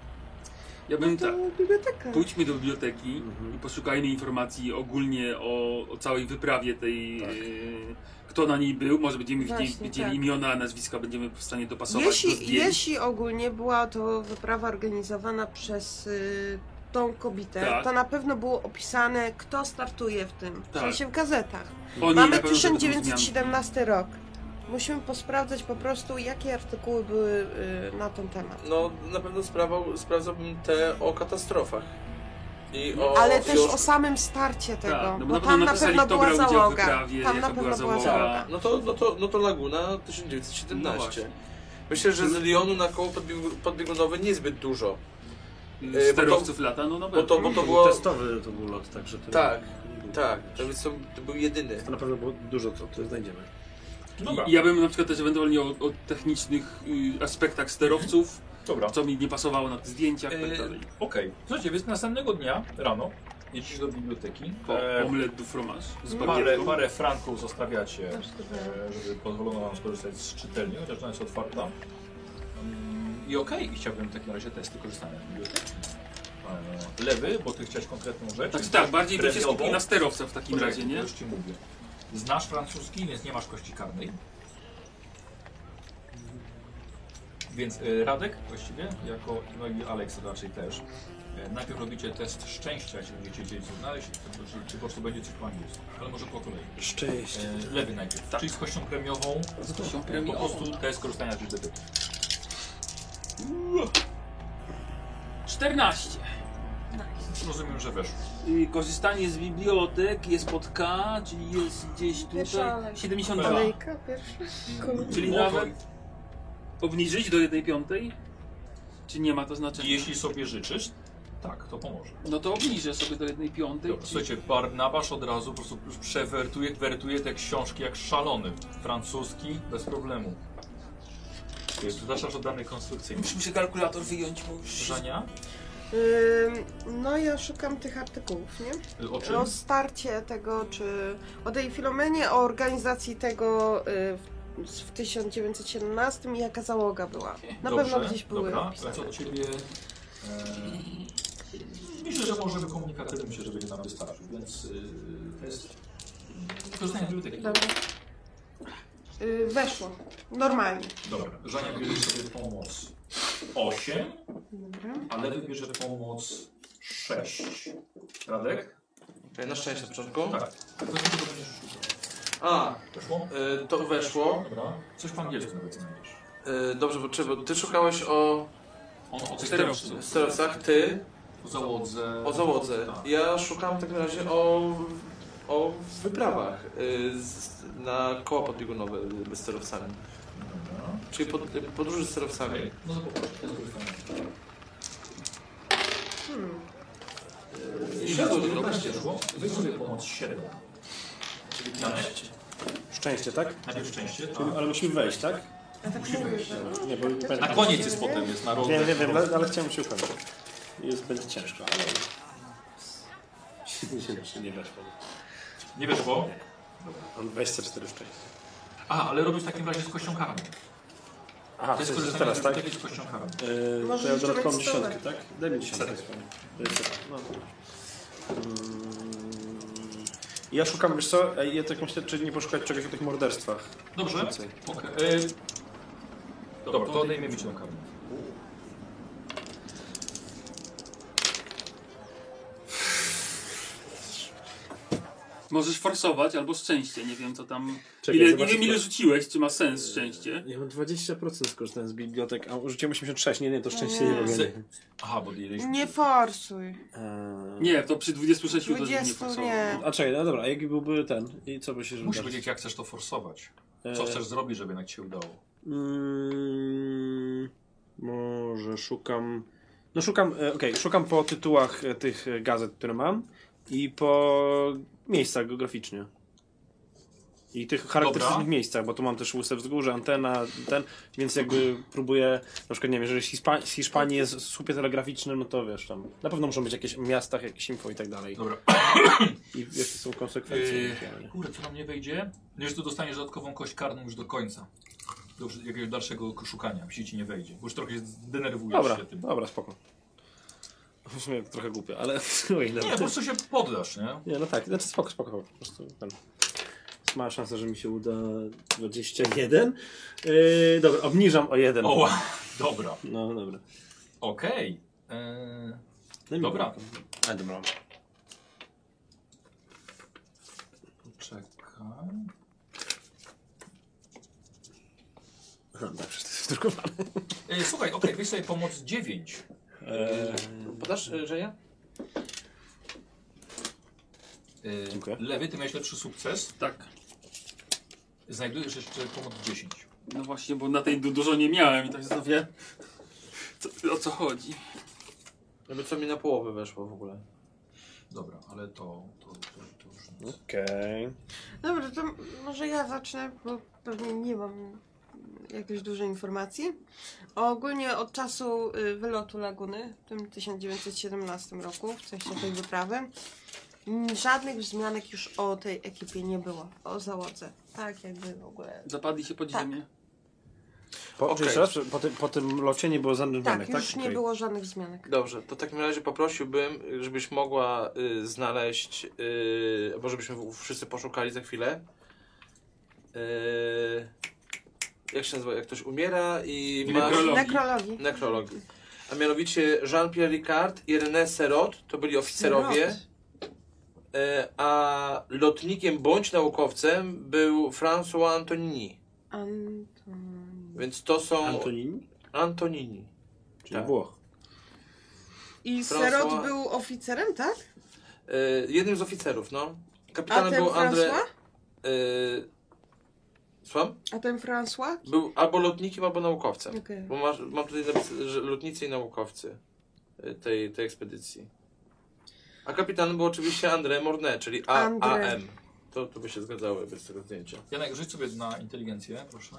Ja No bym to tak. biblioteka. Pójdźmy do biblioteki Mhm. i poszukajmy informacji ogólnie o, o całej wyprawie tej. Tak. e, kto na niej był, może będziemy Właśnie, wiedzieli, wiedzieli tak. imiona, nazwiska, będziemy w stanie dopasować do Jeśli, zdjęć. jeśli ogólnie była to wyprawa organizowana przez y, tą kobietę, Tak. to na pewno było opisane, kto startuje w tym. W Tak. sensie w gazetach. O niej na Mamy pewno będą zmiany. 1917 rok. Musimy posprawdzać po prostu, jakie artykuły były y, na ten temat. No na pewno sprawał, sprawdzałbym te o katastrofach. I o Ale też fior- o samym starcie tego, no bo bo na pewno tam na napisali, pewno kto była brał udział w załoga. wyprawie, tam jaka na pewno była była załoga. załoga. No to, no, to, no to Laguna No 1917. właśnie. Myślę, że z Lyonu na koło podbiegu- podbiegunowe niezbyt dużo. E, bo to- y, Sterowców lata, no na Bo pewno. to, bo to To było. był testowy to był lot, także to Tak, nie było- Tak, to, więc to, to był jedyny. To na pewno było dużo, co tu znajdziemy. Dobra, I ja bym na przykład też ewentualnie o, o technicznych y, aspektach sterowców, dobra. co mi nie pasowało na tych zdjęciach, E, tak dalej. Okej, słuchajcie, więc następnego dnia rano jedziesz do biblioteki. Po E, omelet du fromage z Parę, barierką. parę franków zostawiacie, e, żeby pozwolono nam skorzystać z czytelni, chociaż ona jest otwarta. Mm, I okej, i chciałbym w takim razie testy korzystania z biblioteki. e, lewy, bo ty chciałeś konkretną rzecz. Znaczy tak, bardziej by się Premiową? skupił na sterowca w takim Poczekaj, razie, nie? Już ci mówię. Znasz francuski, więc nie masz kości karnej. Więc e, Radek właściwie, jako, no i Alex raczej też. E, najpierw robicie test szczęścia, jeśli będziecie chcieli coś znaleźć, to, czy, czy po prostu będzie coś po angielsku. Ale może po kolei. Szczęście. E, lewy najpierw, czyli z kością premiową. Tak. Z kością E, po premiową. prostu test korzystania z dyby. 14. Rozumiem, że weszło. Y, Korzystanie z bibliotek jest pod K, czyli jest gdzieś Pierwsza tutaj. alejka. 72. Kolejka pierwsza. Kolejka. Czyli Mogą- nawet- Obniżyć do 1 piątej? Czy nie ma to znaczenia? Jeśli sobie życzysz, tak, to pomoże. No to obniżę sobie do 1 piątej. Dobra, słuchajcie, Barnabasz od razu po prostu już przewertuje wertuje te książki jak szalony. Francuski bez problemu. Jest, Zaczynasz od danych konstrukcyjnych. Muszę kalkulator wyjąć, bo już... Żania? Ym, No ja szukam tych artykułów, nie? Y, O czym? O starcie tego, czy o tej Filomenie, o organizacji tego y, w, w 1917 i jaka załoga była. Na Dobrze, pewno gdzieś były Dobra, opisane. a co do ciebie? E, myślę, że możemy komunikatywnym myślę, że będzie nam wystarczył, więc y, jest... Korzystanie z biblioteki. Dobra. Y, weszło. Normalnie. Dobra, Żania bierze sobie pomoc 8, Dobra. ale wybierze pomoc 6. Radek? Okej, na szczęście od początku. Tak. To nie to będziesz szukał. A, Weszło? y, to weszło. E, Dobra. Coś po angielsku nawet znajdziesz. Y, dobrze, bo, czy, bo ty szukałeś o On o tych Sterowcu. sterowców. sterowcach, ty O załodze. o załodze. Tak. Ja szukałem w takim razie o, o wyprawach y, z, na koła podbiegunowe y, z sterowcami. Dobra. Czyli pod, y, podróży z sterowcami. Okej, No to popatrz. jest korzystanie. Y, I siadło, bardzo 19 19 szło. szło. Weź tak, sobie pomoc 7. Czyli 15. Szczęście, tak? Najpierw szczęście. Czyli, ale musimy wejść, tak? A tak mówię, że... Nie, bo nie A. Na pamiętam. koniec jest potem, jest na Wiem, rozdech. wiem, wiem, ale, ale chciałem się upewnić. Jest, będzie ciężko, ale... 70 nie weszło. Nie wiesz bo? Mam 24 szczęście. A, ale robisz w takim razie z kością karną. Aha, To jest to jest korzystanie teraz, z tak? biblioteki z kością karną. Yy, Możesz to ja jeszcze dodatkową mieć stówę. dziesiątkę, tak? Daj mi dziesiątkę. To jest tak. No. Mm, Ja szukam, wiesz co, ej, ja tak myślę, czy nie poszukać czegoś o tych morderstwach. Dobrze. Więcej. Okay. Dobra, to odejmiemy ci tą karną. Możesz forsować albo szczęście, nie wiem co tam... Czekaj, ile, nie zobaczę, Eee, wiem ile co- rzuciłeś, czy ma sens szczęście. Ja mam 20% skorzystałem z bibliotek, a użyciłem 86, nie, nie, to szczęście nie mogę. Z... Aha, bo jesteś... Nie forsuj. Eee, Nie, to przy 26 to żeby nie 20 forsował. nie. A czekaj, no dobra, a jaki byłby ten? I co by się Musisz udało? wiedzieć jak chcesz to forsować. Co Eee, chcesz zrobić, żeby jednak ci się udało. Mm, może szukam. No szukam, e, okej, szukam po tytułach e, tych e, gazet, które mam i po miejscach geograficznie. I tych charakterystycznych Dobra. miejscach, bo tu mam też łysę wzgórze, antena, ten, więc jakby próbuję, na przykład nie wiem, jeżeli z Hiszpa- z Hiszpanii jest w słupie telegraficznym, no to wiesz tam, na pewno muszą być jakieś w miastach, jakieś info i tak dalej. Dobra. I jakie są konsekwencje. No. Yy, ewentualnie. kurde, co nam nie wejdzie? Wiesz, tu dostaniesz dodatkową kość karną już do końca. Do już jakiegoś dalszego szukania, jeśli ci nie wejdzie. Bo już trochę zdenerwujesz Dobra, się tym. dobra, spoko. W sumie trochę głupie, ale... Oj, Nie, dobra. po prostu się poddasz, nie? Nie, no tak, znaczy spoko, spoko, po prostu ten. Ma szansę, że mi się uda 21. Yy, dobra, obniżam o jeden. O, ła, dobra. No dobra. Okej. Yy, No i Dobra. mi brak. A dobra. czekaj. Aha, tak, przecież to jest wdrukowane. Yy, słuchaj, okej, weź sobie pomoc 9. Podasz, y, Żenia? Yy, Dziękuję. lewy, ty miałeś lepszy sukces. Tak. Znajdujesz jeszcze pomoc 10. No właśnie, bo na tej du- dużo nie miałem i tak zastanawiam, co, o co chodzi. Żeby co mi na połowę weszło w ogóle. Dobra, ale to, to, to, to już nic. Okej. Dobra, to m- może ja zacznę, bo pewnie nie mam jakiejś dużej informacji. O, ogólnie od czasu y, wylotu Laguny w tym 1917 roku, w sensie tej wyprawy, mm, żadnych wzmianek już o tej ekipie nie było, o załodze. Tak jakby w ogóle. Zapadli się pod Tak. ziemię. Po, Okej. czy jeszcze raz, po, tym- po tym locie nie było żadnych Tak, danych, tak? już nie Okej. było żadnych zmianek. Dobrze, to w takim razie poprosiłbym, żebyś mogła y, znaleźć, y, może byśmy w- wszyscy poszukali za chwilę. Y, jak się nazywa, jak ktoś umiera i masz... Nekrolog. Nekrologii. Nekrolog. A mianowicie Jean-Pierre Ricard i René Serot to byli oficerowie, y, a lotnikiem bądź naukowcem był François Antonini. Antoni. Więc to są Antonini? Antonini. Czyli Tak. Włoch. I François- Serot był oficerem, tak? Y, jednym z oficerów, no. A Kapitanem ten był André... François? Y, słucham? A ten François? Był albo lotnikiem, albo naukowcem. Okej. Bo masz, mam tutaj napisane, że lotnicy i naukowcy y, tej, tej ekspedycji. A kapitanem był oczywiście André Mornet, czyli A- André. AM. To, to by się zgadzało bez tego zdjęcia. Janek, rzuć sobie na inteligencję, proszę.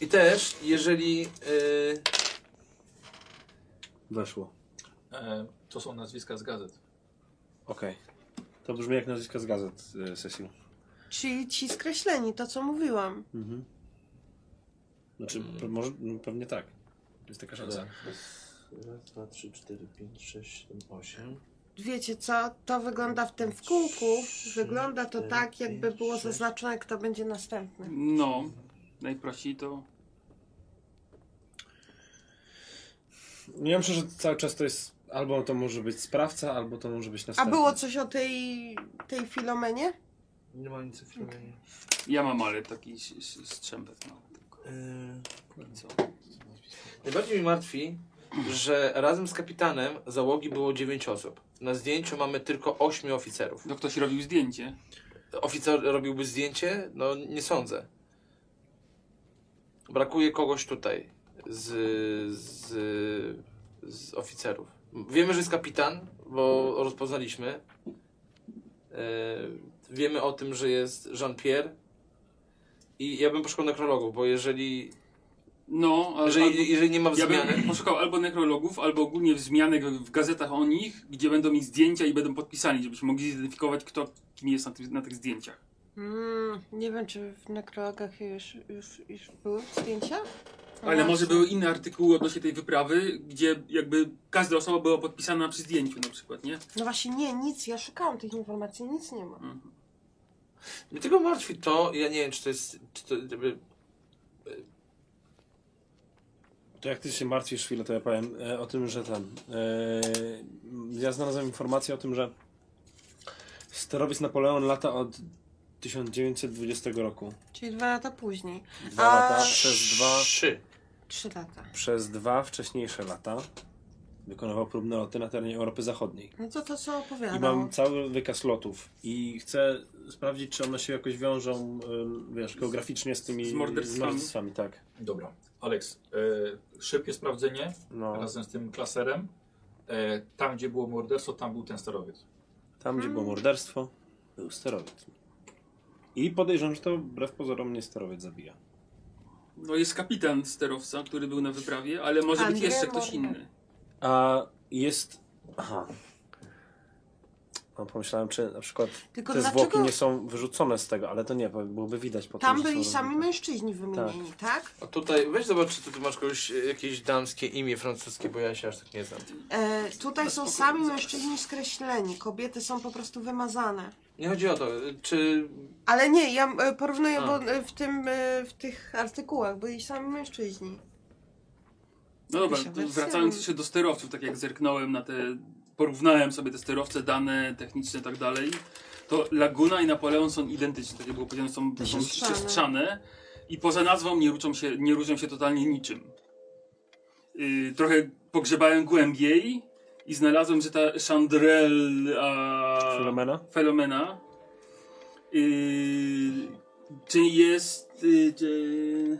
I też, jeżeli... y, Weszło. E, to są nazwiska z gazet. Okej. To brzmi jak nazwisko z gazet, y, Cecil. Czyli ci skreśleni, to co mówiłam. Mhm. Znaczy, Mm. pe- może, no, pewnie tak. Jest taka szansa. Raz, dwa, trzy, cztery, pięć, sześć, siedem, osiem. Wiecie co, to wygląda w tym w kółku, wygląda to tak, jakby było zaznaczone, kto będzie następny. No, najprościej to... Ja myślę, że cały czas to jest albo to może być sprawca, albo to może być A następny. było coś o tej, tej Filomenie? Nie ma nic o filmie. Y, Ja mam ale taki s- s- strzępek no. mały. tylko. I co? no Najbardziej mi martwi, że razem z kapitanem załogi było 9 osób. Na zdjęciu mamy tylko 8 oficerów. No ktoś robił zdjęcie. Oficer robiłby zdjęcie? No nie sądzę. Brakuje kogoś tutaj z, z, z oficerów. Wiemy, że jest kapitan, bo rozpoznaliśmy. E, wiemy o tym, że jest Jean-Pierre. I ja bym poszukał nekrologów, bo jeżeli, No, ale... jeżeli, jeżeli nie ma Ja wzmiany... bym poszukał albo nekrologów, albo ogólnie wzmianek w gazetach o nich, gdzie będą ich zdjęcia i będą podpisani, żebyśmy mogli zidentyfikować, kto kim jest na, tych- na tych zdjęciach. Mm, nie wiem, czy w nekrologach już, już, już były zdjęcia? No Ale może właśnie. były inne artykuły odnośnie tej wyprawy, gdzie jakby każda osoba była podpisana przy zdjęciu na przykład, nie? No właśnie, nie, nic, ja szukałam tych informacji, nic nie ma. Mhm. Mnie tylko martwi to, ja nie wiem, czy to jest. Czy to, jakby, To jak ty się martwisz chwilę, to ja powiem e, o tym, że ten. E, ja znalazłem informację o tym, że sterowiec Napoleon lata od 1920 roku. Czyli dwa lata później. Dwa A- lata przez dwa, Trzy. Trzy lata. przez dwa wcześniejsze lata wykonywał próbne loty na terenie Europy Zachodniej. No to to, co I opowiadam. mam cały wykaz lotów i chcę sprawdzić, czy one się jakoś wiążą, ym, wiesz, geograficznie z tymi Z morderstwami. morderstwami, tak. Dobra. Aleks, e, szybkie sprawdzenie No, razem z tym klaserem. E, tam, gdzie było morderstwo, tam był ten sterowiec. tam gdzie było Mm. morderstwo, był sterowiec. I podejrzewam, że to wbrew pozorom nie sterowiec zabija. No jest kapitan sterowca, który był na wyprawie, ale może być Andrzej jeszcze ktoś Morgan. inny. A jest... Aha. No, pomyślałem, czy na przykład Tylko te dlaczego zwłoki nie są wyrzucone z tego, ale to nie, bo byłoby widać po tam tym, że byli są sami rozbite. mężczyźni wymienieni, tak? A tutaj, weź zobacz, czy tu masz kogoś, jakieś damskie imię francuskie, bo ja się aż tak nie znam. E, tutaj są sami mężczyźni skreśleni, kobiety są po prostu wymazane. Nie chodzi o to, y, czy. Ale nie, ja e, porównuję, A. bo e, w tym, e, w tych artykułach byli sami mężczyźni. No dobra, Się to wersją- wracając jeszcze do sterowców, tak jak zerknąłem na te, porównałem sobie te sterowce, dane techniczne i tak dalej, to Laguna i Napoleon są identyczne, tak jak było powiedziane, są, To są siostrzane. siostrzane i poza nazwą nie, różnią się, nie różnią się totalnie niczym. Yy, trochę pogrzebałem głębiej i znalazłem, że ta Chandrel a... Filomena? Felomena yy, czy jest yy, czy-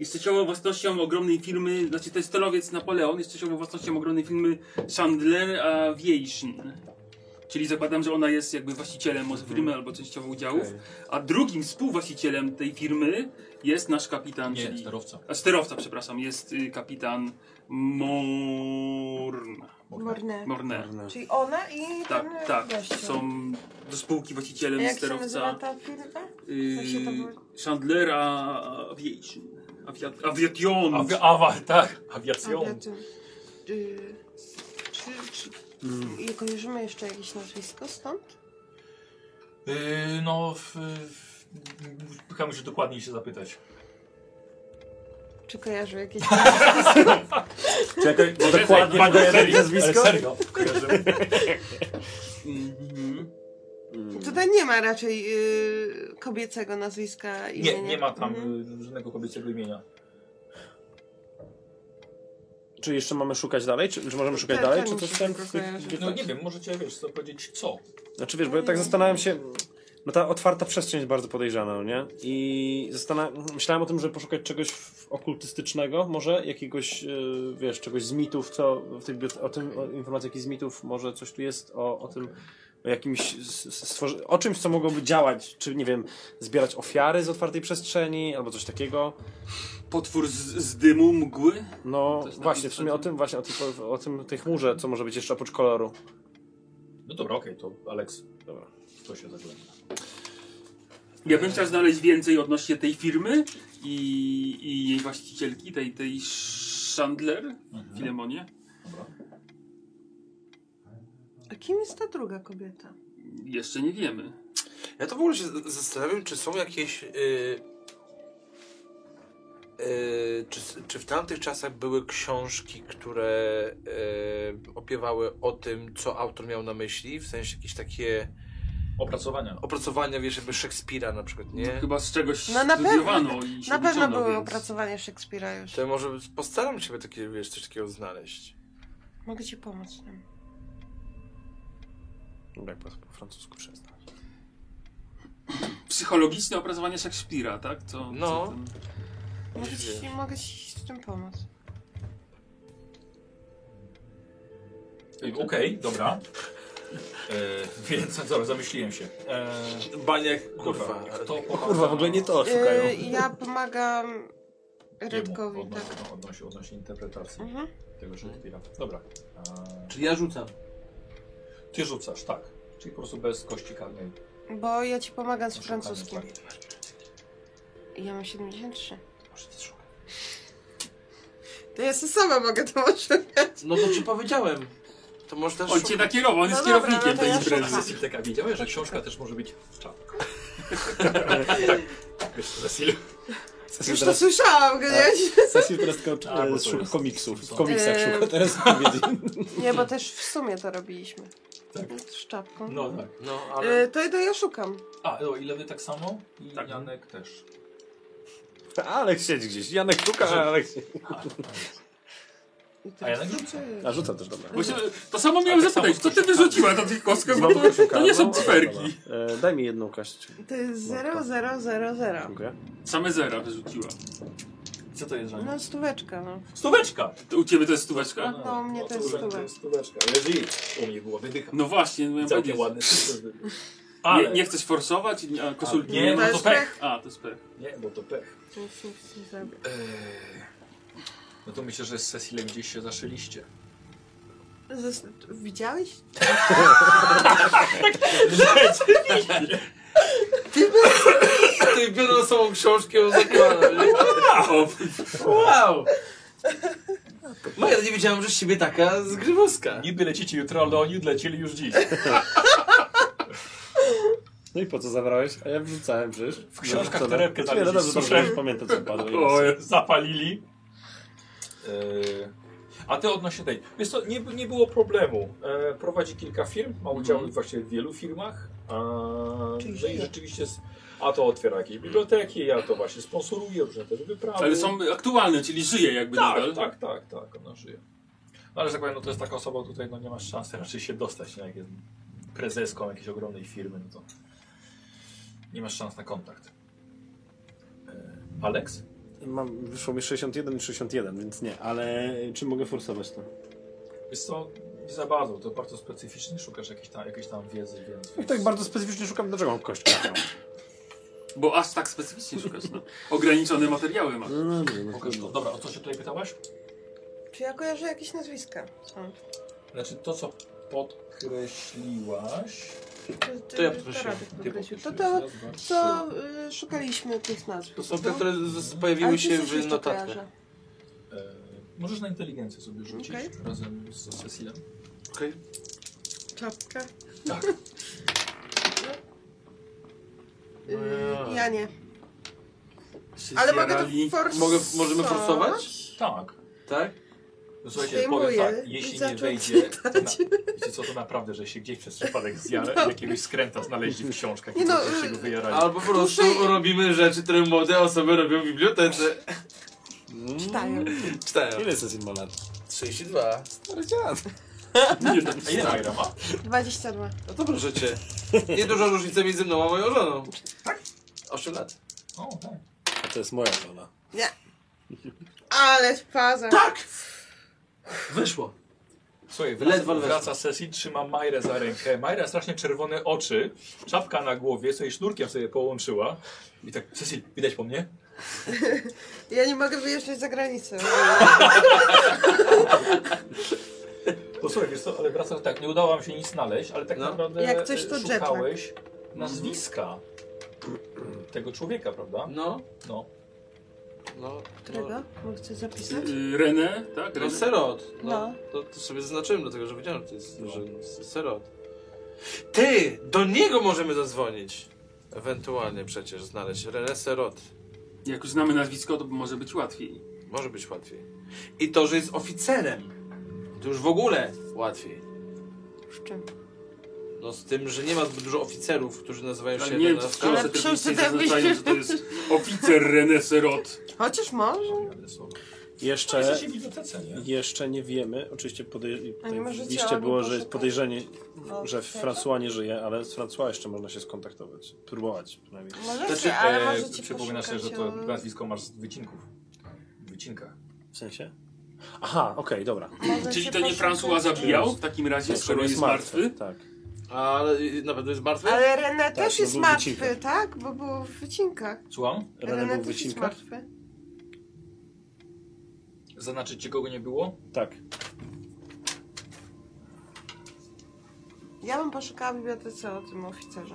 jest trzecią własnością ogromnej firmy, znaczy to jest sterowiec Napoleon, jest trzecią własnością ogromnej firmy Chandler Aviation. Czyli zakładam, że ona jest jakby właścicielem może firmy Mhm. albo częściowo udziałów, a drugim współwłaścicielem tej firmy jest nasz kapitan, Nie, czyli... sterowca. A sterowca, przepraszam, jest y, kapitan Morn. Morne. Morner. Czyli ona i ten No. Tak, e, tak. gościu. Są do spółki A właścicielem jak się sterowca. nazywa ta firma? Jak się to było? Chandlera Aviation. Awiat, awiation. Awi awa, tak, awiacją. Awiaty. Y, Czy, czy i kojarzymy jeszcze jakieś nazwisko stąd? Yy, no, w, w, chyba muszę dokładniej się zapytać. Czy kojarzy jakieś Czekaj, bo dokładnie No, Ale podaj serio, jedno nazwisko. ale Serio. Mhm. Mm. Tutaj nie ma raczej y, kobiecego nazwiska i Nie, nie ma tam y, żadnego kobiecego imienia. Czy jeszcze mamy szukać dalej? Czy, czy możemy szukać Ten- dalej? ten Czy mi coś się tam? tylko kojarzy. No Tak. nie wiem, możecie wiesz, co powiedzieć co. Znaczy wiesz, bo ja tak zastanawiam się. No ta otwarta przestrzeń jest bardzo podejrzana, no nie? I zastanawiam, myślałem o tym, żeby poszukać czegoś w- okultystycznego, może jakiegoś, yy, wiesz, czegoś z mitów, co w tej bibliot- o tym o informacji jakichś z mitów, może coś tu jest o, o tym, o jakimś s- s- stworzy- o czymś, co mogłoby działać, czy nie wiem, zbierać ofiary z otwartej przestrzeni, albo coś takiego. Potwór z, z dymu, mgły. No To jest właśnie, taki w sumie o tym, właśnie o, tej, o tym, tej chmurze, co może być jeszcze oprócz koloru. No dobra, okej, to Aleks, dobra, to się zagląda. Ja bym chciał znaleźć więcej odnośnie tej firmy i, i jej właścicielki, tej, tej Chandler Mhm. w Filemonie. A kim jest ta druga kobieta? Jeszcze nie wiemy. Ja to w ogóle się z- zastanawiam, czy są jakieś. y, y, czy, s- czy w tamtych czasach były książki, które y, opiewały o tym, co autor miał na myśli? W sensie jakieś takie Opracowania. opracowania, wiesz, jakby Szekspira na przykład, nie? Chyba z czegoś No na pewno- studiowano i się Na pewno wyciągnął, były więc- opracowania Szekspira już. To ja może postaram się by takie, wiesz, coś takiego znaleźć. Mogę ci pomóc. w tym. Jak po po francusku przestać. Psychologiczne opracowanie Szekspira, tak? Co, No. Co ten... Mogę ci, mogę ci z tym pomóc. Ej, Okej, dobra. E, więc zaraz zamyśliłem się. E, Baniak, kurwa, kurwa. kto Kurwa, w ogóle nie to szukają. Y, ja pomagam Redkowi, tak. Odnośnie, odnośnie, odnośnie interpretacji Mhm. tego Szekspira. Dobra. E, Czyli ja rzucam. ty rzucasz, tak. Czyli po prostu bez kości karnej. Bo ja ci pomagam z Szukamy francuskim. tak. I Ja mam 73. Może ty szukaj. To ja sobie sama mogę to może. No to ci powiedziałem. To może też. On cię nakierował, on No jest dobra, kierownikiem no to tej ja imprezy. szukam. Biblioteka, wiedziałeś, że książka też może być w czapku. tak, wiesz, Cecil. Cecil Już to teraz, słyszałam, tak. gdzieś. Cecil teraz ko- A, bo to e, szuka jest- komiksów. W Eee. komiksach szuka teraz wypowiedzi. Nie, bo też w sumie to robiliśmy. Tak. Z czapką. No tak. No, ale. Y, to, to ja szukam. A, no, i lewy tak samo? I Tak. Janek też. Alek siedzi gdzieś. Janek szuka, a Alek siedzi. I to A Janek jest- rzuca. A rzuca też, dobra. Bo się, to samo miałem tak zapytać, samo co ty słyszałem. wyrzuciła na tych kostkach, bo Znowu to, szukam. to nie są No, cyferki. dobra. E, daj mi jedną kaść. To jest No, tak. 0000. Dziękuję. Same zera wyrzuciła. Co to jest, Janek? No stóweczka, no. Stóweczka! To u ciebie to jest stóweczka? No, u mnie to jest stóweczka. stóweczka. stóweczka. Jeżeli u mnie była wydycha. No właśnie, miałem Całkiem powiedzieć. ładny sukces był. Nie, Ale nie chcesz forsować? Nie, A, koszulki Nie, nie no ma? to jest pech. pech. A, to jest pech. Nie, bo to pech. Nic, nic nie zrobię. Eee, No to myślę, że z Cecilem gdzieś się zaszyliście. Zas- Widziałeś? Ty biorą ze sobą książkę o zakładach. O, Wow! Maja, nie wiedziałem, że z ciebie taka zgrywowska. Niby lecicie jutro, ale oni lecieli już dziś. No i po co zabrałeś? A ja wrzucałem przecież. W książkach torebkę Nie, no znaleźliście, dobrze, dobrze, suszę. już pamiętam co padło. O, zapalili. Eee, A ty odnośnie tej. Wiesz co, nie, nie było problemu. Eee, Prowadzi kilka firm, ma udział Mhm. właśnie w wielu firmach. Eee, Czyli No i żyje. rzeczywiście, s- a to otwiera jakieś biblioteki, a to właśnie sponsoruje różne też wyprawy. ale są aktualne, czyli żyje jakby nadal. Tak, tak, tak, tak, ona żyje. No ale że tak powiem, no to jest taka osoba, tutaj no nie masz szansy raczej się dostać, no, jak jest prezeską jakiejś ogromnej firmy, no to nie masz szans na kontakt. Eee, Aleks? Mam, wyszło mi 61 i 61, więc nie, ale e, czy mogę forsować to? Wiesz co, nie za bardzo, to bardzo specyficzny, szukasz jakiejś tam, jakiejś tam wiedzy, więc... No I tak bardzo specyficznie szukam, dlaczego mam kość. karną. Bo aż tak specyficznie szukasz. No. Ograniczone materiały masz. No dobrze, no Pokaż to. to... Dobra, o co się tutaj pytałaś? Czy ja kojarzę jakieś nazwiska? Skąd? Znaczy to, co podkreśliłaś, To, To ja podkreśliłem. Radek Ty podkreślił. To podkreśliłeś. to, Raz, dwa, trzy. co y, szukaliśmy tych nazw. To są te, no? które z- z- Ale pojawiły ty się coś w jeszcze notatkach. kojarzę. E, możesz na inteligencję sobie rzucić Okej. razem z Cecilem. Klapka? Tak. No Y, ja nie. Się Ale mogę to zjarali. forsować. Mogę, możemy forsować? Tak. Tak? No Słuchajcie, Zdejmuję powiem tak, i jeśli nie zaczął wejdzie, to na, czytać. No. wiecie co, to naprawdę, że się gdzieś przez przypadek zjara, jakiegoś skręta znaleźli w książkach Nie i no, no, się y- go Tak. wyjarali. Albo po prostu Tutaj- robimy rzeczy, które młode osoby robią w bibliotece. Czytają. Mm. Czytają. Ile Cecil ma lat? 32. Nie, a ile Majra ma? 22. No to proszę cię. Nieduża różnica między mną a moją żoną. Tak? 8 lat. O, tak. A to jest moja żona. Ale faza. Tak! Wyszło. Słuchaj, Ledwo wraca, weszło. wraca z sesji, trzyma Majrę za rękę. Majra strasznie czerwone oczy, czapka na głowie, sobie sznurkiem sobie połączyła. I tak, Cecil, widać po mnie? Ja nie mogę wyjeżdżać za granicę. To słuchaj, wiesz co, ale wracasz tak, nie udało wam się nic znaleźć, ale tak No. naprawdę Jak coś, e, to jetlag. szukałeś nazwiska tego człowieka, prawda? No. No. No. Którego? Bo chcę zapisać. Y, René, tak? No René. serot. No. No. To, to sobie zaznaczyłem, dlatego że wiedziałem, że to jest że s- serot. Ty! Do niego możemy zadzwonić. Ewentualnie przecież znaleźć. René Serot. Jak już znamy nazwisko, to może być łatwiej. Może być łatwiej. I to, że jest oficerem. To już w ogóle łatwiej. Z czym? No z tym, że nie ma zbyt dużo oficerów, którzy nazywają się Ale nie wiem, czy w Renasem. książce Ale też książce nic nie tam zaznaczają, pisze. że to jest oficer René Serot. Chociaż może. Cześć. Jeszcze, Jesteś w bibliotece, nie? jeszcze nie wiemy. Oczywiście podej- A nie tutaj możecie w liście albo było, że jest poszukać? podejrzenie, O, że chcecie? François nie żyje, ale z François jeszcze można się skontaktować. Próbować przynajmniej. Możecie, Znaczy, ale e, możecie przypomina sobie, że poszukać e, to o- nazwisko masz z wycinków. W wycinkach. W sensie? Aha, okej, dobra. możecie Czyli to nie poszukać François zabijał w takim razie, Nie, skoro to jest martwy? Tak. Ale y, na pewno jest martwy? Ale René też no jest był martwy, wycinkach. tak? Bo był w wycinkach. Słucham? René był w też jest wycinkach? martwy. Zaznaczyć ci kogo nie było? Tak. Ja bym poszukała w bibliotece o tym oficerze.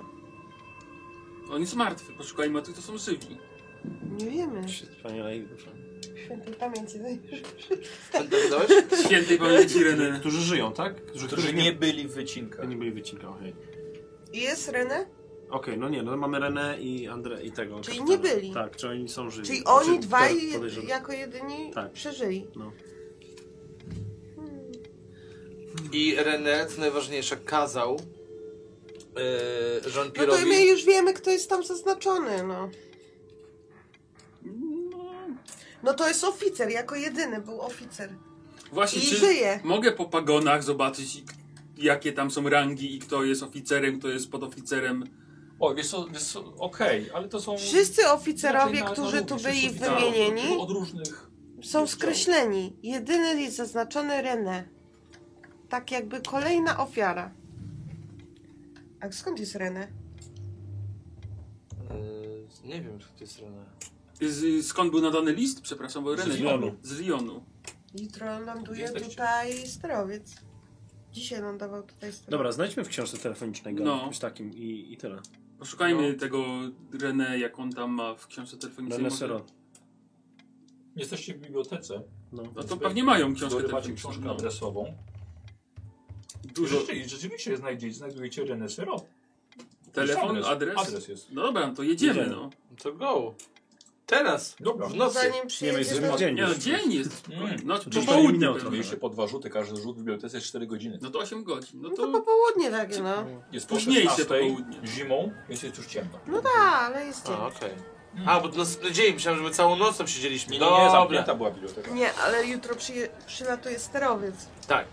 On jest martwy, poszukajmy o tych, to są żywi. Nie wiemy. Wspaniale i dusza. Świętej pamięci. Dodałeś? Świętej pamięci René. Którzy żyją, tak? Którzy, Którzy nie byli w wycinkach. Nie byli wycinka, okej. I jest René? Okej, no nie, no mamy René i André i tego. Czyli kapitana. nie byli. Tak, czy oni są żywi. Czyli oni Znaczy, dwaj tak, podejrzewam. jako jedyni Tak. przeżyli. I René, co najważniejsze, kazał y, No to my Jean-Pierre'owi... już wiemy, kto jest tam zaznaczony, no. No to jest oficer, jako jedyny był oficer. Właśnie, I czy żyje. mogę po pagonach zobaczyć, i- jakie tam są rangi i kto jest oficerem, kto jest podoficerem? O, wiesz co, wiesz co okej, ale to są... Wszyscy Znaczy, inaczej oficerowie, no, na- którzy na tu równi, wszyscy byli oficerowie wymienieni, Od różnych... są skreśleni. Jedyny jest zaznaczony René. Tak jakby kolejna ofiara. A skąd jest René? Y, nie wiem, kto to jest René. Z, skąd był nadany list? Przepraszam, bo René. Lyonu. Z Lyonu. Jutro ląduje Gdzie jesteście? tutaj sterowiec. Dzisiaj lądował tutaj sterowiec. Dobra, znajdźmy w książce telefonicznej go, No. no. takim i, i tyle. Poszukajmy tego René, jak on tam ma w książce No, telefonicznej. René Może- Sero. Jesteście w bibliotece, No. No to pewnie mają książkę które macie książkę telefoniczną. No. adresową. Dużo. Rzeczy, rzeczywiście znajdziecie, znajdujecie René Sero. Telefon, Adres. adres. Adres jest. No dobra, no to jedziemy, Jedziemy. no. To go. Teraz. Dobra. No, W nocy. Zanim Nie, my przyjedziesz jesteśmy do... w dzień. Nie, no już. dzień jest. Mm. No, Czyli po cztery południu minuty. pewnie. Mieliście po dwa rzuty, każdy rzut w bibliotece jest 4 godziny. No to 8 godzin. No No to to popołudnie takie, no. Jest po Późniejsze 16 południe. zimą, więc jest już ciemno. No tak, ale jest dzień. A, okej. A, bo to następny dzień. Myślałem, że my całą noc tam siedzieliśmy. Nie, nie, nie, Dobra. zamknięta była biblioteka. Nie, ale jutro przyje... przylatuje sterowiec.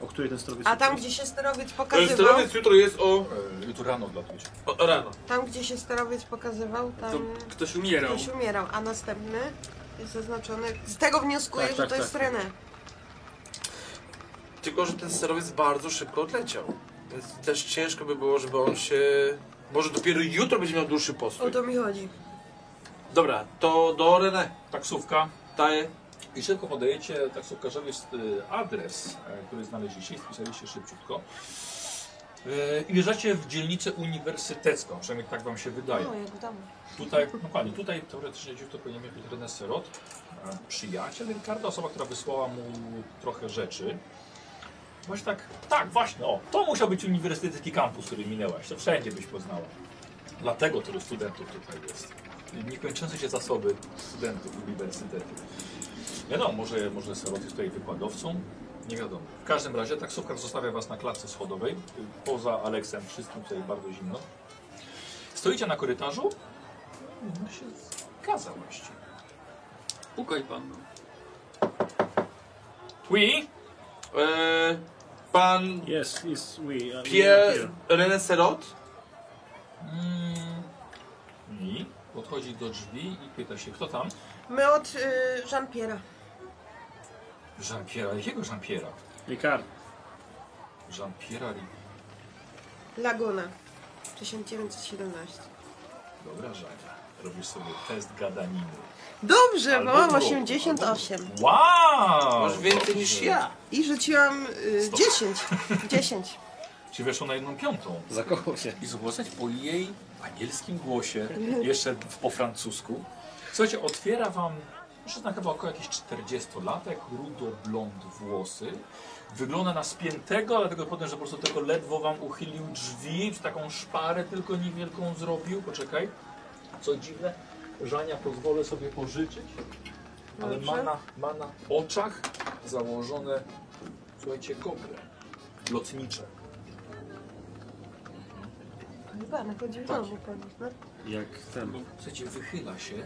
O której ten sterowiec? A tam, gdzie się sterowiec pokazywał, Sterowiec jutro jest o, E, Jutro rano odlatujecie. o rano. tam, gdzie się sterowiec pokazywał, To tam ktoś umierał. ktoś umierał, a następny jest zaznaczony. Z tego wnioskuję, Tak, że tak, to jest tak. René. Tylko, że ten sterowiec bardzo szybko odleciał. Więc też ciężko by było, żeby on się... Może dopiero jutro będzie miał dłuższy O postój. to mi chodzi. Dobra, to do René. Taksówka. Daję. I szybko e, podajecie taksówkarzowi s- y, adres, e, który znaleźliście i spisaliście szybciutko. E, I wjeżdżacie w dzielnicę uniwersytecką, przynajmniej tak wam się wydaje. No, jak w domu. Tutaj, dokładnie, tutaj teoretycznie dziób to powinien mieć Renę Serot, e, przyjaciel Ricardo, osoba, która wysłała mu trochę rzeczy. Właśnie tak, tak, właśnie, o, to musiał być uniwersytecki kampus, który minęłaś, to wszędzie byś poznała. Dlatego tylu studentów tutaj jest. Niekończące się zasoby studentów uniwersytetu. Wiadomo, może, może Serot jest tutaj wykładowcą, nie wiadomo. W każdym razie taksówkarz zostawia was na klatce schodowej, poza Aleksem, wszystkim tutaj bardzo zimno. Stoicie na korytarzu, no się zgadza właściwie. Pukaj pan. no. Twi? E, pan Yes, yes, we. Pierre René Serot? Mm. I podchodzi do drzwi i pyta się, kto tam? My od y, Jean-Pierre'a. Jean-Pierre'a. Jakiego Jean-Pierre'a? Ricard. Jean-Pierre'a Ri- Laguna. 1917. Dobra, Jean. Robisz sobie test gadaniny. Dobrze, bo Albo mam było, 88. albo- Wow! Masz więcej niż Dobrze. ja. I rzuciłam y, 10. 10. Czyli weszło na jedną piątą. Zakochał się. I zgłaszać po jej anielskim głosie, jeszcze w- po francusku. Słuchajcie, otwiera wam, może na chyba około jakichś 40-latek, rudo-blond włosy. Wygląda na spiętego, ale tego potem, że po prostu tylko ledwo wam uchylił drzwi, czy taką szparę tylko niewielką zrobił. Poczekaj. Co dziwne, Żania pozwolę sobie pożyczyć, ale ma na, ma na oczach założone, słuchajcie, gogle lotnicze. Chyba, no, chodzi w domu pewnie. No. Jak ten. Słuchajcie, wychyla się. Dzień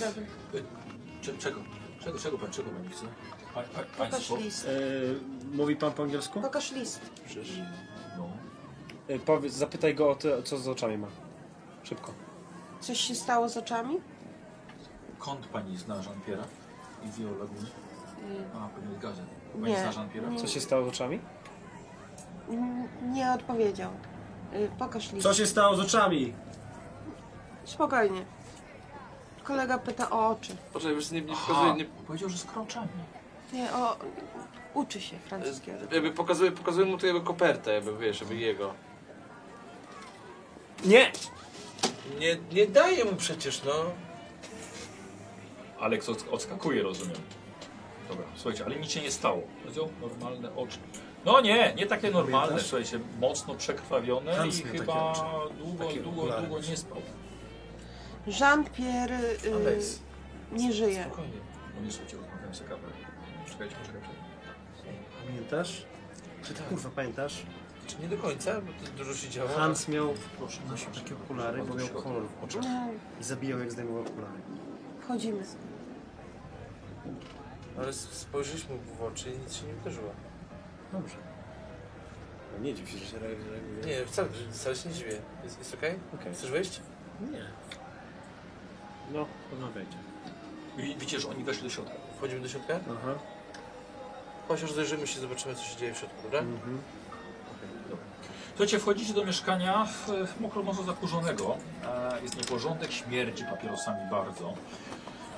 dobry. Cze- czego? Czego, czego pan, czego pani chce? Pa, pa, Pokaż państwo? list. E, mówi pan po angielsku? Pokaż list. No. E, powiedz, zapytaj go o to, co z oczami ma. Szybko. Coś się stało z oczami? Kąd pani zna Jean-Pierre'a i wie o lagunie? A, pewnie z gazet. Pani Y, Nie. zna Jean-Pierre'a? Co się stało z oczami? N- nie odpowiedział. Y, pokaż list. Co się stało z oczami? Spokojnie. Kolega pyta o oczy. Poczekaj, wiesz, nie, nie pokazuje, nie, Powiedział, że z kroczami. Nie, o... Uczy się francuskiego. jakby pokazuje, pokazuje mu to jego kopertę, jakby wiesz, jakby jego. Nie! Nie, nie daje mu przecież, no. Aleks odsk- odskakuje, rozumiem. Dobra, słuchajcie, ale nic się nie stało. Powiedział normalne oczy. No nie, nie takie normalne, Pamiętasz? słuchajcie, mocno przekrwawione Hans i miał takie chyba oczy. długo, Takie długo, okulary. długo nie spał. Jean-Pierre y, Aleks. nie żyje. Spokojnie. No nie słuchajcie, rozmawiam sobie kawę. Czekajcie, poczekaj, poczekaj. Pamiętasz? Czy ty kurwa pamiętasz? Czy nie do końca, bo to dużo się działo. Hans miał, proszę, nosił takie okulary, bo miał kolor w oczach. Mm, I zabijał jak zdejmował okulary. Wchodzimy. Ale spojrzeliśmy mu w oczy i nic się nie wydarzyło. Dobrze. No nie dziw się, że się reaguje. Nie, wcale, wcale się nie dziwię. Jest, jest okej? Okej. Chcesz wyjść? Nie. No, odmawiajcie. Wi- Widzicie, że oni weszli do środka. Wchodzimy do środka? Aha. Chodź, rozejrzymy się, zobaczymy, co się dzieje w środku, dobra? Mhm. Słuchajcie, wchodzicie do mieszkania w, w mokro mocno zakurzonego. E, jest nieporządek, śmierdzi papierosami bardzo.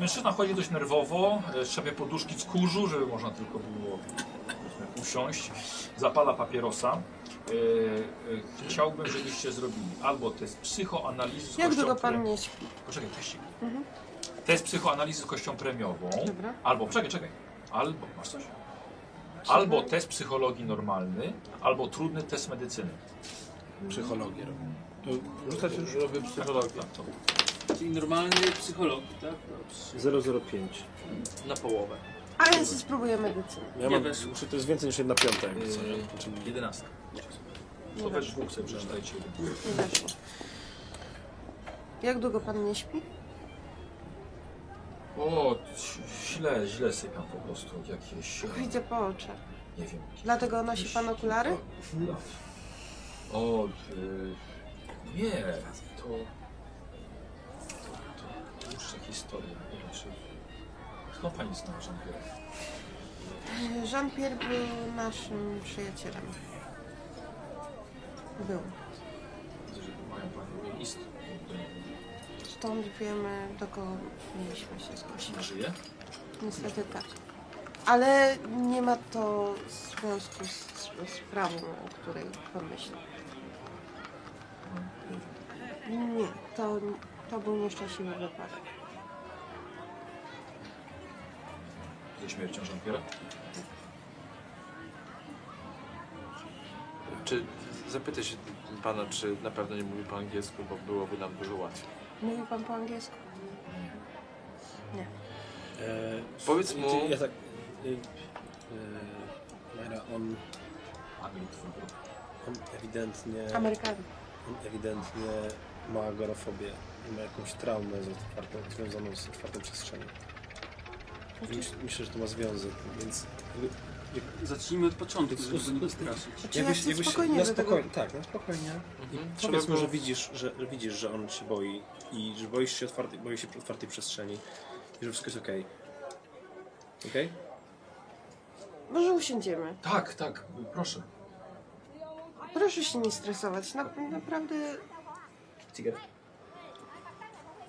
Mężczyzna chodzi dość nerwowo, e, szczepia poduszki z kurzu, żeby można tylko było powiedzmy, usiąść. Zapala papierosa. E, e, chciałbym, żebyście zrobili albo test psychoanalizy z Jak kością długo pan premiową. mnie śpi? Poczekaj, teścik. Test psychoanalizy z kością premiową. Dobra. Albo, czekaj, czekaj. Albo, masz coś? Albo test psychologii normalny, albo trudny test medycyny. Psychologię robię. Rzucać już robię psychologię. Tak, to. Czyli normalny psycholog, tak? Dobrze. 005. Na połowę. Ale ja sobie spróbuję medycynę. Ja Nie mam, weszło. czy to jest więcej niż jedna piąta? jakby co, nie? Yy, Znaczy, 11. To we dwóch sobie przeczytajcie. Nie weszło. Jak długo pan nie śpi? O, źle, źle sypiam po prostu. Jakieś, e, Widzę po oczach. nie wiem. Dlatego nosi pan okulary? kilka lat. O, y, nie, to... To, to dłuższa historia. Nie wiem, czy... Skąd pani zna Jean-Pierre? Jean-Pierre był naszym przyjacielem. Był. Widzę, że mają panu list. do niego. Stąd wiemy, do kogo mieliśmy się zgłosić. Żyje? Niestety tak. Ale nie ma to związku z, z sprawą, o której pan myśli. Nie, to, to był nieszczęśliwy wypadek. Ze śmiercią Jean-Pierre'a? Czy zapytaj się pana, czy na pewno nie mówi po angielsku, bo byłoby nam dużo łatwiej. Mówi pan po angielsku? E, Powiedz ty- mu- Ja tak... e, e, Majra, on, on ewidentnie... Amerykanin. On ewidentnie ma agorafobię i ma jakąś traumę z otwartą, związaną z otwartą przestrzenią. I myśl- Myślę, że to ma związek, więc jakby- No, Zacznijmy od początku, Jest żeby go us- nie straszyć. Czy Znaczy, ja chcę spokojnie na do tego- spokojnie, tak, na spokojnie. I Trzeba powiedz mu, było- że widzisz, że że widzisz, że on się boi i że boisz się otwartej, boi się otwartej przestrzeni i że wszystko jest okej. Okej? Może usiądziemy. Tak, tak, proszę. Proszę się nie stresować. Na, naprawdę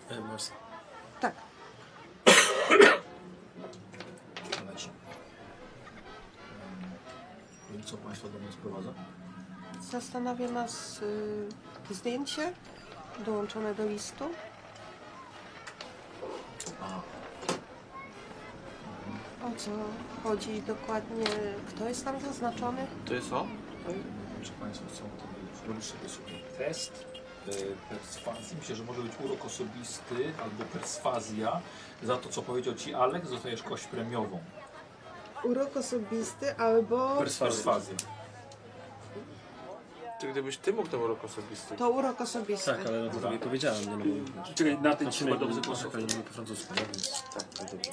E, masz tak. należy. Wiem, co Państwa do mnie sprowadza. Zastanawia nas y, zdjęcie dołączone do listu. O co chodzi dokładnie? Kto jest tam zaznaczony? To jest on? Czy Państwo chcą to zrobić sobie sobie test e, perswazji? Myślę, że może być urok osobisty albo perswazja. Za to, co powiedział Ci Alek, dostajesz kość premiową. Urok osobisty albo. Perswazja. Czy gdybyś ty mógł ten urok osobisty? To urok osobisty. Tak, ale no to nie powiedziałem. Nie, no, bo- Czekaj, na ten Znaczy, trzeba dobrze no, głosować. tak, nie mówię po francusku, no, więc tak, to dobrze.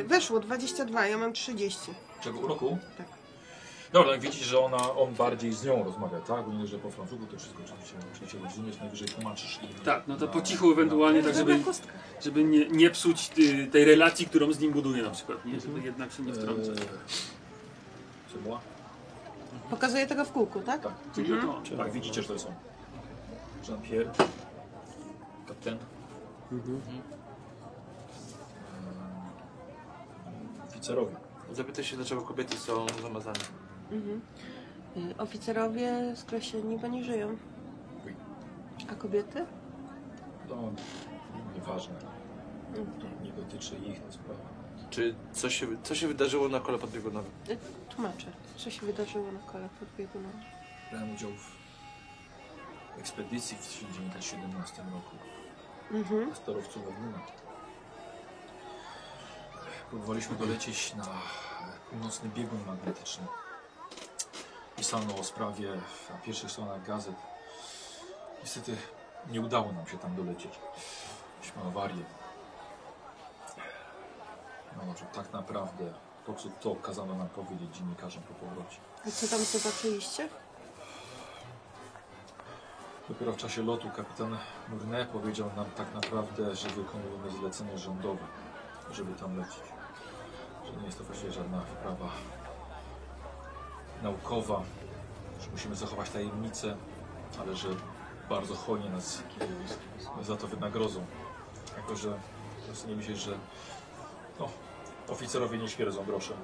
Y, weszło 22, ja mam 30. Czego uroku? Tak. no Dobra, jak widzisz, że ona, on bardziej z nią rozmawia, tak? Bo nie, że po francusku to wszystko oczywiście, oczywiście rozumiesz, najwyżej tłumaczysz. i- Tak, no to na- po cichu ewentualnie, tak żeby, Dobra kostka. żeby nie, nie psuć y, tej relacji, którą z nim buduje na przykład, nie? Żeby jednak się nie Eee, wtrącać. Co była? Pokazuję tego w kółku, tak? Tak. Czyli to, Tak, widzicie, że to są. Jean-Pierre. Kapitan. Mhm. Eee, Oficerowie. Zapytaj się, dlaczego kobiety są zamazane. Y, Oficerowie skreśleni, bo nie żyją. A kobiety? No, nieważne. No To nie dotyczy ich, no, to sprawa. Czy co się, co się wydarzyło na kole podbiegunowym? Tłumaczę, co się wydarzyło na kole podbiegunowym. Brałem udział w ekspedycji w 1917 roku. Mhm. sterowców Ogólna. Próbowaliśmy dolecieć na północny biegun magnetyczny. Pisano o sprawie na pierwszych stronach gazet. Niestety nie udało nam się tam dolecieć. Mieliśmy awarię. No dobrze, tak naprawdę to, co to kazano nam powiedzieć dziennikarzom po powrocie. A co tam zobaczyliście? Dopiero w czasie lotu kapitan Murne powiedział nam tak naprawdę, że wykonujemy zlecenie rządowe, żeby tam lecieć. Że nie jest to właściwie żadna wyprawa naukowa, że musimy zachować tajemnicę, ale że bardzo hojnie nas za to wynagrodzą. Jako, że dostaniemy się, że no, oficerowie nie śmierdzą groszem.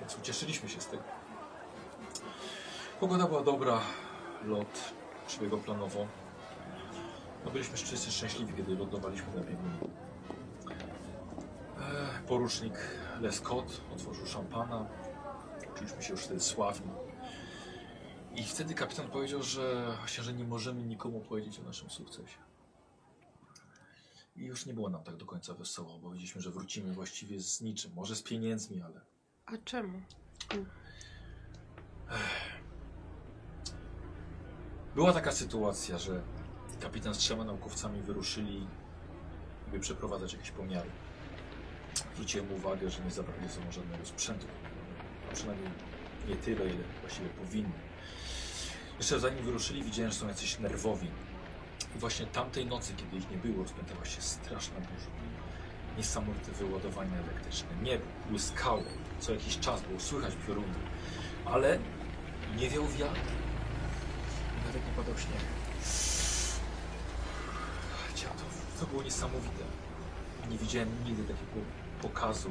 Więc ucieszyliśmy się z tego. Pogoda była dobra, lot przebiegał planowo. No byliśmy wszyscy szczęśliwi, kiedy lądowaliśmy na biegunie. Eee, Porucznik Lescott otworzył szampana. Czuliśmy się już wtedy sławni. I wtedy kapitan powiedział, że właśnie, że nie możemy nikomu powiedzieć o naszym sukcesie. I już nie było nam tak do końca wesoło, bo wiedzieliśmy, że wrócimy właściwie z niczym. Może z pieniędzmi, ale A czemu? Była taka sytuacja, że kapitan z trzema naukowcami wyruszyli, by przeprowadzać jakieś pomiary. Zwróciłem uwagę, że nie zabrali ze sobą żadnego sprzętu. A przynajmniej nie tyle, ile właściwie powinni. Jeszcze zanim wyruszyli, widziałem, że są jacyś nerwowi. I właśnie tamtej nocy, kiedy ich nie było, rozpętała się straszna burza. Niesamowite wyładowanie elektryczne. Niebo błyskało. Co jakiś czas było słychać pioruny. Ale nie wiał wiatr. I Nawet nie padał śnieg. Dziadu, to było niesamowite. Nie widziałem nigdy takiego pokazu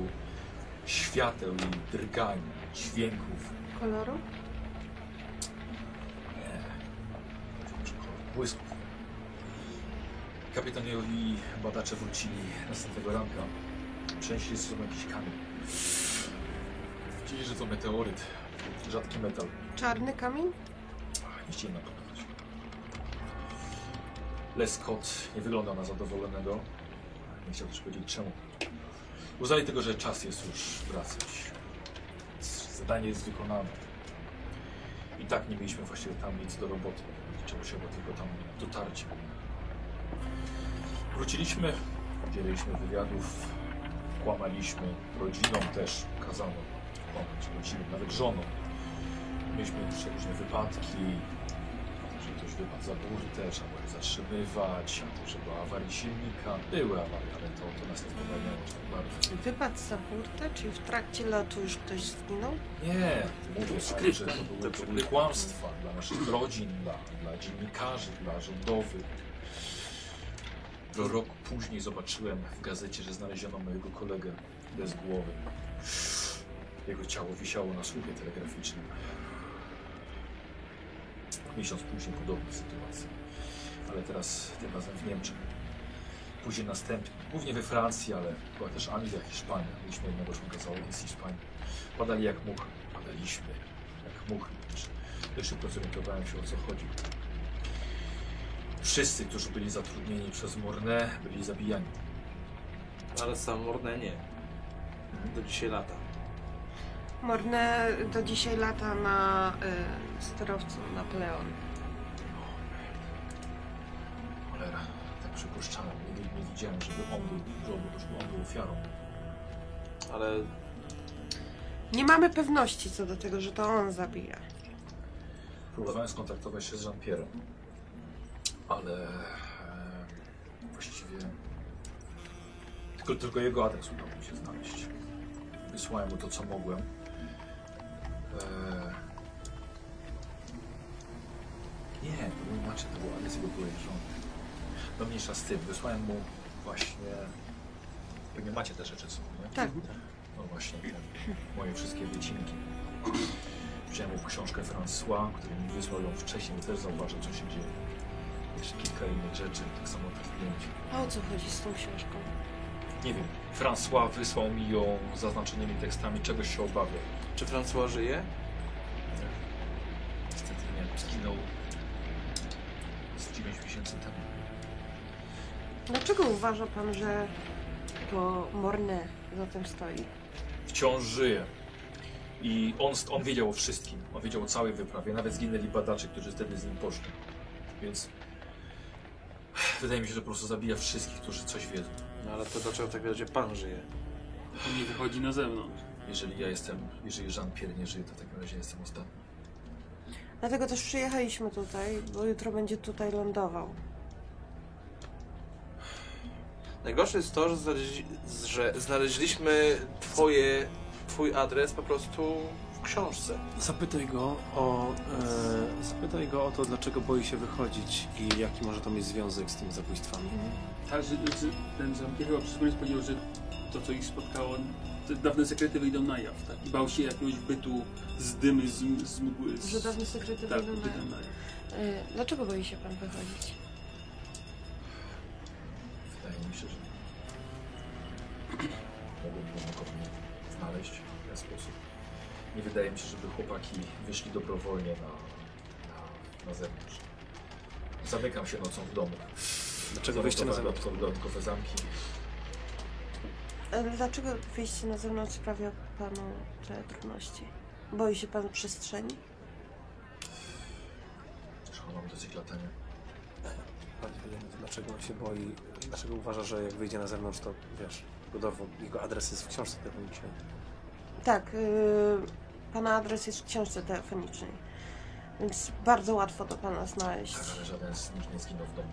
świateł i drgania, dźwięków. Koloru? Nie. Może kolor Błysków. Kapitan Jowi i badacze wrócili następnego ranka. Przenieśli ze sobą jakiś kamień. Widzieli, że to meteoryt. Rzadki metal. Czarny kamień? Nie chcieli na to patrzeć. Lescott nie wyglądał na zadowolonego. Nie chciał też powiedzieć czemu. Uznali tego, że czas jest już wracać. Zadanie jest wykonane. I tak nie mieliśmy właściwie tam nic do roboty. Liczyło się bo tylko tam dotarcie. Wróciliśmy, udzieliliśmy wywiadów, kłamaliśmy rodzinom też, kazano kłamać rodzinom, nawet żonom. Mieliśmy jeszcze różne wypadki, że ktoś wypadł za burtę, trzeba było ich zatrzymywać, a to, że była awaria silnika. Były awarie, ale to, to nas nie spowalniało aż tak bardzo. Wypadł za furtę, czyli w trakcie lotu już ktoś zginął? Nie, mówię Pani, że to były, to były kłamstwa dla naszych rodzin, dla, dla dziennikarzy, dla rządowych. Do roku później zobaczyłem w gazecie, że znaleziono mojego kolegę bez głowy. Jego ciało wisiało na słupie telegraficznym. Miesiąc później podobna sytuacja, ale teraz tym razem w Niemczech. Później następny, głównie we Francji, ale była też Anglia, Hiszpania. Mieliśmy jednego członka załogi z Hiszpanii. Badali jak mógł, badaliśmy jak mógł. Ja szybko zorientowałem się o co chodzi. Wszyscy, którzy byli zatrudnieni przez Morne, byli zabijani. Ale sam Morne nie. Do dzisiaj lata. Morne do dzisiaj lata na y, sterowcu Napoleon. Cholera, tak przypuszczałem. Nigdy nie widziałem, żeby on był żołdu, żeby on był ofiarą. Ale Nie mamy pewności co do tego, że to on zabija. Próbowałem skontaktować się z Jean-Pierre'em, ale e, właściwie tylko, tylko jego adres udało mi się znaleźć. Wysłałem mu to, co mogłem. E, nie, to było inaczej, to był adres jego byłej żony. No mniejsza z tym, wysłałem mu właśnie... Pewnie macie te rzeczy są, nie? Tak. No właśnie, te moje wszystkie wycinki. Wziąłem mu książkę François, który mi wysłał ją wcześniej, też zauważył, co się dzieje. Jeszcze kilka innych rzeczy, tak samo te zdjęcia. A o co chodzi z tą książką? Nie wiem, François wysłał mi ją z zaznaczonymi tekstami, czegoś się obawia. czy François żyje? Niestety nie, zginął z 9 miesięcy temu. Dlaczego uważa pan, że to Morne za tym stoi? wciąż żyje. I on, on wiedział o wszystkim. On wiedział o całej wyprawie. Nawet zginęli badacze, którzy wtedy z nim poszli. Więc wydaje mi się, że po prostu zabija wszystkich, którzy coś wiedzą. No ale to dlaczego w takim razie pan żyje? On nie wychodzi na zewnątrz. Jeżeli ja jestem, jeżeli Jean-Pierre nie żyje, to w takim razie jestem ostatni. Dlatego też przyjechaliśmy tutaj, bo jutro będzie tutaj lądował. Najgorsze jest to, że, znaleźli, że znaleźliśmy twoje, twój adres po prostu w książce. Zapytaj go o... E, zapytaj go o to, dlaczego boi się wychodzić i jaki może to mieć związek z tymi zabójstwami. Tak, że, że ten Zampiero przypomniał, powiedział, że to, co ich spotkało, te dawne sekrety wyjdą na jaw, tak? I bał się jakiegoś bytu z dymy, z, m- z mgły. Z, Że dawne sekrety tak, będą na... bytem na jaw. Y, Dlaczego boi się pan wychodzić? Wydaje mi się, że mogłoby go mnie znaleźć w ten sposób. Nie wydaje mi się, żeby chłopaki wyszli dobrowolnie na, na, na zewnątrz. Zamykam się nocą w domu. Dlaczego wyjście na Zamontowałem zewnątrz? Dodatkowe zamki. Ale Dlaczego wyjście na zewnątrz sprawia panu te trudności? Boi się pan przestrzeni? Szanowny motocykla tanie. Bardziej wiadomo, Dlaczego on się boi? Dlaczego uważa, że jak wyjdzie na zewnątrz, to wiesz, budowo, jego adres jest w książce telefonicznej. Tak, y, pana adres jest w książce telefonicznej, więc bardzo łatwo to pana znaleźć. Tak, ale żaden z nich nie zginął w domu.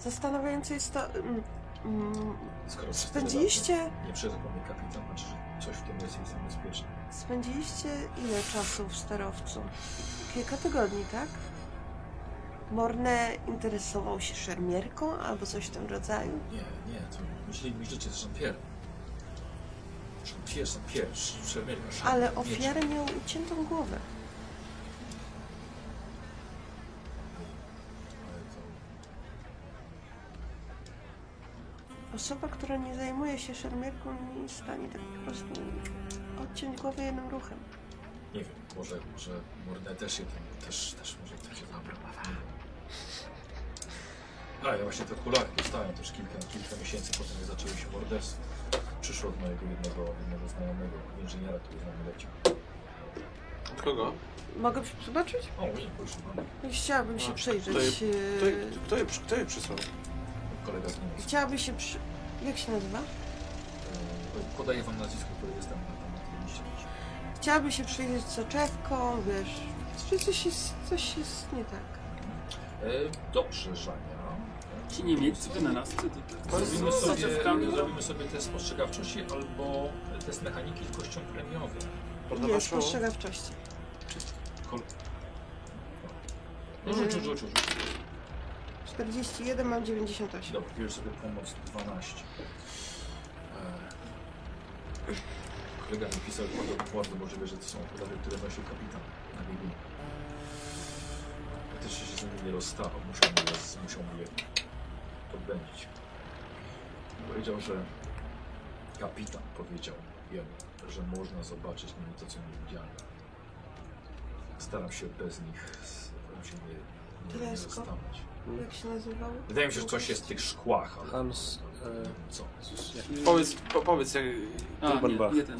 Zastanawiające jest to... mm, mm, Skoro wszyscy Spędziliście, razem Nie przerywał mnie kapitan, znaczy, że coś w tym jest, jest niebezpieczne. spędziliście ile czasu w sterowcu? Kilka tygodni, tak? Morne interesował się szermierką albo coś w tym rodzaju. Nie, nie, to myśleli mi życie z Jean-Pierre. Jean-Pierre, Jean-Pierre, Szermierka, Jean- Ale Miecz. ofiarę miał uciętą głowę. Ale to- Osoba, która nie zajmuje się szermierką, nie jest w stanie tak po prostu odciąć głowę jednym ruchem. Nie wiem, może, może Morne też jeden, też, też może tak takie dobra. A ja właśnie te okulary dostałem też kilka, kilka miesięcy po tym, jak zaczęły się morderstwa. Przyszło od mojego jednego, jednego znajomego inżyniera, który z nami leciał. Od kogo? Mogę zobaczyć? O, nie, proszę, mam Chciałabym się przejrzeć. Kto je, e, kto je, przy- kto je przysłał? kolega z Niemiec. Chciałabym się przy... Jak się nazywa? E, Podaję wam nazwisko, które jest tam na tam na tym liście. Chciałabym się przyjrzeć soczewką, wiesz. Czy coś jest, coś jest nie tak? E, Dobrze, Żania. Ci niemieccy wynalazcy to Zrobimy z sobie, soczewkami, to- zrobimy sobie test spostrzegawczości albo test mechaniki z kością premiową. Podoba Jest, się? postrzegawczości. No rzuć, rzuć, rzuć, rzuć. 41, mam 98. Dobra, bierz sobie pomoc 12. Eee, Kolega mi pisał bardzo, bardzo możliwe, że to są okulary, które nosił kapitan na biegunie. Też się z nimi nie rozstawał, muszą mu je, muszą mu je podbędzić. Powiedział, że kapitan powiedział jemu, że można zobaczyć nimi to, co niewidzialne. Staram się bez nich, staram się nie, nie, nie Teleskop? rozstawać. Jak się nazywał? Wydaje mi się, że coś jest w tych szkłach, ale Hans... nie E, wiem co. Powiedz, po, powiedz jak... A, Drubenbach. nie, nie ten.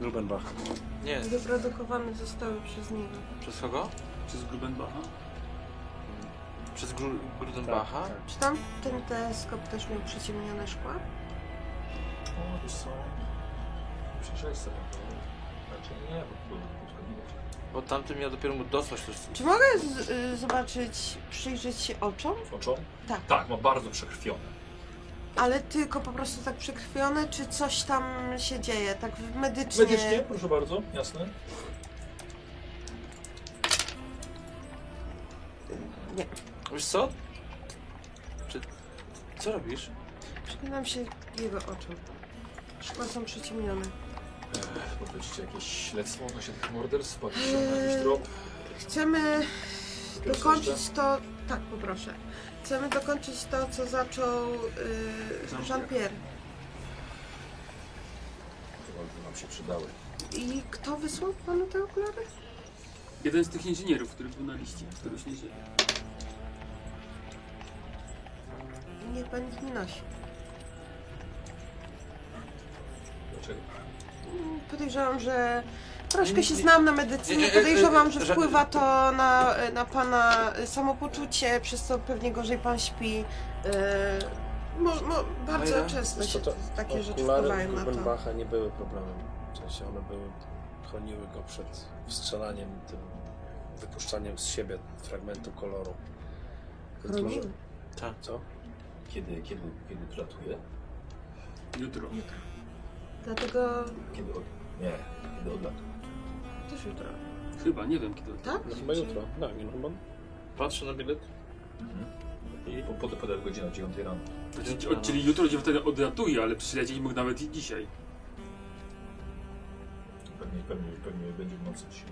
Grubenbach. Nie, Wyprodukowane zostały przez niego. przez kogo? Przez Grubenbacha. Przez Gru, Grudenbacha? Tak, Czy tam ten teleskop też miał przyciemnione szkła? O, wiesz co? Przejrzałeś sobie to. Raczej no. Znaczy, nie, bo to krótko widać. Bo tamten miał dopiero mu dosłać coś. Czy mogę z, y, zobaczyć, przyjrzeć się oczom? Oczom? Tak. Tak, ma bardzo przekrwione. Ale tylko po prostu tak przekrwione, czy coś tam się dzieje? Tak w- medycznie. Medycznie, proszę bardzo, jasne. Wiesz co? Czy... Co robisz? Przyglądam się jego oczom. Szkła są przyciemnione. Powiedzcie, jakieś śledztwo odnośnie tych morderstw, patrzcie na jakiś drop. Chcemy Ktoś dokończyć to. Tak, poproszę. Chcemy dokończyć to, co zaczął y, Jean-Pierre. Chyba by nam się przydały. I kto wysłał panu te okulary? Jeden z tych inżynierów, który był na liście, któregoś niedzielę. Niech pan ich nie nosi. Dlaczego? Mm, Podejrzewam, że troszkę się Nie, znam na medycynie. nie, e, nie, Podejrzewam, nie, że że- wpływa to na, na pana y, samopoczucie, przez co pewnie gorzej pan śpi. Y, Mo, mo, bardzo Majra, często się to takie rzeczy Okulary wpływają na to. Grubenbacha nie były problemem. W sensie one były... chroniły go przed strzelaniem, tym wypuszczaniem z siebie fragmentu koloru. Więc Chroniły. może- Tak. Co? Kiedy, kiedy, kiedy przelatuje? Jutro. Dlatego Kiedy od... Nie, kiedy odlatuje. też jutro. Chyba, nie wiem kiedy. Tak? No chyba jutro. Tak, no chyba... Patrzę na bilet. I po, po, podał godzina 9 rano. Znaczy, od- no. Czyli jutro gdzie wtedy odlatuje, ale przylecieć mógł nawet i dzisiaj. Pewnie, pewnie, pewnie będzie w nocy dzisiaj.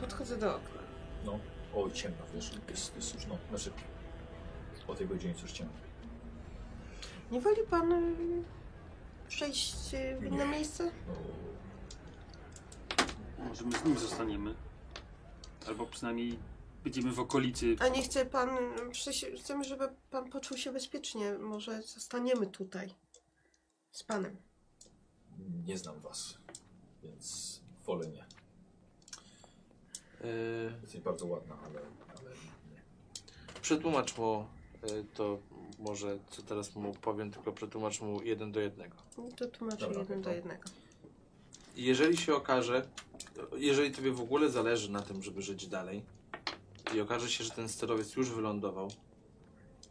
Podchodzę do okna. No, o ciemno, wiesz, jest, jest już no, znaczy o tej godzinie jest już ciemno. Nie woli pan y, przejść y, w inne Nie. miejsce? No, Może my z nim zostaniemy. Albo przynajmniej będziemy w okolicy. A nie chce pan, y, przysi- chcemy, żeby pan poczuł się bezpiecznie. Może zostaniemy tutaj z panem. nie znam was, więc wolę nie. Yy, Jesteś bardzo ładna, ale, ale nie. przetłumacz mu y, to może, co teraz mu powiem, tylko przetłumacz mu jeden do jednego. I to tłumaczę Dobra, jeden to- do jednego. Jeżeli się okaże, jeżeli tobie w ogóle zależy na tym, żeby żyć dalej i okaże się, że ten sterowiec już wylądował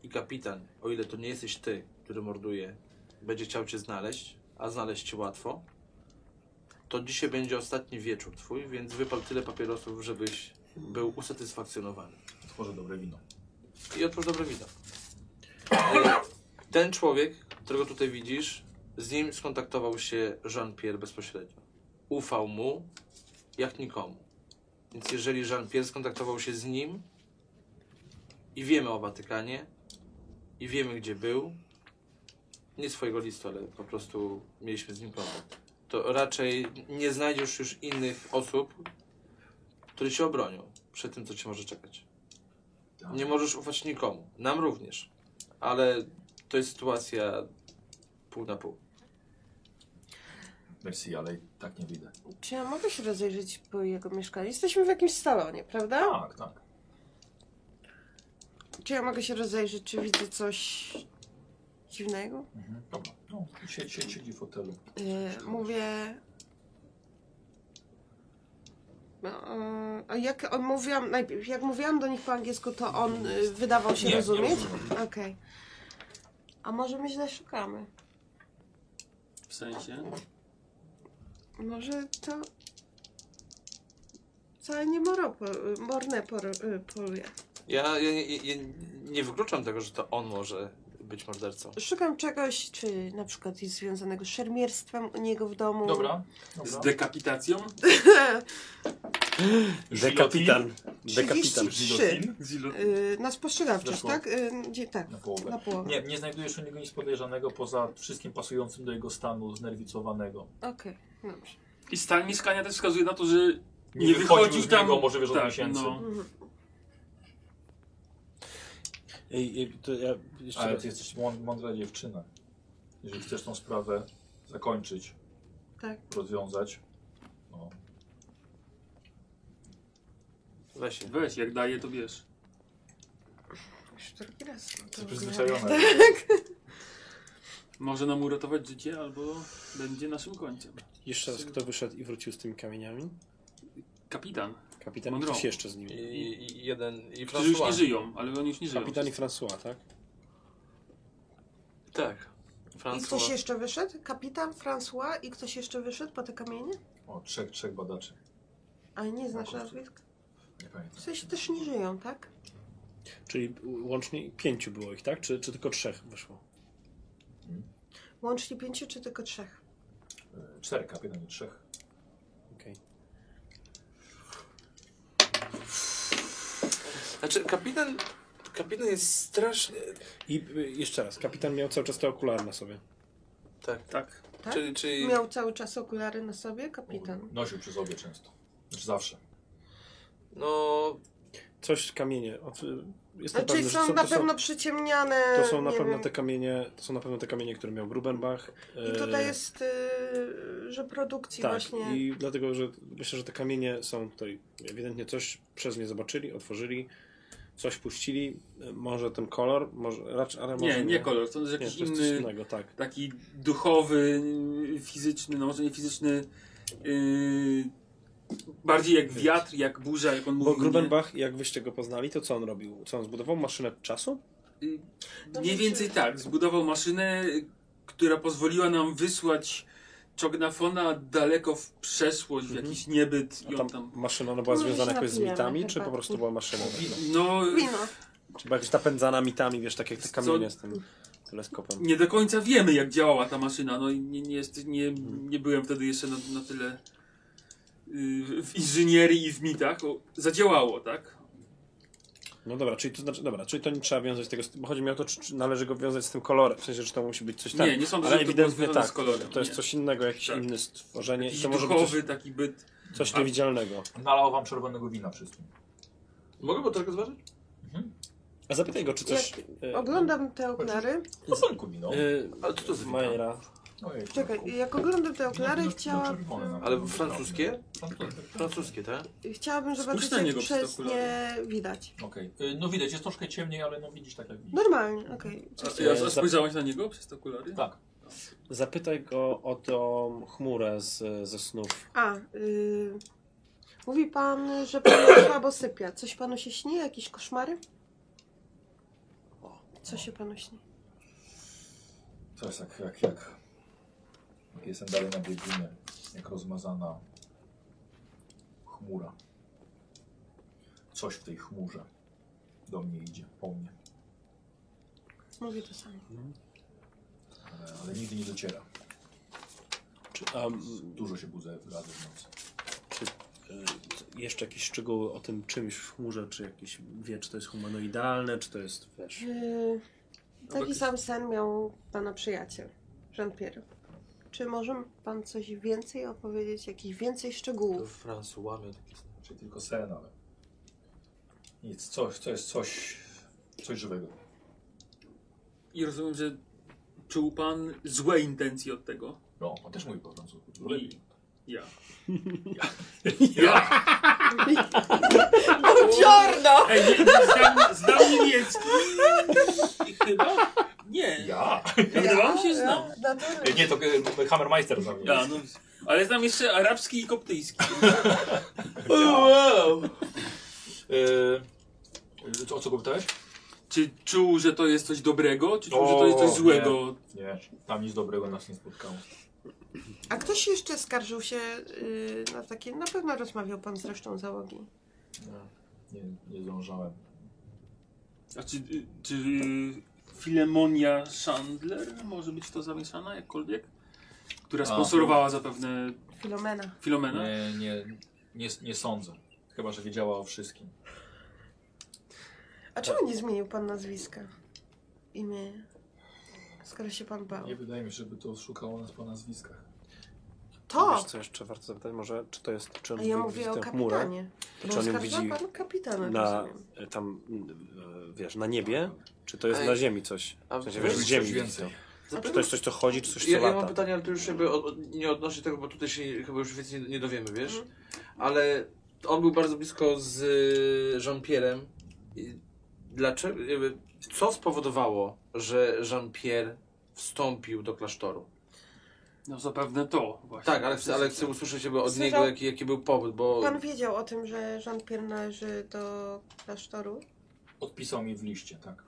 i kapitan, o ile to nie jesteś ty, który morduje, będzie chciał cię znaleźć, a znaleźć cię łatwo, to dzisiaj będzie ostatni wieczór twój, więc wypal tyle papierosów, żebyś był usatysfakcjonowany. Tworzy dobre wino. I otwórz dobre wino. Ten człowiek, którego tutaj widzisz, z nim skontaktował się Jean-Pierre bezpośrednio. Ufał mu jak nikomu. Więc jeżeli Jean-Pierre skontaktował się z nim i wiemy o Watykanie i wiemy gdzie był, nie swojego listu, ale po prostu mieliśmy z nim kontakt, to raczej nie znajdziesz już innych osób, które cię obronią przed tym, co cię może czekać. Nie możesz ufać nikomu. Nam również. Ale to jest sytuacja pół na pół. Merci, ale tak nie widzę. Czy ja mogę się rozejrzeć po jego mieszkaniu? Jesteśmy w jakimś salonie, prawda? Tak, tak. Czy ja mogę się rozejrzeć, czy widzę coś dziwnego? Mhm. Dobra. No, siedzi, siedzi, siedzi w fotelu. Yy, mówię. No, yy, a jak on mówiłam, najpierw, jak mówiłam do nich po angielsku, to on yy, wydawał się Nie, nie rozumieć? rozumiem. Okej. A może my źle szukamy? W sensie? Może to. Całe nie moropo, morne por, y, poluje. Ja, ja, ja, ja nie wykluczam tego, że to on może być mordercą. Szukam czegoś, czy na przykład jest związanego z szermierstwem u niego w domu. Dobra. Z Dobra. dekapitacją? Dekapitan. Dekapitan. 33. Z ilo... Y, na spostrzegawczość, Weszło. tak? Y, gdzie, tak, Na połowę. na połowę. Nie, nie znajdujesz u niego nic podejrzanego poza wszystkim pasującym do jego stanu znerwicowanego. Okej, No, dobrze. I stan miskania też wskazuje na to, że Nie, Nie wychodził wychodził z tam- niego może wiesz od tak, miesięcy. no. Mhm. Ej, ej, to ja jeszcze Ale raz. ty jesteś mąd- mądra dziewczyna. Jeżeli chcesz tą sprawę zakończyć, Tak. rozwiązać, no, Weź się. weź, jak daje, to wiesz. Już drugi raz. no to jesteś przyzwyczajona. Może nam uratować życie, albo będzie naszym końcem. Jeszcze raz kto wyszedł i wrócił z tymi kamieniami? Kapitan. Kapitan i Monroe. ktoś jeszcze z I, nimi. i- i jeden, i Którzy już nie François. żyją, ale oni już nie żyją. Kapitan i François, tak? Tak. I ktoś François. jeszcze wyszedł? Kapitan, François i ktoś jeszcze wyszedł po te kamienie? O, trzech, trzech badaczy. A nie znasz Jakoś- nazwisk? Nie pamiętam. W sensie też nie żyją, tak? Czyli łącznie pięciu było ich, tak? Czy, czy tylko trzech wyszło? Łącznie pięciu czy tylko trzech? E, Cztery kapitan, nie trzech. Okej. Znaczy, kapitan, kapitan jest strasznie... I y, jeszcze raz, kapitan miał cały czas te okulary na sobie. Tak. Tak. Tak? Czyli, czyli Miał cały czas okulary na sobie, kapitan. Nosił przy sobie często. Znaczy zawsze. no... Coś, kamienie. O, y, Jestem Znaczy pewny, że są na to są, pewno przyciemniane. to są na nie pewno wiem. te kamienie, to są na pewno te kamienie, które miał Grubenbach. I E, tutaj jest, y, że produkcji Tak, właśnie. i dlatego, że myślę, że te kamienie są tutaj, ewidentnie coś przez nie zobaczyli, otworzyli, coś puścili, e, może ten kolor, może raczej, ale może Nie, nie kolor, to jest Nie, jakiś to jest coś inny, innego, tak. taki duchowy, yy, fizyczny, no może nie fizyczny, yy, bardziej jak wiatr, jak burza, jak on Bo mówi. Grubenbach, jak wyście go poznali, to co on robił? Co on zbudował? Maszynę czasu? nie? No, Mniej wiecie. więcej tak, zbudował maszynę, y, która pozwoliła nam wysłać Czognafona daleko w przeszłość, w Mhm. jakiś niebyt A i tam on tam... maszyna ona była Może się związana jakoś z napijemy mitami, czy po herbatki. prostu była maszyna? No, Wino. Czy była jakaś napędzana mitami, wiesz, tak jak te Co- kamienie z tym teleskopem? nie do końca wiemy, jak działała ta maszyna. No, i nie, nie, jest, nie, Mhm. nie byłem wtedy jeszcze na, na tyle y, w inżynierii i w mitach. O, zadziałało, tak? No dobra, czyli to znaczy, dobra, czyli to nie trzeba wiązać tego, z tym- bo chodzi mi o to, czy, czy należy go wiązać z tym kolorem, w sensie, że to musi być coś tam. Nie, nie sądzę, Ale żeby to ewidentnie było związane tak, z kolorem, to jest nie. coś innego, jakieś Tak. inne stworzenie i Jakiś to może być duchowy coś, taki byt. coś A- niewidzialnego. Nalał wam czerwonego wina wszystkim. Mogę go trochę zważyć? A zapytaj go, czy coś... e, Oglądam te okulary. No banku wino. e, Ale co to jest wino? Majera. No Ojej, Czekaj, jak oglądam te okulary, Znaczy, chciałabym, Ale francuskie? Francuskie. Francuskie, tak? chciałabym zobaczyć, na niego jak przez przez te okulary. nie widać. Okej. Y, No widać, jest troszkę ciemniej, ale no widzisz tak jak widzisz. Normalnie, okej. A, ja, za- a spojrzałaś na niego przez te okulary? Tak. Zapytaj go o tą chmurę z, ze snów. A, y, mówi pan, że pan słabo sypia. Coś panu się śni? Jakieś koszmary? Co się panu śni? To jest jak, jak, jak, jak jestem dalej na biegunie, jak rozmazana chmura. Coś w tej chmurze do mnie idzie, po mnie, Mówię to samo. ale, ale nigdy nie dociera. Czy, a, m, Dużo się budzę razy w nocy. e, y, jeszcze jakieś szczegóły o tym czymś w chmurze, czy jakieś, wie, czy to jest humanoidalne, czy to jest, wiesz... Yy, taki sam sen miał pana przyjaciel, Jean-Pierre. Czy może pan coś więcej opowiedzieć, jakichś więcej szczegółów? François miał taki sen. Czyli tylko sen, ale nic, coś, to jest coś, coś żywego. I rozumiem, że czuł pan złe intencje od tego. No, on też mówi po francusku. I ja. Buongiorno! Ej, nie, nie, znam, znam niemiecki. Chyba? Nie. Ja? Wydawało mi się, że znam. E, Nie, to e, Hammermeister za mnie. Ja, no, ale znam jeszcze arabski i koptyjski. no. E, co- o co go pytałeś? Czy czuł, że to jest coś dobrego, czy czuł, że to jest coś O, złego? Nie, tam nic dobrego nas nie spotkało. A ktoś jeszcze skarżył się yy, na takie... Na pewno rozmawiał pan z resztą załogi. Nie, nie zdążałem. A czy, czy Filemonia Chandler może być w to zamieszana jakkolwiek? Która sponsorowała zapewne Filomena. Filomena? Nie, nie, nie, nie sądzę. Chyba, że wiedziała o wszystkim. A czemu nie zmienił pan nazwiska? Imię. Skoro się pan bał. Nie wydaje mi się, żeby to szukało nas po nazwiskach. To! Wiesz, co jeszcze warto zapytać? Może, czy to jest, czy on A ja wi- mówię o tę chmurę kapitanie. To Bo no czy on ją skarżyła widzi pan kapitana, na, rozumiem. e, tam, e, wiesz, na niebie? Czy to jest Ej. na ziemi coś? A W sensie, wiesz, wiesz, coś w ziemi więcej. więcej. To. Czy to jest coś, co chodzi, czy coś, co Ja, ja mam lata? pytanie, ale to już jakby od, od, nie odnośnie tego, bo tutaj się chyba już więcej nie, nie dowiemy, wiesz? Mhm. Ale on był bardzo blisko z y, Jean-Pierre'em. I Dlaczego? jakby, Co spowodowało, że Jean-Pierre wstąpił do klasztoru? No zapewne to właśnie. Tak, ale, chcę- ale chcę usłyszeć jakby od Słyszał- niego, jaki, jaki był powód, bo... Pan wiedział o tym, że Jean-Pierre należy do klasztoru, Odpisał mi w liście, tak.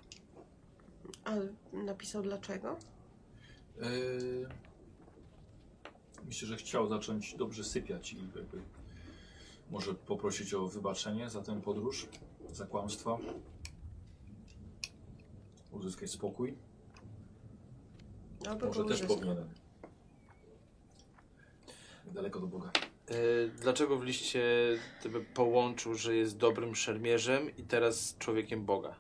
ale napisał dlaczego? Yy, myślę, że chciał zacząć dobrze sypiać i jakby może poprosić o wybaczenie za tę podróż, za kłamstwa. Uzyskać spokój. Albo Może go też uzyskał. powinienem. Daleko do Boga. Y, Dlaczego w liście gdyby połączył, że jest dobrym szermierzem i teraz człowiekiem Boga?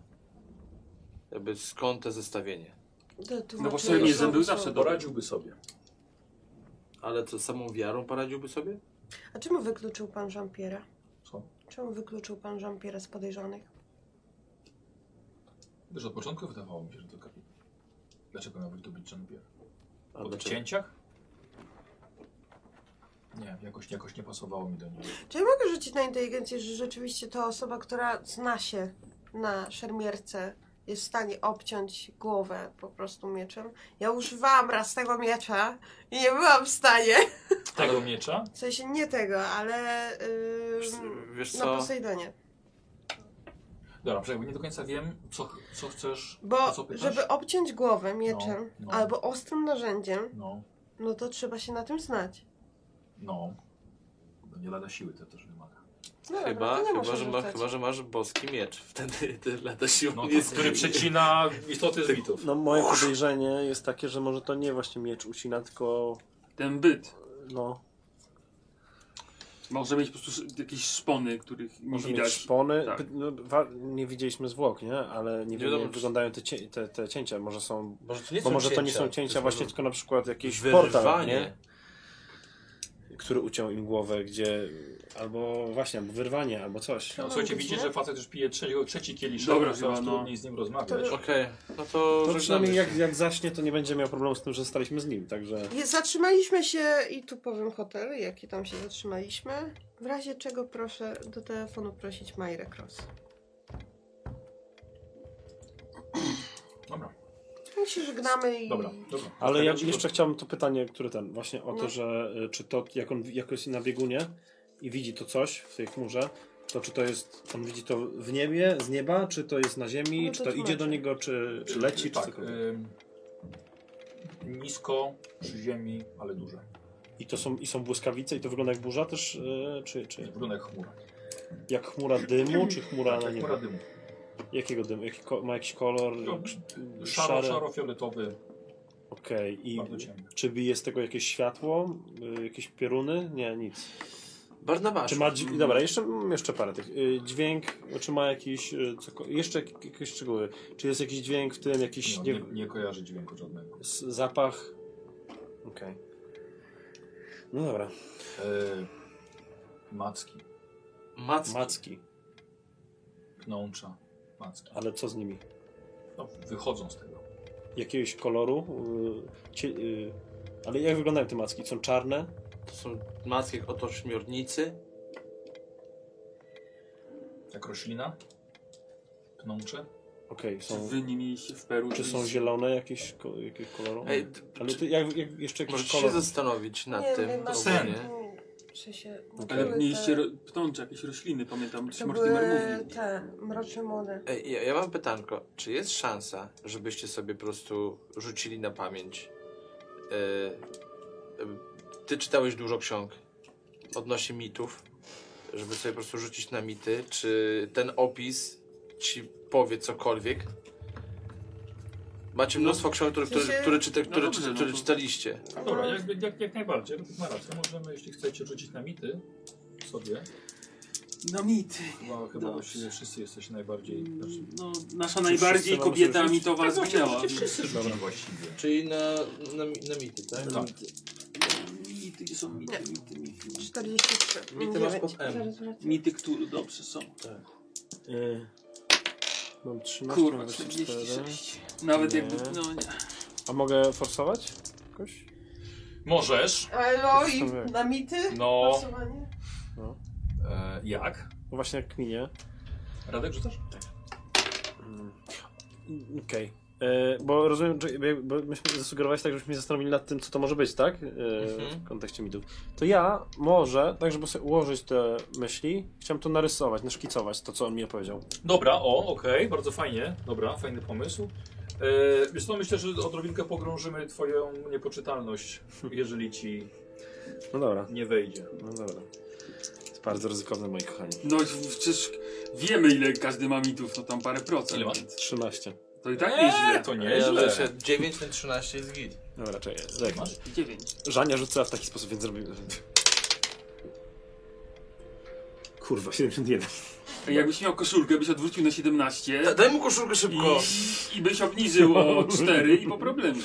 Jakby skąd to zestawienie? To tłumaczy- No bo szermierzem był zawsze dobry. Poradziłby sobie. Ale co, samą wiarą poradziłby sobie? A czemu wykluczył pan Jean-Pierre'a? Co? Czemu wykluczył pan Jean-Pierre'a z podejrzanych? Też od początku wydawało mi się, że to kapitan. Dlaczego miałby to być Jean-Pierre? A Po tych dlaczego? cięciach? Nie, jakoś, jakoś nie pasowało mi do niego. Czy ja mogę rzucić na inteligencję, że rzeczywiście to osoba, która zna się na szermierce, jest w stanie obciąć głowę po prostu mieczem? Ja używałam raz tego miecza i nie byłam w stanie. Tego miecza? W sensie nie tego, ale Wiesz- ym, Wiesz na co? Posejdonie. Dobra, przecież nie do końca wiem, co, ch- co chcesz. o Bo co pytasz. żeby obciąć głowę mieczem No, no. albo ostrym narzędziem, No, no to trzeba się na tym znać. no. No nie lada siły to też wymaga. No dobra, Chyba, to nie chyba, muszę że ma, rzucać. chyba, że masz boski miecz. Wtedy te lata siłą No, jest... który przecina istoty z bitów. No moje podejrzenie jest takie, że może to nie właśnie miecz ucina, tylko Ten byt. no, Może mieć po prostu sz- jakieś szpony, których nie może mieć widać. szpony. Tak. Py- No, wa- nie widzieliśmy zwłok, nie? Ale nie, wiem, wiadomo, jak czy- wyglądają te, cie- te, te cięcia. Może są, Może to nie bo może to nie są cięcia właśnie, tylko na przykład jakiś portal, nie? Który uciął im głowę, gdzie albo właśnie, albo wyrwanie, albo coś. No, słuchajcie, widzicie, że facet już pije trzeci, trzeci kieliszek, Dobra, Dobra, coraz chyba, no. trudniej z nim rozmawiać. Okej, no to... No żegnamy przynajmniej się. jak, jak zaśnie, to nie będzie miał problemu z tym, że staliśmy z nim, także... Je- Zatrzymaliśmy się i tu powiem hotel, jaki tam się zatrzymaliśmy. W razie czego proszę do telefonu prosić Majrę Cross. Dobra, No i się żegnamy i... dobra, dobra. Tak, Ale ja Czekaj, jeszcze chciałbym to pytanie, które ten, właśnie o No. to, że y, czy to, jak on jakoś na biegunie i widzi to coś w tej chmurze, to czy to jest, on widzi to w niebie, z nieba, czy to jest na ziemi, No to czy to idzie tłumaczę. do niego, czy, czy leci, czy tak, cokolwiek. ym, Nisko, przy ziemi, ale duże. I to są, i są błyskawice i to wygląda jak burza też, y, czy, Nie czy... wygląda jak chmura. Tak, Jak chmura dymu, czy chmura na niebo? Chmura dymu. Jakiego dymu? Jaki, ko- ma jakiś kolor? No, Krz- Szaro, szaro-fioletowy, Okej. bardzo I ciemny. czy bije z tego jakieś światło? Y, Jakieś pioruny? Nie, nic. Barnabasz. Czy ma... dź- Dobra, jeszcze, mm, jeszcze parę tych. Y, Dźwięk, czy ma jakiś... y, Coko... Jeszcze jak- jakieś szczegóły. Czy jest jakiś dźwięk w tym, jakiś... No, Nie, on Nie... nie, nie kojarzy dźwięku żadnego. s- Zapach? Okej. No dobra. E, macki, Mac... Macki. pnącza, macki. Ale co z nimi? No, wychodzą z tego. Jakiegoś koloru? Y, cie... y... Ale jak wyglądają te macki? Są czarne? To są macki jak oto śmiornicy. Jak roślina, pnącze. Okej, Czy są... wy nie mieliście w Peru? Czy są zielone jakieś, ko- jakieś koloru? Ej, d- Ale czy- ty, jak, jak, jeszcze jakiś Możecie się kolor. zastanowić nad tym. wiem, ogólnie. sen. Czy się... Ale były mieliście te- ro- ptącze, jakieś rośliny, pamiętam, czy tak. To Mortimer były mówił. te mroczne młode. Ej, ja, ja mam pytanko. Czy jest szansa, żebyście sobie po prostu rzucili na pamięć? E, e, ty czytałeś dużo ksiąg odnośnie mitów, żeby sobie po prostu rzucić na mity. Czy ten opis ci powie cokolwiek? Macie mnóstwo ksiąg, które, które, sensie- które, czyta, No które, dobrze, czyta, no które to- czytaliście. No Dobra, No. jak, jak, jak najbardziej, Robert ma rację. Możemy, jeśli chcecie, rzucić na mity sobie. No mity. Chyba, chyba Dobrze. właściwie wszyscy jesteście najbardziej... Znaczy, No, nasza wszyscy najbardziej mamy kobieta sobie- Tak, mitowa zginęła. właściwie wszyscy rzucili właściwie. Czyli na, na, mi- na mity, tak? Tak. Mity są mity, mity, mity. 43. Mity masz pod M. Zaraz wracam. Mity, które dobrze są. Y, mam 13, Kurwa, mam 44. 46. Nawet Nie. jakby, no nie. A mogę forsować? Jakoś? Możesz. Elo i Zostawiam. na mity? No, Głosowanie? e, jak? No właśnie jak minie. Radek rzucasz? Mm. Mm. Okej. E, Bo rozumiem, że jakby- bo myśmy zasugerowali tak, żebyśmy się zastanowili nad tym, co to może być, tak? E, Mhm. W kontekście mitów. To ja może, tak żeby sobie ułożyć te myśli, chciałem to narysować, naszkicować, to co on mi opowiedział. Dobra, o, okej, bardzo fajnie. Dobra, fajny pomysł. E, Wiesz co, myślę, że odrobinkę pogrążymy twoją niepoczytalność, jeżeli ci No dobra, nie wejdzie. no dobra. Jest bardzo ryzykowne, moi kochani. No przecież wiemy ile każdy ma mitów, to tam parę procent. Ile masz? 13. To i tak nieźle. to Ja nieźle. rzucę 9 na 13 jest git. Dobra, czekaj, czekaj. Masz? Dziewięć. Żania rzucała w taki sposób, więc zrobimy. Kurwa, 71. A Jakbyś miał koszulkę, byś odwrócił na 17 Da, daj mu koszulkę i, szybko. i byś obniżył o 4 i po problemie.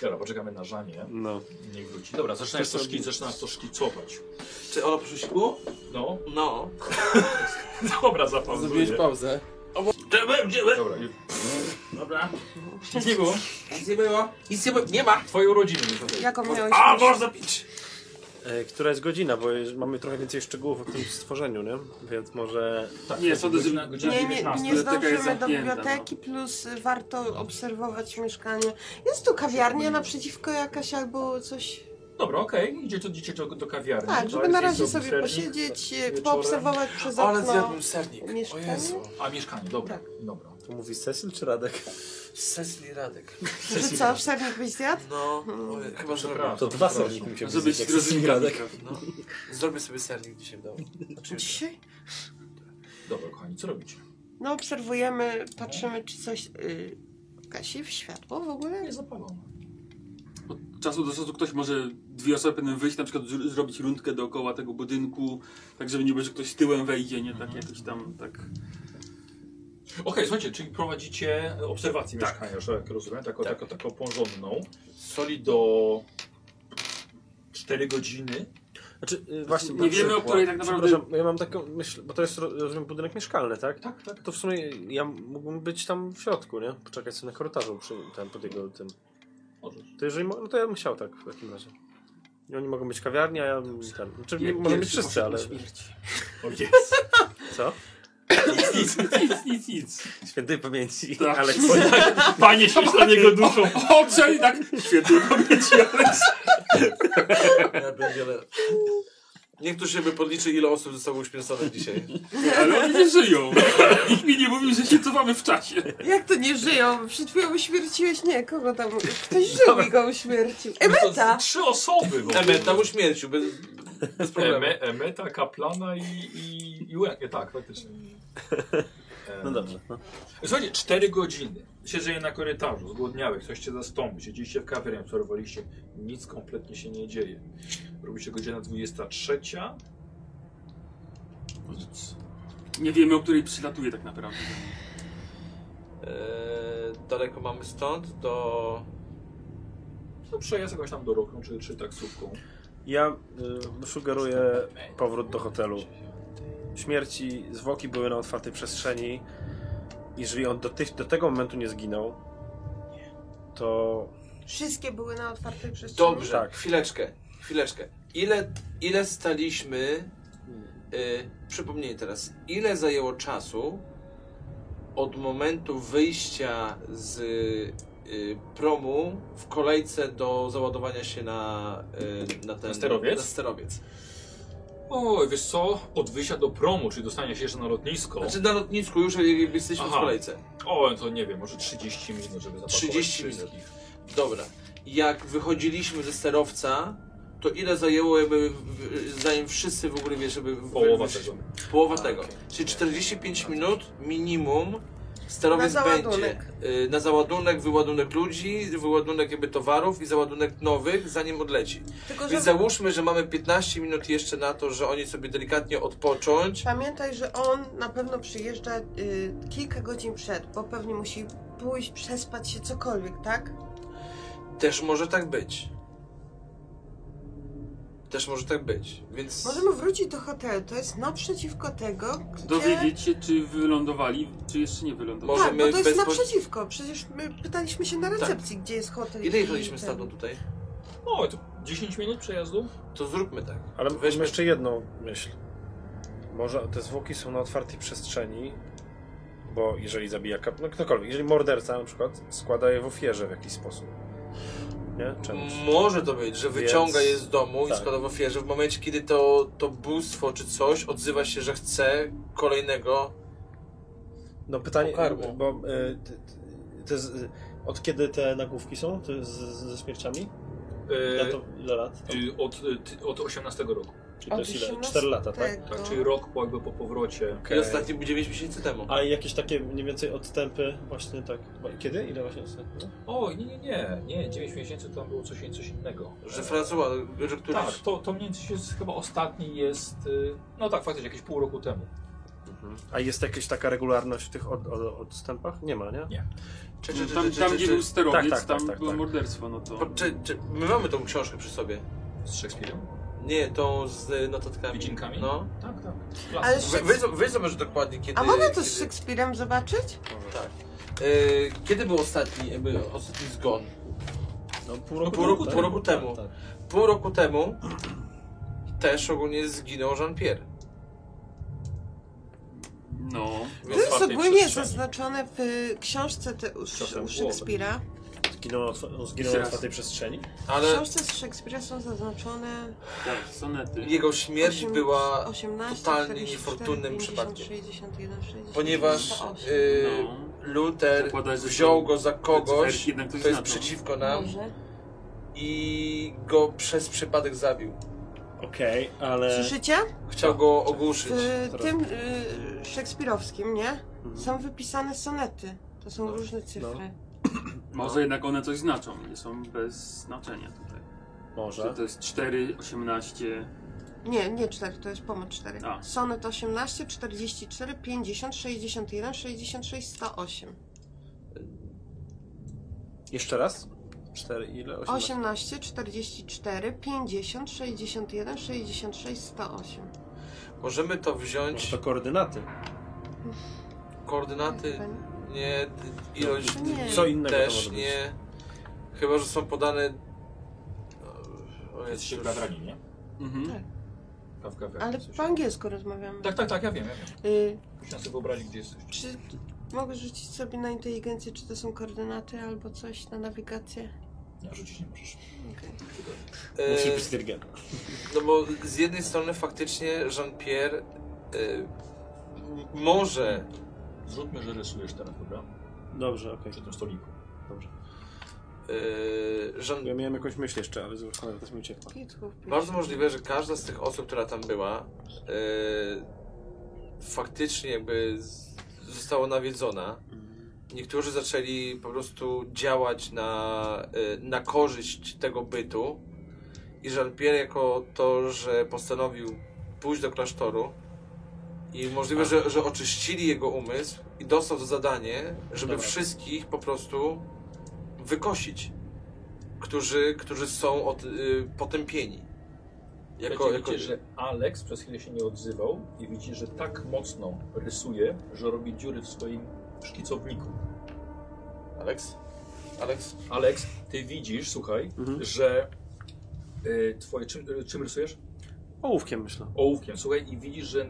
Dobra, poczekamy na żanie. No. Niech wróci. Dobra, zaczynasz to, szkic, zaczynasz to szkicować. Czy Ola poszło siku? No, No. dobra, zapauzuję. Zrobiłeś pauzę. Dobra, Dobra. nic nie było. Nic nie było. Nic nie było. Nie ma. Twoje urodziny nie powiedziałem. Jaką miałeś? A, można pić. E, która jest godzina, bo jeż- mamy trochę więcej szczegółów o tym stworzeniu, nie? Więc może... Nie, sądzę, że godzina- na godzina Nie, nie, 19. nie biblioteka jest no. zdążymy do zamknięta, biblioteki, plus y, warto obserwować mieszkanie. Jest tu kawiarnia naprzeciwko jakaś albo coś. Dobra, okej, idziecie, idziecie do, do kawiarni. Tak, No, żeby Bardziej na razie zrobić sobie sernik. posiedzieć, y, wieczorem. poobserwować przez Tak, Ale okno. zjadłem sernik. O mieszkanie? Jezu. A mieszkanie, dobra, Tak. dobra. To mówi Cecil czy Radek? Cecily Radek. Że co, w sernik byś zjadł? No, no chyba zrobię. Przepraszam. To dwa serniki mi się Żebyś wydaje, jak Cecil i Radek. No. Zrobię sobie sernik dzisiaj w domu. Znaczy, jutro. Dzisiaj? Dobra, kochani, co robicie? No obserwujemy, patrzymy czy coś... Y, gasi w światło w ogóle? Jest zapalone. Od czasu do czasu ktoś może, dwie osoby powinny wyjść, na przykład zr- zrobić rundkę dookoła tego budynku, tak żeby nie było, że ktoś tyłem wejdzie, nie? Mhm. Tak jakoś tam, tak... Okej, słuchajcie, czyli prowadzicie e, obserwację Tak. mieszkania, już jak rozumiem, taką, taką, taką porządną. Soli do 4 godziny. Znaczy, y, właśnie... Nie wiemy, o której tak naprawdę... Przepraszam, ja mam taką myśl, bo to jest, ro- rozumiem, budynek mieszkalny, tak? Tak, tak. To w sumie ja mógłbym być tam w środku, nie? Poczekać sobie na korytarzu przy, tam, pod jego tym... Możesz. To jeżeli mo- no to ja bym chciał tak w takim razie. I oni mogą być kawiarnia, a ja bym ten. Znaczy, nie, może być wszyscy, ale. O jest. Co? Nic, nic, nic, nic. Świętej pamięci. Tak. Ale twoja... Panie świeć na niego duszą. Oczy i tak, świetnie pamięci, ale... Ja pierdzielę. Niech tu się by podliczy, ile osób zostało uświęconych dzisiaj. Ale oni nie żyją. Nikt mi nie mówił, że się cofamy w czasie. Jak to nie żyją? Przed chwilą uśmierciłeś, nie, kogo tam, ktoś żył i go uśmiercił. No, Emeta! Trzy osoby. w ogóle. Emeta w uśmierciu, bez, bez problemu. Eme, Emeta, Kaplana i, i, i Łękę. Tak, faktycznie. No dobrze. No. Słuchajcie, 4 godziny. Siedzenie na korytarzu, zgłodniałych, coś cię zastąpi. Siedzieliście w kawiarni, obserwowaliście. Nic kompletnie się nie dzieje. Robi się godzina 23. Nic. Nie wiemy, o której przylatuje tak naprawdę. Eee, daleko mamy stąd do... No przejazd jakoś tam doroką, czy, czy taksówką. Ja y, sugeruję powrót do hotelu. Śmierci, zwłoki były na otwartej przestrzeni. Jeżeli on do, tych, do tego momentu nie zginął, to Wszystkie były na otwartej przestrzeni. Dobrze, Tak. chwileczkę, chwileczkę. Ile, ile staliśmy... Yy, przypomnij teraz, ile zajęło czasu od momentu wyjścia z y, promu w kolejce do załadowania się na, y, na ten... Na sterowiec? Na sterowiec. O, wiesz co? Od wyjścia do promu, czyli dostania się jeszcze na lotnisko. Znaczy na lotnisku już jakby jesteśmy Aha. w kolejce. O, to nie wiem, może 30 minut, żeby zapakować 30 minut. wszystkich. Dobra. Jak wychodziliśmy ze sterowca, to ile zajęło jakby, w- zanim wszyscy w ogóle, wiesz, żeby... w- Połowa wyszli? tego. Połowa A, tego. okej. Czyli 45 minut minimum sterowiec Na będzie załadunek. y, na załadunek, wyładunek ludzi, wyładunek jakby towarów i załadunek nowych, zanim odleci. Tylko, że Więc załóżmy, że mamy 15 minut jeszcze na to, że oni sobie delikatnie odpocząć. pamiętaj, że on na pewno przyjeżdża y, kilka godzin przed, bo pewnie musi pójść, przespać się, cokolwiek, tak? Też może tak być. Też może tak być. Więc Możemy wrócić do hotelu, to jest naprzeciwko tego, gdzie... Dowiedzieć się, czy wylądowali, czy jeszcze nie wylądowali. Tak, bo Możemy to jest bezpo- naprzeciwko, przecież my pytaliśmy się na recepcji, gdzie jest hotel. Tak. ile i jechaliśmy ten. stamtąd tutaj? O, to 10 minut przejazdu? To zróbmy tak. Ale Weźmy- Weźmy jeszcze jedną myśl. Może te zwłoki są na otwartej przestrzeni, bo jeżeli zabija kap... no ktokolwiek, jeżeli morderca na przykład składa je w ofierze w jakiś sposób. Nie? Czemuś. Może to być, że wyciąga Więc- je z domu i tak. składa w ofierze w momencie, kiedy to, to bóstwo czy coś odzywa się, że chce kolejnego. No pytanie, Pokarmu. bo y, t- t- te z, od kiedy te nagłówki są te z, z- ze śmierciami? Ile, E, to, ile lat? To, y, od, y, ty- od 18 roku. czyli to Od jest ile? 18 4 lata, tak? tego. Tak, czyli rok po, jakby po powrocie. I ostatni był 9 miesięcy temu. A jakieś takie mniej więcej odstępy właśnie tak. Kiedy? Ile właśnie odstępy? O, nie, nie, nie, nie, 9 miesięcy tam było coś, coś innego. E, Że François, że któryś... Tak, to, to mniej więcej jest, chyba ostatni jest, y, no tak, faktycznie jakieś pół roku temu. A jest jakaś taka regularność w tych od, od, odstępach? Nie ma, nie? Czy, czy, czy, No, Tam, czy, tam czy, gdzie czy, był sterowiec, Tak, tak, tam tak, tak, było tak. morderstwo, no to... po- czy, czy, My mamy tą książkę przy sobie. Z Szekspirem? Nie, tą z y, notatkami. Widzinkami? No. Tak, tak. Ale Klasa. Wy, Szek- wy, wy zobacz dokładnie kiedy... A mogę to z kiedy, Szekspirem zobaczyć? y, kiedy był ostatni, jakby ostatni zgon? No pół No, roku, pół roku- tak? pół roku Tak, temu. tak. Pół roku temu też ogólnie zginął Jean-Pierre. No. To jest otwartej ogólnie przestrzeni. zaznaczone w książce te, u, Książka u była. Szekspira. Zginął, na otwa- on zginął na otwartej przestrzeni? W Ale książce z Szekspira są zaznaczone Tak, sonety. jego śmierć osiem- była 18, totalnie 44, niefortunnym 50, przypadkiem. 61, 60, Ponieważ 98. y, No. Luther Zakładaj, że wziął to- go za kogoś, Lucyferki jednak kto coś jest znaczą. przeciwko y, nam Może. i go przez przypadek zabił. Okej, ale... Słyszycie? Chciał go ogłuszyć. W tym y, szekspirowskim, nie? Są wypisane sonety. To są różne cyfry. Może jednak one coś znaczą, nie są bez znaczenia tutaj. Że Tak. Może. to jest 4, 18... Nie, nie 4, to jest pomoc 4. A. Sonet 18, 44, 50, 61, 66, 108. Jeszcze raz? Cztery, ile? 18. 18, 44, 50, 61, 66, 108. Możemy to Może wziąć, to koordynaty. koordynaty, nie, d- ilość Nie. Co innego to też może być? nie, chyba że są podane... O, Jest się w Jezus. kawiarni, nie? Mhm. W kawiarni Tak. Ale coś. po angielsku rozmawiamy. Tak, tak, tak, ja wiem, ja wiem. Y, Musiałem sobie wyobrazić, gdzie jesteś. czy mogę rzucić sobie na inteligencję, czy to są koordynaty albo coś na nawigację? Nie, rzucić nie możesz. E, Musisz być inteligentny. No bo z jednej strony faktycznie Jean-Pierre e, m- może Zróbmy, że rysujesz teraz, dobra? Dobrze, okej. Przy tym stoliku. e, Jean Ja miałem jakąś myśl jeszcze, ale zresztą teraz mi uciekła. Bardzo możliwe, że każda z tych osób, która tam była, e, faktycznie jakby z, została nawiedzona. Niektórzy zaczęli po prostu działać na, e, na korzyść tego bytu. I Jean-Pierre jako to, że postanowił pójść do klasztoru i możliwe, że, że oczyścili jego umysł i dostał to zadanie, żeby Dobra. wszystkich po prostu wykosić, którzy, którzy są od, y, potępieni. Jako, Jako, jako, widzicie, że Alex przez chwilę się nie odzywał i widzicie, że tak mocno rysuje, że robi dziury w swoim szkicowniku. Alex? Alex? Alex, ty widzisz, słuchaj, że y, twoje, czym, y, czym rysujesz? Ołówkiem myślę. Ołówkiem, słuchaj, i widzisz, że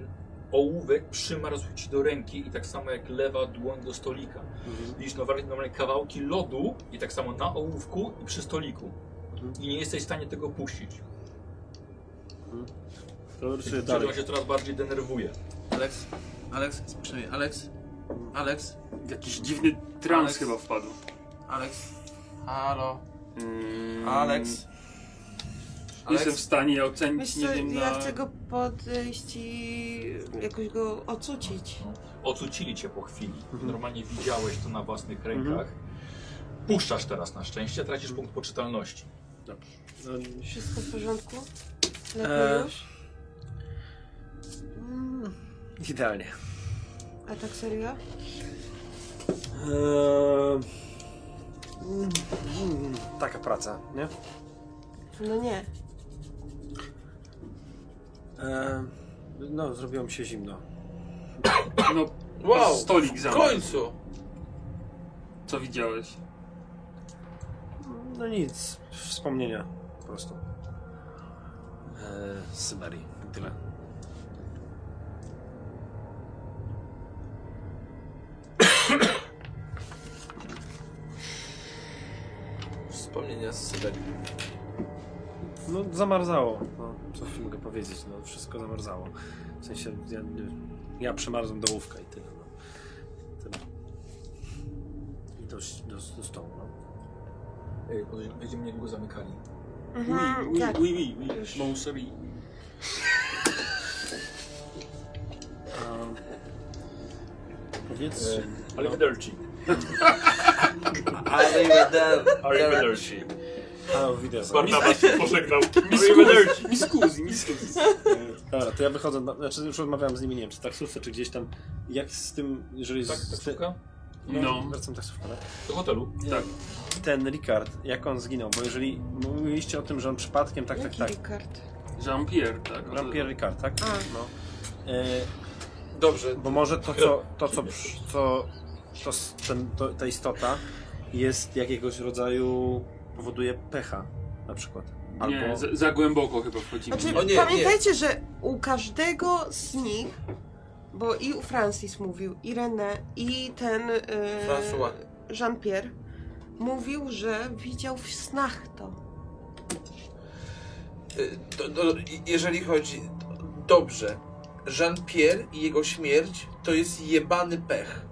ołówek przymarzł ci do ręki i tak samo jak lewa dłoń do stolika. Widzisz normalnie, normalnie kawałki lodu i tak samo na ołówku i przy stoliku. I nie jesteś w stanie tego puścić. To rysuję dalej. Dalej. się coraz bardziej denerwuje. Alex? Alex? Przynajmniej Alex? Alex? Jakiś dziwny trans Alex. chyba wpadł. Alex? Halo? Mm, Alex? Nie jestem w stanie Wiesz ocenić, nie co, wiem ja na... chcę go podejść i jakoś go ocucić. Ocucili cię po chwili. Mhm. Normalnie widziałeś to na własnych rękach. Puszczasz teraz na szczęście, tracisz punkt poczytalności. No, Wszystko w porządku? Lepiej E. już? Mm, Idealnie. A tak serio? Eee, mm, mm, Taka praca, nie? No nie. Eee, No, zrobiło mi się zimno. No, Wow! stolik za W mną. końcu! Co widziałeś? No nic, wspomnienia po prostu. Eee, Z Syberii, i tyle. Wspomnienia z Syberii. No, zamarzało. No, co ci mogę powiedzieć? No, wszystko zamarzało. W sensie, ja, ja przemarzłem do łówka i tyle. No. Tyle. I do, do, do stołu. No. Ej, podejrz- Będziemy niedługo zamykali. Mhm, tak. oui, oui, oui. Mon chéri. Um, powiedz, E, Arrivederci. Arrivederci. a wideo. Barnabas się pożegnał. Arrivederci. Mi skuzi, mi skuzi. E, Dobra, to ja wychodzę, na, znaczy już rozmawiałem z nimi, nie wiem, czy taksówce, czy gdzieś tam, jak z tym, jeżeli... Tak, z, taksówka? No. Wracam taksówkę, tak? Do hotelu. Ten Ricard, jak on zginął, bo jeżeli mówiliście o tym, że on przypadkiem, tak, tak, Jaki tak, Rikard? Jean-Pierre, tak? Jean-Pierre Ricard, tak? No. E, Dobrze, Bo może to, co, to, co, co to, s- ten, to, ta istota jest jakiegoś rodzaju, powoduje pecha na przykład. Albo Nie, za, za głęboko chyba wchodzimy. Znaczy, O nie, pamiętajcie, że u każdego z nich, bo i u Francis mówił, i René, i ten y, François. Jean-Pierre mówił, że widział w snach to. Y, do, do, i- jeżeli chodzi. Dobrze. Jean-Pierre i jego śmierć to jest jebany pech.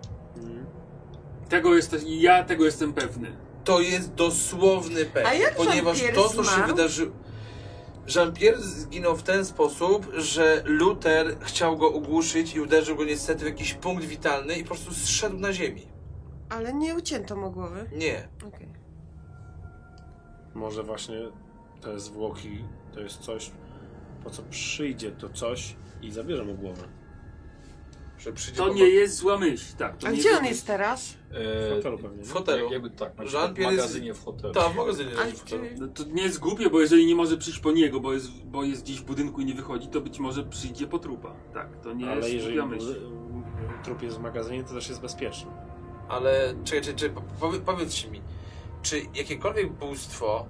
Tego jesteś, ja tego jestem pewny. To jest dosłowny pech. A jak ponieważ Jean-Pierre to, co się zmarł? wydarzyło. Jean-Pierre zginął w ten sposób, że Luther chciał go ogłuszyć i uderzył go niestety w jakiś punkt witalny i po prostu zszedł na ziemi. Ale nie ucięto mu głowy. Nie. Okej. może właśnie te zwłoki to jest coś, po co przyjdzie to coś i zabierze mu głowę. Że przyjdzie To po- nie jest zła myśl, tak. To A nie gdzie jest on jest teraz? W E, hotelu pewnie. nie? W hotelu. Jakby tak, na przykład w Jean-Pierre jest- magazynie w hotelu. Tak, w magazynie. A leży w hotelu. gdzie... No to nie jest głupie, bo jeżeli nie może przyjść po niego, bo jest, bo jest gdzieś w budynku i nie wychodzi, to być może przyjdzie po trupa. Tak, to nie Ale jest jeżeli głupia myśl. l- trup jest w magazynie, to też jest bezpieczny. Ale czekaj, czekaj, czekaj. po- Powie, powiedzcie mi, czy jakiekolwiek bóstwo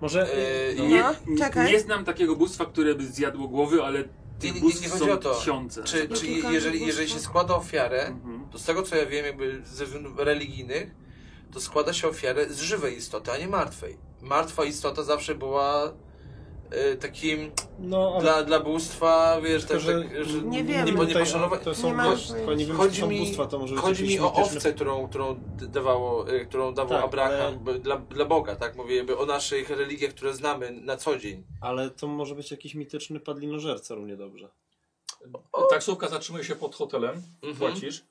Może e, Nie, je, No, czekaj. nie znam takiego bóstwa, które by zjadło głowy, ale nie, tych nie bóstw chodzi o są to. tysiące. Czy, No czy kilka jeżeli, bóstwo. jeżeli się składa ofiarę, Mhm. to z tego co ja wiem, jakby ze względów religijnych, to składa się ofiarę z żywej istoty, a nie martwej. martwa istota zawsze była y, takim No, ale dla, dla bóstwa, wiesz, tak, Tylko, że- tak, że Nie wiem. nie, bo nie tutaj poszanowa... to są nie ma- gość- to nie wiem, czy to Chodzi są mi, bóstwa, to może być chodzi jakiś mi o mityczny- owcę, którą, którą d- dawało, y, którą dawał Tak, ale- Abraham b- dla, dla Boga, tak mówię, jakby o naszych religiach, które znamy na co dzień. Ale to może być jakiś mityczny padlinożerca równie dobrze. Taksówka zatrzymuje się pod hotelem, Mhm. płacisz.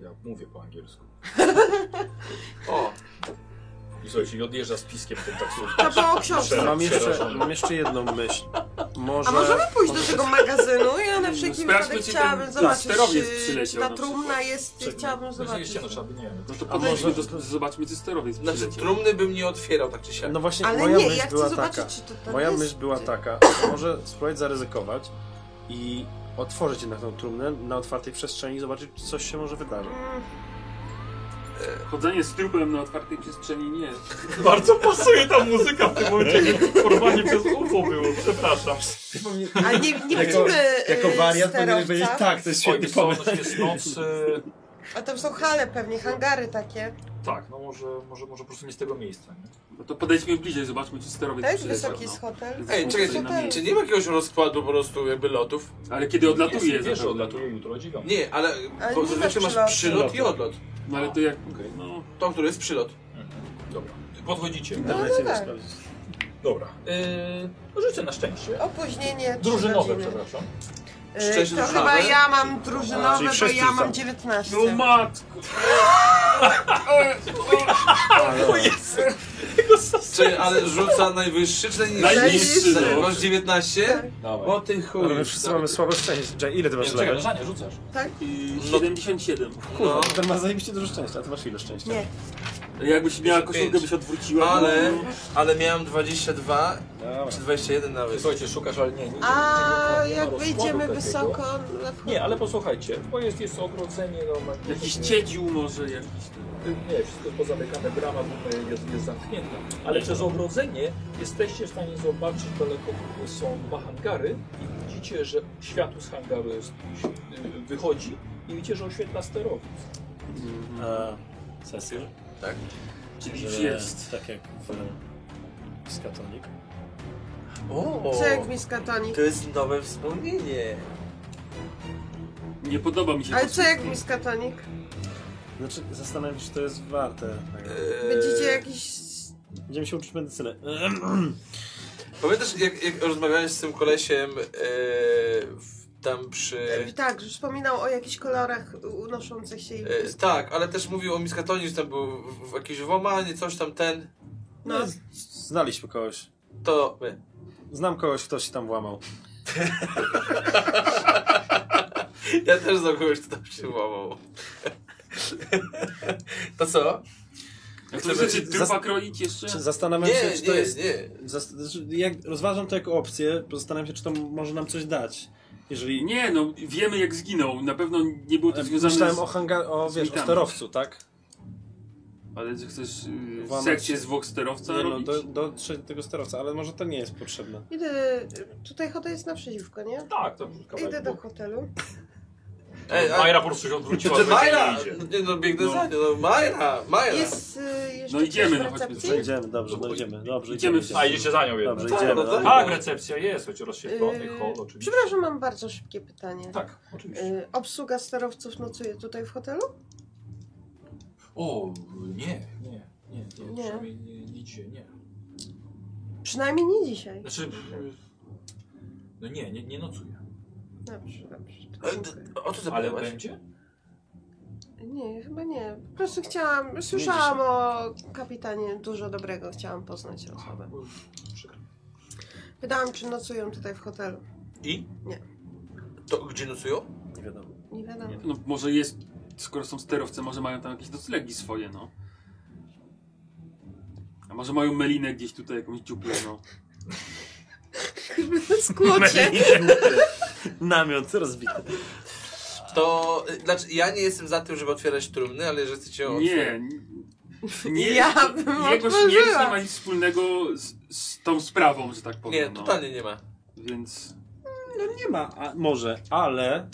Ja mówię po angielsku. O, I słuchajcie, i odjeżdża z piskiem tą taksówkę. To było o książce. Mam jeszcze, Przerażony. mam jeszcze jedną myśl. Może... A możemy pójść do tego magazynu? Ja na wszelki Sprawdźmy, wypadek czy chciałabym ten zobaczyć, sterowiec czy- czy przyleciał ta na trumna przykład. jest, Czekaj. chciałabym No zobaczyć. oczywiście, no trzeba by, nie wiem. No to A podejdźmy, może- do, zobaczmy czy sterowiec znaczy przyleciał. trumny bym nie otwierał tak czy siak. No właśnie, Ale moja nie, myśl ja chcę była zobaczyć, taka. czy to tam Moja jest, myśl była czy- taka, może spróbować zaryzykować i otworzyć jednak tą trumnę na otwartej przestrzeni i zobaczyć, czy coś się może wydarzyć. Yy, Chodzenie z trupem na otwartej przestrzeni nie. Bardzo pasuje ta muzyka w tym momencie, jakby porwanie przez UFO było, przepraszam. A nie, nie Jako- widzimy Jako y, wariant powinieneś sterowca. powiedzieć, tak, to jest Oj, świetny są pomysł. jest noc. y, A tam są hale pewnie, hangary takie. Tak, no może, może, może po prostu nie z tego miejsca. Nie? No to podejdźmy bliżej, zobaczmy czy sterowiec Też przyleciał. Tak? wysoki jest hotel. No. Ej, czekaj, Stoi na czy, miejscu. czy nie ma jakiegoś rozkładu po prostu jakby lotów? no. Ale kiedy odlatuje, Jest, wiesz, że zapewne. odlatuje jutro o dziewiątej. Nie, ale, Ale bo nie zazwyczaj ma masz przylot i odlot. No ale to jak. No, Tam, który jest przylot. Dobra, podchodzicie. No, no tak. Dobra, yy, rzucę na szczęście. Opóźnienie trzy Drużynowe, godziny. przepraszam. Y, Szczerze To drużynowe? chyba ja mam czyli drużynowe, bo wszyscy ja mam rzucamy. 19. no matko! Czy, ale rzuca najwyższy, czy najniższy? Najniższy, no. Masz 19? Dawaj. O ty chuj. Ale my wszyscy mamy słabe szczęście. Jay, ile ty Nie, masz czekaj, level? Żania, rzucasz. I 77. Tak. No, Ten ma zajebiście dużo szczęścia, a ty masz ile szczęścia? Nie. Jakbyś miała 55. koszulkę, byś odwróciła. No, ale, ale miałem 22, Dobra. czy 21 nawet. Słuchajcie, szukasz, ale nie. nie A nie ma jak rozkładu wyjdziemy takiego. wysoko na wchód. Nie, ale posłuchajcie, bo jest, jest ogrodzenie, no ma- Jakiś nie- ciedził może jakiś. ten. Nie, wszystko jest pozamykane, brama w ogóle jest, jest zamknięta. Ale przez ogrodzenie jesteście w stanie zobaczyć daleko są dwa hangary i widzicie, że światło z hangaru jest, y, wychodzi i widzicie, że oświetla sterowiec. A, sesja? Czyli Że jest. Tak jak w Skatonik. O, Co jak miskatonik? to jest nowe wspomnienie. Nie podoba mi się Ale to. co jak miskatonik? Znaczy, zastanawiam się, czy to jest warte. Eee, Będziecie E, jakiś... Będziemy się uczyć medycyny. Pamiętasz, jak, jak rozmawiałeś z tym kolesiem e, w, tam e. przy... Tak, że wspominał o jakichś kolorach unoszących się i... E, tak, ale też mówił o miskatonie, że tam był w, w jakiejś włamanie, coś tam ten, No, znaliśmy kogoś. to my. Znam kogoś, kto się tam włamał. Ja też znam kogoś, kto tam się włamał. To co? Jak Chcemy- to chcecie trupa zas- kroić jeszcze? Czy zastanawiam się, Nie, czy to nie, jest. nie. Zast- znaczy, jak rozważam to jako opcję, bo zastanawiam się, czy to może nam coś dać. Jeżeli. e, Nie, no wiemy jak zginął. Na pewno nie było to związane Myślałem z... o hangar, o, z wiesz, o mitami. sterowcu, tak? Ale że chcesz yy, Włamać- sekcję zwłok sterowca Nie, no, robić? do, dotrzeć do tego sterowca, ale może to nie jest potrzebne. Idę... Tutaj hotel jest naprzeciwko, nie? Tak, to Idę kawałek do boku. hotelu. Ej, a- Majra po prostu się odwróciła, Czy że Majra? nie idzie. Nie no, biegnę za nią, no Majra, Majra. Jest y, jeszcze No idziemy, ktoś no, w chodźmy, recepcji? Przejdziemy, dobrze, no idziemy, dobrze, Idziemy idziemy. wszyscy. A, idziecie za nią jednak. Dobrze, Tak, idziemy. no dobra. tak. Tak, recepcja jest, choć rozświetlony Y, hol oczywiście. Przepraszam, mam bardzo szybkie pytanie. Tak, oczywiście. Y, obsługa sterowców nocuje tutaj w hotelu? O, nie, nie, nie, nie, Nie. przynajmniej nie, nie dzisiaj, nie. Przynajmniej nie dzisiaj. Znaczy, no nie, nie, nie nocuję. Dobrze, dobrze. Ale dziękuję. d- O co Ale zapytałaś? będzie? Nie, chyba nie. Po prostu chciałam, słyszałam o kapitanie dużo dobrego, chciałam poznać osobę. Przykro. Pytałam, czy nocują tutaj w hotelu. I? Nie. To gdzie nocują? Nie wiadomo. Nie wiadomo. No może jest, skoro są sterowce, może mają tam jakieś noclegi swoje, no. A może mają melinę gdzieś tutaj, jakąś dziuplę, no. Skłocie. Namiot rozbity. To, y, znaczy, ja nie jestem za tym, żeby otwierać trumny, ale że chcecie ją Nie, nie, nie Ja bym jego otworzyła. śmierć nie ma nic wspólnego z, z tą sprawą, że tak powiem. Nie, totalnie nie ma. No. Więc Nie ma, a może, ale.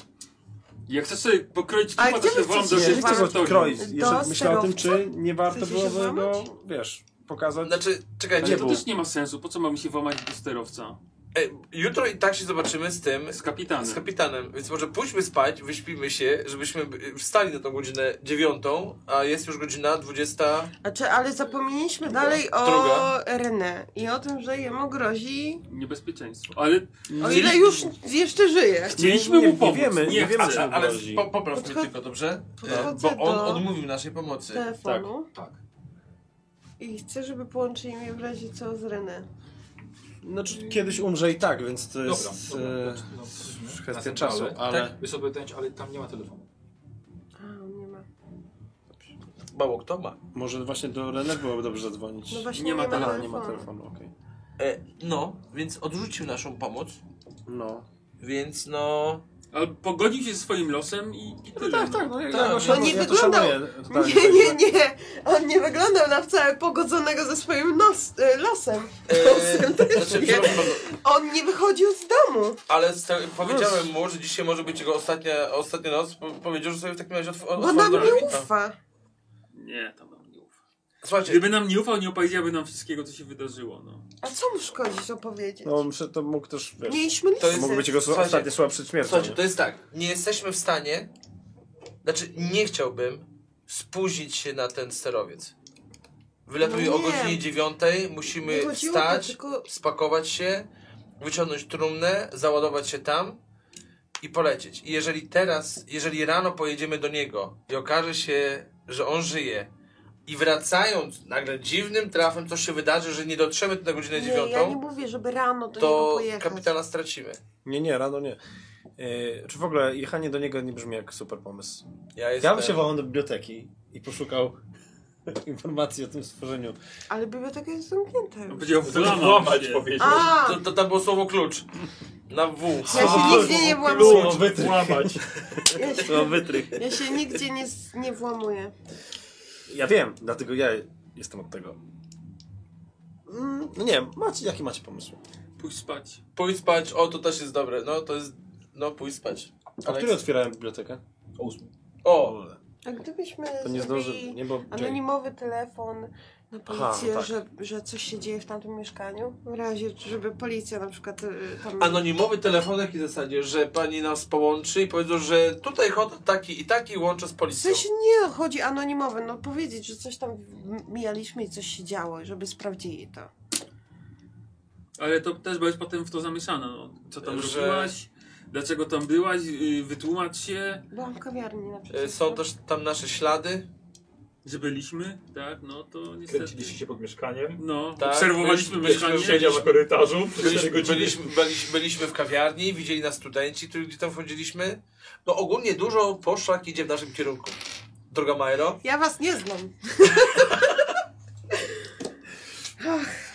jak chcesz sobie pokroić A trupa, to gdzie się wy wam do chcecie Nie, się nie chcę warto- odkroić. Do Jeszcze myślałem o tym, sterowca? czy nie warto Chcecie się byłoby go, włamać? wiesz, pokazać? Znaczy, czekaj, Ale gdzie to był? też nie ma sensu. Po co mam się włamać do sterowca? Ej, jutro i tak się zobaczymy z tym, Z kapitanem. z kapitanem, więc może pójdźmy spać, wyśpimy się, żebyśmy by- wstali na tą godzinę dziewiątą, a jest już godzina dwudziesta... Znaczy, ale zapomnieliśmy dalej o Druga. Renę i o tym, że jemu grozi, Niebezpieczeństwo. Ale o ile już jeszcze żyje. chcieliśmy Nie- mu nie pomóc. wiemy, nie wiemy, A, czy- ale grozi. po, popraw mnie Podcho- tylko, dobrze? E, podchodzę bo on do- odmówił naszej pomocy. Telefonu Tak. i chcę, żeby połączyli mnie w razie co z Renę. Znaczy, kiedyś umrze i tak, więc to Dobra, jest dobra. e, No, no, kwestia następny, czasu, ale- Tak. ale... tak, Wy sobie pytać, ale tam nie ma telefonu. A, nie ma. No Mało kto ma. Może właśnie do René byłoby dobrze zadzwonić. No właśnie Nie nie ma ma tele- telefonu. nie ma telefonu, okej. E, no, więc odrzucił naszą pomoc, No. więc no... Ale pogodził się ze swoim losem i, i tyle. Tak, tak, no, ja, ja, tak, no nie wyglądał- Nie, nie, nie. On nie wyglądał na wcale pogodzonego ze swoim nos, y, losem. Losem też e, Znaczy, nie. przepraszam, On nie wychodził z domu. ale z te, powiedziałem mu, że dzisiaj może być jego ostatnia, ostatnia noc, po, powiedział, że sobie w takim razie otw- Bo otworzy No. nam do nie Lewita. ufa. Nie, to nam nie ufa. Słuchajcie, Gdyby nam nie ufał, nie opowiedziałby nam wszystkiego, co się wydarzyło. No. A co mu szkodzić opowiedzieć? No, myślę, to mógł też, wiesz, Mieliśmy To jest- listy. mógł być jego Słuchajcie, ostatnie słowa przed śmiercią. Słuchajcie, nie? to jest tak. Nie jesteśmy w stanie. Znaczy, nie chciałbym spóźnić się na ten sterowiec. Wylatuje No o nie. godzinie dziewiątej. Nie Musimy chodziło to, wstać, tylko spakować się, wyciągnąć trumnę, załadować się tam i polecieć. I jeżeli teraz, jeżeli rano pojedziemy do niego i okaże się, że on żyje. I wracając nagle dziwnym trafem, coś się wydarzy, że nie dotrzemy tu na godzinę nie, ja nie dziewiątą, mówię, żeby rano do niego to pojechać. kapitana stracimy. Nie, nie, rano nie. E, czy w ogóle jechanie do niego nie brzmi jak super pomysł? Ja jestem... Ja bym się wołał do biblioteki i poszukał informacji o tym stworzeniu. Ale biblioteka jest zamknięta No, już. Powiedział, Złamać włamać się. powiedział. A, To, to tam było słowo klucz. Na W. ja się nigdzie nie włamuję. Klucz, wytrych. Łamać. Ja się, To wytrych. ja się nigdzie nie, z- nie włamuję. Ja wiem, dlatego ja jestem od tego. Mm, No nie, macie, jaki macie pomysł? Pójdź spać. Pójdź spać, o to też jest dobre. No to jest. No pójdź spać. A Aleks. który otwierałem bibliotekę? O! A gdybyśmy To nie zrobili zdążył, nie bo anonimowy telefon na Aha, policję, no tak. że, że coś się dzieje w tamtym mieszkaniu? W razie, żeby policja na przykład y, tam... Anonimowy telefon jaki w zasadzie, że pani nas połączy i powiedzą, że tutaj hot taki i taki łączę z W policją. sensie nie chodzi anonimowy, no powiedzieć, że coś tam m- mijaliśmy i coś się działo, żeby sprawdzili to. Ale to też byłeś potem w to zamieszana. No. Co tam Że- robiłaś? Dlaczego tam byłaś? Yy, Wytłumacz się, Byłam w kawiarni na przykład. E, Są też tam nasze ślady. że byliśmy, tak? No to niestety. Kręciliście się pod mieszkaniem. No, Tak, obserwowaliśmy byliśmy- mieszkanie. byliśmy- Siedział na korytarzu przez cztery Byliśmy, godziny. byliśmy, byliśmy, byliśmy w kawiarni, widzieli nas studenci, którzy gdzie tam wchodziliśmy. No ogólnie dużo poszlak idzie w naszym kierunku. Droga Majro. Ja was nie znam.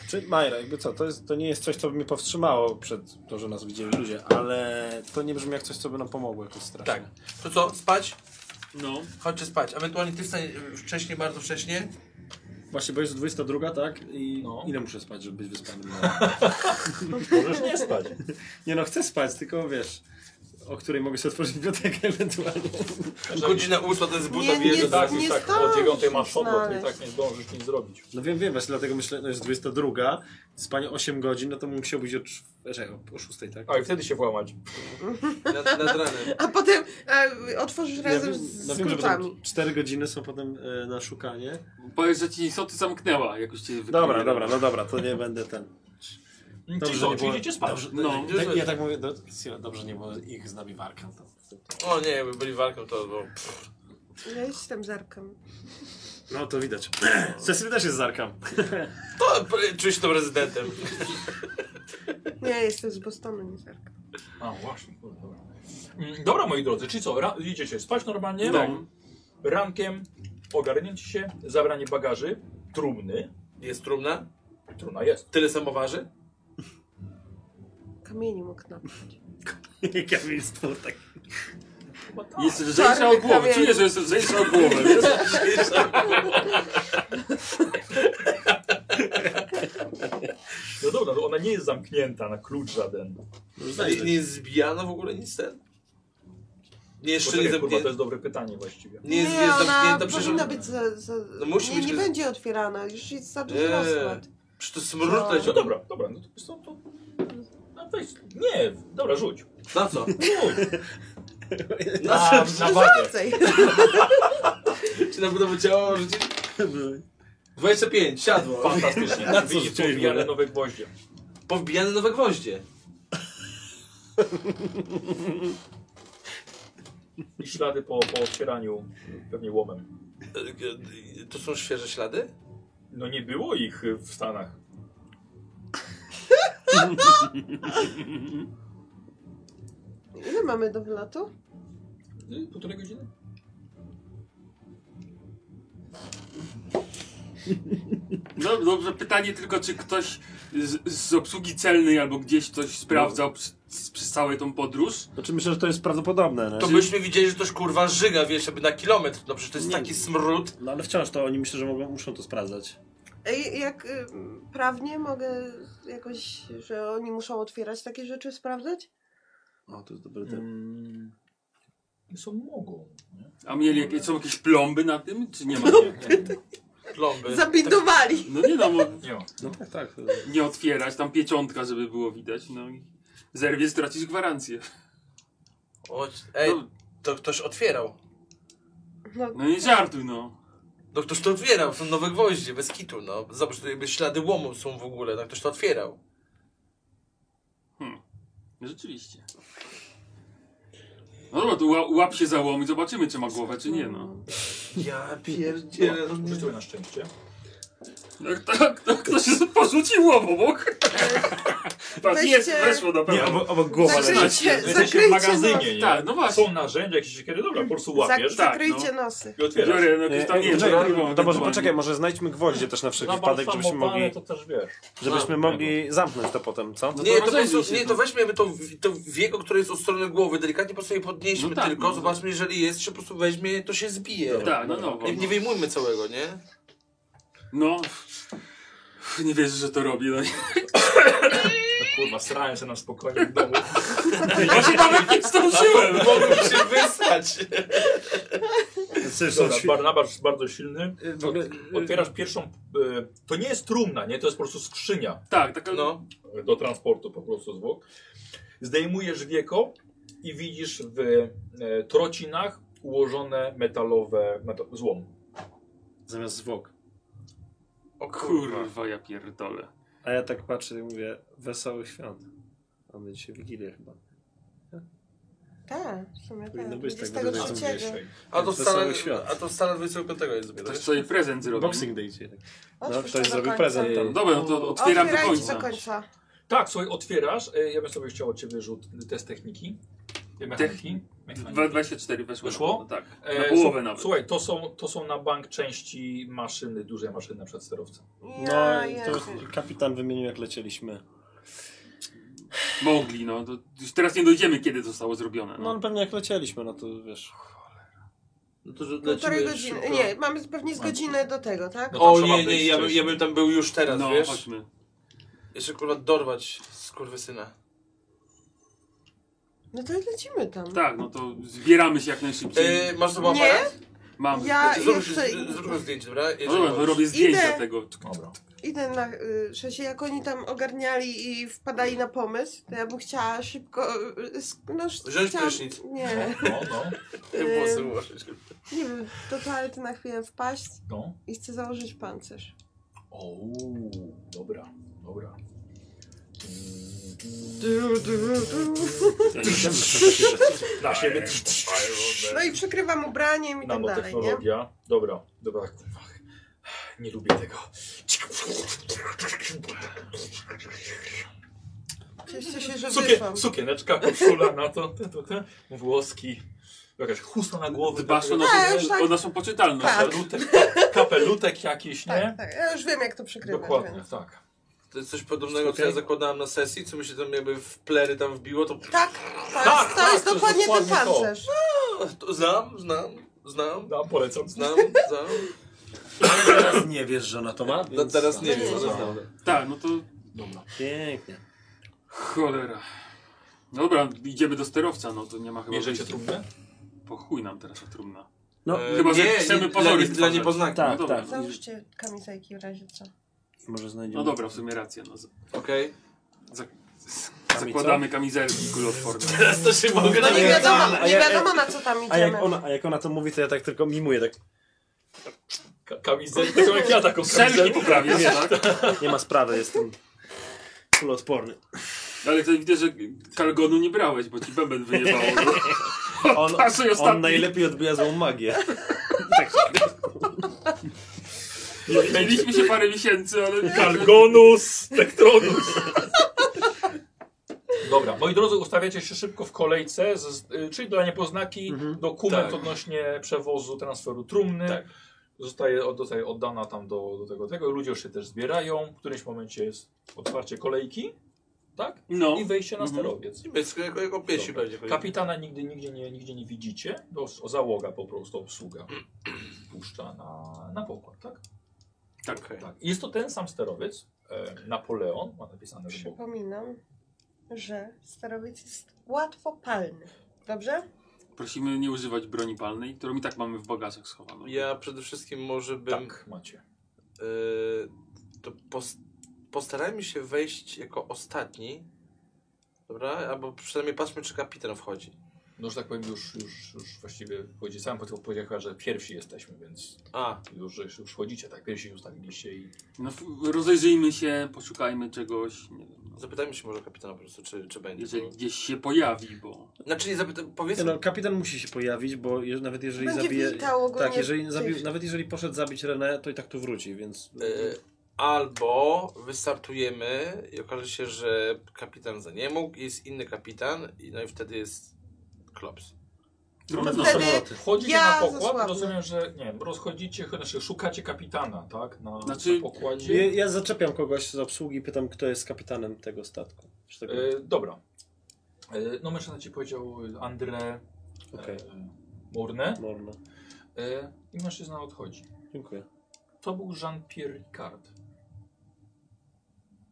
Czy Majra, jakby co, to, jest, to nie jest coś, co by mnie powstrzymało przed to, że nas widzieli ludzie, ale to nie brzmi jak coś, co by nam pomogło jakoś strasznie. Tak. To co, spać? No, Chodźcie spać. Ewentualnie ty wstań e, wcześniej, bardzo wcześnie. Właśnie, bo jest 22, tak? I No. ile muszę spać, żeby być wyspanym? Możesz nie spać. nie no, chcę spać, tylko wiesz, o której mogę sobie otworzyć bibliotekę ewentualnie. Godzina ósma to jest buta Nie, Wie, wjeżdża. że Znaczy, tak, nie nie tak zdążysz o dziewiątej masz odlot, nie znaleźć. tak nie zdążysz nic zrobić. No wiem, wiem, właśnie dlatego myślę, no jest 22, spanie 8 godzin, no to bym musiał być o, cz- czekaj, o- o 6, tak? A i wtedy się włamać. Nad, nad ranem. A potem e, otworzysz Ja razem wiem- z, no z wiem, że kluczami. potem 4 godziny są potem e, na szukanie. powiedz, że ci istoty zamknęła, jakoś cię Dobra, wykryli. dobra, no dobra, to nie będę ten. Czyli że co, czyli nie było- idziecie spać. Dobrze, No. tak, ja tak mówię, do, dobrze nie było ich z nami warka. O nie, jakby byli walką, to było. Ja jestem zarkiem. No to widać. Cecil też jest zarkam. To p- czuję się tym rezydentem. Nie, ja jestem z Bostonu, nie zarkiem. A właśnie, kurde, dobra. Mm, Dobra moi drodzy, czyli co, ra- idziecie spać normalnie? Tak. Rankiem ogarnięcie się, zabranie bagaży, trumny. Jest trumna? Trumna jest. Tyle samo waży? Kamieni mógł napchać. Kamilstwo, tak. Jest lżejsza od głowy, kamień. czuję, że jest lżejsza od głowy. wiesz? No dobra, no ona nie jest zamknięta na klucz żaden. Nie, nie jest zbijana w ogóle nic ten? Bo Jeszcze nie, czekaj, zam- kurwa, nie, to jest dobre pytanie właściwie. nie jest, nie, nie jest ona zamknięta. Przecież, powinna być za, za... No musi nie, być nie gry- będzie otwierana, już jest za duży Nie. rozkład. przecież to smrutne. No dobra, dobra, no to, to, to no weź, nie, dobra, rzuć. Na co? Rzuć. Na, na wagę. Więcej. czy na budowę ciała życie? 25, siadło. Fantastycznie. Na co Widzisz, rzuciłeś w powijane ogóle? no. nowe gwoździe. Powbijane nowe gwoździe. I ślady po, po otwieraniu, pewnie łomem. E, e, To są świeże ślady? No nie było ich y, w Stanach. Ile mamy do wylotu? Y, Półtorej godziny? No dobrze, pytanie tylko, czy ktoś z, z obsługi celnej albo gdzieś coś No. sprawdzał przy- z- przez całą tą podróż? Znaczy- Znaczy myślę, że to jest no. prawdopodobne. To To byśmy widzieli, że ktoś kurwa żyga, wiesz, żeby na kilometr. No przecież to jest Nie. taki smród. No ale wciąż to oni myślę, że mogą, muszą to sprawdzać. Ej, Jak y, prawnie mogę jakoś, że oni muszą otwierać takie rzeczy, sprawdzać? O, to jest dobry typ. Mm. Co mogą? Nie? A mieli jakieś, są jakieś plomby na tym, czy nie ma? Plomby. Zabindowali! No nie no, bo Nie ma. No tak, tak. to- nie otwierać, tam pieczątka, żeby było widać, no i zerwie, stracisz gwarancję. O, ej, No, to ktoś otwierał. no nie żartuj, no. No ktoś to otwierał, są nowe gwoździe, bez kitu, no. Zobacz, tutaj jakby ślady łomu są w ogóle, no ktoś to otwierał. Rzeczywiście. No dobra, to ła- łap się za łom i zobaczymy, czy ma głowę, czy nie, no. Ja pierdzielę. Rzuciłem na szczęście. No, kto, kto, kto się porzucił łom obok? Tak, Weźcie- jest, weszło na pewno. Nie, obok, obok głowa Tak, leży. Zakryjcie, Jesteście w zakryjcie, nos, magazynie, nie? Tak, no właśnie. Są narzędzia jakieś siekiery, dobra, po prostu zak, łapiesz tak, zakryjcie nosy. i otwierasz. Biorę, no E, jakieś tam, nie wiem, Poczekaj, żarliwą to może ewentualnie. poczekaj, może znajdźmy gwoździe też na wszelki Zabaw wypadek, żebyśmy samopalne, mogli, to też wiesz. tak, żebyśmy mogli zamknąć to potem, co? No Nie, to, po rozejrzyj prostu, się, nie, no. to weźmiemy to, w- to wieko, które jest od strony głowy, delikatnie po prostu je podnieśmy No tak, tylko, no. zobaczmy, jeżeli jest, czy po prostu weźmie, to się zbije. Tak, no no. Nie, nie wyjmujmy całego, nie? No. Nie wierzę, że to robi. No. No Kurwa, srałem się na spokojnie w domu. Ja się nawet nie zdążyłem. Mogłem się wysrać. Znaczy, są Dobra, świ- Barnabasz bardzo silny. y, w ogóle, Otwierasz pierwszą. y, To nie jest trumna, nie? To jest po prostu skrzynia Tak, taka No, do transportu po prostu zwłok. Zdejmujesz wieko i widzisz w e, trocinach ułożone metalowe metal, złom. y, Zamiast zwłok. O kurwa, ja pierdolę. A ja tak patrzę i mówię, wesołych świąt. Mamy dzisiaj Wigilię chyba. Tak, w sumie tak. Powinno być tak, bo 23. a to Wesoły wcale, świat. a to wcale 25 jest dopiero. Ktoś sobie prezent zrobił. Boxing Day dzisiaj. tak. No, Otwórz ktoś to do zrobił końca. prezent tam. Dobra, no to otwieram do Otwierajcie końca. do końca. Tak, słuchaj, otwierasz. E, Ja bym sobie chciał od ciebie rzut test techniki. Techniki? Dwa- 24 weszło. Weszło? No, tak. E, Na połowę słu- nawet. Słuchaj, to są, to są na bank części maszyny, duże maszyny na przedsterowca. Ja, No i ja to kapitan wymienił jak lecieliśmy. Mogli, no. To już teraz nie dojdziemy, kiedy to zostało zrobione. No No. ale pewnie jak lecieliśmy, no to wiesz. No to że Półtorej lecimy godziny. szybko. Nie, mamy pewnie z godzinę do tego, tak? No. O Tam trzeba nie, nie, wyjść ja, bym- ja wcześniej. bym tam był już teraz, No, wiesz? chodźmy. Jeszcze kurwa dorwać skurwysyna. No to i lecimy tam. Tak, no to zbieramy się jak najszybciej. Yy, masz to Nie? aparat? Znaczy, Mamy. Ja Zrób, jeszcze z- Zróbmy zdjęcie, dobra? Jeżeli No dobra, to możesz. robię zdjęcia Idę. tego. Dobra. idę na y, szesie, jak oni tam ogarniali i wpadali na pomysł, to ja bym chciała szybko... Y, sk- no, sz- Wziąć chciałam- prysznic. Nie, No, no, Włosy ułożyć. nie wiem, do toalety na chwilę wpaść no. i chcę założyć pancerz. O, dobra, dobra. Du, du, du. Na siebie. No i przykrywam No, ubraniem i tak dalej, nie? Nanotechnologia. Dobra, dobra. tak, kurwa. Nie lubię tego. Cieszę się, że Sukien, wyszłam. sukieneczka, koszula na to, te, te, te, włoski, jakaś chusta na głowy, Dbasz o, takie- naszą- A, już tak. o naszą poczytalność. no. Tak. kapelutek, ka- kapelutek jakiś, nie? Tak, tak, ja już wiem jak to przykrywać, Dokładnie, więc... tak. To jest coś podobnego, co ja zakładałem na sesji, co mi się tam jakby w plery tam wbiło, to, Tak, to Tak, jest, to tak, jest to jest dokładnie ten dokładnie to. pancerz. No, to znam, znam, znam, No, polecam. znam, znam. Teraz nie wiesz, że ona to ma? No, teraz nie No wiem, nie, co no. znam. Tak, no to Dobra. Pięknie. cholera. Dobra, idziemy do sterowca, no to nie ma chyba. Bierzecie wyjścia. trumnę? Po chuj nam teraz ta trumna. No, E, Chyba, że chcemy pozory dla, dla stwarzać. niepoznaki. tak, no dobra. tak. Załóżcie kamizelki w razie co. I może No znajdziemy. dobra, w sumie racja. No. z- Okej. Zak- z- zakładamy kamizelki kuloodporne. Teraz to się mogę No nie ja- wiadomo, a nie ja- wiadomo na co tam A jak, idziemy. ona, a jak ona to mówi, to ja tak tylko mimuję, tak Ka- Kamizelkę, taką jak ja taką Selfie kamizelkę. poprawię, tak? nie ma sprawy, jestem kuloodporny. Ale to widzę, że kalgonu nie brałeś, bo ci bęben wyjebało. On, Pasuj on ostatni. najlepiej odbija złą magię. Tak Mieliśmy się parę miesięcy, ale... Kalgonus Tak Spectronus. Dobra, moi drodzy, ustawiacie się szybko w kolejce, z, y, czyli dla niepoznaki dokument Tak. odnośnie przewozu, transferu trumny. Tak. Zostaje, od- zostaje oddana tam do, do tego, tego. Ludzie już się też zbierają. W którymś momencie jest otwarcie kolejki, tak? No. I wejście na Mhm. sterowiec. Niebiesko jako, jako piesi Dobra. będzie. Kapitana nigdy, nigdzie, nie, nigdzie nie widzicie. To s- załoga po prostu, obsługa puszcza na, na pokład, tak? Tak. tak. I Jest to ten sam sterowiec. e, Napoleon ma napisane, że Przypominam, że sterowiec jest łatwopalny. Dobrze? Prosimy nie używać broni palnej, którą i tak mamy w bagażach schowaną. Ja przede wszystkim może bym... tak macie. y, to pos, postarajmy się wejść jako ostatni. Dobra? Albo przynajmniej patrzmy, czy kapitan wchodzi. No, że tak powiem, już, już, już właściwie chodzi sam powiedział, że pierwsi jesteśmy, więc A, już, że już chodzicie, tak? Pierwsi ustawiliście i No, f- rozejrzyjmy się, poszukajmy czegoś. Nie wiem, no. zapytajmy się może kapitana po prostu, czy, czy będzie. Jeżeli Jeżeli... gdzieś się pojawi, bo... Znaczy, nie zapyta, Nie powiedzmy... No, kapitan musi się pojawić, bo je, nawet jeżeli Będzie zabije. witał ogólnie Tak, jeżeli tych. zabi, nawet jeżeli poszedł zabić Renę, to i tak tu wróci, więc. Y, Albo wystartujemy i okaże się, że kapitan za nie mógł, jest inny kapitan, i- no i wtedy jest klops. Trudno. No wtedy- wchodzicie Ja na pokład, zasłabnę. rozumiem, że nie wiem, rozchodzicie, ch- znaczy szukacie kapitana, tak? Na, Znaczy- na pokładzie. Ja, ja zaczepiam kogoś z obsługi i pytam, kto jest kapitanem tego statku. Czy tego... E, dobra. E, no mężczyzna ci powiedział André Okej. e, Morne Morno. e, i mężczyzna odchodzi. Dziękuję. To był Jean-Pierre Ricard.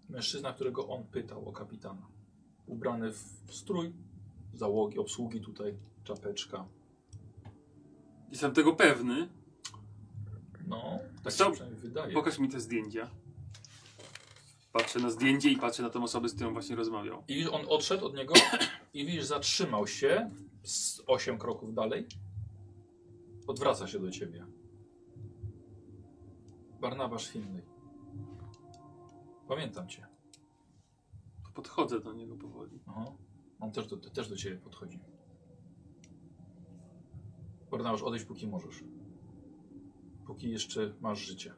Mężczyzna, którego on pytał o kapitana. Ubrany w strój załogi, obsługi tutaj, czapeczka. Jestem tego pewny. No, tak Co? się przynajmniej wydaje. Pokaż mi te zdjęcia. Patrzę na zdjęcie i patrzę na tą osobę, z którą właśnie rozmawiał. I on odszedł od niego i widzisz, zatrzymał się z 8 kroków dalej. Odwraca się do ciebie. Barnabasz Finley. Pamiętam cię. To Podchodzę do niego powoli. Aha. On też do, też do ciebie podchodzi. Barnabasz, odejść póki możesz. Póki jeszcze masz życie.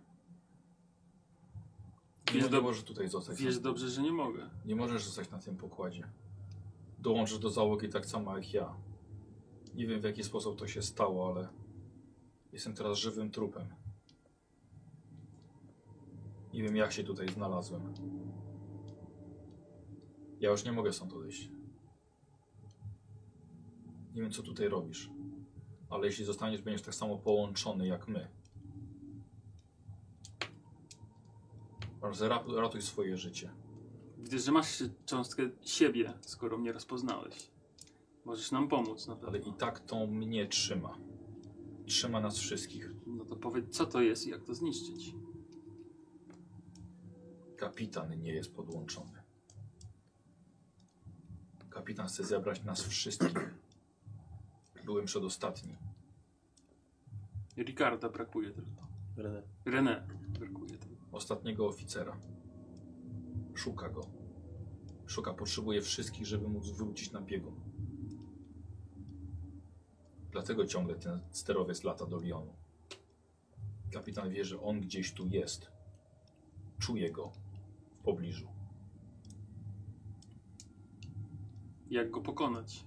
Nie, Wiesz nie do- możesz tutaj zostać. Wiesz dobrze, że nie mogę. Nie możesz zostać na tym pokładzie. Dołączysz do załogi tak samo jak ja. Nie wiem w jaki sposób to się stało, ale jestem teraz żywym trupem. Nie wiem jak się tutaj znalazłem. Ja już nie mogę stąd odejść. Nie wiem co tutaj robisz. Ale jeśli zostaniesz, będziesz tak samo połączony jak my. Ratu- Ratuj swoje życie. Widzę, że masz cząstkę siebie, skoro mnie rozpoznałeś. Możesz nam pomóc no na pewno. Ale i tak to mnie trzyma. Trzyma nas wszystkich. No to powiedz, co to jest i jak to zniszczyć. Kapitan nie jest podłączony. Kapitan chce zebrać nas wszystkich. Byłem przedostatni. Ricarda brakuje tylko. Renę. René brakuje tylko. Ostatniego oficera. Szuka go. Szuka, potrzebuje wszystkich, żeby móc wrócić na biegun. Dlatego ciągle ten sterowiec lata do Lyonu. Kapitan wie, że on gdzieś tu jest. Czuje go w pobliżu. Jak go pokonać?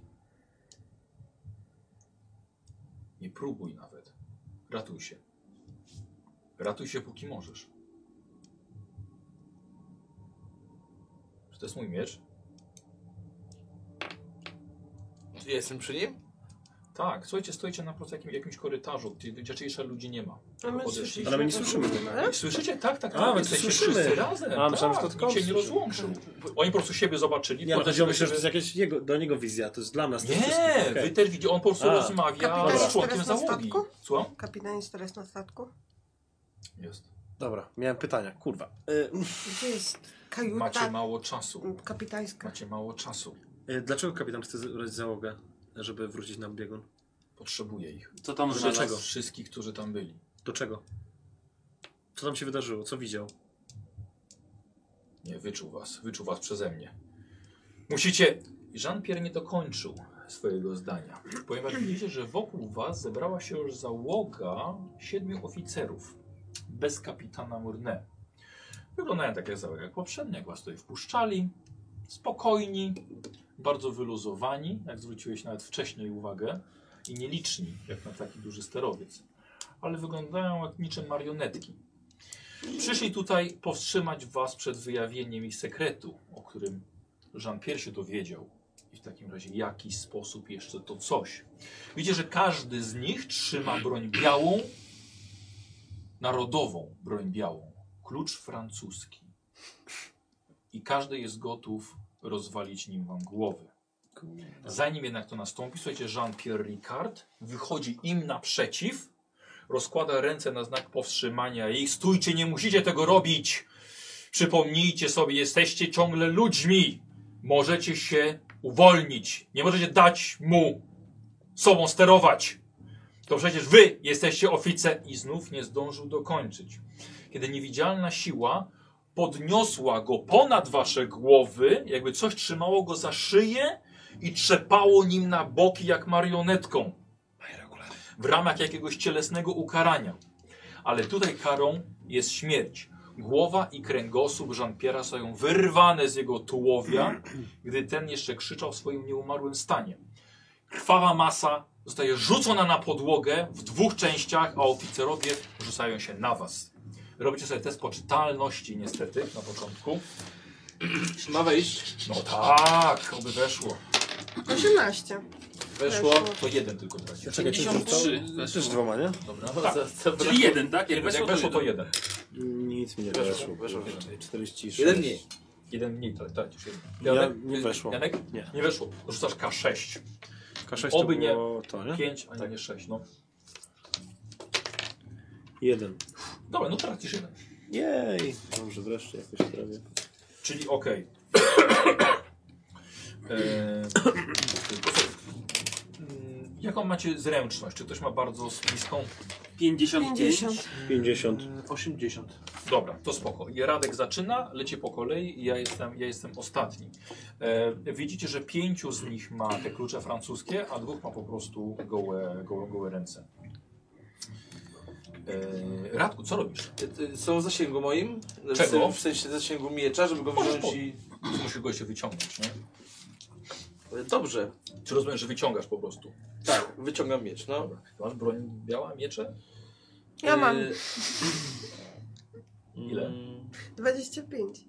Nie próbuj nawet. Ratuj się. Ratuj się, póki możesz. Czy to jest mój miecz? Ja jestem przy nim? Tak, słuchajcie, stoicie na prostu jakim, jakimś korytarzu, gdzie, gdzie raczej ludzi nie ma. A Podeszliście. my słyszymy. Ale my nie słyszymy. A? I Słyszycie? Tak, tak, A, tak. my jesteście słyszymy. wszyscy razem. A, A, myślałem, tak, że to to tylko nikt się nie słyszy- rozłączył. Oni po prostu siebie zobaczyli. Nie, no potem chodziło mi się, że to siebie- jest jakieś jego, do niego wizja, to jest dla nas. to wszystko, Nie, okej. wy też widzicie, on po prostu A. rozmawia Kapitan z jest członkiem teraz na załogi. statku? Słucham? Kapitan jest teraz na statku? Jest. Dobra, miałem pytania, kurwa. Y, Gdzie jest kajuta Macie mało czasu. Tak. kapitańska? Macie mało czasu. y, dlaczego kapitan chce zebrać załogę, żeby wrócić nam biegun? Potrzebuję ich. Co tam Dlaczego? znalazł? Dlaczego? Wszystkich, którzy tam byli. Do czego? Co tam się wydarzyło? Co widział? Nie, wyczuł was. Wyczuł was przeze mnie. Musicie... Jean-Pierre nie dokończył swojego zdania, ponieważ widzicie, że wokół was zebrała się już załoga siedmiu oficerów bez kapitana Murne. Wyglądają tak jak załoga jak poprzednia, jak was tutaj wpuszczali. Spokojni, bardzo wyluzowani, jak zwróciłeś nawet wcześniej uwagę, i nieliczni, jak na taki duży sterowiec. Ale wyglądają jak niczym marionetki. Przyszli tutaj powstrzymać was przed wyjawieniem ich sekretu, o którym Jean-Pierre się dowiedział. I w takim razie w jaki sposób jeszcze to coś. Widzicie, że każdy z nich trzyma broń białą, narodową broń białą, klucz francuski. I każdy jest gotów rozwalić nim wam głowy. Zanim jednak to nastąpi, słuchajcie, Jean-Pierre Ricard wychodzi im naprzeciw rozkłada ręce na znak powstrzymania ich. Stójcie, nie musicie tego robić. Przypomnijcie sobie, jesteście ciągle ludźmi. Możecie się uwolnić. Nie możecie dać mu sobą sterować. To przecież wy jesteście oficer i znów nie zdążył dokończyć. Kiedy niewidzialna siła podniosła go ponad wasze głowy, jakby coś trzymało go za szyję i trzepało nim na boki jak marionetką w ramach jakiegoś cielesnego ukarania. Ale tutaj karą jest śmierć. Głowa i kręgosłup Jean-Pierre'a są wyrwane z jego tułowia, gdy ten jeszcze krzyczał w swoim nieumarłym stanie. Krwawa masa zostaje rzucona na podłogę w dwóch częściach, a oficerowie rzucają się na was. Robicie sobie test poczytalności niestety na początku. Ma wejść. No tak, oby weszło. 18. Weszło. To jeden tylko traci. Czekaj, ty 53. rzucał? Też dwoma, nie? Dobra, tak. Czyli jeden, tak? Jak Jeden, weszło, jak weszło to jeden. Nic mi nie weszło. Weszło, weszło. 46. Jeden mniej. Jeden mniej, tak, tak, już jeden. Ja- Janek? nie weszło. Hmm? Janek? Nie. Nie weszło. Rzucasz K6. K6 to Oby nie. było to, nie? 5, a nie 6. No. Jeden. Dobra, no tracisz jeden. Jej! Dobrze, wreszcie jakoś prawie. Czyli okej. Eee, mm, Jaką macie zręczność? Czy ktoś ma bardzo bliską? 55. 50. 50. 80. Dobra, to spoko. I Radek zaczyna, leci po kolei i ja jestem, ja jestem ostatni. E, widzicie, że pięciu z nich ma te klucze francuskie, a dwóch ma po prostu gołe, gołe, gołe ręce. E, Radku, co robisz? Y, y, Są w zasięgu moim? W Czego? sen- W sensie zasięgu miecza, żeby go Możesz wziąć i... Musisz go się wyciągnąć, nie? Y, Dobrze. Czy rozumiesz, że wyciągasz po prostu? Tak, wyciągam miecz, no. Dobra. Masz broń biała, miecze? Ja Y, mam Yy. Ile? mm, 25.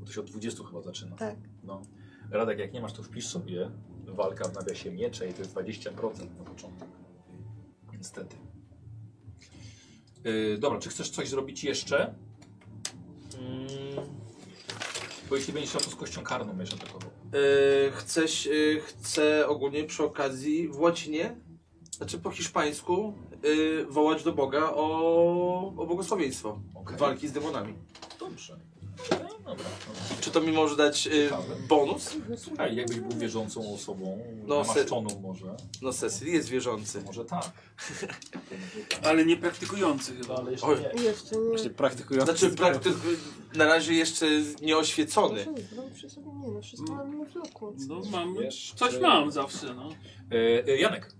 Bo to się od 20 chyba zaczyna. Tak. No. Radek, jak nie masz, to wpisz sobie walka w nawiasie miecze i to jest 20% na początek. Niestety. Yy, dobra, czy chcesz coś zrobić jeszcze? mm. Bo jeśli będziesz chciał, to z kością karną będziesz atakował. Y, Chcesz, y, chcę ogólnie przy okazji w łacinie, znaczy po hiszpańsku, y, wołać do Boga o, o błogosławieństwo Okej. walki z demonami. Dobrze. Okej, dobra. No. Czy to mi może dać y, bonus? Słuchaj, jakbyś był wierzącą osobą, No, namaszczoną może, No Cecil jest wierzący. może tak. Ale nie praktykujący chyba. ale jeszcze Oj. nie. Jeszcze nie. Właśnie praktykujący. Znaczy praktyk na razie jeszcze nieoświecony. Proszę, zrób przy sobie nie no, wszystko Mm. mam na bloku. No mam, Jeszcze- coś mam zawsze, no. Yy, yy, Janek,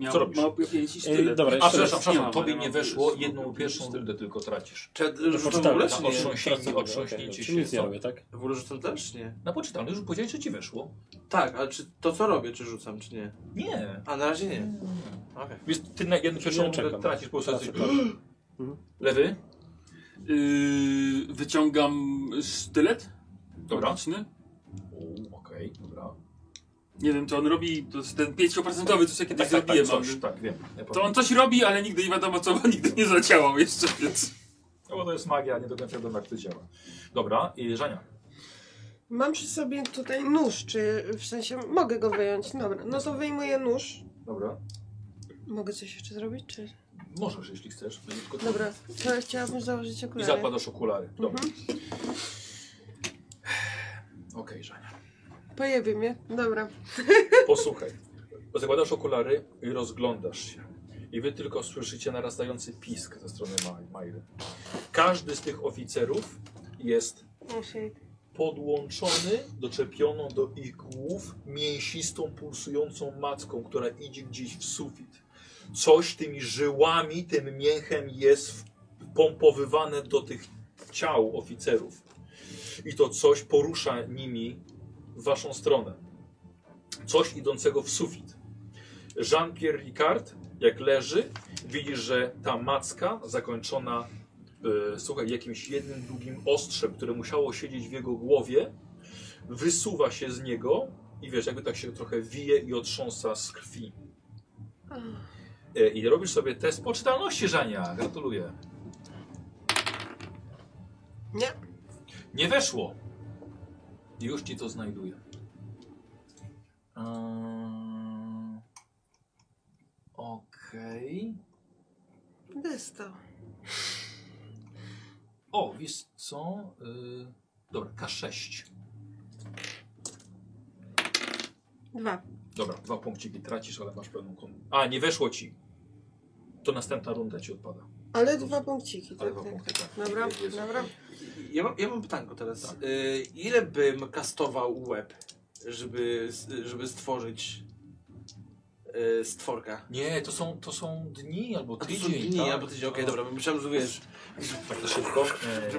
Miał Co robisz? Małpie pięści sztylet. Ej, dobra, a jeszcze przepraszam, Nie mam, przepraszam, tobie ale no, nie mam weszło, plus. jedną pierwszą rundę tylko tracisz. Czy ja rzucam w poczytałem, ogóle na czy nie? otrząśnięcie, otrząśnięcie Czyli nic nie się. co? robię, tak? W ogóle rzucam też? Nie. Na poczytalny już powiedziałeś, że ci weszło. Tak, ale czy to co robię, czy rzucam, czy nie? Nie. A na razie nie. Okej. Więc ty na jedną pierwszą nie rundę czekam. tracisz po prostu. Tracę, Coś... Lewy. Yy, wyciągam sztylet. Dobra. Obręczny. O, Okej, dobra. Nie wiem, czy on robi to jest ten 5% co ja kiedyś tak, tak, zrobiłem. coś, ale- tak, wiem. Ja to on powiem. coś robi, ale nigdy nie wiadomo co, bo nigdy nie zadziałał jeszcze, więc... No bo to jest magia, nie do końca wiadomo jak to działa. Dobra, i Żania. Mam przy sobie tutaj nóż, czy w sensie mogę go wyjąć? Dobra, no to wyjmuję nóż. Dobra. Mogę coś jeszcze zrobić, czy... Możesz, jeśli chcesz. Będzie tylko trudno. Dobra, to chciałabym założyć I okulary. Mhm. zakładasz okulary. Dobra. Okej, Żania. Pojebie mnie. Dobra. Posłuchaj. Zakładasz okulary i rozglądasz się. I wy tylko słyszycie narastający pisk ze strony Maj- Majry. Każdy z tych oficerów jest Musi. podłączony, doczepioną do ich głów mięsistą, pulsującą macką, która idzie gdzieś w sufit. Coś tymi żyłami, tym mięchem jest wpompowywane do tych ciał oficerów. I to coś porusza nimi w waszą stronę. Coś idącego w sufit. Jean-Pierre Ricard, jak leży, widzisz, że ta macka zakończona e, słuchaj, jakimś jednym długim ostrzem, które musiało siedzieć w jego głowie, wysuwa się z niego i wiesz, jakby tak się trochę wije i otrząsa z krwi. E, I robisz sobie test poczytalności, Żania. Gratuluję. Nie. Nie weszło. Już ci to znajduję. Eee, Okej. Dysto. O, wiesz co? Yy, dobra, K6. Dwa. Dobra, dwa punkciki tracisz, ale masz pełną kon... A, nie weszło ci. To następna runda ci odpada. Ale dwa punkciki, Ale tak, dwa tak. punkty, tak. Dobra, Jest- jest dobra. okej. Ja mam, ja mam pytanko teraz. Tak. Y, ile bym kastował łeb, żeby, żeby stworzyć y, stworka? Nie, to są, to są dni albo A to tydzień. są dni, tak? albo tydzień. Okej, dobra, bo myślałem, że wiesz. Tak to szybko. Nie,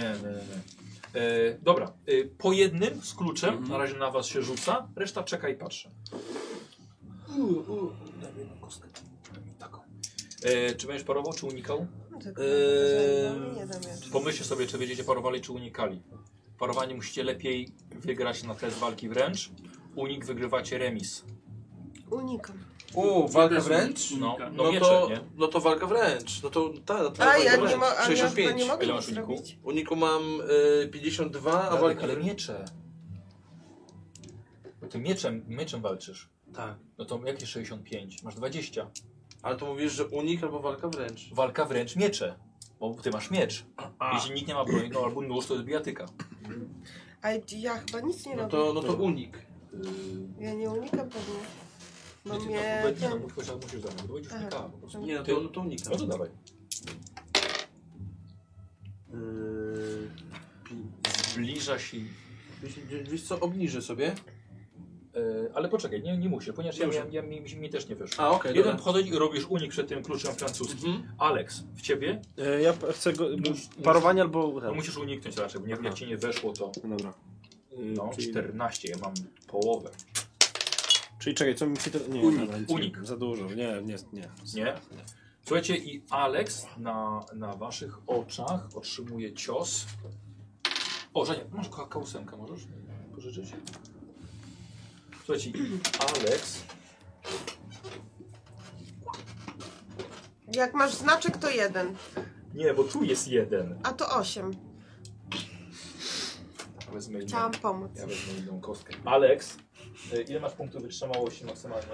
nie, nie. nie, nie, nie. E, dobra, e, po jednym z kluczem Mhm. na razie na was się rzuca, reszta czeka i patrzy. Daj mi jedną kostkę. Daj mi Taką. E, czy będziesz parował, czy unikał? No Tylko Eee. No, nie dam jeszcze. Pomyślcie sobie, czy będziecie parowali, czy unikali. Parowanie musicie lepiej wygrać na test walki wręcz. Unik wygrywacie remis. Unikam. U, walka wręcz? No, no, No miecze, to, nie? no to walka wręcz. No to ta, ta A walka ja nie, wręcz. mo- a ja chyba nie 65. mogę Ile nic masz uniku? zrobić. Uniku mam y, 52, a Radek, walka ale wręcz. miecze. Bo ty mieczem, mieczem walczysz. Tak. No to jakie 65? Masz 20. Ale to mówisz, że unik albo walka wręcz. Walka wręcz miecze. Bo ty masz miecz. Jeśli nikt nie ma broni, no albo nóż, to jest bijatyka. A ja chyba nic nie No robię. to, no to unik. y, Ja nie unikam pewnie. No No ty, mnie... no, nie, no, ten- musisz, musisz dać, bo będziesz Aha. unikała po prostu. Nie, no to, no to unikam. No to dawaj. Yy, Zbliża się. wiesz, wiesz co, obniżę sobie. e, ale poczekaj, nie, nie musisz, ponieważ ja, Dobrze. ja, ja, mi, mi też nie wyszło. A, okej, Jeden dobra. podchodzi i robisz unik przed tym kluczem francuskim. Mhm. Alex, w ciebie? E, Ja p- chcę go. Mus- Parowanie albo. Tak. No musisz uniknąć raczej, bo nie, jak ci nie weszło, to. Dobra. Mm, No, czyli- 14, ja mam połowę. Czyli czekaj, co mi się to. Nie, Unik, dobra, nic- unik. Za dużo. Nie, nie, nie. Nie? Słuchajcie, i Alex na, na waszych oczach otrzymuje cios. O, Żenia, masz ko- kołsemkę, możesz pożyczyć? Słuchajcie, i Alex, Jak masz znaczek, to jeden. nie, bo tu jest jeden. A to osiem. Wezmę inną, Chciałam pomóc. ja wezmę inną kostkę. Alex, y, ile masz punktów wytrzymałości maksymalnie?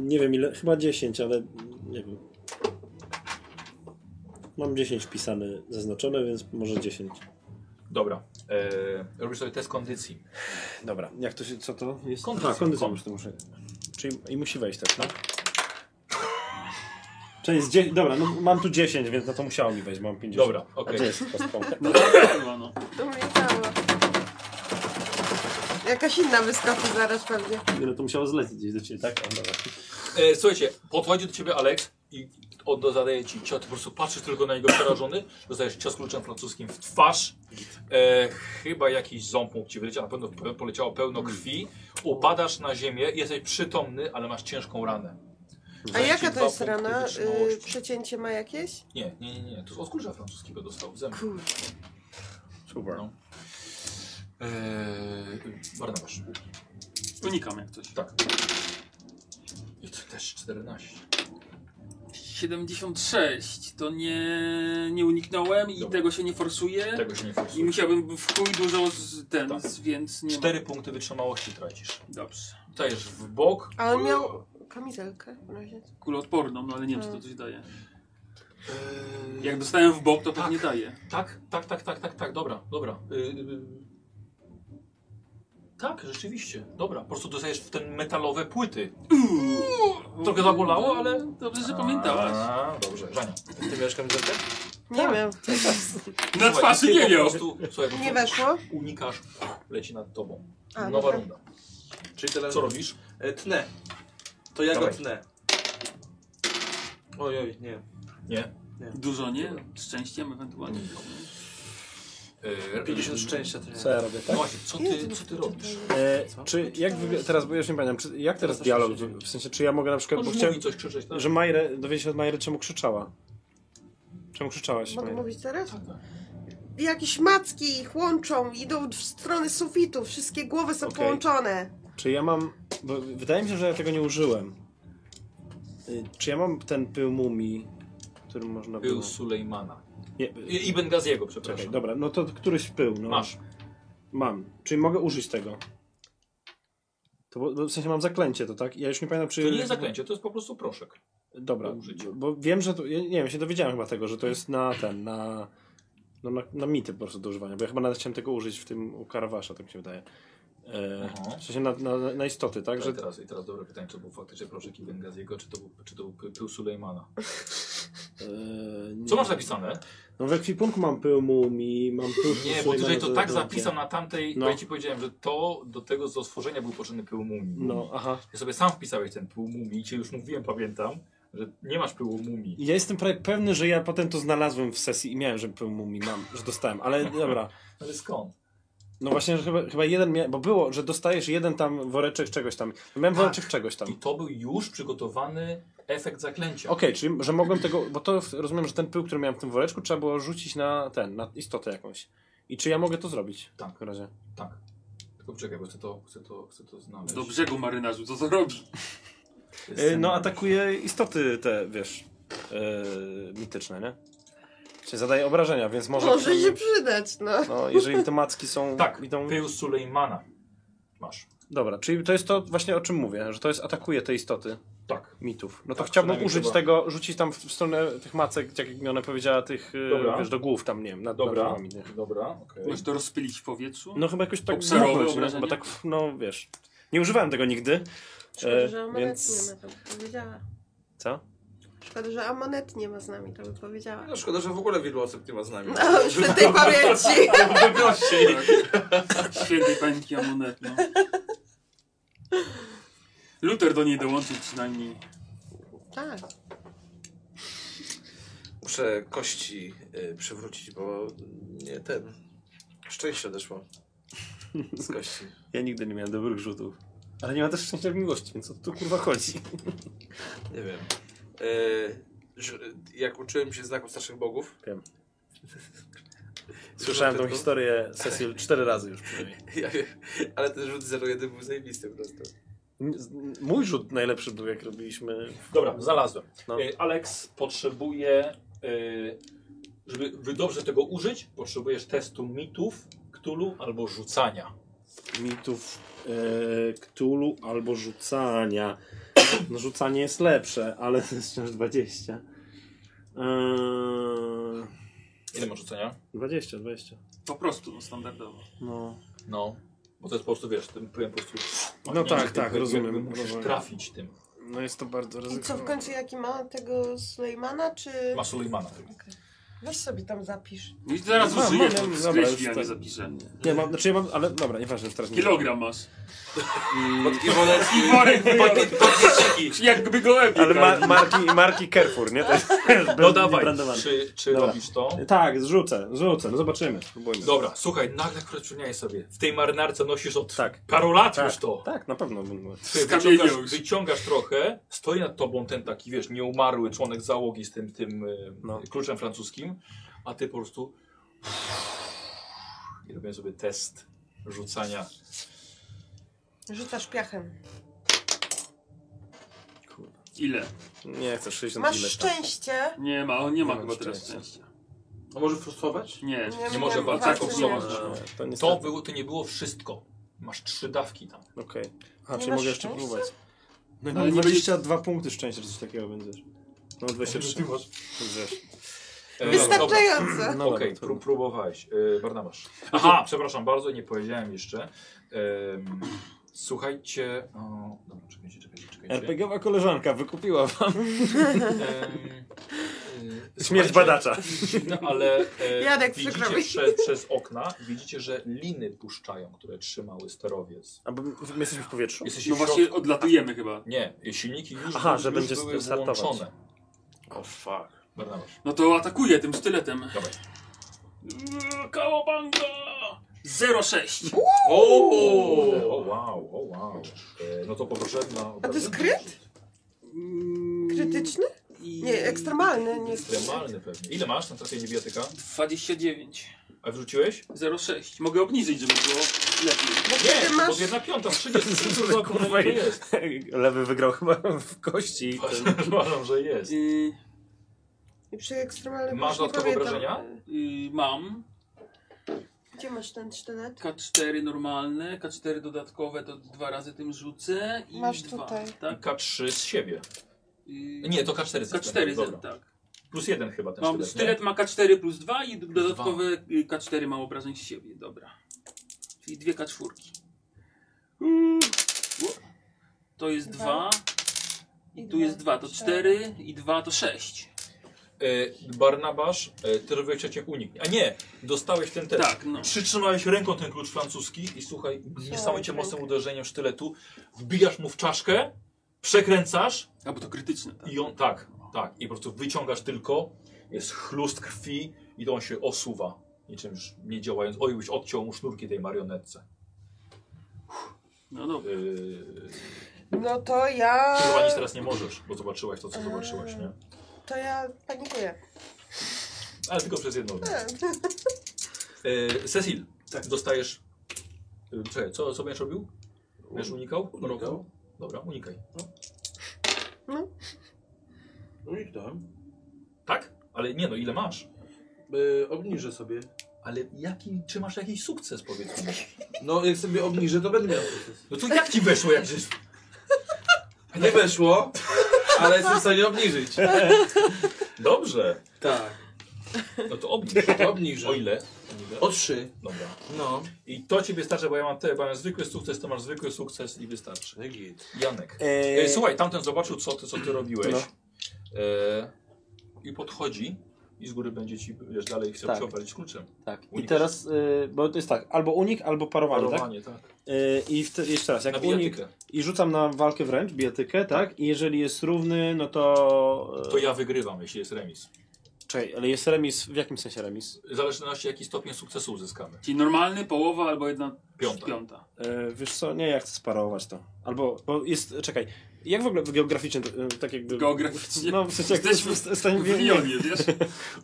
Nie wiem ile, chyba 10, ale nie wiem. Mam 10 pisane, zaznaczone, więc może 10. Dobra, e, robisz sobie test kondycji. Dobra, jak to się, co to jest? Kondycja. A, kondycja Kon- muszę, to muszę. Czyli i musi wejść też, tak? Czyli jest 10, dobra, no mam tu 10, więc na to musiało mi wejść, mam 50. Dobra, A okej. gdzie jest kostką? No. Umiecało. Jakaś inna wyskoczy zaraz pewnie. No to musiało zlecieć gdzieś do ciebie, tak? O, dobra. E, słuchajcie, podchodzi do ciebie Alex i od, zadaje ci cios. Ty po prostu patrzysz tylko na niego przerażony. Dostajesz cios kluczem francuskim w twarz. E, chyba jakiś ząb mógł ci wyleciał, na pewno pe- poleciało pełno krwi. Upadasz na ziemię, jesteś przytomny, ale masz ciężką ranę. A Daję ci jaka dwa to jest punkty rana? Y, wytrzymałości. przecięcie ma jakieś? Nie, nie, nie, nie. To z odkurza francuskiego dostał. Zęb. Kurde. Super. No. E, Barnabasz. Unikam jak coś. Tak. I to też 14. 76 to nie, nie uniknąłem i Dobra. tego się nie forsuje. Tego się nie Tak. I forsuje. musiałbym w chuj dużo z ten, Tak. z, więc nie. ma. Cztery punkty wytrzymałości tracisz. Dobrze. Dajesz w bok. Ale on miał kamizelkę w razie. Kuloodporną, no ale nie wiem, czy to coś daje. Eee, Jak dostałem w bok, to Tak. pewnie daje. Tak, tak, tak, tak, tak, tak, dobra, dobra. Y, y, tak, rzeczywiście, dobra. Po prostu dostajesz w ten metalowe płyty. Trochę zabolało, ale... Dobrze, że pamiętałaś. A, dobrze, Żania. Ty miałeś kamizelkę? Nie wiem. Na Słuchaj, twarzy tylko nie Po miał. prostu, słuchaj, po Nie prostu weszło? unikasz, leci nad tobą. A, no tak. Nowa dobra. runda. Czyli tyle. Co robisz? E, tnę. To ja Dawaj. go tnę. Oj, oj, nie. Nie. Dużo nie? Szczęściem ewentualnie. Yy, 50 szczęścia tyle. Co ja robię, tak? No właśnie, co ty, co ty robisz? E, czy jak wybie- teraz, bo ja już nie pamiętam, czy, jak teraz dialog, wy- w sensie, czy ja mogę na przykład, bo Możesz chciałem, mówić coś, krzyczeć. Tak? że Majre, dowiedzieć się od Majry, czemu krzyczała. Czemu krzyczałaś, Mogę Majra? mówić teraz? Tak, tak. Jakieś macki ich łączą, idą w stronę sufitu, wszystkie głowy są Okej. połączone. Czy ja mam. Bo wydaje mi się, że ja tego nie użyłem. Y, Czy ja mam ten pył mumii, którym można było. Był Sulejmana. Nie, y, I- Ibn Gaziego, przepraszam. czekaj, dobra, no to któryś pył. No. Masz. Mam. Czyli mogę użyć tego. To, bo- bo w sensie mam zaklęcie, to tak? Ja już nie pamiętam, czy. To nie jest zaklęcie, to jest po prostu proszek. Dobra, do użycia. bo wiem, że to. Ja nie wiem, ja się dowiedziałem chyba tego, że to jest na ten, na. No, na, na mity po prostu do używania, bo ja chyba nawet chciałem tego użyć w tym u Karawasza, tak mi się wydaje. E, Aha. w sensie na, na, na istoty, tak? Że Że, teraz, I teraz dobre pytanie, czy to był faktycznie proszek Ibn Gaziego, czy to był, czy to był py- pył Sulejmana. e, tak. Co nie- masz napisane? No we kwipunku mam pył mumii, mam pył Nie, bo Sulejmana tutaj to tak Zadrabia. zapisał na tamtej, No. bo ja ci powiedziałem, że to do tego do stworzenia był potrzebny pył mumii. No, aha. Ja sobie sam wpisałeś ten pył mumii i ci już mówiłem, pamiętam, że nie masz pyłu mumii. Ja jestem prawie pewny, że ja potem to znalazłem w sesji i miałem, że pył mumii mam, że dostałem, ale dobra. Ale skąd? No właśnie, że chyba, chyba jeden miałem, bo było, że dostajesz jeden tam woreczek czegoś tam. Miałem Tak. woreczek czegoś tam. I Okej, to był już przygotowany efekt zaklęcia. czyli że mogłem tego, bo to w- rozumiem, że ten pył, który miałem w tym woreczku, trzeba było rzucić na ten, na istotę jakąś. I czy ja mogę to zrobić? Tak. W takim razie. Tak. Tylko poczekaj, bo chcę to, chcę to, chcę to znaleźć. Do brzegu marynarzu, co to robi? Y, No atakuje istoty te, wiesz, yy, mityczne, nie? Czyli zadaje obrażenia, więc może... Może się przydać, no. No, jeżeli te macki są... Tak, idą... pył Sulejmana masz. Dobra, czyli to jest to właśnie o czym mówię, że to jest atakuje te istoty Tak. mitów. No to Tak, chciałbym przynajmniej użyć chyba. tego, rzucić tam w w stronę tych macek, tak jak mi ona powiedziała, tych, y, Dobra. wiesz, do głów tam, nie wiem, nad, nad Dobra, głowami. nie? dobra, okej. Możesz to rozpylić w powietrzu? No chyba jakoś tak Obserowe zamknąć, nie? obrażenia? bo tak, no wiesz, nie używałem tego nigdy. Szkoda, E, że Amanet więc- nie ma, to by powiedziała. Co? Szkoda, że Amanet nie ma z nami, to by powiedziała. No szkoda, że w ogóle wielu osób nie ma z nami. No, świętej pamięci! Wyprościej. Świętej pańki amonet, no. Luther do niej dołączył przynajmniej. Tak. Muszę kości y, przywrócić, bo nie ten. Szczęście odeszło. Z kości. Ja nigdy nie miałem dobrych rzutów. Ale nie ma też szczęścia w miłości, więc o to tu kurwa chodzi. Nie wiem. Y, że- jak uczyłem się znaków starszych bogów. Wiem. Słyszałem Słyszałem tą tylko- historię Cecil cztery razy już przynajmniej. Ja wiem, ale ten rzut 01 był zajebisty po prostu. Mój rzut najlepszy był, jak robiliśmy Dobra, znalazłem. No. Y, Alex potrzebuje, y, żeby wy dobrze tego użyć, potrzebujesz testu mitów, ktulu albo rzucania. mitów e, Cthulhu albo rzucania. No, rzucanie jest lepsze, ale to jest wciąż E, 20. Eee, Ile masz rzucenia? 20, 20. Po prostu, no standardowo. No. No. Bo to jest po prostu, wiesz, tym pyłem po prostu... No tak, Jakby- tak, jakby rozumiem, Musisz rozumiem. trafić tym. no jest to bardzo I co, w końcu jaki ma tego Sulejmana, czy... Ma Sulejmana. Weź sobie tam zapisz. No i zaraz Mam, użyję, mam, to mam, skreśli, dobra, ja już nie tak. zapiszę. Nie, mam, znaczy ja mam, ale dobra, nieważne, już teraz nie. Kilogram masz. Pod Iwonecki. Worek wyjął. Podwieczniki. Jakby go epił. Ale ma, marki, marki Carrefour, nie? To jest, No dawaj, brandowany. czy, czy Dobra. robisz to? Tak, zrzucę, zrzucę, no zobaczymy. Spróbujmy. Dobra, słuchaj, nagle przypomniałeś sobie. W tej marynarce nosisz od Tak. paru lat Tak. już to. Tak, na pewno. będę- Ty Skamieniał wyciągasz, już. wyciągasz trochę, stoi nad tobą ten taki, wiesz, nieumarły członek załogi z tym, tym y, No. kluczem francuskim, a ty po prostu i robię sobie test rzucania. Rzucasz piachem. Ile? Nie, chcę 60 Masz ileś tam. szczęście. Nie ma, on nie ma Nie chyba mam teraz szczęścia. szczęścia. A może frustować? Nie, Nie może miałam walczyć, walki, koksować. nie. szczęścia. Nie, To To, niestety. było, to nie było wszystko. Masz trzy dawki tam. Okej. A, Nie czyli masz mogę jeszcze szczęścia? próbować. No, Ale no nie 22 punkty szczęścia, czy coś takiego będziesz. No 23. Będziesz. E, dobra. Wystarczające. No Okej, dobra, pró- to- próbowałeś. Yy, Barnamasz. Aha, Aha! przepraszam bardzo, nie powiedziałem jeszcze. Em, słuchajcie. O, dobra, czekajcie, czekajcie, czekajcie. RPGowa koleżanka wykupiła wam Em, y, śmierć słuchajcie, badacza. No, ale e, Jadek, przykro widzicie mi. prze, przez okna, widzicie, że liny puszczają, które trzymały sterowiec. A bo my jesteśmy w powietrzu? Jesteście No w środku. właśnie odlatujemy chyba. Nie, silniki już, Aha, już, że już będzie były startować. włączone. O oh, fuck. Barnamasz, No to atakuję tym sztyletem. dawaj. Yy, Kałabanga! 06! O, o wow, o wow. E, no to poproszę na... A to jest kryt? Mm, Krytyczny? Nie, ekstremalny. Nie Ekstremalny pewnie. Ile masz na trafienie niebiotyka? 29. A wrzuciłeś? 06. Mogę obniżyć, żeby było lepiej. Bo wtedy Nie, bo No masz... jedna piąta, w 30 to kurwa kurwa jest. Lewy wygrał chyba w kości. Ten... Uważam, że jest. Yy, I przy ekstremalnym Masz już nie dodatkowe pamiętam. obrażenia? yy, mam Gdzie masz ten sztylet? K4 normalne, K4 dodatkowe, to dwa razy tym rzucę i Masz dwa, tutaj. tak? K3 z siebie. Yy, Nie, to K4 z K4, Dobra. z- tak. Plus jeden chyba ten Mam, sztylet. stylet ma K4 plus 2 i dodatkowe y, K4 ma obrażeń z siebie, dobra. Czyli dwie K4. Uuu. Ło. To jest Dwa. 2, I tu dwa, jest 2 to cztery. 4 i 2 to 6. nie? E, Barnabasz, e, ty robiłeś cię unik. A nie, dostałeś ten test. Tak, no. Przytrzymałeś ręką ten klucz francuski i słuchaj, niesamowicie rękę. mocnym uderzeniem sztyletu wbijasz mu w czaszkę, przekręcasz A bo to krytyczne, tak. i on tak, tak. I po prostu wyciągasz tylko, jest chlust krwi i to on się osuwa. Niczym już nie działając. Oj, byś odciął mu sznurki tej marionetce. No dobra. Yy, No to ja... chyba nic teraz nie możesz, bo zobaczyłaś to, co zobaczyłaś, nie? To ja panikuję. Ale tylko przez jedną noc. E, Yy, Cecil, Tak. dostajesz... Yy, czekaj, co, co będziesz robił? Będziesz unikał? Unikał. Dobra, unikaj. Uniknąłem. Tak? Ale nie no, ile masz? Yy, obniżę sobie. Ale jaki, czy masz jakiś sukces, powiedz mi? No, jak sobie obniżę, to będę miał sukces. No to jak ci weszło, jak żeś... Nie weszło, ale jestem w stanie obniżyć. Dobrze. Tak. No to obniż. Obniżę. O ile? O trzy. Dobra. No. I to ci wystarczy, bo ja mam, te, bo ja mam zwykły sukces, to masz zwykły sukces i wystarczy. Janek. E, słuchaj, tamten zobaczył, co ty, co ty robiłeś. No. E, I podchodzi i z góry będzie ci, wiesz, dalej chce Tak. tak. przyopalić kluczem. Tak. I Unikasz. teraz, y, bo to jest tak, albo unik, albo parowanie, tak? Parowanie, tak. Y, I wte- jeszcze raz, Na jak unik bijatykę. i rzucam na walkę wręcz, bijatykę, tak? I jeżeli jest równy, no to... To ja wygrywam, jeśli jest remis. Czekaj, ale jest remis, w jakim sensie remis? W zależności, jaki stopień sukcesu uzyskamy. Czyli normalny, połowa albo jedna Piąta. piąta. E, wiesz co, nie, ja chcę sparować to. Albo, bo jest, czekaj, jak w ogóle geograficznie, e, tak jakby... Geograficznie. No, w sensie jak Jesteśmy ust- ustawienie, W Lyonie, wiesz?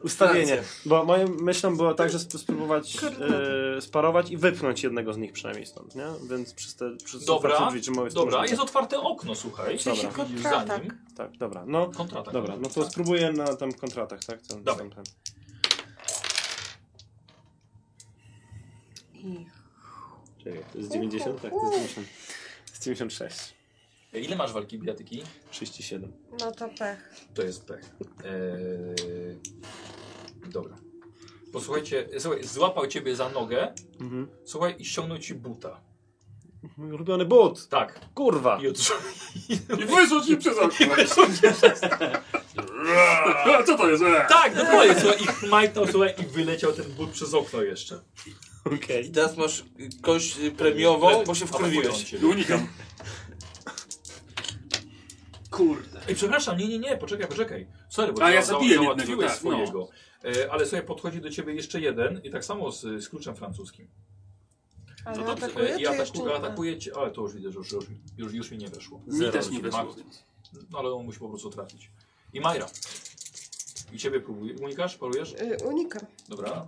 ustawienie. Bo moją myślą było tak, że sp- spróbować e, sparować i wypchnąć jednego z nich przynajmniej stąd, nie? Więc przez te przez Dobra, otwarte drzwi, czy mamy Dobra, jest otwarte okno, słuchaj. Dobra. Widzisz za kontratak. nim. Tak, dobra, no, Kontratak. dobra, no to spróbuję na tam kontratach, tak? Co, Dobra. Tam, tam. Czekaj, to jest 90? Tak, to jest 90. To jest 96, E, Ile masz walki bijatyki? 37. No to pech. To jest pech. Eee, dobra. Posłuchajcie, e, słuchaj, złapał ciebie za nogę, Mhm. słuchaj, i ściągnął ci buta. Mój ulubiony but! Tak. Kurwa! I odrzu- I wysłuch mi przez okno. A Co to jest? Eee. Tak, dokładnie, słuchaj, i chmajtał, słuchaj, i wyleciał ten but przez okno jeszcze. Okej. I teraz masz y, kość y, premiową, bo się Atakuje on wkurwiłeś. ciebie. Unikam. Kurde. Ej, przepraszam, nie, nie, nie, poczekaj, poczekaj. Sorry, bo A za- ja za- zabiję załatwiłeś jednego, tak, no. swojego. E, ale słuchaj, podchodzi do ciebie jeszcze jeden i tak samo z, z kluczem francuskim. E, Ale No dobrze, atakuje, I czy jeszcze ataku, nie? atakuje cię, ale to już widzę, że już, już, już, już mi nie weszło. Mi też nie weszło. Mak- No ale on musi po prostu trafić. I Majra. I ciebie próbuje. Unikasz? Parujesz? Y, Unikam. Dobra.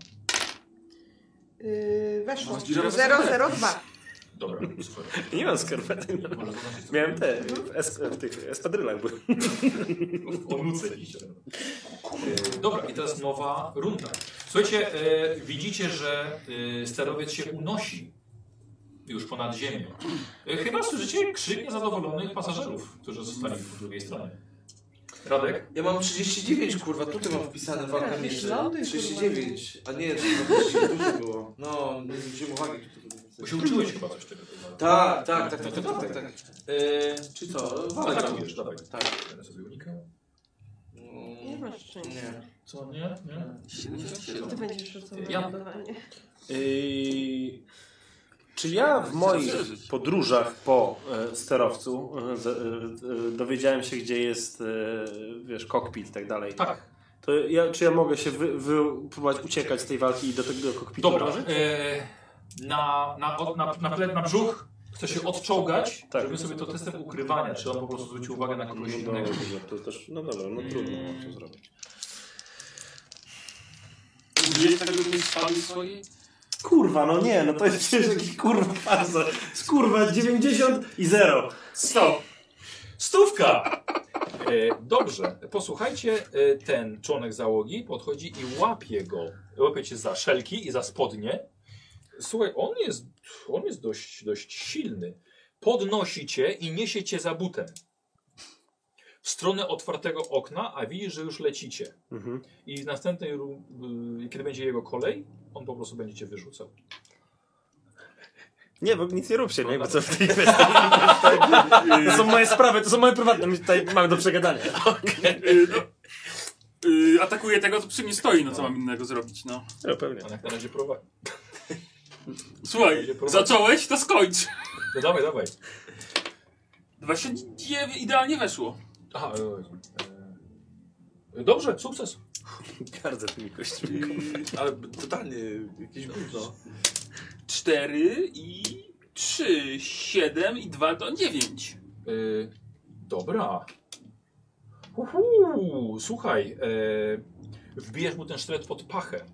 Y, Weszło. No, Masz dziurę 002. Dobra, super. Nie mam skarpetek. Może zaznaczyć sobie- Miałem te, w, es, w tych espadrylach były. E, Dobra, i teraz nowa runda. Słuchajcie, e, widzicie, że e, sterowiec się unosi już ponad ziemią. E, chyba słyszycie krzyk niezadowolonych pasażerów, którzy zostali po drugiej stronie. Radek? Ja mam 39, kurwa, tutaj mam wpisane walka mierzy. Ląduj, 39, a nie, to dużo było. No, nie zwróciłem uwagi. Bo się uczyłeś chyba coś tego. tego. Tak, tak, tak, tak, tak, tak. tak. E, czy co? Walka Atakujesz, dawaj. Tak. Teraz sobie unikam. Mm, masz szczęścia. Nie. Co, nie? Nie? no. Ty będziesz rzucał na Ja. lądowanie. Yy, czy ja w moich podróżach po e, sterowcu e, z- e, e, dowiedziałem się, gdzie jest e, wiesz, kokpit i tak dalej? Tak. To ja, czy ja mogę się wy, wy, próbować uciekać z tej walki i do tego kokpitu Dobra. dążyć? E, na, na, o- na, na, ple, na brzuch chce się odczołgać, Tak. żeby sobie to testem ukrywania, czy on po prostu zwrócił uwagę na kogoś No, innego. to też, no dobra, no trudno mam to zrobić. Użyjesz tak tego do tej spadły swojej? Kurwa, no nie, no to jest przecież jakiś kurwa farsa. Kurwa, 90 i 0. Stop! Stówka! E, dobrze, posłuchajcie, e, ten członek załogi podchodzi i łapie go. Łapie cię za szelki i za spodnie. Słuchaj, on jest, on jest dość, dość silny. Podnosi cię i niesie cię za butem. W stronę otwartego okna, a widzisz, że już lecicie. Mhm. I w następnej, ru- y, kiedy będzie jego kolej, on po prostu będzie cię wyrzucał. Nie, bo nic nie róbcie, nie? Bo co w tej kwestii? To są moje sprawy, to są moje prywatne, my tutaj mamy do przegadania. Yy, no, yy, atakuje tego, co przy mnie stoi, no co mam innego zrobić, no. No pewnie. On jak na razie prowadzi. Słuchaj, zacząłeś, to skończ. No dawaj, dawaj. 29 idealnie weszło. Aha, e, e, dobrze, sukces. Gardzę tymi kośćmi. Ale totalnie jakieś gówno. 4 i 3, 7 i 2 to 9. Y, dobra. Uhu, słuchaj, e, wbijasz mu ten sztylet pod pachę.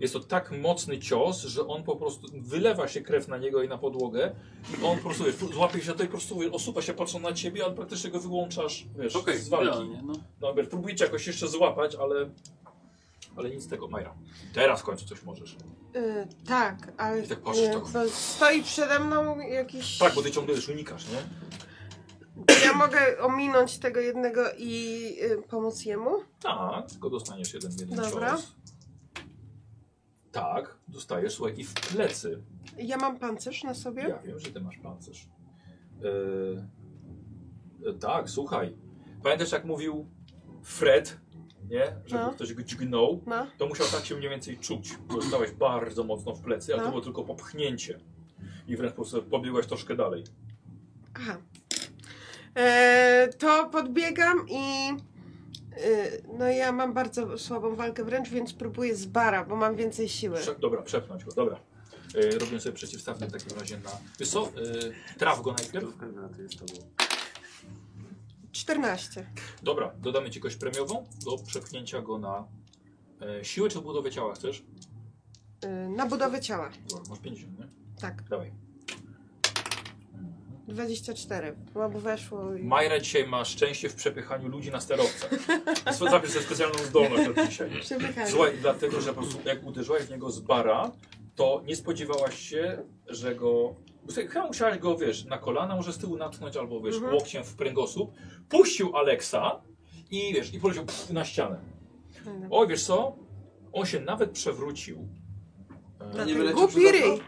Jest to tak mocny cios, że on po prostu wylewa się krew na niego i na podłogę. I on po prostu wiesz, złapie się tutaj, po prostu wiesz, osuwa się, patrzą na ciebie, ale praktycznie go wyłączasz wiesz, Okej, z walki. idealnie, no. No, wiesz, próbujecie jakoś jeszcze złapać, ale, ale nic z tego, Majra. Teraz w końcu coś możesz. Y, tak, ale I tak patrzysz, y, tak. bo stoi przede mną jakiś... Tak, bo ty ciągle już unikasz, nie? Ja mogę ominąć tego jednego i y, pomóc jemu? Tak, tylko dostaniesz jeden, jeden Dobra. cios. Tak, dostajesz, słuchaj, i w plecy. Ja mam pancerz na sobie? Ja wiem, że ty masz pancerz. Yy, tak, słuchaj. Pamiętasz, jak mówił Fred, nie? Żeby No. ktoś go dźgnął, No. to musiał tak się mniej więcej czuć. Dostałeś bardzo mocno w plecy, ale No. to było tylko popchnięcie. I wręcz po prostu pobiegłeś troszkę dalej. Aha. E, to podbiegam i. y, No ja mam bardzo słabą walkę wręcz, więc próbuję z bara, bo mam więcej siły. Prze dobra, przepchnąć go, dobra. Yy, robimy sobie przeciwstawny w takim razie na... Wiesz co, yy, traf go najpierw. 14. Dobra, dodamy ci kość premiową do przepchnięcia go na e, siłę czy budowę ciała chcesz? Y, Na budowę ciała. Dobra, masz 50, nie? Tak, Dawaj. 24. Bo weszło i... Majra dzisiaj ma szczęście w przepychaniu ludzi na sterowcach. Swo- Zapisz sobie specjalną zdolność od dzisiaj. Przepychanie. Słuchaj, dlatego, że po prostu jak uderzyłaś w niego z bara, to nie spodziewałaś się, że go... Słuchaj, Chyba musiałaś go, wiesz, na kolana może z tyłu natknąć albo, wiesz, Mhm. łokciem w pręgosłup. Puścił Aleksa i, wiesz, i poleciał pff, na ścianę. Fajne. O, wiesz co? On się nawet przewrócił. Na nie ten wyleciał Głupi przez okno? ryj.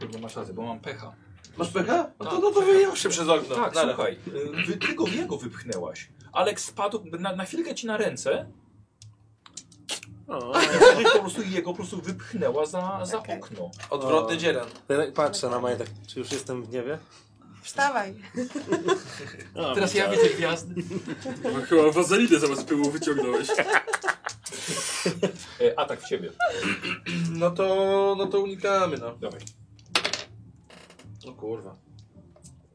Kurwa, masz rację, bo mam pecha. Masz pecha? No to, no to wyjął się przez okno. Tak, Nara. słuchaj, y, wy, ty go jego wypchnęłaś. Aleks spadł na, na chwilkę ci na ręce. i ty po prostu jego po prostu wypchnęła za, za okno. Odwrotny dzieran. Ja tak patrzę na Maję, tak, czy już jestem w niebie? Wstawaj. O, Teraz ja widzę gwiazdy. No, chyba wazelinę zamiast pyłu wyciągnąłeś. E, atak w ciebie. No to, no to unikamy, no. Dawaj. No kurwa.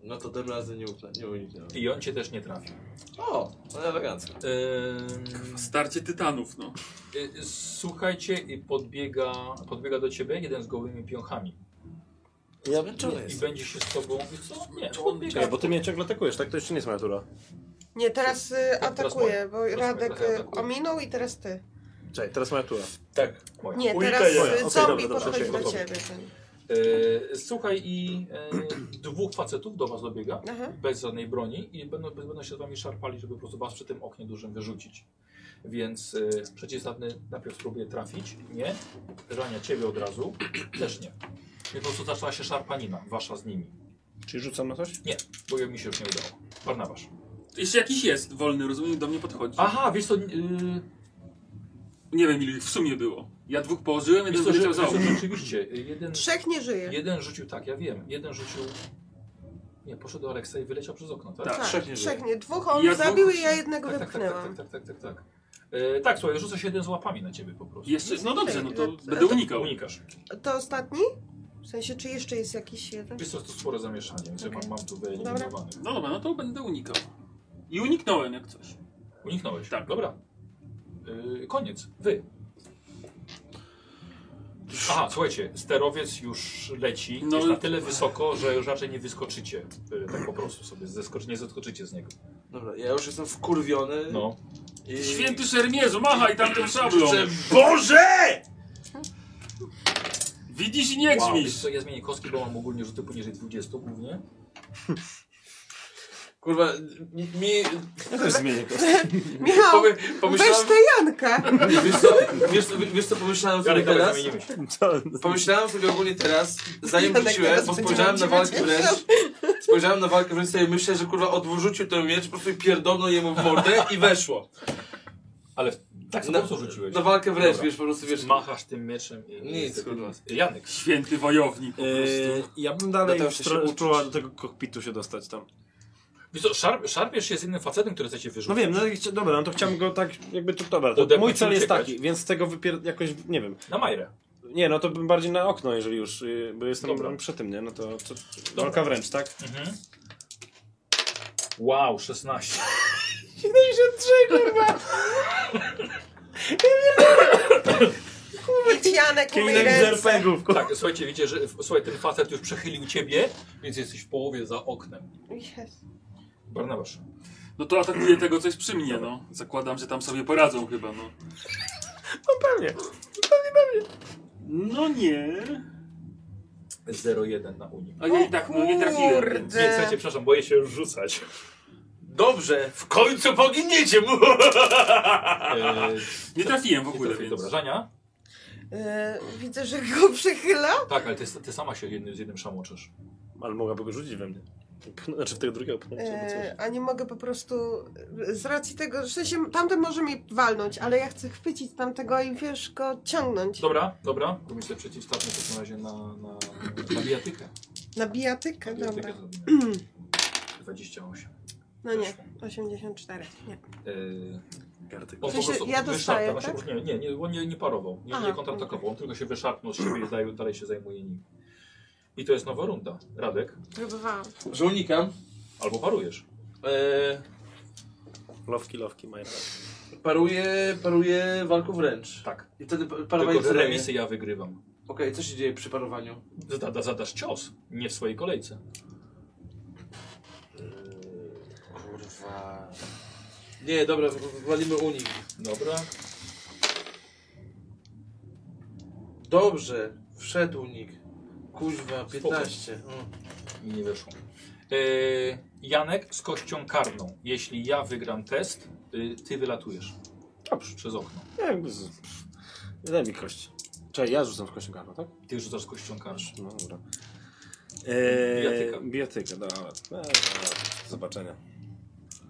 No to tym razem nie, ukna- nie uniknę. I on cię też nie trafił. O, no elegancko. Ym, Starcie tytanów, no. y, słuchajcie, i podbiega, podbiega do ciebie jeden z gołymi piochami. Ja I będzie się z tobą. Wiesz co? Nie, on Czekaj, bo ty mnie ciągle atakujesz, tak? To jeszcze nie jest moja tura. Nie, teraz y, atakuje, bo Teraz Radek moja, teraz y, atakuje. ominął i teraz ty. Czekaj, teraz moja tura. Tak, moja. Nie, Unika teraz jest. Moja, y, okej, zombie dobra, dobra, podchodzi okej, do gotowy. ciebie. Ten. E, słuchaj, i e, dwóch facetów do was dobiega, Aha. bez żadnej broni i będą, będą się z wami szarpali, żeby po prostu was przy tym oknie dużym wyrzucić. Więc e, przeciwstawny najpierw spróbuje trafić, nie. Rania ciebie od razu, też nie. I po prostu zaczęła się szarpanina, wasza z nimi. Czyli rzucam na coś? Nie, bo mi się już nie udało. Barnabasz. Jeszcze jakiś jest wolny, rozumiem, do mnie podchodzi. Aha, wiesz co, yy, Nie wiem, ile ich w sumie było. Ja dwóch położyłem, wiesz co, jeden że, wyleciał wiesz za co okno. rzeczywiście, y, jeden, Trzech nie żyje. jeden rzucił, tak, ja wiem, jeden rzucił, nie, poszedł do Aleksa i wyleciał przez okno, tak? Tak. Tak, trzech nie trzech żyje. nie. Dwóch on Ja dwóch- zabił i ja jednego Tak, tak, tak, wypchnęłam. tak, tak, tak, tak, tak. E, tak, słuchaj, rzuca się jeden z łapami na ciebie po prostu. Jeszcze, no dobrze, no to Ile- będę unikał. Unikasz. To ostatni? W sensie, czy jeszcze jest jakiś jeden? Wiesz co, to spore zamieszanie, więc ja mam, mam tu Dobra. wyeliminowanych. No dobra, no to będę unikał. I uniknąłem jak coś. Uniknąłeś. Tak. Dobra. Y, koniec. Wy. Aha, słuchajcie, sterowiec już leci. No jest i- na tyle wysoko, że już raczej nie wyskoczycie. y, tak po prostu sobie zeskoczy, nie zeskoczycie z niego. Dobra, ja już jestem wkurwiony. No. I... Święty Szermierzu, machaj tamtą szablą! Że- Boże! Widzisz i nie Wow, grzmisz! wiesz co, ja zmienię kostki, bo mam ogólnie rzuty poniżej 20 głównie. Kurwa, mi... mi Ja też zmienię go. Michał, pomy, weź pomyślałem... tę Jankę! Wiesz co, wiesz, co- wiesz co pomyślałem sobie Jarek, dawaj, teraz? zamienimy się. E, Pomyślałem sobie ogólnie teraz, zanim Janek wróciłem, tak teraz bo będzie spojrzałem na będzie walkę wiedział. wręcz, spojrzałem na walkę wręcz sobie myślę, że kurwa odwrócił ten miecz, po prostu pierdolno jemu w mordę i weszło. Ale w- tak Na- sobie co rzuciłeś. Na walkę wręcz, Dobra. wiesz, po prostu wiesz, Machasz tym mieczem i... Nic, kurwa. Janek. Święty wojownik po Eee. prostu. ja bym dalej Dlatego się stro- się uczysz. próbował do tego kokpitu się dostać tam. No Wiesz co, szarp, szarpiesz się z innym facetem, który chcecie wyrzucić. No wiem, no i chcia- dobra, no to chciałbym go tak jakby tu, dobra, to Odepchnąć mój cel i jest uciekać. taki, więc tego wypier... jakoś, nie wiem. Na Majrę. Nie, no to bym bardziej na okno, jeżeli już, y, bo jestem Dobra. przy tym, nie? No to, to walka wręcz, tak? Wow, 16. Idź Janek, umyj ręce. RPG-ów, kurwa. Tak, słuchajcie, wiecie, że w- słuchaj, ten facet już przechylił ciebie, więc jesteś w połowie za oknem. Jest. Barnabasz. No to atakuje tego, co jest przy mnie, no. Zakładam, że tam sobie poradzą chyba, no. Pewnie. No nie. 0-1 na Unii. A ja i tak, no nie trafiłem. Nie, słuchajcie, przepraszam, boję się już rzucać. dobrze, w końcu poginiecie mu! Eee, Nie trafiłem w nie ogóle, trafię więc... dobrażania. Y, widzę, że go przychyla. Tak, ale ty, ty sama się jednym, z jednym szamoczysz. Ale mogłaby go rzucić we mnie. Znaczy w tego drugiego pchnąć. albo coś. Y, a nie mogę po prostu, y, z racji tego, że się tamten może mi walnąć, ale ja chcę chwycić tamtego i wiesz, go ciągnąć. Dobra, dobra. To mi sobie przeciwstawny w takim razie na, na, na bijatykę. Na bijatykę, Na dobra. bijatykę zrobimy. 28. No nie, 84. Nie. Eee, Gartek. on Czy się- ja dostaję, tak? wyszarpał, on się- Nie, nie, on nie, nie parował, nie, Aha, nie kontratakował, on tylko się wyszarpnął z siebie i dalej, dalej się zajmuje nim. I to jest nowa runda. Radek, Próbowałam. Że unikam. albo parujesz. E, Lowki, lowki, mają. paruję, paruję walką wręcz. Tak. I wtedy parowanie Tylko, że co daje? remisy ja wygrywam. Okej, co się dzieje przy parowaniu? Zada, zadasz cios, nie w swojej kolejce. Kurwa... Nie, dobra, w- walimy unik. Dobra. Dobrze, wszedł unik. Kuźwa, 15. Mm. I nie wyszło. Yy, Janek z kością karną. Jeśli ja wygram test, yy, ty wylatujesz. Dobrze. Przez okno. Jakby z... Daj mi kość. Czekaj, ja rzucam w kością karną, tak? Ty rzucasz z kością karną. No dobra. Eee, Bijatyka. Bijatyka, dobra. Eee, do zobaczenia.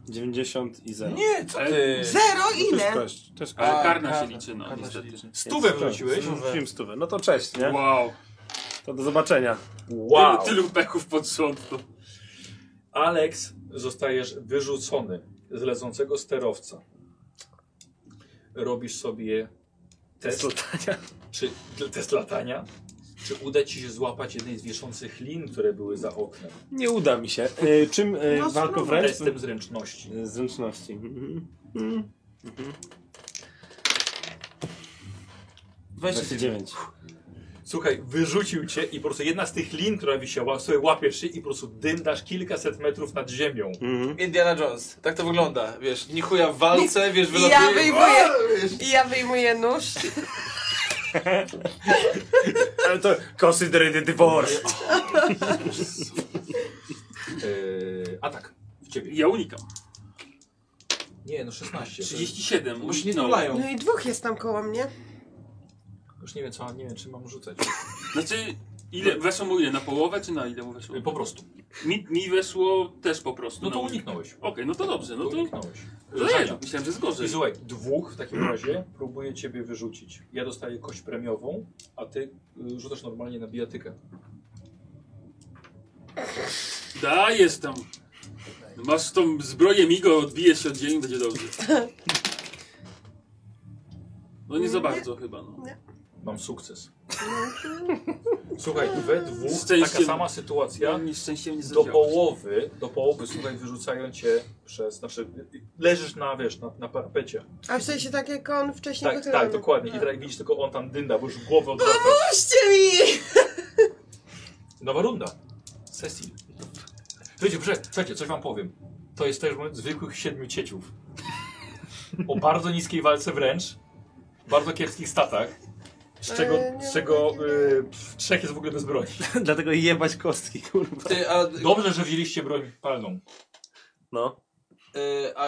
90 i 0. Nie, co ty? E, Zero To jest ile? kość. To jest kość. Ale karna się karna. liczy, no Karna się niestety. liczy. Stówę Jest to. wrzuciłeś? Rzuciłem stówę. No to cześć, nie? Wow. To do zobaczenia. Wow! Tylu, tylu peków pod rząd, no. Alex, zostajesz wyrzucony z lecącego sterowca. Robisz sobie test, Sultania. czy, test latania. Czy uda ci się złapać jednej z wieszących lin, które były za oknem? Nie uda mi się. Eee, czym eee, No, walko spróbuj. wręcz? Testem zręczności. Eee, Zręczności. Mhm. Mhm. 29. 29. Słuchaj, wyrzucił cię i po prostu jedna z tych lin, która wisiała, sobie łapiesz się i po prostu dyndasz kilkaset metrów nad ziemią. Mm. Mm. Indiana Jones. Tak to wygląda, wiesz, ni chuja w walce, wiesz, I ja wylatuje... wyjmuję, i ja wyjmuję nóż. Ale to consider it divorce. Yy, atak w ciebie. Ja unikam. Nie, no 16. to jest- 37. Bo się nie uniknąłem. tulają. No i dwóch jest tam koło mnie. Już nie wiem co, nie wiem czy mam rzucać. Znaczy, ile weszło mu ile? Na połowę czy na ile mu weszło? Yy, Po prostu. Mi, mi weszło też po prostu. No to na unik. uniknąłeś. Okej, no to dobrze, no to. uniknąłeś. No Zadział. jednak, myślałem, że jest gorzej. I słuchaj, dwóch w takim razie próbuje ciebie wyrzucić. Ja dostaję kość premiową, a ty y, rzucasz normalnie na bijatykę. Da, jest tam. Masz tą zbroję Migo, odbijesz się od ziemi, będzie dobrze. No nie za bardzo chyba, no. Mam sukces. Słuchaj, we dwóch taka Szczęście- sama sytuacja. Mnie szczęściem nie Do zadziałał. połowy, do połowy, słuchaj, wyrzucają cię przez, znaczy leżysz na, wiesz, na, na parapecie. A w sensie tak jak on wcześniej no. Tak, wychylony. tak, dokładnie. I teraz widzisz tylko on tam dynda, bo już głowę odwraca. Puśćcie mi! Nowa runda. Cecil. Słuchajcie, prze, słuchajcie, coś wam powiem. To jest też moment zwykłych siedmiu cieciów. O bardzo niskiej walce wręcz. Bardzo kiepskich statach. Z czego, Ale nie z czego ma takiego. y, pff, trzech jest w ogóle bez broni. Dlatego jebać kostki, kurwa. Ty, a, Dobrze, że wzięliście broń palną. No. y, a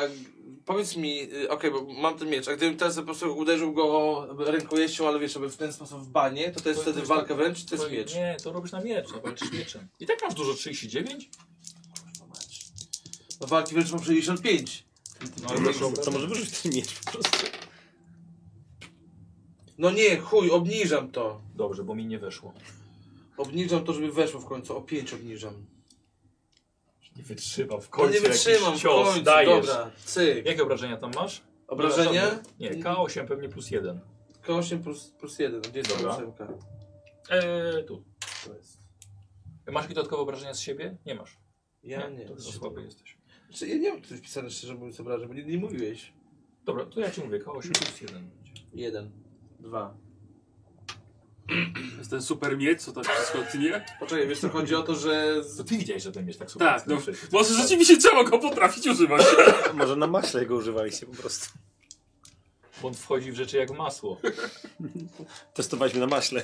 powiedz mi, y, okej, bo mam ten miecz, a gdybym teraz po prostu uderzył go rękojeścią, ale wiesz, żeby w ten sposób w banie, to to jest To- to wtedy jest walka tak- wręcz, czy to jest To- miecz? Nie, to robisz na miecz, no walczysz mieczem. I tak masz dużo 39? No walki wręcz mam 65. No ale też To może wyrzuć ten miecz po prostu. No nie, chuj, obniżam to. Dobrze, bo mi nie weszło. Obniżam to, żeby weszło w końcu, o 5 obniżam. Nie wytrzymam w No końcu. nie jakiś wytrzymam w cios, końcu, dajesz. dobra, cyk. Jakie obrażenia tam masz? Obrażenie? Nie, K8 pewnie plus 1. K8 plus, plus 1, gdzie jest Dobra. ta ósemka? Eee, tu. Masz jakieś dodatkowe obrażenia z siebie? Nie masz. Ja nie. To za słaby jesteś. Znaczy, ja nie mam tu wpisane szczerze mówiąc obrażeń, bo nie, nie mówiłeś. Dobra, to ja ci mówię, K8 plus 1. Jeden, dwa. Jest ten super miecz, co tak wszystko tnie. Poczekaj, wiesz co, chodzi o to, że... z- To ty widziałeś, że ten miecz tak Tak, no. przecież. Może rzeczywiście trzeba go potrafić używać. Może na maśle go używaliście po prostu. Bo on wchodzi w rzeczy jak masło. Testowaliśmy na maśle.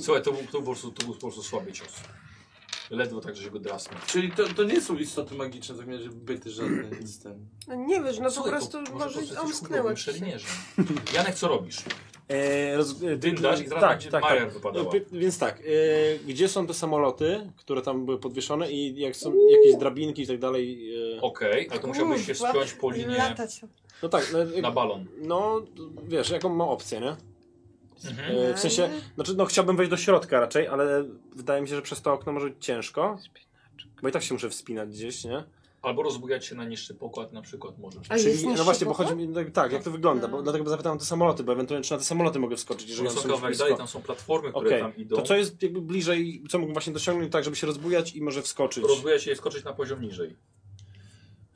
Słuchaj, to był, to, był po prostu, to był po prostu słaby cios. Ledwo tak, że go drasnął. Czyli to, to nie są istoty magiczne, w takim razie byty żadne, nic ten. No nie wiesz, no po Słuchaj, prostu to może po prostu on jesteś chudobnym sknęło ci się. szermierzem. Janek, co robisz? E, roz... e, Dyndasz i zaraz będzie Majer wypadała. E, pi- Więc tak, e, gdzie są te samoloty, które tam były podwieszone i jak są jakieś drabinki i tak dalej. E, Okej, ale to musiałbyś się Kurwa, spiąć po linie Latać. no tak, no, jak- na balon. no wiesz, jaką ma opcję, nie? Mhm. E, w sensie, znaczy no chciałbym wejść do środka raczej, ale wydaje mi się, że przez to okno może być ciężko. Bo i tak się muszę wspinać gdzieś, nie? Albo rozbujać się na niższy pokład na przykład możesz. A jest No. Czyli, no niższy właśnie, bo pokład? chodzi mi, tak, tak, jak to wygląda, bo, dlatego bo zapytałem o te samoloty, bo ewentualnie czy na te samoloty mogę wskoczyć, jeżeli one są Wysoka już wejść dalej, blisko. tam są platformy, które Okej, tam idą. to co jest jakby bliżej, co mógłbym właśnie dosiągnąć tak, żeby się rozbujać i może wskoczyć? Rozbuja się i skoczyć na poziom niżej.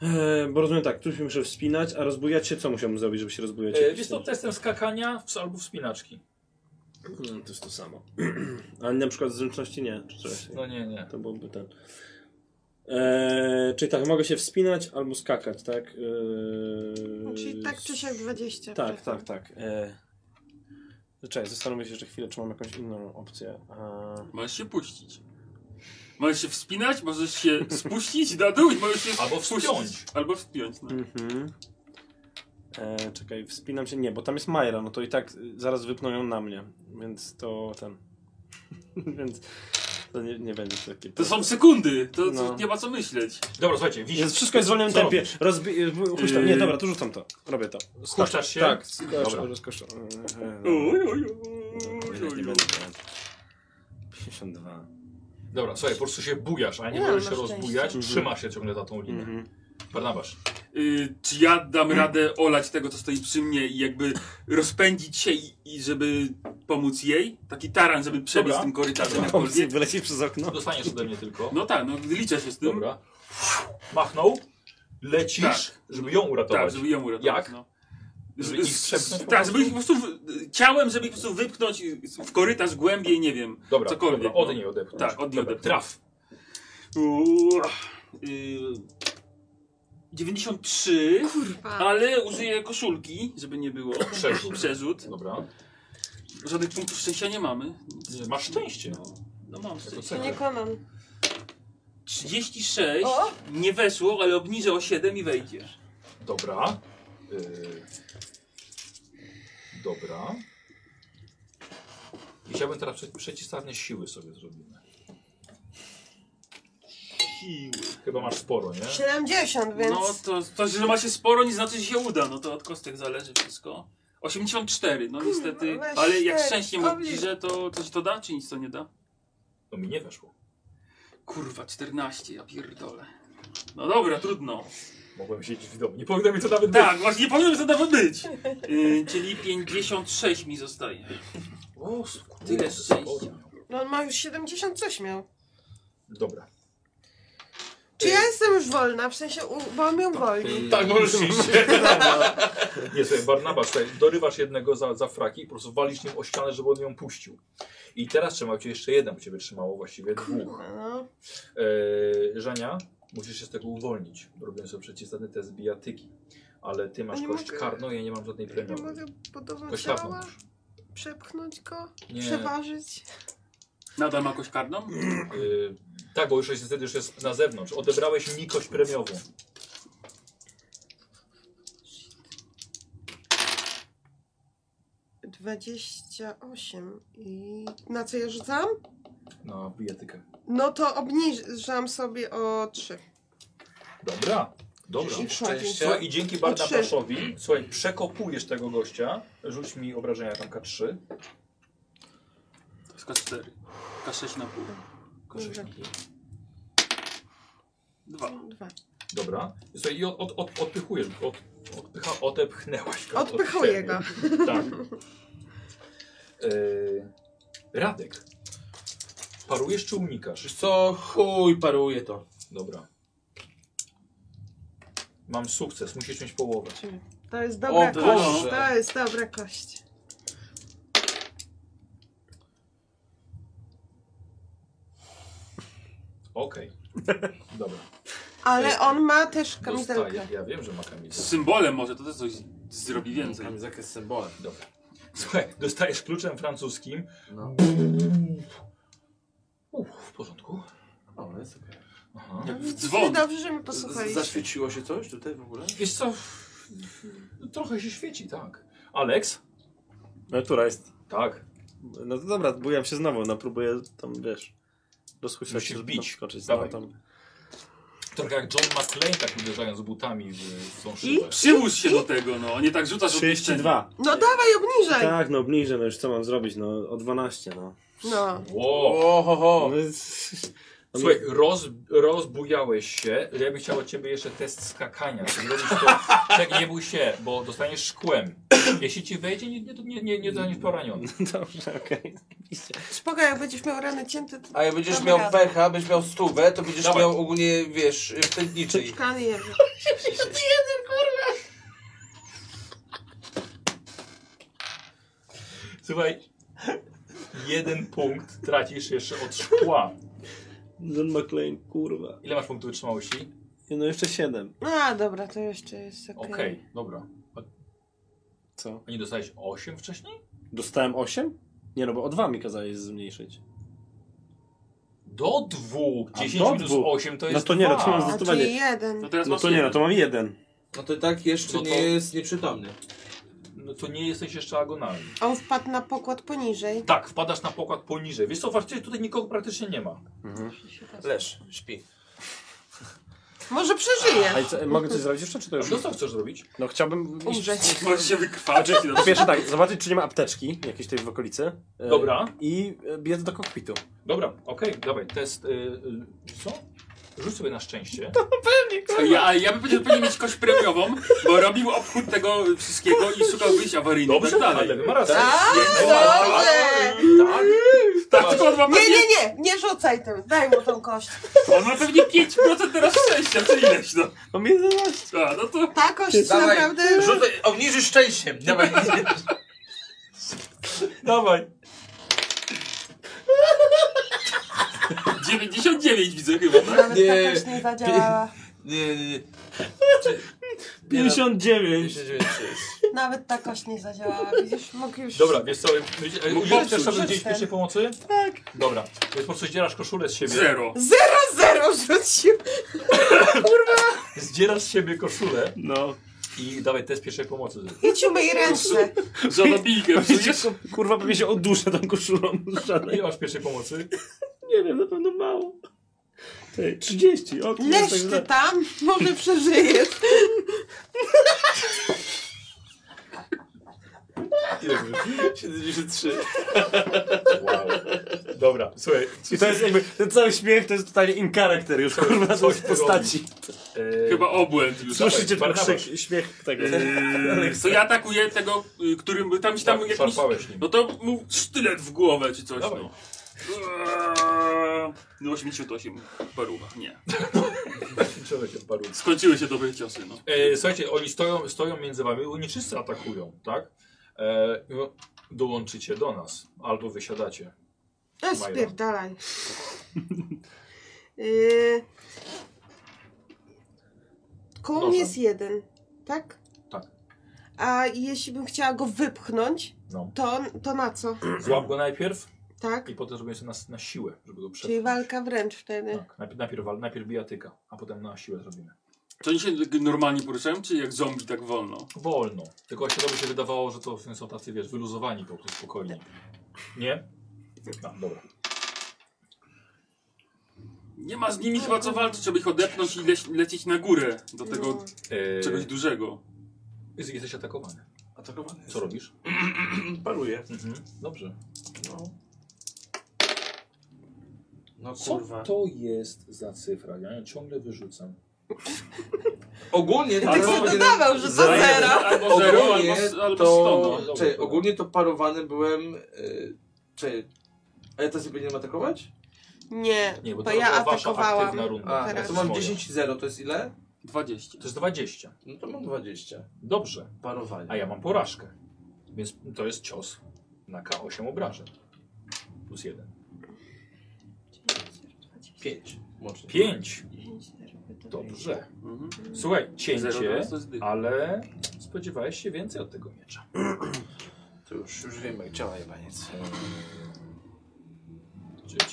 E, Eee, bo rozumiem tak, tu się muszę wspinać, a rozbujać się co musiałbym zrobić, żeby się rozbujać? E, jest to testem skakania w- albo wspinaczki. Hmm, to jest to samo. Ale na przykład zręczności nie, czy coś. No nie, nie. To byłby ten. Eee, czyli tak, mogę się wspinać albo skakać, tak? Eee, No, Czyli tak czy siak 20. Tak, tak, tak. Eee, czekaj, zastanowię się jeszcze chwilę, czy mam jakąś inną opcję. Eee, Możesz się puścić. Możesz się wspinać, możesz się spuścić na dół i możesz się Albo spuścić. wspiąć. Albo wspiąć, no. Mhm. E, czekaj, wspinam się. Nie, bo tam jest Majra, no to i tak y, zaraz wypną ją na mnie. Więc to ten. więc to nie, nie będzie takie. To są sekundy, to, to No. nie ma co myśleć. Dobra, słuchajcie, wisi. Jest, wszystko jest w wolnym Co tempie. Rozbi... Huśtam. Yy. Nie, dobra, to rzucam to. Robię to. Spuszczasz się? Tak, skoczę, Dobra. rozkoszę. e, Oj, oj, oj, Nie oj, oj. będę. 52. Dobra, słuchaj, po prostu się bujasz, a nie Nie, możesz na się szczęście. rozbujać. Trzymasz się ciągle za tą linię. Mhm. Barnabasz. Y, czy ja dam radę olać tego, co stoi przy mnie i jakby rozpędzić się i, i żeby pomóc jej? Taki taran, żeby przebiec Dobra. tym korytarzem Pomysł jakkolwiek. wyleci przez okno. Dostaniesz ode mnie tylko. No tak, no liczę się z tym. Dobra. Machnął. Lecisz, Tak. żeby ją uratować. Tak, żeby ją uratować. Jak? No. Żeby ich strzepnąć po Tak, żeby ich prostu? po prostu w- ciałem, żeby ich po prostu wypchnąć w korytarz głębiej, nie wiem. Dobra, cokolwiek, dobra, od no. niej odepchnąć. Tak, od niej Dobra, odepchnąć. Traf. Uuu, y, 93, Kurwa. ale użyję koszulki, żeby nie było. Przerzut. Przerzut. Dobra. Żadnych punktów szczęścia nie mamy. Nie, Masz szczęście. No. No mam Jako szczęście. cechę. Nie konam. 36, O! nie weszło, ale obniżę o 7 i wejdzie. Dobra. Yy... Dobra. I chciałbym teraz prze- przeciwstawne siły sobie zrobimy. Siły. Chyba masz sporo, nie? 70, więc. No to, to, że ma się sporo, nie znaczy, że się uda. No to od kostek zależy wszystko. 84, no niestety, weź ale jak cztery, szczęście kobli- obniżę, to coś to da, czy nic to nie da? No mi nie weszło. Kurwa, 14, ja pierdolę. No dobra, trudno. Mogłem siedzieć w domu. Nie powinno mi to nawet Tak, właśnie powinien to nawet być. Yy, czyli 56 mi zostaje. być. O, skurde, Tyle sporo szczęścia. miał. No on ma już 70 coś miał. Dobra. Czy ja jestem już wolna? W sensie, u, bo on mnie uwolni. Tak, no możesz iść. Nie, sobie Barnaba, słuchaj, dorywasz jednego za, za fraki i po prostu walisz nim o ścianę, żeby on ją puścił. I teraz trzymał cię jeszcze jeden, bo ciebie trzymało właściwie dwóch. No. Eee, Żania, musisz się z tego uwolnić, robiąc sobie przeciwstawny test bijatyki. Ale ty masz nie kość mogę- karną, ja nie mam żadnej Nie premiowej. mogę podobno Kość karną ciała masz. przepchnąć go, Nie, przeważyć. Nadal ma jakąś karną? y, tak, bo już jest, wtedy już jest na zewnątrz. Odebrałeś mi kość premiową. Dwadzieścia 28 i na co ja rzucam? Na bijatykę. No to obniżam sobie o 3. Dobra, dobra. I wchodzi. Słuchaj, i dzięki O, trzy. Barnabaszowi, słuchaj, przekopujesz tego gościa. Rzuć mi obrażenia tam K3. To jest K4. K6 na pół. Kurde. Dwa. Dwa. Dobra. Słuchaj, i od, od, od, odpychujesz, od, odpycha, odepchnęłaś go. od Odpychuję go. siebie. Tak. Yy, Radek. Parujesz czy unikasz? Wiesz co, chuj, paruje to. Dobra. Mam sukces, musisz mieć połowę. To jest dobra O kość. Boże. To jest dobra kość. Okej. Dobra. Ale on ma też Dostaję. kamizelkę. Ja wiem, że ma kamizelkę. Z symbolem może, to też coś zrobi więcej. Tam jest jakieś symbole. Dobra. Słuchaj, dostajesz kluczem francuskim. No. Uff, w porządku. O, no jest okej. Aha. Dzwon. Dobrze, że mi Z- posłuchaliście. Zaświeciło się coś tutaj w ogóle? Wiesz co, trochę się świeci, tak. Alex? Natura No, jest. Tak. No to dobra, bujam się znowu, no próbuję tam, wiesz, rozchuślać Musisz żeby bić. tam Skoczyć, Dawaj. no, tam. Trochę jak John McClane, tak uderzając butami w, w tą szybę. Przyłóż się do tego, no, a nie tak rzucasz odpiszczenie. 32. No dawaj, obniżaj. Tak, no obniżę, no już co mam zrobić, no o 12, no. No. Wow. O, ho, ho. no jest... Słuchaj, roz, rozbujałeś się. Ja bym chciał od ciebie jeszcze test skakania. Czy robisz to, tak, nie bój się, bo dostaniesz szkłem. Jeśli ci wejdzie, nie, nie, nie, nie, nie zostaniesz poraniony. Dobrze, okej. Spoko, jak będziesz miał rany cięte, to A jak będziesz Damy miał radę. pecha, będziesz miał stówę, to będziesz Dawaj. miał ogólnie, wiesz, wstępniczyj. szklany jeży. Słuchaj, jeden punkt tracisz jeszcze od szkła. John McClane, kurwa. Ile masz punktów wytrzymałości? Nie, No jeszcze 7. A, dobra, to jeszcze jest okej. Okej, dobra. Co? A nie dostałeś 8 wcześniej? Dostałem 8? Nie no, bo o 2 mi kazałeś zmniejszyć. Do dwóch. A, 10 do minus dwóch. 8 to No jest to nie, no to dwa. mam A tu zdecydowanie. jeden. No teraz No masz to nie, no jeden. to mam jeden. No to i tak jeszcze No to- nie jest nieprzytomny. No to nie jesteś jeszcze agonalny. On wpadł na pokład poniżej. Tak, wpadasz na pokład poniżej. Wiesz co, właściwie tutaj nikogo praktycznie nie ma. Leż, śpi. Może przeżyje. A i co, mogę coś zrobić jeszcze, czy to już? No co chcesz zrobić? No chciałbym... iść- Umrzeć. Możesz się wykrwaczyć. no. Po pierwsze tak, zobaczyć czy nie ma apteczki jakiejś tej w okolicy. E, Dobra. I e, biec do kokpitu. Dobra, okej, dawaj, test, y, y, co? Rzuć sobie na szczęście. Ja, ja bym powiedział, że powinien mieć kość premiową, bo robił obchód tego wszystkiego i szukał wyjść awaryjnie. i Dobrze, tak dalej. ale ma rację. Dobrze! Tak, tylko on ma Nie, pewnie, nie, nie, nie rzucaj tym, daj mu tą kość. on ma pewnie 5% teraz szczęścia, czy ileś no. Mam 11. A, no to Ta kość Dawaj. naprawdę... Rzucaj, obniżysz szczęściem. Dawaj. Dawaj. 99 widzę chyba, tak? Nawet Nie. ta kość nie zadziałała. Nie, nie, nie. 59. Nawet ta kość nie zadziałała, widzisz? Mógł już... Dobra, wiesz co, e, użyjesz też sobie rzuć gdzieś ten. pierwszej pomocy? Tak. Dobra, więc po prostu zdzierasz koszulę z siebie. Zero. Zero rzucił! Zdzierasz z siebie koszulę No. i dawaj test pierwszej pomocy. Idź umyj ręce. Żonobijkę psujesz? Kurwa, pewnie się oduszę tą koszulą. Żadnej. Ile masz pierwszej pomocy? Nie wiem, na pewno mało. Ej, 30. O, kurwa, Leż tak ty za- tam, może przeżyjesz. Wow. Dobra, słuchaj. I to jest jakby, ten cały śmiech to jest totalnie in character już, kurwa, to coś jest postaci. e, Chyba obłęd już. Słyszycie ten Barnabasz. krzyk, śmiech tego. Eee, to ja atakuję tego, y, którym by tam, tam jakiś... Tak, Szarpałeś nim. No to mu sztylet w głowę czy coś. Dawaj. No. Eee, No 88 paruwa, nie. Człowiek jest paru. Skończyły się dobre ciosy, no. E, słuchajcie, oni stoją, stoją między wami, oni wszyscy atakują, tak? E, i mówią, dołączycie do nas, albo wysiadacie. A Majra. No, spierdalaj. Yy, Koło Proszę. mnie jest jeden, tak? Tak. A jeśli bym chciała go wypchnąć, No. to, to na co? Złap go najpierw Tak? i potem zrobię sobie na, na siłę, żeby go przed... Czyli walka wręcz wtedy. Tak, najpierw, najpierw, wal- najpierw bijatyka, a potem na siłę zrobimy. To oni się tak normalnie poruszają, czy jak zombie tak wolno? Wolno. Tylko się dobrze się wydawało, że to są tacy, wiesz, wyluzowani po prostu spokojni. Nie? No, dobra. Nie ma z nimi chyba co walczyć, żeby ich odepnąć i leć, lecieć na górę do tego E, czegoś dużego. jest- jesteś atakowany. Atakowany Co robisz? Paruje. Mhm. Dobrze. No Co kurwa. to jest za cyfra? Ja ją ciągle wyrzucam. Ogólnie to... Albo- Albo- Dodawał, że to zero. Albo Ogólnie zero, albo, s- albo to... 100. no. Czekaj, ogólnie to parowany byłem... Yy, czekaj. A ja teraz nie powinienem atakować? Nie, Nie, bo bo to ja była wasza atakowałam. aktywna runda. A, Teraz. to mam Moja. 10-0, to jest ile? 20. To jest 20. No to mam 20. Dobrze. Parowanie. A ja mam porażkę. Więc to jest cios na K8 obrażeń. Plus 1. 5. Łącznie. 5. Dobrze. Mhm. Słuchaj, Zero cięcie, raz to jest dycha. ale spodziewałeś się więcej od tego miecza. To już, już wiem jak działa jebaniec.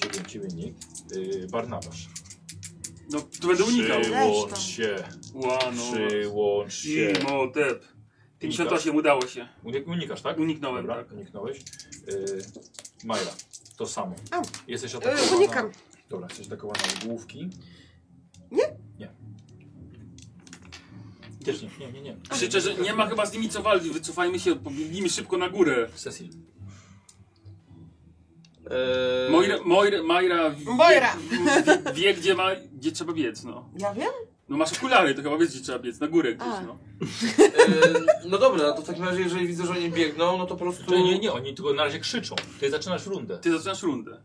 Ciebie, ciebie nikt. Yy, Barnabasz. No, to będę unikał. Przyłącz się. Łano. Przyłącz się. Imhotep. 58 udało się. Unik- Unikasz, tak? Uniknąłem, Dobra, tak. uniknąłeś. Yy, Majra, to samo. A. Jesteś Yy, atakowana. unikam. Dobra, jesteś atakowana od główki. Nie? Nie. Też nie, nie, nie, nie. Krzyczę, że nie ma chyba z nimi co walczyć. Wycofajmy się, pobiegnijmy szybko na górę. Cecil. Eee, Moira, Moira, Majra wie, Moira. Wie, wie gdzie, ma, gdzie trzeba biec, no. Ja wiem? No masz okulary, to chyba wiesz gdzie trzeba biec, na górę gdzieś, A. no. eee, no dobra, no to w takim razie jeżeli widzę, że oni biegną, no to po prostu... Znaczy, Nie, nie, nie, oni tylko na razie krzyczą. Ty zaczynasz rundę. Ty zaczynasz rundę.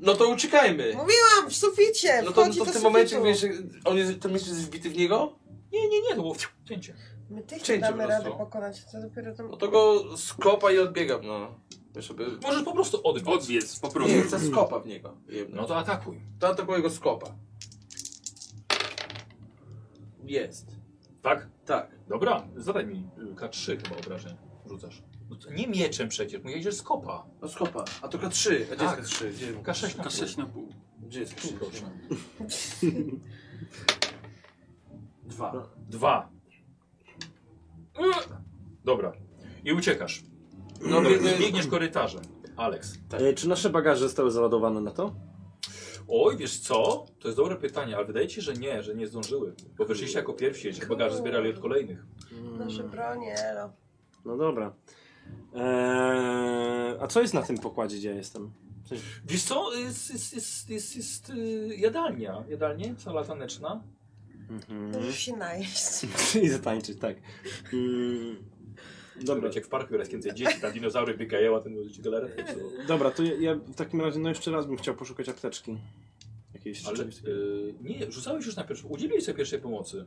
No to uciekajmy. Mówiłam, w suficie, No to, wchodzi to do w tym momencie sufitu. wiesz, jak on jest, ten miecz jest wbity w niego? Nie, nie, nie, to było cięcie. My tych nie Cięcie po damy prostu. radę pokonać, to dopiero tam... No to go skopa i odbiegam, no. Wiesz, żeby... Możesz po prostu odbić. Odwiedz po prostu. Nie, chcę skopa w niego. No Jedno. to atakuj. To atakuję go skopa. Jest. Tak? Tak. Dobra, zadaj mi y, K3 chyba obrażeń. Rzucasz. No to nie mieczem przecież, mówię, że z kopa. No skopa. A to K3. A gdzie Tak. jest K3? Gdzie, K6 na Na pół. 6 na pół. gdzie jest Tu, K3? proszę. No. Dwa. Dwa. Dobra. I uciekasz. No Dobra, biegnę... biegniesz korytarzem. Alex. E, Czy nasze bagaże zostały załadowane na to? Oj, wiesz co? To jest dobre pytanie, ale wydaje ci się, że nie, że nie zdążyły. Bo wyszliście jako pierwsi, że bagaże zbierali od kolejnych. Nasze bronie, elo. E, No dobra. Eee, a co jest na tym pokładzie, gdzie ja jestem? W Wiesz co, jest, jest, jest, jest, jest y, jadalnia, jadalnie, sala taneczna. Mhm. Możesz się najeść. I zatańczyć, tak. Mm, Dobra, jak w parku raz kiedy dzieci, tam dinozaury biegają, a ten ludzi galaretę. Dobra, to ja, ja w takim razie, no jeszcze raz bym chciał poszukać apteczki. Jakiejś Ale rzeczywistej. y, nie, rzucałeś już na pierwszą, udzieliłeś sobie pierwszej pomocy.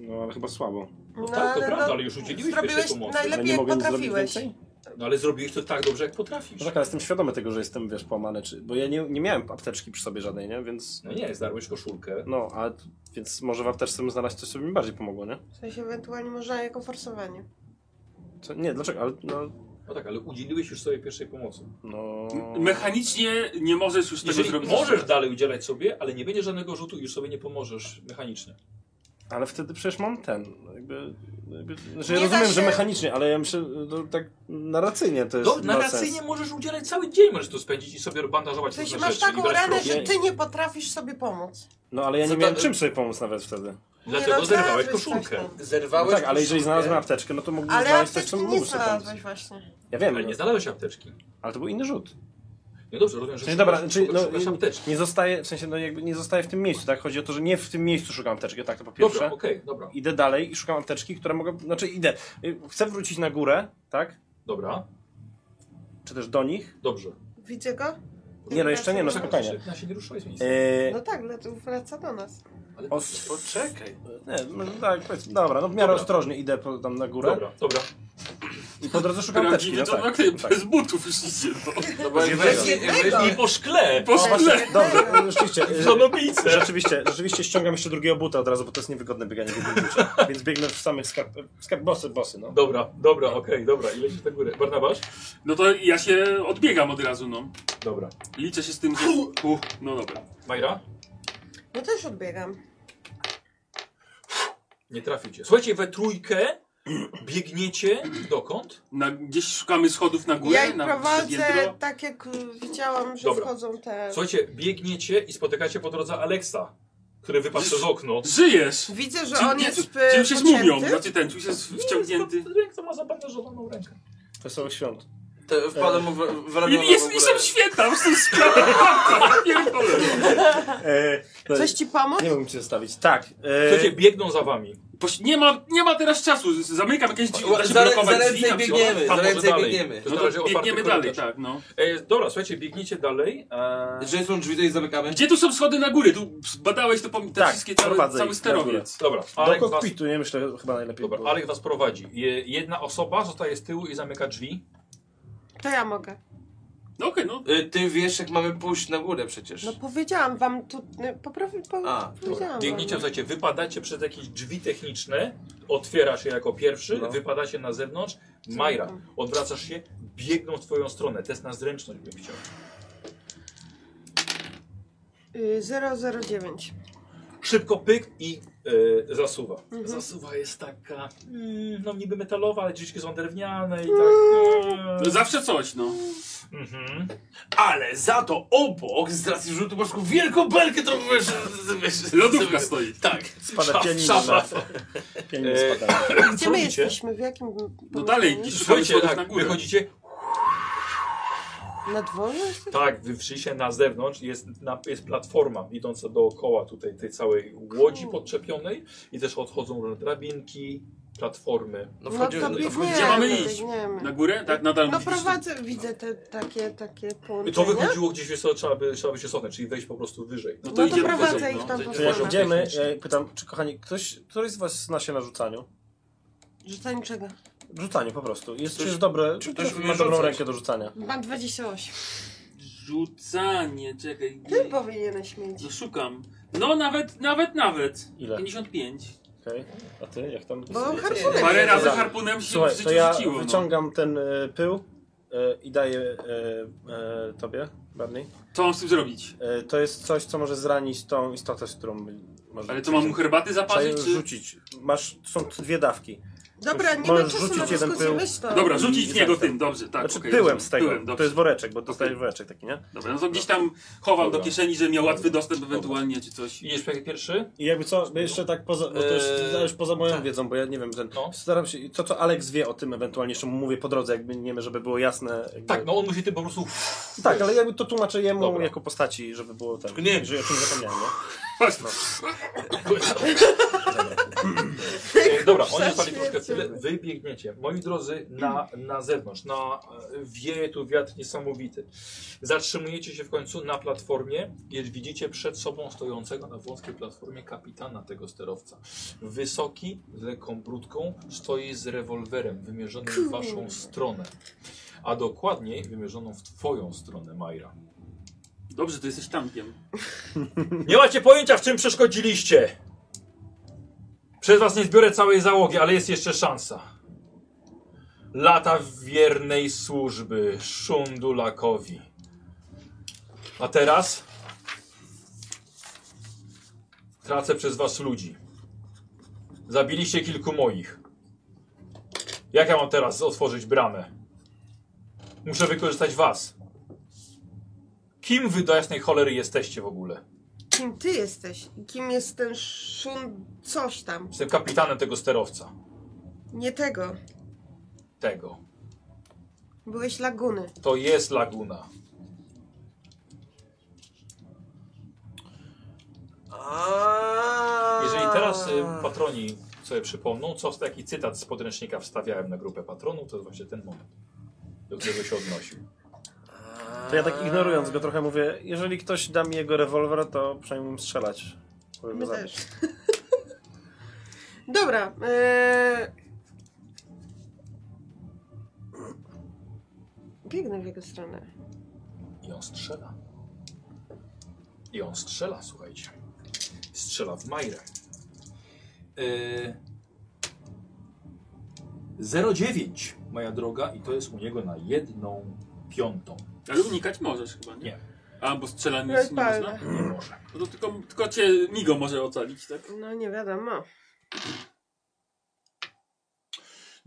No ale chyba słabo. No, tak, to prawda, ale już udzieliłeś zrobiłeś pierwszej pomocy. Ale najlepiej nie jak mogę nic zrobić potrafiłeś. więcej? No ale zrobiłeś to tak dobrze, jak potrafisz. No tak, ale jestem świadomy tego, że jestem, wiesz, połamany, czy... Bo ja nie, nie miałem apteczki przy sobie żadnej, nie? Więc... No nie, zdarłeś koszulkę. No, a... Więc może w apteczce bym znalazł coś, co by mi bardziej pomogło, nie? W sensie ewentualnie można jako forsowanie. Co? Nie, dlaczego? Ale no... No tak, ale udzieliłeś już sobie pierwszej pomocy. no... Mechanicznie nie możesz już tego Jeżeli zrobić. możesz dalej udzielać sobie, ale nie będzie żadnego rzutu, już sobie nie pomożesz mechanicznie. Ale wtedy przecież mam ten... Jakby... jakby znaczy, ja Nie da rozumiem, że się- No, mechanicznie, ale ja myślę, no, tak narracyjnie to jest... Do, ma narracyjnie sens. możesz udzielać cały dzień, możesz to spędzić i sobie bandażować W sensie różne masz rzeczy i taką brać ranę, próbki. że ty nie potrafisz sobie pomóc. No ale ja Co nie to- miałem czym sobie pomóc nawet wtedy. Dlatego no, zerwałeś znalazłeś coś koszulkę. tam. No Zerwałeś tak, ale jeżeli koszulkę. znalazłem apteczkę, no to mógłbym Ale znaleźć coś, apteczki co nie mógłbym sobie pomóc. znalazłeś właśnie. Ja wiem, Ale no, nie znalazłeś apteczki. ale to był inny rzut. No dobrze, rozumiem, W że sensie, szukasz- dobra, czyli szukasz- no, szukasz apteczki. nie zostaje, w sensie no, jakby nie zostaje w tym miejscu, tak? Chodzi o to, że nie w tym miejscu szukam apteczki, tak to po pierwsze. Dobra, okej, dobra. Idę dalej i szukam apteczki, które mogę, znaczy idę, y, chcę wrócić na górę, tak? Dobra, Czy też do nich? dobrze. Widzę go? Nie, no jeszcze nie, no Czekaj, spokojnie. się- Ja się nie ruszałeś z miejsca. Yy, No tak, no to wraca do nas. No, os... Poczekaj. Nie, no, tak, powiedzmy, dobra, no w miarę Dobra. ostrożnie idę po, tam na górę Dobra, dobra. i po drodze szukam Prawdziwie apteczki, to no tak, tak. tak. tak. bez butów już idzie. No. No bo jak jednego. weźmie- Jednego. I po szkle! Po szkle. Dobra, no, rzeczywiście. W y, żonobijce! Rzeczywiście, rzeczywiście ściągam jeszcze drugiego buta od razu, bo to jest niewygodne bieganie w jednym bucie. Więc biegnę w samych skarb... skarb bosy, bosy, no. Dobra, dobra, okej, dobra. I lecisz na górę. Barnabasz? No to ja się odbiegam od razu, no. Dobra. Liczę się z tym, że... Uh, no dobra. Majra? No też odbiegam. Nie traficie. Słuchajcie, we trójkę biegniecie dokąd? Na, gdzieś szukamy schodów na górę, Ja ich na prowadzę piętro. tak jak y, widziałam, że Dobra. wchodzą te... Słuchajcie, biegniecie i spotykacie po drodze Aleksa, który wypadł przez okno. Żyjesz! Widzę, że Czym- on nie, jest czym- Czym y, się pocięty. zmówią? Znaczy ten, czymś jest wciągnięty. Ręka ma zabandażowaną rękę. Wesołych świąt. Te, wpada mu w, w No, ramiona I jest w ogóle. mistrzem święta, w tym sklepie. Pierdolę. E, no, Coś ci pomóc? Nie mógłbym cię zostawić. Tak. E, Słuchajcie, biegną za wami. Poś- Nie ma, nie ma teraz czasu, z- zamykam jakieś drzwi, da się Zaraz- blokować zaraz drzwi na przykład. biegniemy, Tam zaraz może dalej. biegniemy. To No znaleźć to oparty biegniemy dalej, korytarz. tak, no. E, dobra, słuchajcie, biegniecie dalej. E, Jeżeli są drzwi, to je zamykamy. Gdzie tu są schody na góry? Tu badałeś to pom- te Tak, wszystkie cały, prowadzę cały ich na górę. sterowiec. dobra, do Alek was, kokpitu, nie myślę, chyba najlepiej dobra, było. Alek was prowadzi. Je, jedna osoba zostaje z tyłu i zamyka drzwi. To ja mogę. No okej, no. Y, Ty wiesz, jak mamy pójść na górę przecież. No powiedziałam wam tu... y, Poprawi... Po, A, powiedziałam Biegniecie, wam. słuchajcie, wypadacie przez jakieś drzwi techniczne, otwierasz je jako pierwszy, No. wypadacie na zewnątrz. Majra, odwracasz się, biegną w twoją stronę. Test na zręczność bym chciał. Y, 009. Szybko pyk i e, zasuwa. Mhm. Zasuwa jest taka, mm, no niby metalowa, ale drzwiczki są drewniane i tak. e, Mm. No Zawsze coś, no. Mhm. Ale za to obok, z racji rzutu masz taką wielką belkę, to wiesz... wiesz Lodówka stoi. Tak. Spada pianin Szafa. na... Pianin E, spada. Gdzie my robicie? jesteśmy? W jakim... No pomieszczeniu? dalej, gdzieś szukamy Słuchajcie, schodów na tak, górę. wychodzicie, Na dworze? jesteśmy? tak, wy wyszliście na zewnątrz, jest, na, jest platforma idąca dookoła tutaj tej całej łodzi podczepionej i też odchodzą różne drabinki, platformy. No No wchodzimy to do biegniemy. Gdzie mamy to iść? biegniemy. Na górę? Tak, nadal No mówisz. prowadzę, widzę te takie, takie I to połączenia. wychodziło gdzieś, wiesz co, trzeba by, trzeba by się cofnąć, czyli wejść po prostu wyżej. No to No to idziemy prowadzę wyżej, ich no. tam To po idziemy. kolei. Idziemy, e, pytam, czy kochani, ktoś, któryś z was zna się na rzucaniu? Rzucanie czego? Rzucanie po prostu. Jest, czy jest dobre, czy ktoś ktoś umie ma dobrą rzucać? rękę do rzucania? Mam 28. Rzucanie, czekaj. Ty powinieneś mieć. No szukam. No nawet, nawet, nawet. Ile? 55. Okej. A ty, jak tam? Bo Ty- harpunem Parę jest. razy Dobra. harpunem się Słuchaj, w to życiu ja rzuciło. No. wyciągam ten e, pył e, i daję e, e, tobie, Barney. Co mam z tym zrobić? E, To jest coś, co może zranić tą istotę, z którą możesz... Ale co, mam mu herbaty Trzeba zaparzyć? ją Czy... rzucić. Masz, są dwie dawki. Dobra, nie ma możesz czasu na rzucić jeden dyskusję, pył. myśl to. Dobra, rzucić I w niego efektem. tym, dobrze, tak. Znaczy okej, pyłem rozumiem. z tego. Pyłem, to dobrze. jest woreczek, bo dostajesz woreczek taki, nie? Dobra, no to gdzieś tam chował do Dobra. kieszeni, że miał łatwy dostęp ewentualnie, czy coś. Idziesz pe- pierwszy? I jakby co, no jeszcze tak poza, bo to Eee, jest, to już poza moją wiedzą, bo ja nie wiem, ten, No. staram się, to co Alex wie o tym ewentualnie, jeszcze mu mówię po drodze, jakby nie wiem, żeby było jasne. Jakby, Tak, no on musi tym po prostu... tak ale jakby to tłumaczę jemu Dobra. jako postaci, żeby było tak, nie. że o czym zapomniałem, nie? E, Dobra, oni spali troszkę tyle. Wy biegniecie. Moi drodzy, na, na zewnątrz. Na, e, wieje tu wiatr niesamowity. Zatrzymujecie się w końcu na platformie, gdzie widzicie przed sobą stojącego na wąskiej platformie kapitana tego sterowca. Wysoki, z lekką brudką, stoi z rewolwerem wymierzonym w waszą stronę. A dokładniej wymierzoną w twoją stronę, Majra. Dobrze, to jesteś tankiem. Nie macie pojęcia, w czym przeszkodziliście. Przez was nie zbiorę całej załogi, ale jest jeszcze szansa. Lata wiernej służby Szundulakowi. A teraz tracę przez was ludzi. Zabiliście kilku moich. Jak ja mam teraz otworzyć bramę? Muszę wykorzystać was. Kim wy do jasnej cholery jesteście w ogóle? Kim ty jesteś? I Kim jest ten szun coś tam? Jestem kapitanem tego sterowca. Nie tego. Tego. Byłeś laguny. To jest laguna. Jeżeli teraz y, patroni sobie przypomną, co taki cytat z podręcznika wstawiałem na grupę patronów, to jest właśnie ten moment, do którego się odnosił. To ja tak ignorując go trochę mówię, jeżeli ktoś da mi jego rewolwer, to przynajmniej mu strzelać. Powiem My go też. zabić. Dobra. Yy... Biegnę w jego stronę. I on strzela. I on strzela, słuchajcie. Strzela w Majrę. Yy, 09, moja droga, i to jest u niego na jedną piątą. Ale unikać możesz chyba, nie? Nie. A, bo strzelanie No i nic nie można? palne. Nie może. No to tylko, tylko cię Migo może ocalić, tak? No nie wiadomo.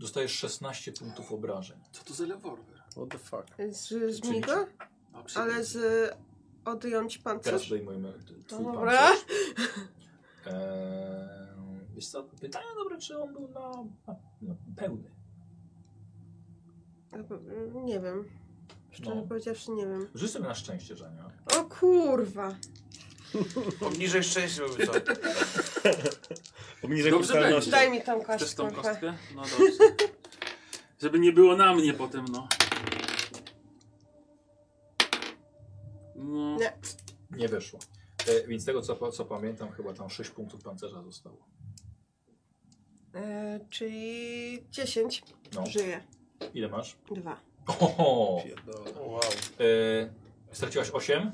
Dostajesz 16 punktów obrażeń. Co to za rewolwer? What the fuck. Z, z Migo? A, przy- Ale z... Odjąć Teraz pancerz? zdejmujemy twój Dobra. pancerz. Eee, wiesz co, pytanie dobre, czy on był na, na, na pełny. Nie wiem. Szczerze No. powiedziawszy nie wiem. Rzuć sobie na szczęście, że nie. O kurwa. Obniżej szczęście, byłby co? Obniżę Dobrze kulturalności. Daj mi tam Chcesz kostkę. tą kostkę? No dobrze. Żeby nie było na mnie potem, no. No, Nie. Nie wyszło. E, więc tego, co, pa- co pamiętam, chyba tam 6 punktów pancerza zostało. E, czyli 10. No, Żyje. ile masz? Dwa. Oho! Wow. E, straciłaś E, 8?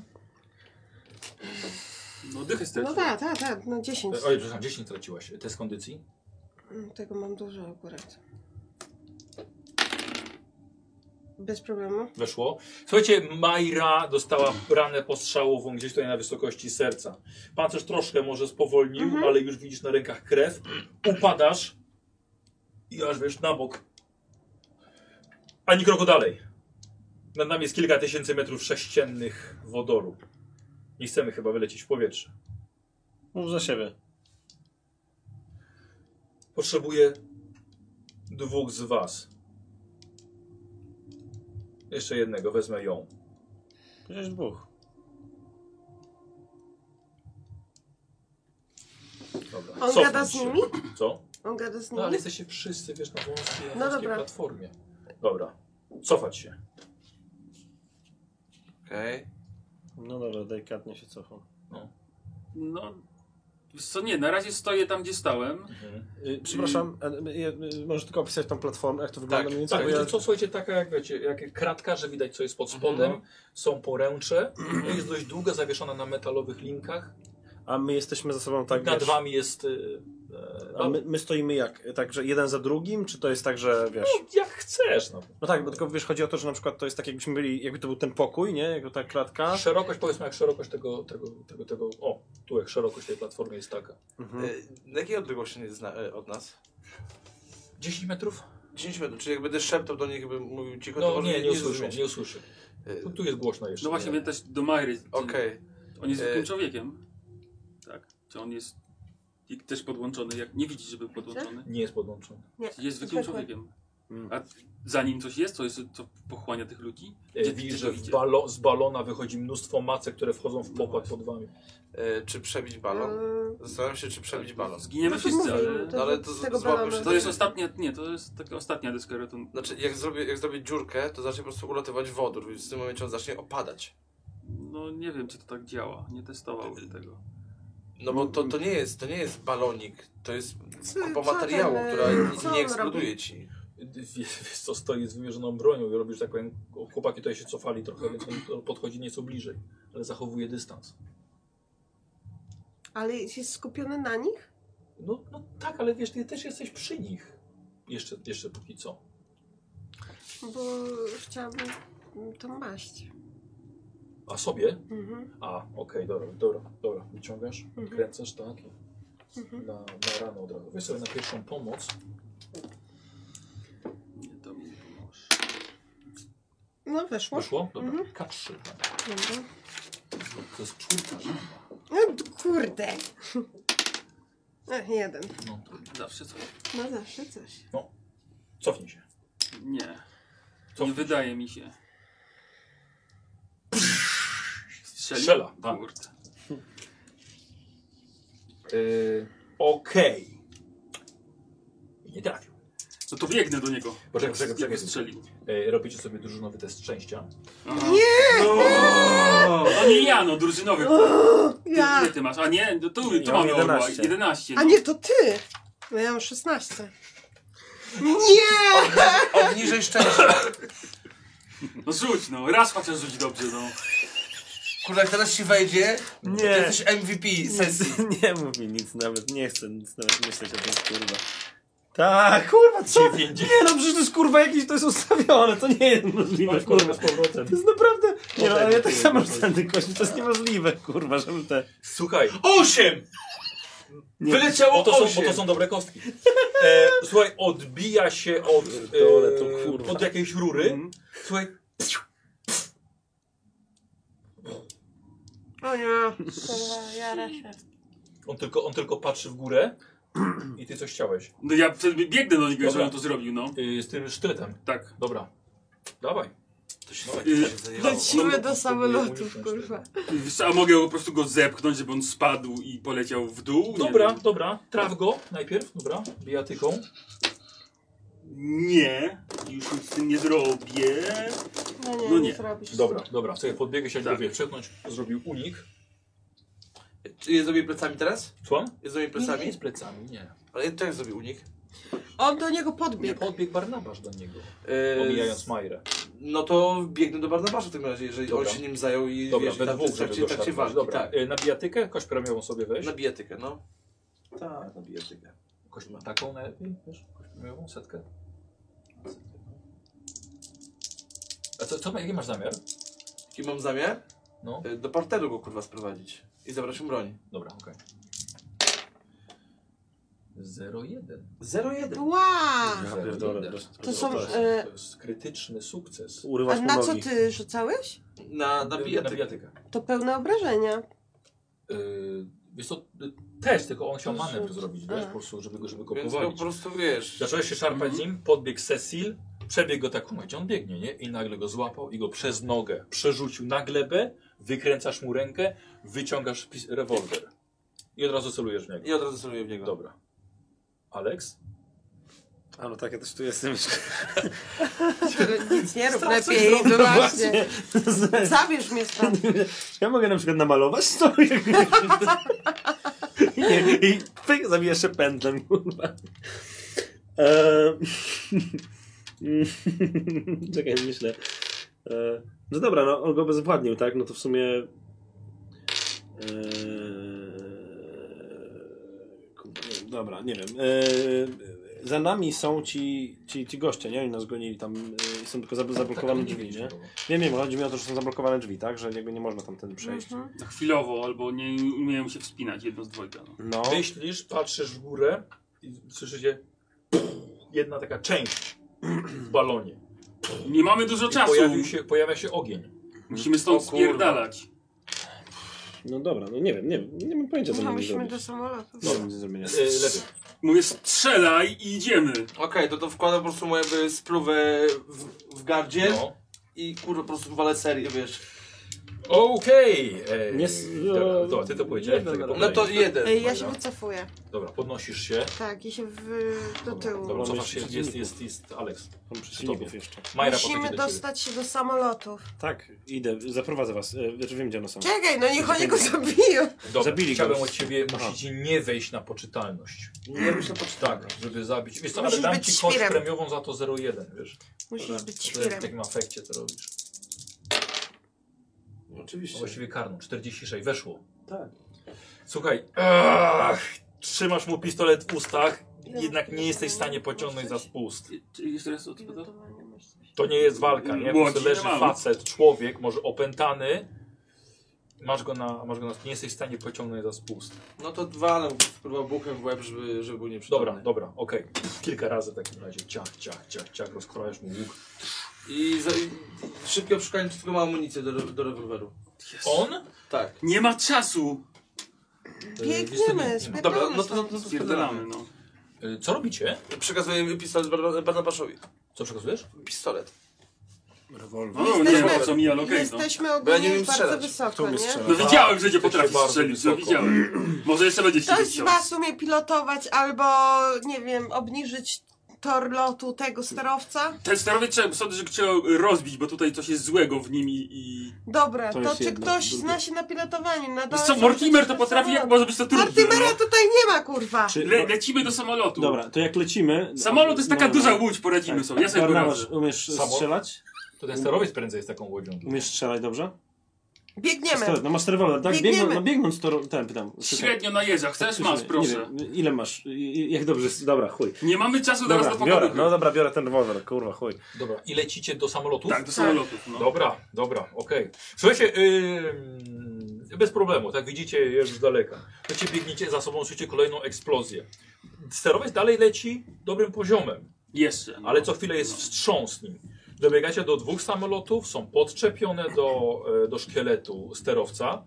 no dychę No stracił. tak, tak, tak. No 10. E, oj, przepraszam, 10 straciłaś. Test kondycji? Mm, Tego mam dużo akurat. Bez problemu. Weszło. Słuchajcie, Majra dostała ranę postrzałową gdzieś tutaj na wysokości serca. Pancerz troszkę może spowolnił, Mhm. ale już widzisz na rękach krew. Upadasz i aż wiesz na bok. Ani kroku dalej. Nad nami jest kilka tysięcy metrów sześciennych wodoru. Nie chcemy chyba wylecieć w powietrze. Mów za siebie. Potrzebuję dwóch z was. Jeszcze jednego, wezmę ją. Przecież dwóch. Dobra. On cofnąć gada z się. nimi? Co? On gada z No ale nimi? jesteście wszyscy, wiesz, na wąskiej, na No wąskiej dobra. platformie. Dobra, cofać się. Okej. No dobra, delikatnie się cofam. No, wiesz co, nie, na razie stoję tam, gdzie stałem. Y, Przepraszam, a, y, y, możesz tylko opisać tą platformę, jak to wygląda mniej więcej? Tak, bo ja... to co słuchajcie, taka jak wiecie, jak kratka, że widać co jest pod spodem, są poręcze, jest dość długa, zawieszona na metalowych linkach. A my jesteśmy ze sobą tak, Nad wiesz, wami jest... y, e, a my, my stoimy jak? Tak, że jeden za drugim, czy to jest tak, że wiesz... no, jak chcesz, no. No tak, bo tylko wiesz, chodzi o to, że na przykład to jest tak, jakbyśmy byli, jakby to był ten pokój, nie? Jako ta klatka. Szerokość, powiedzmy jak szerokość tego, tego, tego, tego, o, tu jak szerokość tej platformy jest taka. Mhm. Y, Na jakiej odległości jest zna- y, od nas? 10 metrów? 10 metrów, czyli jak będę szeptał do nich, jakbym mówił cicho, to No może nie, mnie nie usłyszę, zrozumieć. nie usłyszę. Y, Tu, tu jest głośno jeszcze. No właśnie, wiem też do Majry. Ty- Okej. On jest zwykłym E. człowiekiem. Tak? Czy on jest i- też podłączony? Jak nie widzisz, że był podłączony? Nie jest podłączony. Czy Jest Zwykły. zwykłym człowiekiem. Hmm. A za nim coś jest, co, jest, co pochłania tych ludzi? E, gdzie Widzisz, to że w idzie? balo, z balona wychodzi mnóstwo macek, które wchodzą w pokład pod wami. E, Czy przebić balon? Zastanawiam się, czy przebić balon. Zginiemy wszyscy, ale... No ale to z tego z- złapią balonu. się To jest ostatnia, nie, to jest taka ostatnia deska ratunku. Znaczy, jak zrobię, jak zrobię dziurkę, to zacznie po prostu ulatywać wodór, więc w tym momencie on zacznie opadać. No nie wiem, czy to tak działa. Nie testowałbym tego. No bo to, to nie jest, to nie jest balonik, to jest kupa co materiału, ten, która co nie, on nie robi? eksploduje ci. Wiesz, wiesz co, stoi z wymierzoną bronią i robisz tak powiem, chłopaki tutaj się cofali trochę, więc on podchodzi nieco bliżej, ale zachowuje dystans. Ale jest skupiony na nich? No, no tak, ale wiesz, ty też jesteś przy nich. Jeszcze, jeszcze póki co. Bo chciałabym to maść. A sobie? Mhm. A, okej, dobra, dobra, dobra. Wyciągasz, kręcasz, tak? Na, na rano od razu. Weź sobie na pierwszą pomoc. Nie, to mi nie pomoże. No weszło. Poszło? Dobra, K3. tak. Dobra. To jest czwórka. tak? żaba. No d- kurde. Ech, jeden. No, trudno. Zawsze coś. No zawsze coś. Cofnij się. Nie. Co? Nie wydaje mi się. Strzelił? Strzela, tak. Kurde. Yy, okej. Nie trafił. No to biegnę do niego. Poczekaj, poczekaj, Jak poczekaj. strzelił. Yy, robicie sobie drużynowy test szczęścia. Nie! No, no nie ja, no drużynowy. Ty, Ja. Ile ty masz? A nie, no tu, tu Ja mamy mam 11. 11. 11 no. A nie, to ty! No ja mam 16. Nie! Obniżej szczęście. no rzuć, no. Raz chociaż rzuć dobrze, no. Kurde, jak teraz ci wejdzie, nie. to Nie. jesteś MVP sesji. Nie mów mi nic nawet, nie chcę nic nawet myśleć o tym, kurwa. Tak, kurwa, co? Nie no, przecież to jest kurwa jakieś, to jest ustawione, to nie jest możliwe, kurwa. powrotem. To jest naprawdę, nie no, ale ja tak samo rzędy kości, to jest niemożliwe, kurwa, żeby te... Słuchaj, 8! bo Nie. Wyleciało to, są, bo 8! to są dobre kostki. E, słuchaj, odbija się od, Pierdolę, to e, kurwa. Mhm. od jakiejś rury. Słuchaj, O nie. Kurwa, jara się. on tylko, on tylko patrzy w górę i ty coś chciałeś. No ja wtedy biegnę do niego, Dobra. żeby on to zrobił, no. Y, z tym sztyletem. Tak. Dobra. Dawaj. To się Dawaj. Y, Lecimy do Próbuję samolotów, uniknąć kurwa. Wiesz co, A mogę po prostu go zepchnąć, żeby on spadł i poleciał w dół? Nie Dobra, wiem. dobra. Traf go najpierw, dobra. Bijatyką. Nie, już nic z tym nie zrobię. No nie, No nie nie. zrobisz. Dobra, dobra. Słuchaj, podbiegę się, Tak. tak. przepchnąć. Zrobił unik. Czy jest z moimi plecami teraz? Słucham? Jest z moimi Plecami? plecami? z plecami, nie. Ale ja też zrobił unik. On do niego Nie, tak. podbiegł. podbiegł Barnabasz do niego, E, omijając Majrę. No to biegnę do Barnabasza w takim razie, jeżeli Dobra. on się nim zajął i Dobra, wiesz, we tam dwóch, w żeby trakcie, go trakcie szarpnąć. walki. Dobra, Tak. y, na bijatykę? Kość premiową sobie weź. Na bijatykę, no. Tak, na bijatykę. Kość ma taką najlepiej, wiesz? Kość premiową, setkę. Setkę, no. A co, co, ma- jaki masz zamiar? I mam zamiar No, y, do parteru go kurwa sprowadzić i zabrać mu broń. dobra, okej. 0-1. 0-1. Ła! Ja pierdolę, to jest- To są... To E, jest krytyczny sukces. E, a Urywasz mu na co nogi. ty rzucałeś? Na, na Na bijatykę. bijatykę. To pełne obrażenia. Yy, wiesz co, y, też, tylko on chciał To manewr są- zrobić, wiesz, a. po prostu, żeby go, żeby go Więc go powalić. po prostu wiesz. Zacząłeś się szarpać Mhm. z nim, podbiegł Cecil, przebiegł go tak, gdzie on biegnie, nie? I nagle go złapał i go przez nogę przerzucił na glebę, wykręcasz mu rękę, wyciągasz pis- rewolwer i od razu celujesz w niego. I od razu celuję w niego. Dobra. Alex? A no tak, ja też tu jestem. Nic nie rób lepiej. No właśnie. No Zabierz mnie stąd. Ja mogę na przykład namalować to? I nie, I pyk, zabiję się pętlem, kurwa. Ehm, Czekaj, myślę. Ehm, No dobra, no on go bezwładnił, tak? No to w sumie... e, ehm, kurwa, nie wiem, Dobra, nie wiem. Ehm, Za nami są ci, ci, ci goście, nie? Oni nas gonili tam e, i są tylko zab- zablokowane Tak, drzwi, nie? Nie, nie, chodzi mi o to, że są zablokowane drzwi, tak? Że jakby nie można tamten przejść. Mhm. No, chwilowo, albo nie umieją się Mm. wspinać, jedno z dwojga. No. No. Myślisz, patrzysz w górę i słyszycie jedna taka część w balonie. Nie mamy dużo I czasu. Pojawił się, pojawia się ogień. Musimy stąd O kurwa. spierdalać. No dobra, no nie wiem, nie, wiem, nie mam pojęcia co No, mamy musimy zrobić. No, do samolotu. Co mamy zrobić? E, lewy. Mówię strzelaj i idziemy. Okej, to to wkładam po prostu moją jakby spluwę w, w gardzie No. i kurwa po prostu walę serię, wiesz. Okej. e, Nie s- Dobra, to ty to powiedziałeś. Jeden tego na- No to podaj. jeden. Ej, ja się Dobra. wycofuję. Dobra, podnosisz się. Tak, i się w, do tyłu. Dobra, Mamy cofasz się, jest, przeciwników. jest, jest, jest Alex. Mam przeciwników Tobie. jeszcze. Majra Musimy podejdzie do ciebie. dostać się do samolotów. Tak, idę, zaprowadzę was. E, Znaczy wiem gdzie one są. Czekaj, no niech oni go zabiją. Dobra, Zabili go. chciałbym od ciebie, Aha. musicie nie wejść na poczytalność. Nie myślę poczytałem. Tak, żeby zabić. Wiesz co, Musisz ale dam być ci kość świrem. premiową za to 0,1, wiesz? Musisz być To ty w świrem. takim afekcie to robisz. No Oczywiście. właściwie karną, 46, weszło. Tak. Słuchaj, ach, trzymasz mu pistolet w ustach, jednak nie jesteś w stanie pociągnąć no za spust. Czy jeszcze raz odpowiadam? To nie jest walka, nie? Po prostu Młodzi, leży nie mam. facet, człowiek, może opętany. Masz go na, masz go na, nie jesteś w stanie pociągnąć za spust. No to dwa, no próba buchem w łeb, żeby, żeby był nieprzytomny. Dobra, dobra, okej. Kilka razy w takim razie. Ciach, ciach, ciach, ciach, rozkrojasz mu łuk. I, za, i szybkie przeszukanie, czy tylko ma amunicję do, do rewolweru. On? Tak. Nie ma czasu. E, Biegniemy, Dobra, spierdolamy no to, no to, stąd. no to Spierdalamy, no. Y, Co robicie? Przekazuję pistolet Barna- Barnabaszowi. Co przekazujesz? pistolet. No, nie Jesteśmy- ma co mijał, okej, no. Jesteśmy Bo ja nie ogólnie wiem bardzo strzelać. wysoko, nie? No widziałem, że nie potrafi bardzo strzelić, no wysoko. widziałem. Może jeszcze będzie się Ktoś z was umie pilotować albo, nie wiem, obniżyć tor lotu tego sterowca? Ten sterowiec trzeba, sądzę, że trzeba rozbić, bo tutaj coś jest złego w nim i... i... Dobra, To to, jest czy jedno, ktoś drugie. zna się na pilotowaniu? Na Wiesz dole co, No, są Mortimer to rzeczy potrafi, jak samolotu. może być to trudne, Mortimera no. tutaj nie ma, kurwa! Czy, no, Le, Lecimy do samolotu. dobra, to jak lecimy... Samolot to jest taka na- duża łódź, Tak. poradzimy sobie. Ja sobie Barnabasz, poradzę. umiesz Samolot? strzelać? To ten sterowiec prędzej jest taką łodzią. Umiesz strzelać dobrze? Biegniemy! Pistolet, No masz rewolwer, tak? Biegniemy. Biegną, no biegnąc to... ro- Ten, pytam. Średnio na jeża, chcesz? Tak, Faktycznie, Masz, nie proszę. wiem, ile masz? I- i- Jak dobrze... Dobra, chuj. Nie mamy czasu teraz Dobra, do biorę, pokoju. no dobra, biorę ten rewolwer, kurwa, chuj. Dobra, i lecicie do samolotu? Tak, do samolotów, no. Dobra, dobra, okej. Słuchajcie, ym, bez problemu, tak widzicie już z daleka. Słuchajcie, biegniecie za sobą, słyszycie kolejną eksplozję. Sterowiec dalej leci dobrym poziomem, Jeszcze. no. ale co chwilę jest wstrząs nim. Dobiegacie do dwóch samolotów, są podczepione do, e, do szkieletu sterowca.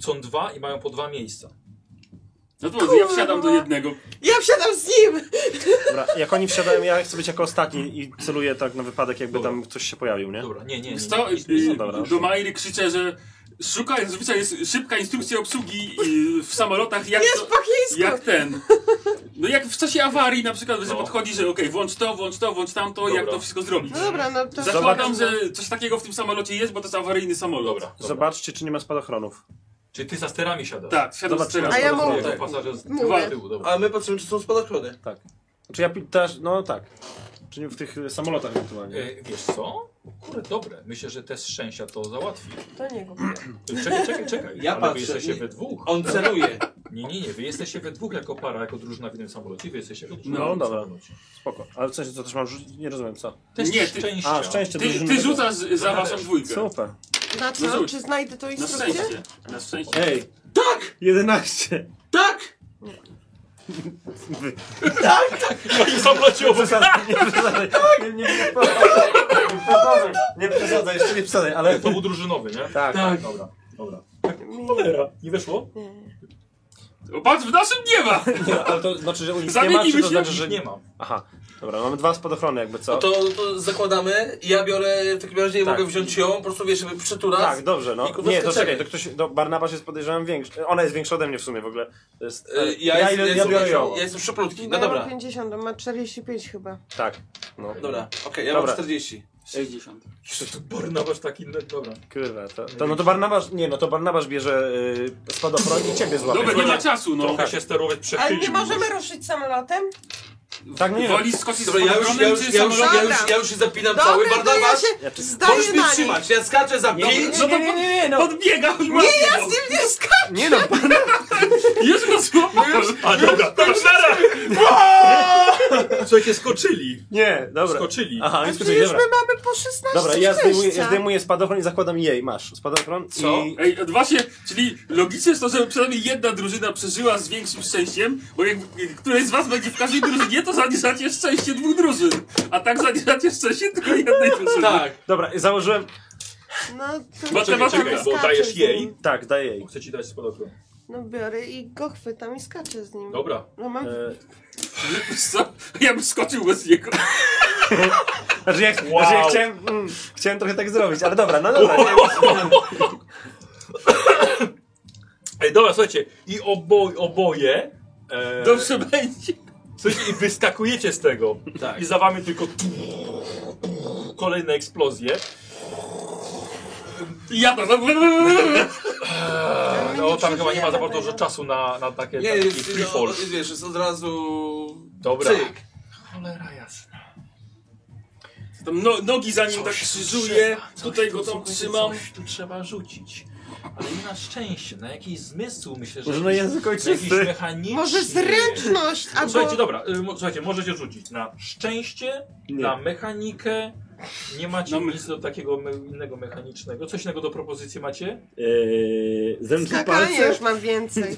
Są dwa i mają po dwa miejsca. No to ja wsiadam do jednego. Ja wsiadam z nim! Dobra, jak oni wsiadają, ja chcę być jako ostatni i celuję tak na wypadek, jakby Dobra. tam ktoś się pojawił, nie? Dobra, nie, nie, nie. Wiesz co, nie, y, no dobra. do Majry krzyczę, że szukaj, zazwyczaj jest szybka instrukcja obsługi y, w samolotach, jak, Jest to, po chińsku! jak ten. No jak w czasie awarii na przykład, że No. podchodzi, że okej, włącz to, włącz to, włącz tamto, jak Dobra. to wszystko zrobić. No dobra, no to... Zakładam, że coś takiego w tym samolocie jest, bo to jest awaryjny samolot. Dobra, dobra. Zobaczcie, czy nie ma spadochronów. Czyli ty za sterami siadasz? Tak, wsiadam z Zobaczymy. teraz. A ja mówię. tak. Jako pasażer z Mówię. tyłu, dobra. A my patrzymy, czy są spadochrony. Czy ja pi- też, no tak. Czy nie w tych y, samolotach ewentualnie. E, wiesz co? Kurde, dobre. Myślę, że te z szczęścia to załatwi. To nie go. Czekaj, czekaj, czekaj. Ja Ale patrzę, wy jesteście nie. we dwóch. On celuje. Nie, nie, nie. Wy jesteście we dwóch jako para, jako drużyna w jednym samolocie. Wy jesteście jako drużyna No, w jednym dobra. samolocie. Spoko. Ale w sensie, co też mam rzucić? Nie rozumiem, co? To jest Nie, ty- szczęście. A, szczęście Ty, drużyny. ty rzucasz za waszą dwójkę. Super. Na No co? rzuć. Czy znajdę tą Na instrukcję? szczęście. Na szczęście. Ej! Tak! 11! Tak! W samolocie Nie przesadzaj, nie przesadzaj. Nie, nie, nie przesadzaj. Nie przesadzaj. Nie przesadzaj, jeszcze nie przesadzaj, ale... To był drużynowy, nie? Tak. Dobra, dobra. Cholera. Nie wyszło? O, Patrz, w naszym nie ma! Nie, ale to znaczy, że u nich nie ma, Zamienimy czy to się, znaczy, Że że... nie ma. Aha. Dobra, mamy dwa spadochrony jakby, co? No to, to zakładamy i ja biorę, w takim razie nie Tak. mogę wziąć ją, po prostu wiesz, żeby przytulać. Tak, dobrze, no. I kurwa Nie, to skaczemy. czekaj, to ktoś, to Barnabasz jest podejrzewam większy. Ona jest większa ode mnie w sumie w ogóle. To jest, Y, Ja, ja, e, ile- jestem, ja, biorę jestem, ją. ja jestem szczuplutki. No No dobra, 50, on ma 45 chyba. Tak. No. dobra, okej, ja Dobra. mam 40. 60. Barnabasz taki... no, Dobra. Kurwa, to, to no to Barnabasz, nie, no to Barnabasz bierze y, spadochron i ciebie złapie. Dobra, nie ma czasu, no. Trochę się sterować Ale nie przechylił. możemy ruszyć samolotem? Tak, no nie Woli skoczyć z Dobra, ja już, ja patronem, już, czy ja już, ja już, Dobra. ja już się zapinam cały, Dobra, to ja bardawasz. Ja się czy- zdaję Możesz mnie na nich. trzymać, ja skaczę za Nie, pięć. nie, nie, nie, nie, no. Podbiegam i mam go. Nie, nie, skacz! Nie no, no, Już go złapałem. A dobra, to już nara! Słuchajcie, skoczyli. Nie, dobra. Skoczyli. Aha, nie skoczyli, Przecież dobra. my mamy po 16 Dobra, ja zdejmuję, ja szczęścia. zdejmuję spadochron i zakładam jej. Masz spadochron Co? i... Ej, właśnie, czyli logicznie jest to, że przynajmniej jedna drużyna przeżyła z większym szczęściem, bo jak jak któraś z was będzie w każdej drużynie, to zaniżacie szczęście dwóch drużyn. A tak zaniżacie szczęście tylko jednej drużyny. Tak. Dobra, założyłem... No, to Matematyka. czekaj, Bo skaczę dajesz z nim. jej? Tak, daję jej. Chcę ci dać spadochron. No biorę i go chwytam i skaczę z nim. Dobra. No mam... E, Wiesz Co? Ja bym skoczył bez niego. Znaczy ja, znaczy ja chciałem, mm, chciałem trochę tak zrobić, ale dobra, no dobra. Ej, dobra, słuchajcie. I oboj, oboje... E, Dobrze będzie. Słuchajcie, i wyskakujecie z tego. I za wami tylko kolejne eksplozje. I ja to. Eee, No tam chyba nie ma za bardzo dużo czasu na, na takie, Nie, taki jest, free fall. no, wiesz, jest od razu... Dobra. Cyk. Cholera jasna. Tam no, nogi za nim tak krzyżuję, tutaj go tam słuchajcie, trzymam. Coś tu trzeba rzucić. Ale nie na szczęście, na jakiś zmysł myślę, że Może na no, język jakiś ojczysty. mechaniczny. Może zręczność albo... Słuchajcie, dobra, y, mo- słuchajcie, możecie rzucić na szczęście, na mechanikę. Nie macie Na me- nic do takiego me innego mechanicznego. Coś innego do propozycji macie? Eee, Zemdlę Skakanie palce. Tak, już mam więcej.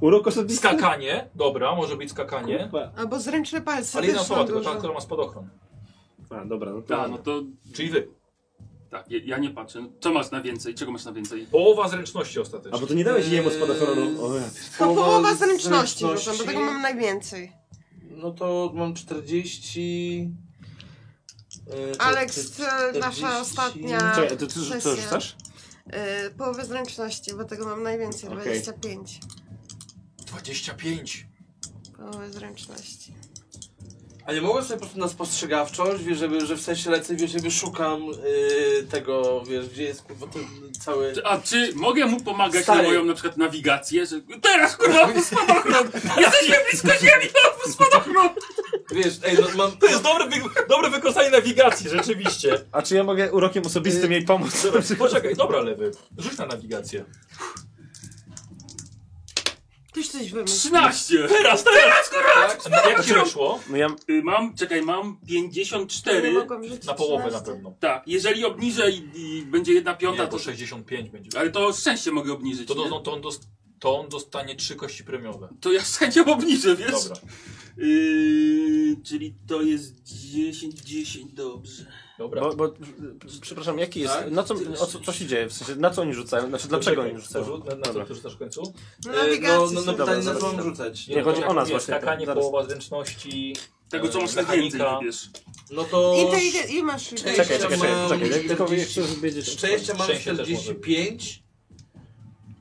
Urok osobisty. Skakanie, dobra, może być skakanie. Kurwa. Albo zręczne palce Ale też jedna osoba, mam tylko ta, dużo. która ma spadochron. A, dobra, no to... Tak, no to Czyli wy. tak, ja, ja nie patrzę. Co masz na więcej? Czego masz na więcej? Połowa zręczności ostatecznie. A bo to nie dałeś jemu spadochronu. O, ja To połowa zręczności, Yy, zręczności. bo tego mam najwięcej. No to mam 40... e, czekaj, Aleks, e, nasza 40. ostatnia Czekaj, a ty, ty, ty, sesja. ty rzucasz? Y, połowę zręczności, bo tego mam najwięcej, Okej. 25. 25. Połowę zręczności. A nie mogłem sobie po prostu na spostrzegawczość, wiesz, żeby, że w sensie lecę, wiesz, żeby szukam y, tego, wiesz, gdzie jest kurwa ten cały... Czy- A czy mogę mu pomagać Stary. na moją na przykład nawigację? Że... Teraz kurwa, po spadochron! Jesteśmy blisko ziemi, a po spadochron! Wiesz, ej, no mam... To jest dobre, wy dobre wykorzystanie nawigacji, rzeczywiście. A czy ja mogę urokiem Y, osobistym jej pomóc? Dobra, poczekaj, dobra lewy. Rzuć na nawigację. Też coś wymyśl. 13! Teraz, teraz, Tak? kurwa! Jak ci weszło? No ja... Y, Mam, czekaj, mam Nie 54. mogłam rzucić Na połowę na 13. pewno. Tak, jeżeli obniżę i, i będzie jedna piąta, Nie, to to 65 będzie. Ale to szczęście mogę obniżyć. To, To, do, no, nie? to, on dos- to on dostanie trzy kości premiowe. to ja z chęcią obniżę, wiesz? Dobra. Yy, czyli to jest 10, 10, dobrze. Dobra. Bo, bo, przepraszam, jaki jest... Tak? Na co, o, co, co się dzieje? W sensie, na co oni rzucają? Znaczy, dlaczego Poczekaj, oni rzucają? porzu- Na, na co Dobra. ty rzucasz w końcu? No, E, no, nawigacji no, no, no, Dobra, pytanie na zaraz. co mam rzucać. Nie, chodzi tak o nas mówię, właśnie, Skakanie, zaraz. połowa zręczności. Tego, co E, masz najwięcej, mechanika. wiesz. No to... I, te, i, te, I masz Cześć. Czekaj, czekaj, czekaj, Mam czekaj. Ja tylko 40. jeszcze wiedzieć... Szczęścia mam Szczęście też może 45,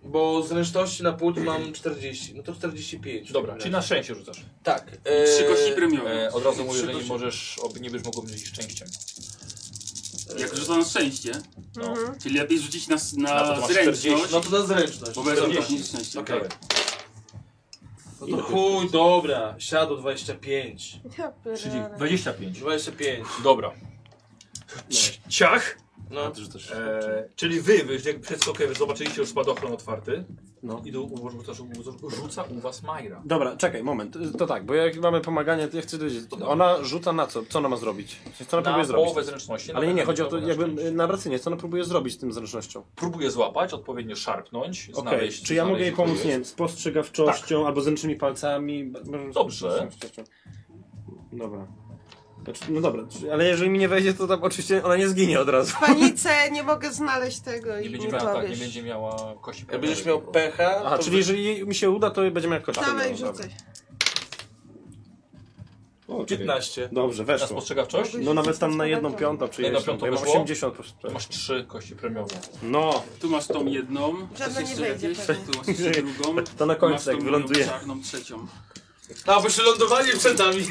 bo zręczności na płód mam 40, no to 45. Dobra, czyli na szczęście rzucasz. Tak. Trzy kości e, premiowe. E, od razu I mówię, trzy że nie kości. możesz, ob- nie będziesz mógł obniżyć szczęściem. Jak rzucam na szczęście, No. czyli lepiej rzucić na, s- Na to na to masz zręczność, 40. No to na zręczność. bo będą to 40. obniżyć szczęście. Okej. No to chuj, dobra, siadło 25. Ja Czyli pierdolę. 25. 25. Dobra. Ciach. No, E, czyli wy, wy jak przed skokiem zobaczyliście już spadochron otwarty. No. I do, znaczy u- rzuca, rzuca u was Majra. Dobra, czekaj, moment. To tak, bo jak mamy pomaganie, to ja chcę dowiedzieć. Ona rzuca na co? Co ona ma zrobić? W sensie, Co ona Na próbuje zrobić? połowę zręczności. Ale nie, nie, chodzi o to na jakby szczęście. y, na wracanie, co ona próbuje zrobić z tym zręcznością? Próbuje złapać, odpowiednio szarpnąć, Okej, znaleźć. czy ja mogę jej znaleźć, pomóc, co nie jest. wiem, spostrzegawczością albo zręcznymi palcami? B- b- Dobrze. spostrzegawczością. Dobra. Znaczy, No dobra, czy- ale jeżeli mi nie wejdzie, to tam oczywiście ona nie zginie od razu. W panice nie mogę znaleźć tego Nie i będzie nie miała, tak, nie powiesz. będzie miała kości jak premiowej będziesz po miał prostu. pecha, Aha, to czyli jeżeli jej mi się uda, to będziemy jak kość. Dawaj, Dobra. rzucaj. O, czyli- 15. Dobrze, Na weszło. spostrzegawczość? No nawet tam na jedną piątą czy Na jedną jeszcze, piątą bo ja mam weszło? 80. po- To masz trzy kości premiowe. No, Tak, Tu masz tą jedną, Żadna masz nie jeszcze wejdzie tak. jakieś, pewnie. tu masz jeszcze drugą. to na masz końcu tą jak moją wyląduje. czarną trzecią. A, bo się lądowanie przed nami.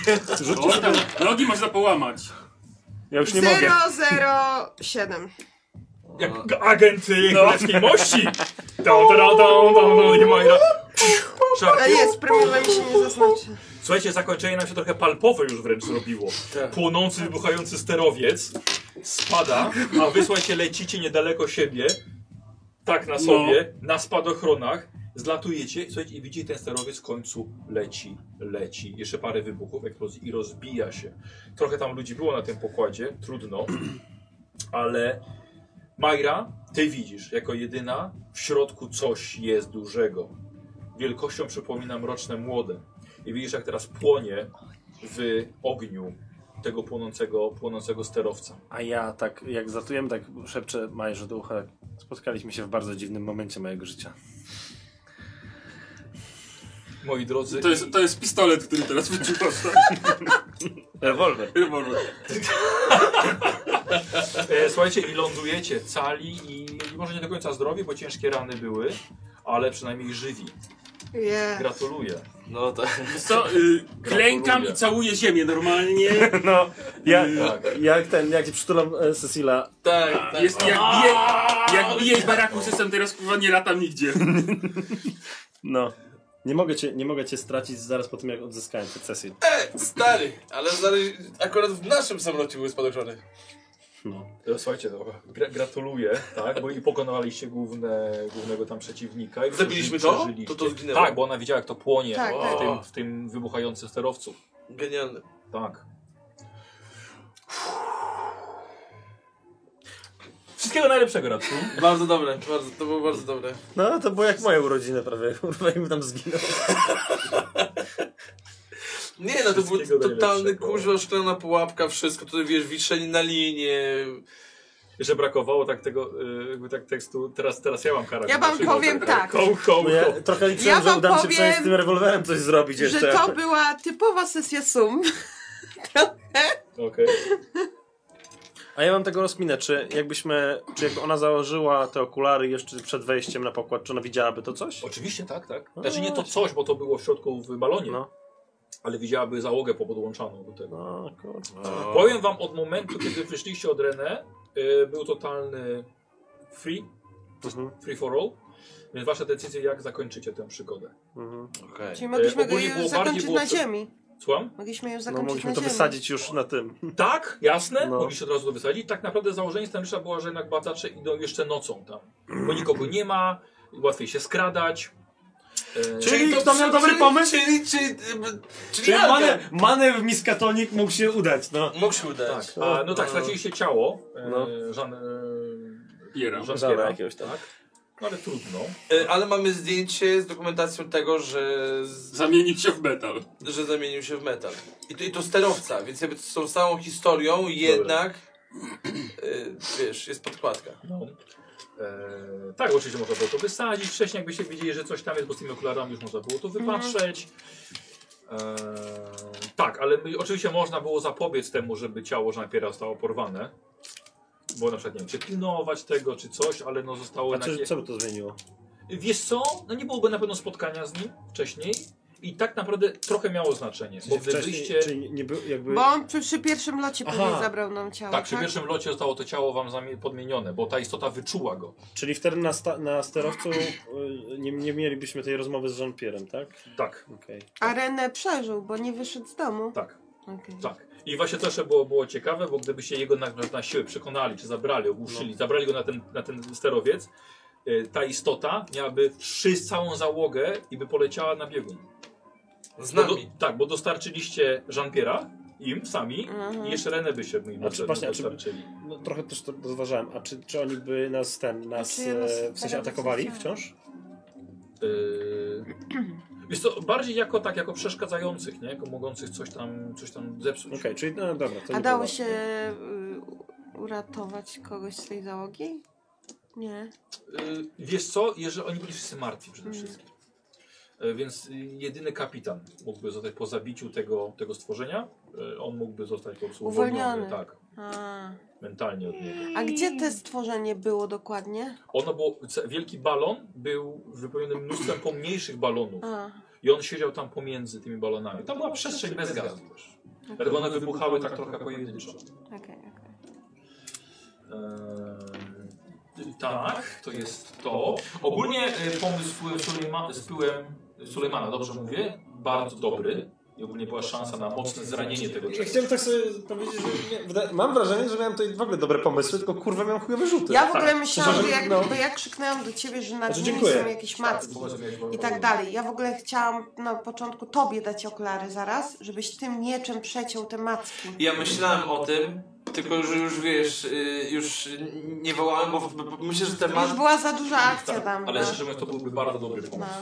O, tam, nogi można połamać. Ja już nie mogę. 007. Jak agent królewskiej mości! Da, da, da, da, da, da, nie Majra. A jest, premiowa mi się nie zaznaczy. Słuchajcie, zakończenie nam się trochę palpowe już wręcz zrobiło. Płonący, wybuchający sterowiec spada, a wy słuchajcie, lecicie niedaleko siebie, tak na sobie, na spadochronach Zlatujecie i słuchajcie, i widzicie, ten sterowiec w końcu leci, leci. Jeszcze parę wybuchów, eksplozji i rozbija się. Trochę tam ludzi było na tym pokładzie, trudno, ale Majra, ty widzisz jako jedyna, w środku coś jest dużego. Wielkością przypomina mroczne młode. I widzisz, jak teraz płonie w ogniu tego płonącego, płonącego sterowca. A ja tak, jak zatujemy, tak szepczę Majerze do ucha. Spotkaliśmy się w bardzo dziwnym momencie mojego życia. Moi drodzy, To jest, to jest pistolet, który teraz wyciągasz. Rewolwer. Rewolwer. E, słuchajcie, i lądujecie cali i może nie do końca zdrowi, bo ciężkie rany były, ale przynajmniej żywi. Yeah. Gratuluję. No to Wiesz Co, y, klękam i całuję ziemię normalnie. No, ja, Tak. jak ten, jak ci przytulam e, Cecila. tak, tak. Jest, jak bije, jak bije w baraku system, teraz kurwa nie latam nigdzie. No. Nie mogę, cię, nie mogę cię stracić zaraz po tym, jak odzyskałem tę Cecil. Stary, ale stary, akurat w naszym samolocie były spadochrony. E, Słuchajcie, no, gra gratuluję, tak, bo i pokonaliście główne, głównego tam przeciwnika. I Zabiliśmy później to? przeżyliście. To to zginęło? Tak, bo ona widziała, jak to płonie Tak, w, tak. Tym, w tym wybuchającym sterowcu. Genialne. Tak. Wszystkiego najlepszego raczej. Bardzo dobre, bardzo, to było bardzo dobre. No, to było jak moje urodziny prawie. Kurwa, im tam zginął. Nie, no to był Wszystkiego totalny najlepszego. kurwa, szklana pułapka, wszystko, tutaj wiesz, wiszeni na linie. Jeszcze brakowało tak tego y, jakby tak tekstu. Teraz, teraz ja mam charakter. Ja wam Przygodę. powiem tak. Ho, ho, Bo ho. ja trochę liczyłem, że Ja wam uda mi się powiem, przynajmniej z tym rewolwerem coś zrobić jeszcze. Że to była typowa sesja sum. Okej. A ja mam tego rozminę, czy jakbyśmy, czy jakby ona założyła te okulary jeszcze przed wejściem na pokład, czy ona widziałaby to coś? Oczywiście tak, tak. No Znaczy nie to właśnie. coś, bo to było w środku w balonie, No. ale widziałaby załogę podłączaną do tego. No, kurwa. Powiem wam od momentu, kiedy wyszliście od René, y, był totalny free, Mhm, free for all. Więc wasza decyzja, jak zakończycie tę przygodę. mhm. Okej. Czyli mogliśmy go E, ogólnie było ją bardziej zakończyć było na przy- ziemi. Słucham? Mogliśmy ją No zakończyć mogliśmy na to ziemi. wysadzić już na tym. Tak, jasne. No. Mogliście od razu to wysadzić. Tak naprawdę założenie scenariusza było, że jednak badacze idą jeszcze nocą tam. Bo nikogo nie ma, łatwiej się skradać. E, Czyli kto miał dobry pomysł? Czyli, czyli, czyli, czyli Czyli Alka. manew, manew miskatonik mógł się udać, no. Mógł się udać. tak. A, no tak, straciliście ciało. E, No. Żan, e, Piera. Żan Żana Piera. jakiegoś tam. tak. No ale trudno. E, Ale mamy zdjęcie z dokumentacją tego, że, z, Zamienił się w metal. że zamienił się w metal. I to, i to sterowca, więc jakby z tą samą historią jednak, e, wiesz, jest podkładka. No. E, tak, oczywiście można było to wysadzić wcześniej, jakbyście wiedzieli, że coś tam jest, bo z tymi okularami już można było to wypatrzeć. E, tak, ale my, oczywiście można było zapobiec temu, żeby ciało Żanpiera zostało porwane. Bo na przykład nie wiem, czy pilnować tego, czy coś, ale no zostało A co, jednak- co by Znaczy, to zmieniło? Wiesz co? No nie byłoby na pewno spotkania z nim wcześniej. I tak naprawdę trochę miało znaczenie. Bo gdybyście. Wcześniej, czyli nie, nie był jakby... Bo on przy, przy pierwszym locie Aha. pewnie zabrał nam ciało. Tak, przy pierwszym locie zostało to ciało wam zamie- podmienione, bo ta istota wyczuła go. Czyli wtedy na, sta- na sterowcu y, nie, nie mielibyśmy tej rozmowy z Jean-Pierre'em, tak? Tak, Okej. A René przeżył, bo nie wyszedł z domu. tak. Okej. Tak. I właśnie to jeszcze było, było ciekawe, bo gdybyście jego na, na siłę przekonali, czy zabrali, ogłuszyli, No. zabrali go na ten, na ten sterowiec, y, ta istota miałaby wszyscy całą załogę i by poleciała na biegun. Z Bo do, nami. tak, bo dostarczyliście Jean-Pierre'a im sami Mhm. i jeszcze Renę byście im A czy Znaczy, właśnie, a czy- dostarczyli. No trochę też to rozważałem. A czy, czy oni by nas ten, nas Znaczy, ja nas e, w sensie teraz atakowali zostawiam. wciąż? Yy, jest to bardziej jako tak, jako przeszkadzających, nie? Jako mogących coś tam, coś tam zepsuć. Okej, czyli no dobra, to A nie dało było. się y, u- uratować kogoś z tej załogi? Nie. Y, Wiesz co, jeżeli oni byli wszyscy martwi przede Mm. wszystkim. Y, Więc y, jedyny kapitan mógłby zostać po zabiciu tego, tego stworzenia. y, On mógłby zostać po prostu uwolniony, Uwolniony. tak, A. mentalnie od niego. A gdzie to stworzenie było dokładnie? Ono było, ce- wielki balon był wypełniony mnóstwem pomniejszych balonów A. i on siedział tam pomiędzy tymi balonami. Tam była przestrzeń bez gazu. Dlatego one wybuchały tak trochę pojedynczo. Okej, okej. Ehm, tak, to jest to. Ogólnie e, pomysł Sulejma, z pyłem Sulejmana, dobrze mówię, bardzo dobry. I ogólnie była szansa na mocne zranienie tego Ja czegoś. chciałem tak sobie powiedzieć, że nie, wyda- mam wrażenie, że miałem tutaj w ogóle dobre pomysły, tylko kurwa miałem chujowe rzuty. Ja w ogóle myślałam, Że- że jak, no. bo ja krzyknęłam do ciebie, że nad Znaczy, nimi dziękuję. są jakieś macki i tak dalej. Ja w ogóle chciałam na początku tobie dać okulary zaraz, żebyś tym mieczem przeciął te macki. Ja myślałem o tym, tylko że już wiesz, y, już nie wołałem, bo, bo myślę, że Już temat... była za duża akcja tam. Ale no. szczerze mówiąc, to byłby bardzo dobry No. pomysł.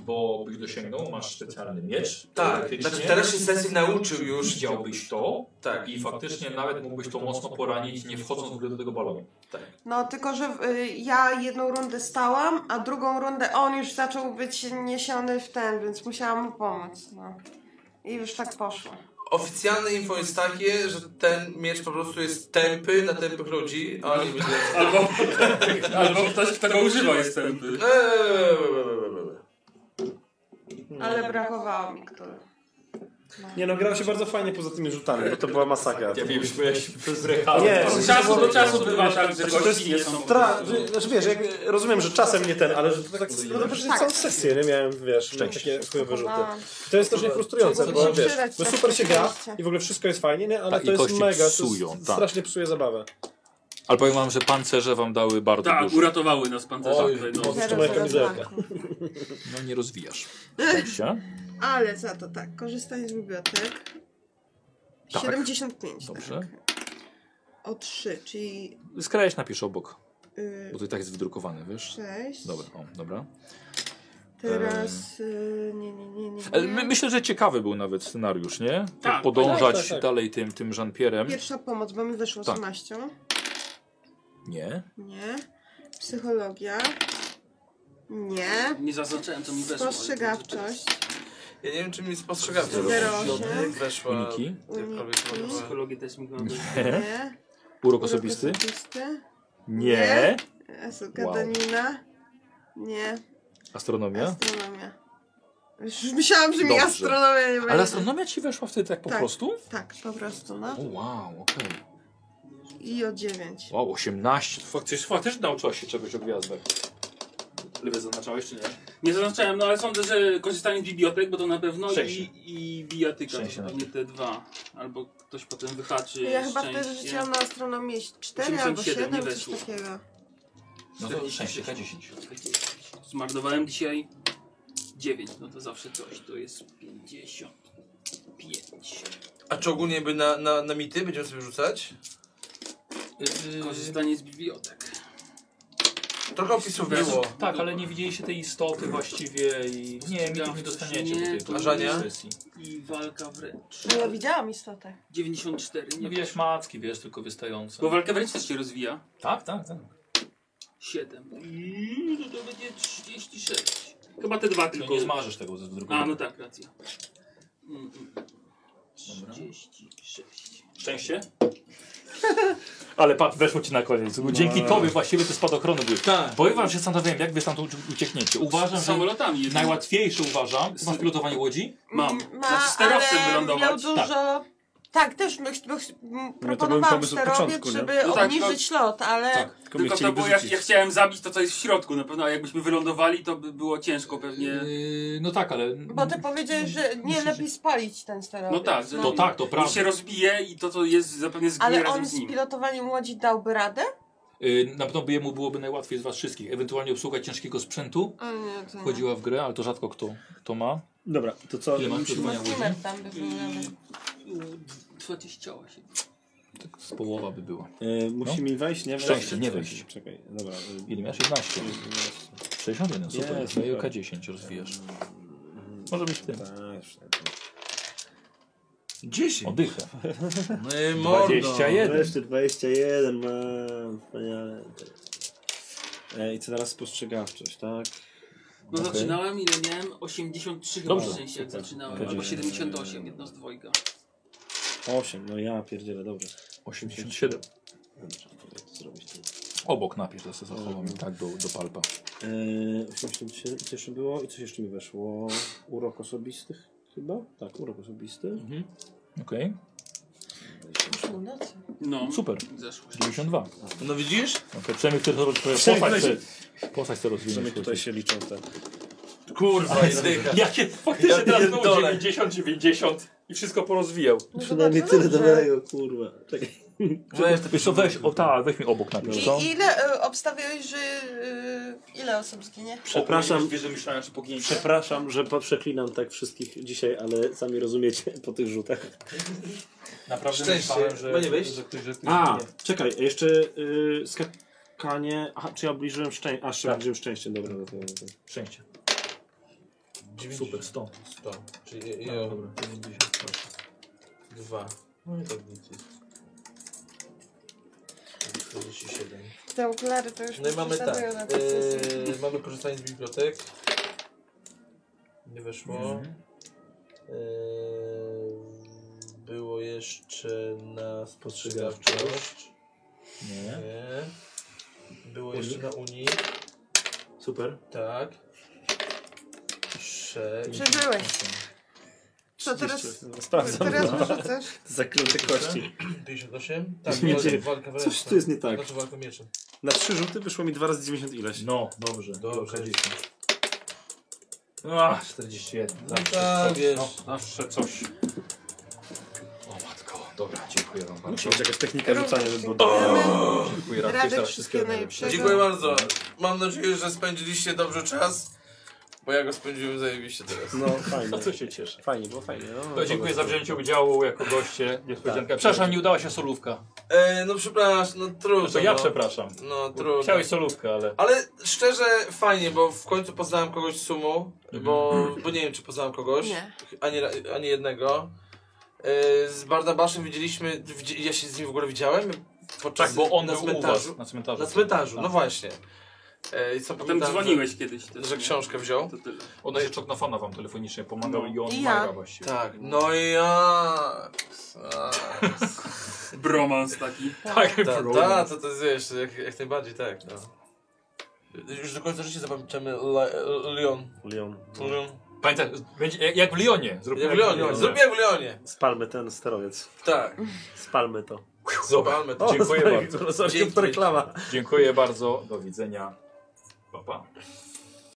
Bo byś dosięgnął, masz specjalny miecz. Tak, teoretycznie. znaczy teraz się sesji nauczył już. widziałbyś to Tak. i faktycznie nawet mógłbyś to mocno poranić, nie wchodząc w ogóle do tego balonu. no tylko, że y, ja jedną rundę stałam, a drugą rundę on już zaczął być niesiony w ten, więc musiałam mu pomóc. No. I już tak poszło. Oficjalne info jest takie, że ten miecz po prostu jest tępy na tępych ludzi, a oni myślą... Albo, albo ktoś, kto go używa jest tępy. No, No. Ale brakowało mi który. Nie no, grało się bardzo fajnie poza tymi rzutami, bo to była masakra. Ja wiem, że byłeś w Nie, Od czasu do czasu bywa tak, że gości nie są... Tra, że, znaczy wiesz, jak, rozumiem, że czasem nie ten, ale że to tak no, to przecież całą sesję nie miałem, wiesz, takie chujowe rzuty. To jest też frustrujące, bo Muszę wiesz, przydać bo tak super się gra rzeczywiście. i w ogóle wszystko jest fajnie, nie? ale Tak, i to jest kości mega, psują, to s- tak. strasznie psuje zabawę. Ale powiem wam, że pancerze wam dały bardzo Tak, uratowały nas pancerze. Oj, tutaj, no. Jeszcze moja kamizelka. No nie rozwijasz. Szczęścia. Ale za to tak, korzystanie z bibliotek. Tak. 75. Dobrze. Tak. O 3, czyli Skrajesz napisz obok, y, bo to i tak jest wydrukowane, wiesz? 6. Dobra, o, dobra. Teraz. Y, nie, nie, nie, nie. Ale nie. my, myślę, że ciekawy był nawet scenariusz, nie? Tak, Podążać tak, tak. dalej tym, tym Jean-Pierre'em. Pierwsza pomoc, bo mi wyszło Tak. 18. Nie. Nie. Psychologia. Nie. Nie zaznaczałem, co mi weszło. ale- Spostrzegawczość. Ja nie wiem, czy mi spostrzegawczy Zero osiem. weszła. Uniki. Uniki. Psychologię też mi go Nie. Urok Urok osobisty. osobisty. Nie. Jezu, Gadanina. Nie. Astronomia. Astronomia. Już myślałam, że mi Dobrze. astronomia nie Ale będzie. astronomia ci weszła wtedy tak po Tak. prostu? Tak, po prostu, no. O, wow, okej. I o 9. Wow, 18. To faktycznie, faktycznie nauczyłaś się czegoś o gwiazdach. Lewy zaznaczałeś czy nie? Nie zaznaczałem, no ale sądzę, że korzystanie z bibliotek, bo to na pewno i, i bijatyka, Szczęście to na pewnie te dwa. Albo ktoś potem wyhaczy Ja chyba wtedy szczęście. rzuciłam na astronomię 4 albo 87, 7, nie coś weszło. takiego. No to szczęście, K10. Zmarnowałem dzisiaj 9, no to zawsze coś, to jest 55. A czy ogólnie by na, na, na mity będziemy sobie rzucać? Yy. Korzystanie z bibliotek. Trochę opisów było. Tak, ale nie widzieliście tej istoty właściwie i... Nie, mi tu nie dostaniecie Nie, do tej to tej nie. sesji. I walka wręcz. No ja widziałam istotę. 94, Nie nie wiem. No widać macki, wiesz, tylko wystające. Bo walka wręcz też się rozwija. Tak, tak, tak. 7. I no to, to będzie 36. Chyba te dwa Tylko tylko. nie zmarzysz tego ze wdrukowania. A, no tak, racja. Mm, mm. 36. Szczęście? Ale patrz, weszło ci na koniec. Dzięki tobie właściwie te spadochrony były. Tak. Bo ja wam się zastanawiałem, jak wy tam uciekniecie. Uważam, że Samolotami jednak. najłatwiejsze uważam. Ty masz pilotowanie łodzi? Mam. Ma, Znaczy sterowcem ale miał wylądować. dużo... Tak. No też my, my, m, proponowałam pomysł od sterowiec, początku, nie? żeby No tak, obniżyć lot, ale Tak. Tylko mnie Tylko chcieli to było, jak, wyrzucić. jak chciałem zabić to, co jest w środku na pewno, a jakbyśmy wylądowali, to by było ciężko pewnie. Yy, no tak, ale... bo ty powiedziałeś, że nie Myślę, lepiej spalić ten No sterowiec. tak, że To tak, to On się prawda. rozbije i to, co jest, zapewne zginie Ale razem on z z nim. pilotowaniem łodzi dałby radę? Yy, na pewno by jemu byłoby najłatwiej z was wszystkich. Ewentualnie obsługa ciężkiego sprzętu A nie, to nie. wchodziła w grę, ale to rzadko kto, kto ma. Dobra, to co? Ile masz No pilotowania łodzi? skimmer tam by był nawet. Yy, 28. Tak z połowa by była. E, musi No. mi wejść, nie? Szczęście, nie wejść. Czekaj, dobra. Ile miałeś? 11. 61, super. Jest, No i super. OK10 rozwijasz. Może być w tym. Tak, już tak. 10. Oddychę. No i mordo. 21. Wreszcie 21 mam. Wspaniale. E, I co teraz spostrzegawczość, tak? No Okej. zaczynałem ile miałem? 83 chyba Dobrze. w sensie jak Super. zaczynałem. Okej. Albo 78, jedno z dwojga. 8, no ja pierdzielę, dobrze. 87. Dobrze, to jak to zrobić tu? Obok napisz, to sobie zachowam i tak do, do palpa. E, 87, co jeszcze było? I coś jeszcze mi weszło? Urok osobistych chyba? Tak, urok osobisty. Okej, Przyszło nocy. No, super. zeszło. 92. No widzisz? Okay, przynajmniej chcesz postać chcę, postać chcę rozwinąć. No Przynajmniej tutaj się liczą te. Kurwa, jakie faktycznie teraz było 90, 90 i wszystko porozwijał. No Przynajmniej tyle dobrego. kurwa. Czekaj. Weź, wiesz co, weź, o, ta, weź mi obok napisz, co? I ile y, obstawiałeś, że y, ile osób zginie? Przepraszam. Wiesz, że myślałem, że poginięcie. Przepraszam, że po- przeklinam tak wszystkich dzisiaj, ale sami rozumiecie po tych rzutach. Naprawdę Szczęście. myślałem, że... Mogę wejść? że ktoś- że ktoś A, zginie. czekaj, jeszcze yy, skakanie. Aha, czy ja obniżyłem szczęście? A, jeszcze Tak. obniżyłem szczęście, dobra. No to, no to. Szczęście. Super, 100. Czyli No, dobra. 90. dwa. No i tak nic jest. 47. Te okulary to już No i mnie mamy tak. prześladują na tej sesji. Eee, mamy korzystanie z bibliotek. Nie weszło. Mhm. Eee, było jeszcze na spostrzegawczość. Nie. Nie. Było jeszcze na Unii. Super. Tak. Sześć. Przeżyłeś. Co teraz? Jeszcze, no, Sprawdzam. Teraz Teraz wyrzucasz? Zaklęte kości. 58. Tak, Nie walka- dzieje. walka wręcz. Coś tu jest nie tak. Znaczy walka mieczem. Na trzy rzuty wyszło mi 2 razy 90 ileś. No, dobrze. Dobrze. Dobrze. A, 41. No tak, wiesz. No, zawsze coś. O matko, dobra, dziękuję wam bardzo. Musi być jakaś technika rzucania, żeby było Dziękuję Rady wszystkie najlepsze. Dziękuję bardzo. Mam nadzieję, że spędziliście dobrze czas, bo ja go spędziłem zajebiście teraz. No fajnie. Co się cieszę. Fajnie, było fajnie. No, To dziękuję za wzięcie udziału jako goście. Niespodzianka. Tak. Przepraszam, nie udała się solówka. E, no przepraszam, no trudno. To ja no. przepraszam. No trudno. Chciałeś solówkę, ale. Ale szczerze fajnie, bo w końcu poznałem kogoś z sumą, bo, Mhm. bo nie wiem czy poznałem kogoś, Nie. ani, ra- ani jednego. E, z Bardabaszem widzieliśmy, widzi, ja się z nim w ogóle widziałem, podczas, Tak, bo on na był u cmentarzu. was na cmentarzu. Na cmentarzu, no Tak. właśnie. E, I co Potem pamiętam, dzwoniłeś kiedyś że, też. że nie? książkę wziął. To tyle. Ona jeszcze na fana wam telefonicznie pomagał No. i on I ja. maga właściwie. Tak, no i jak? Saks. Bromans taki. Tak, Ta, bro. ta, to, to jest wiesz, jak, jak najbardziej tak. No. Już do końca życia zapamiętamy Le- Leon. Leon. Leon. Pamiętaj, będzie jak w Lyonie. Zrób Jak w Leonie, zrób jak w Leonie. Spalmy ten sterowiec. Tak, Spalmy to. zobaczmy to. Dziękuję spalmy bardzo. to. Sorry, Dzięki. to reklama. Dziękuję bardzo. Do widzenia. Pa, pa.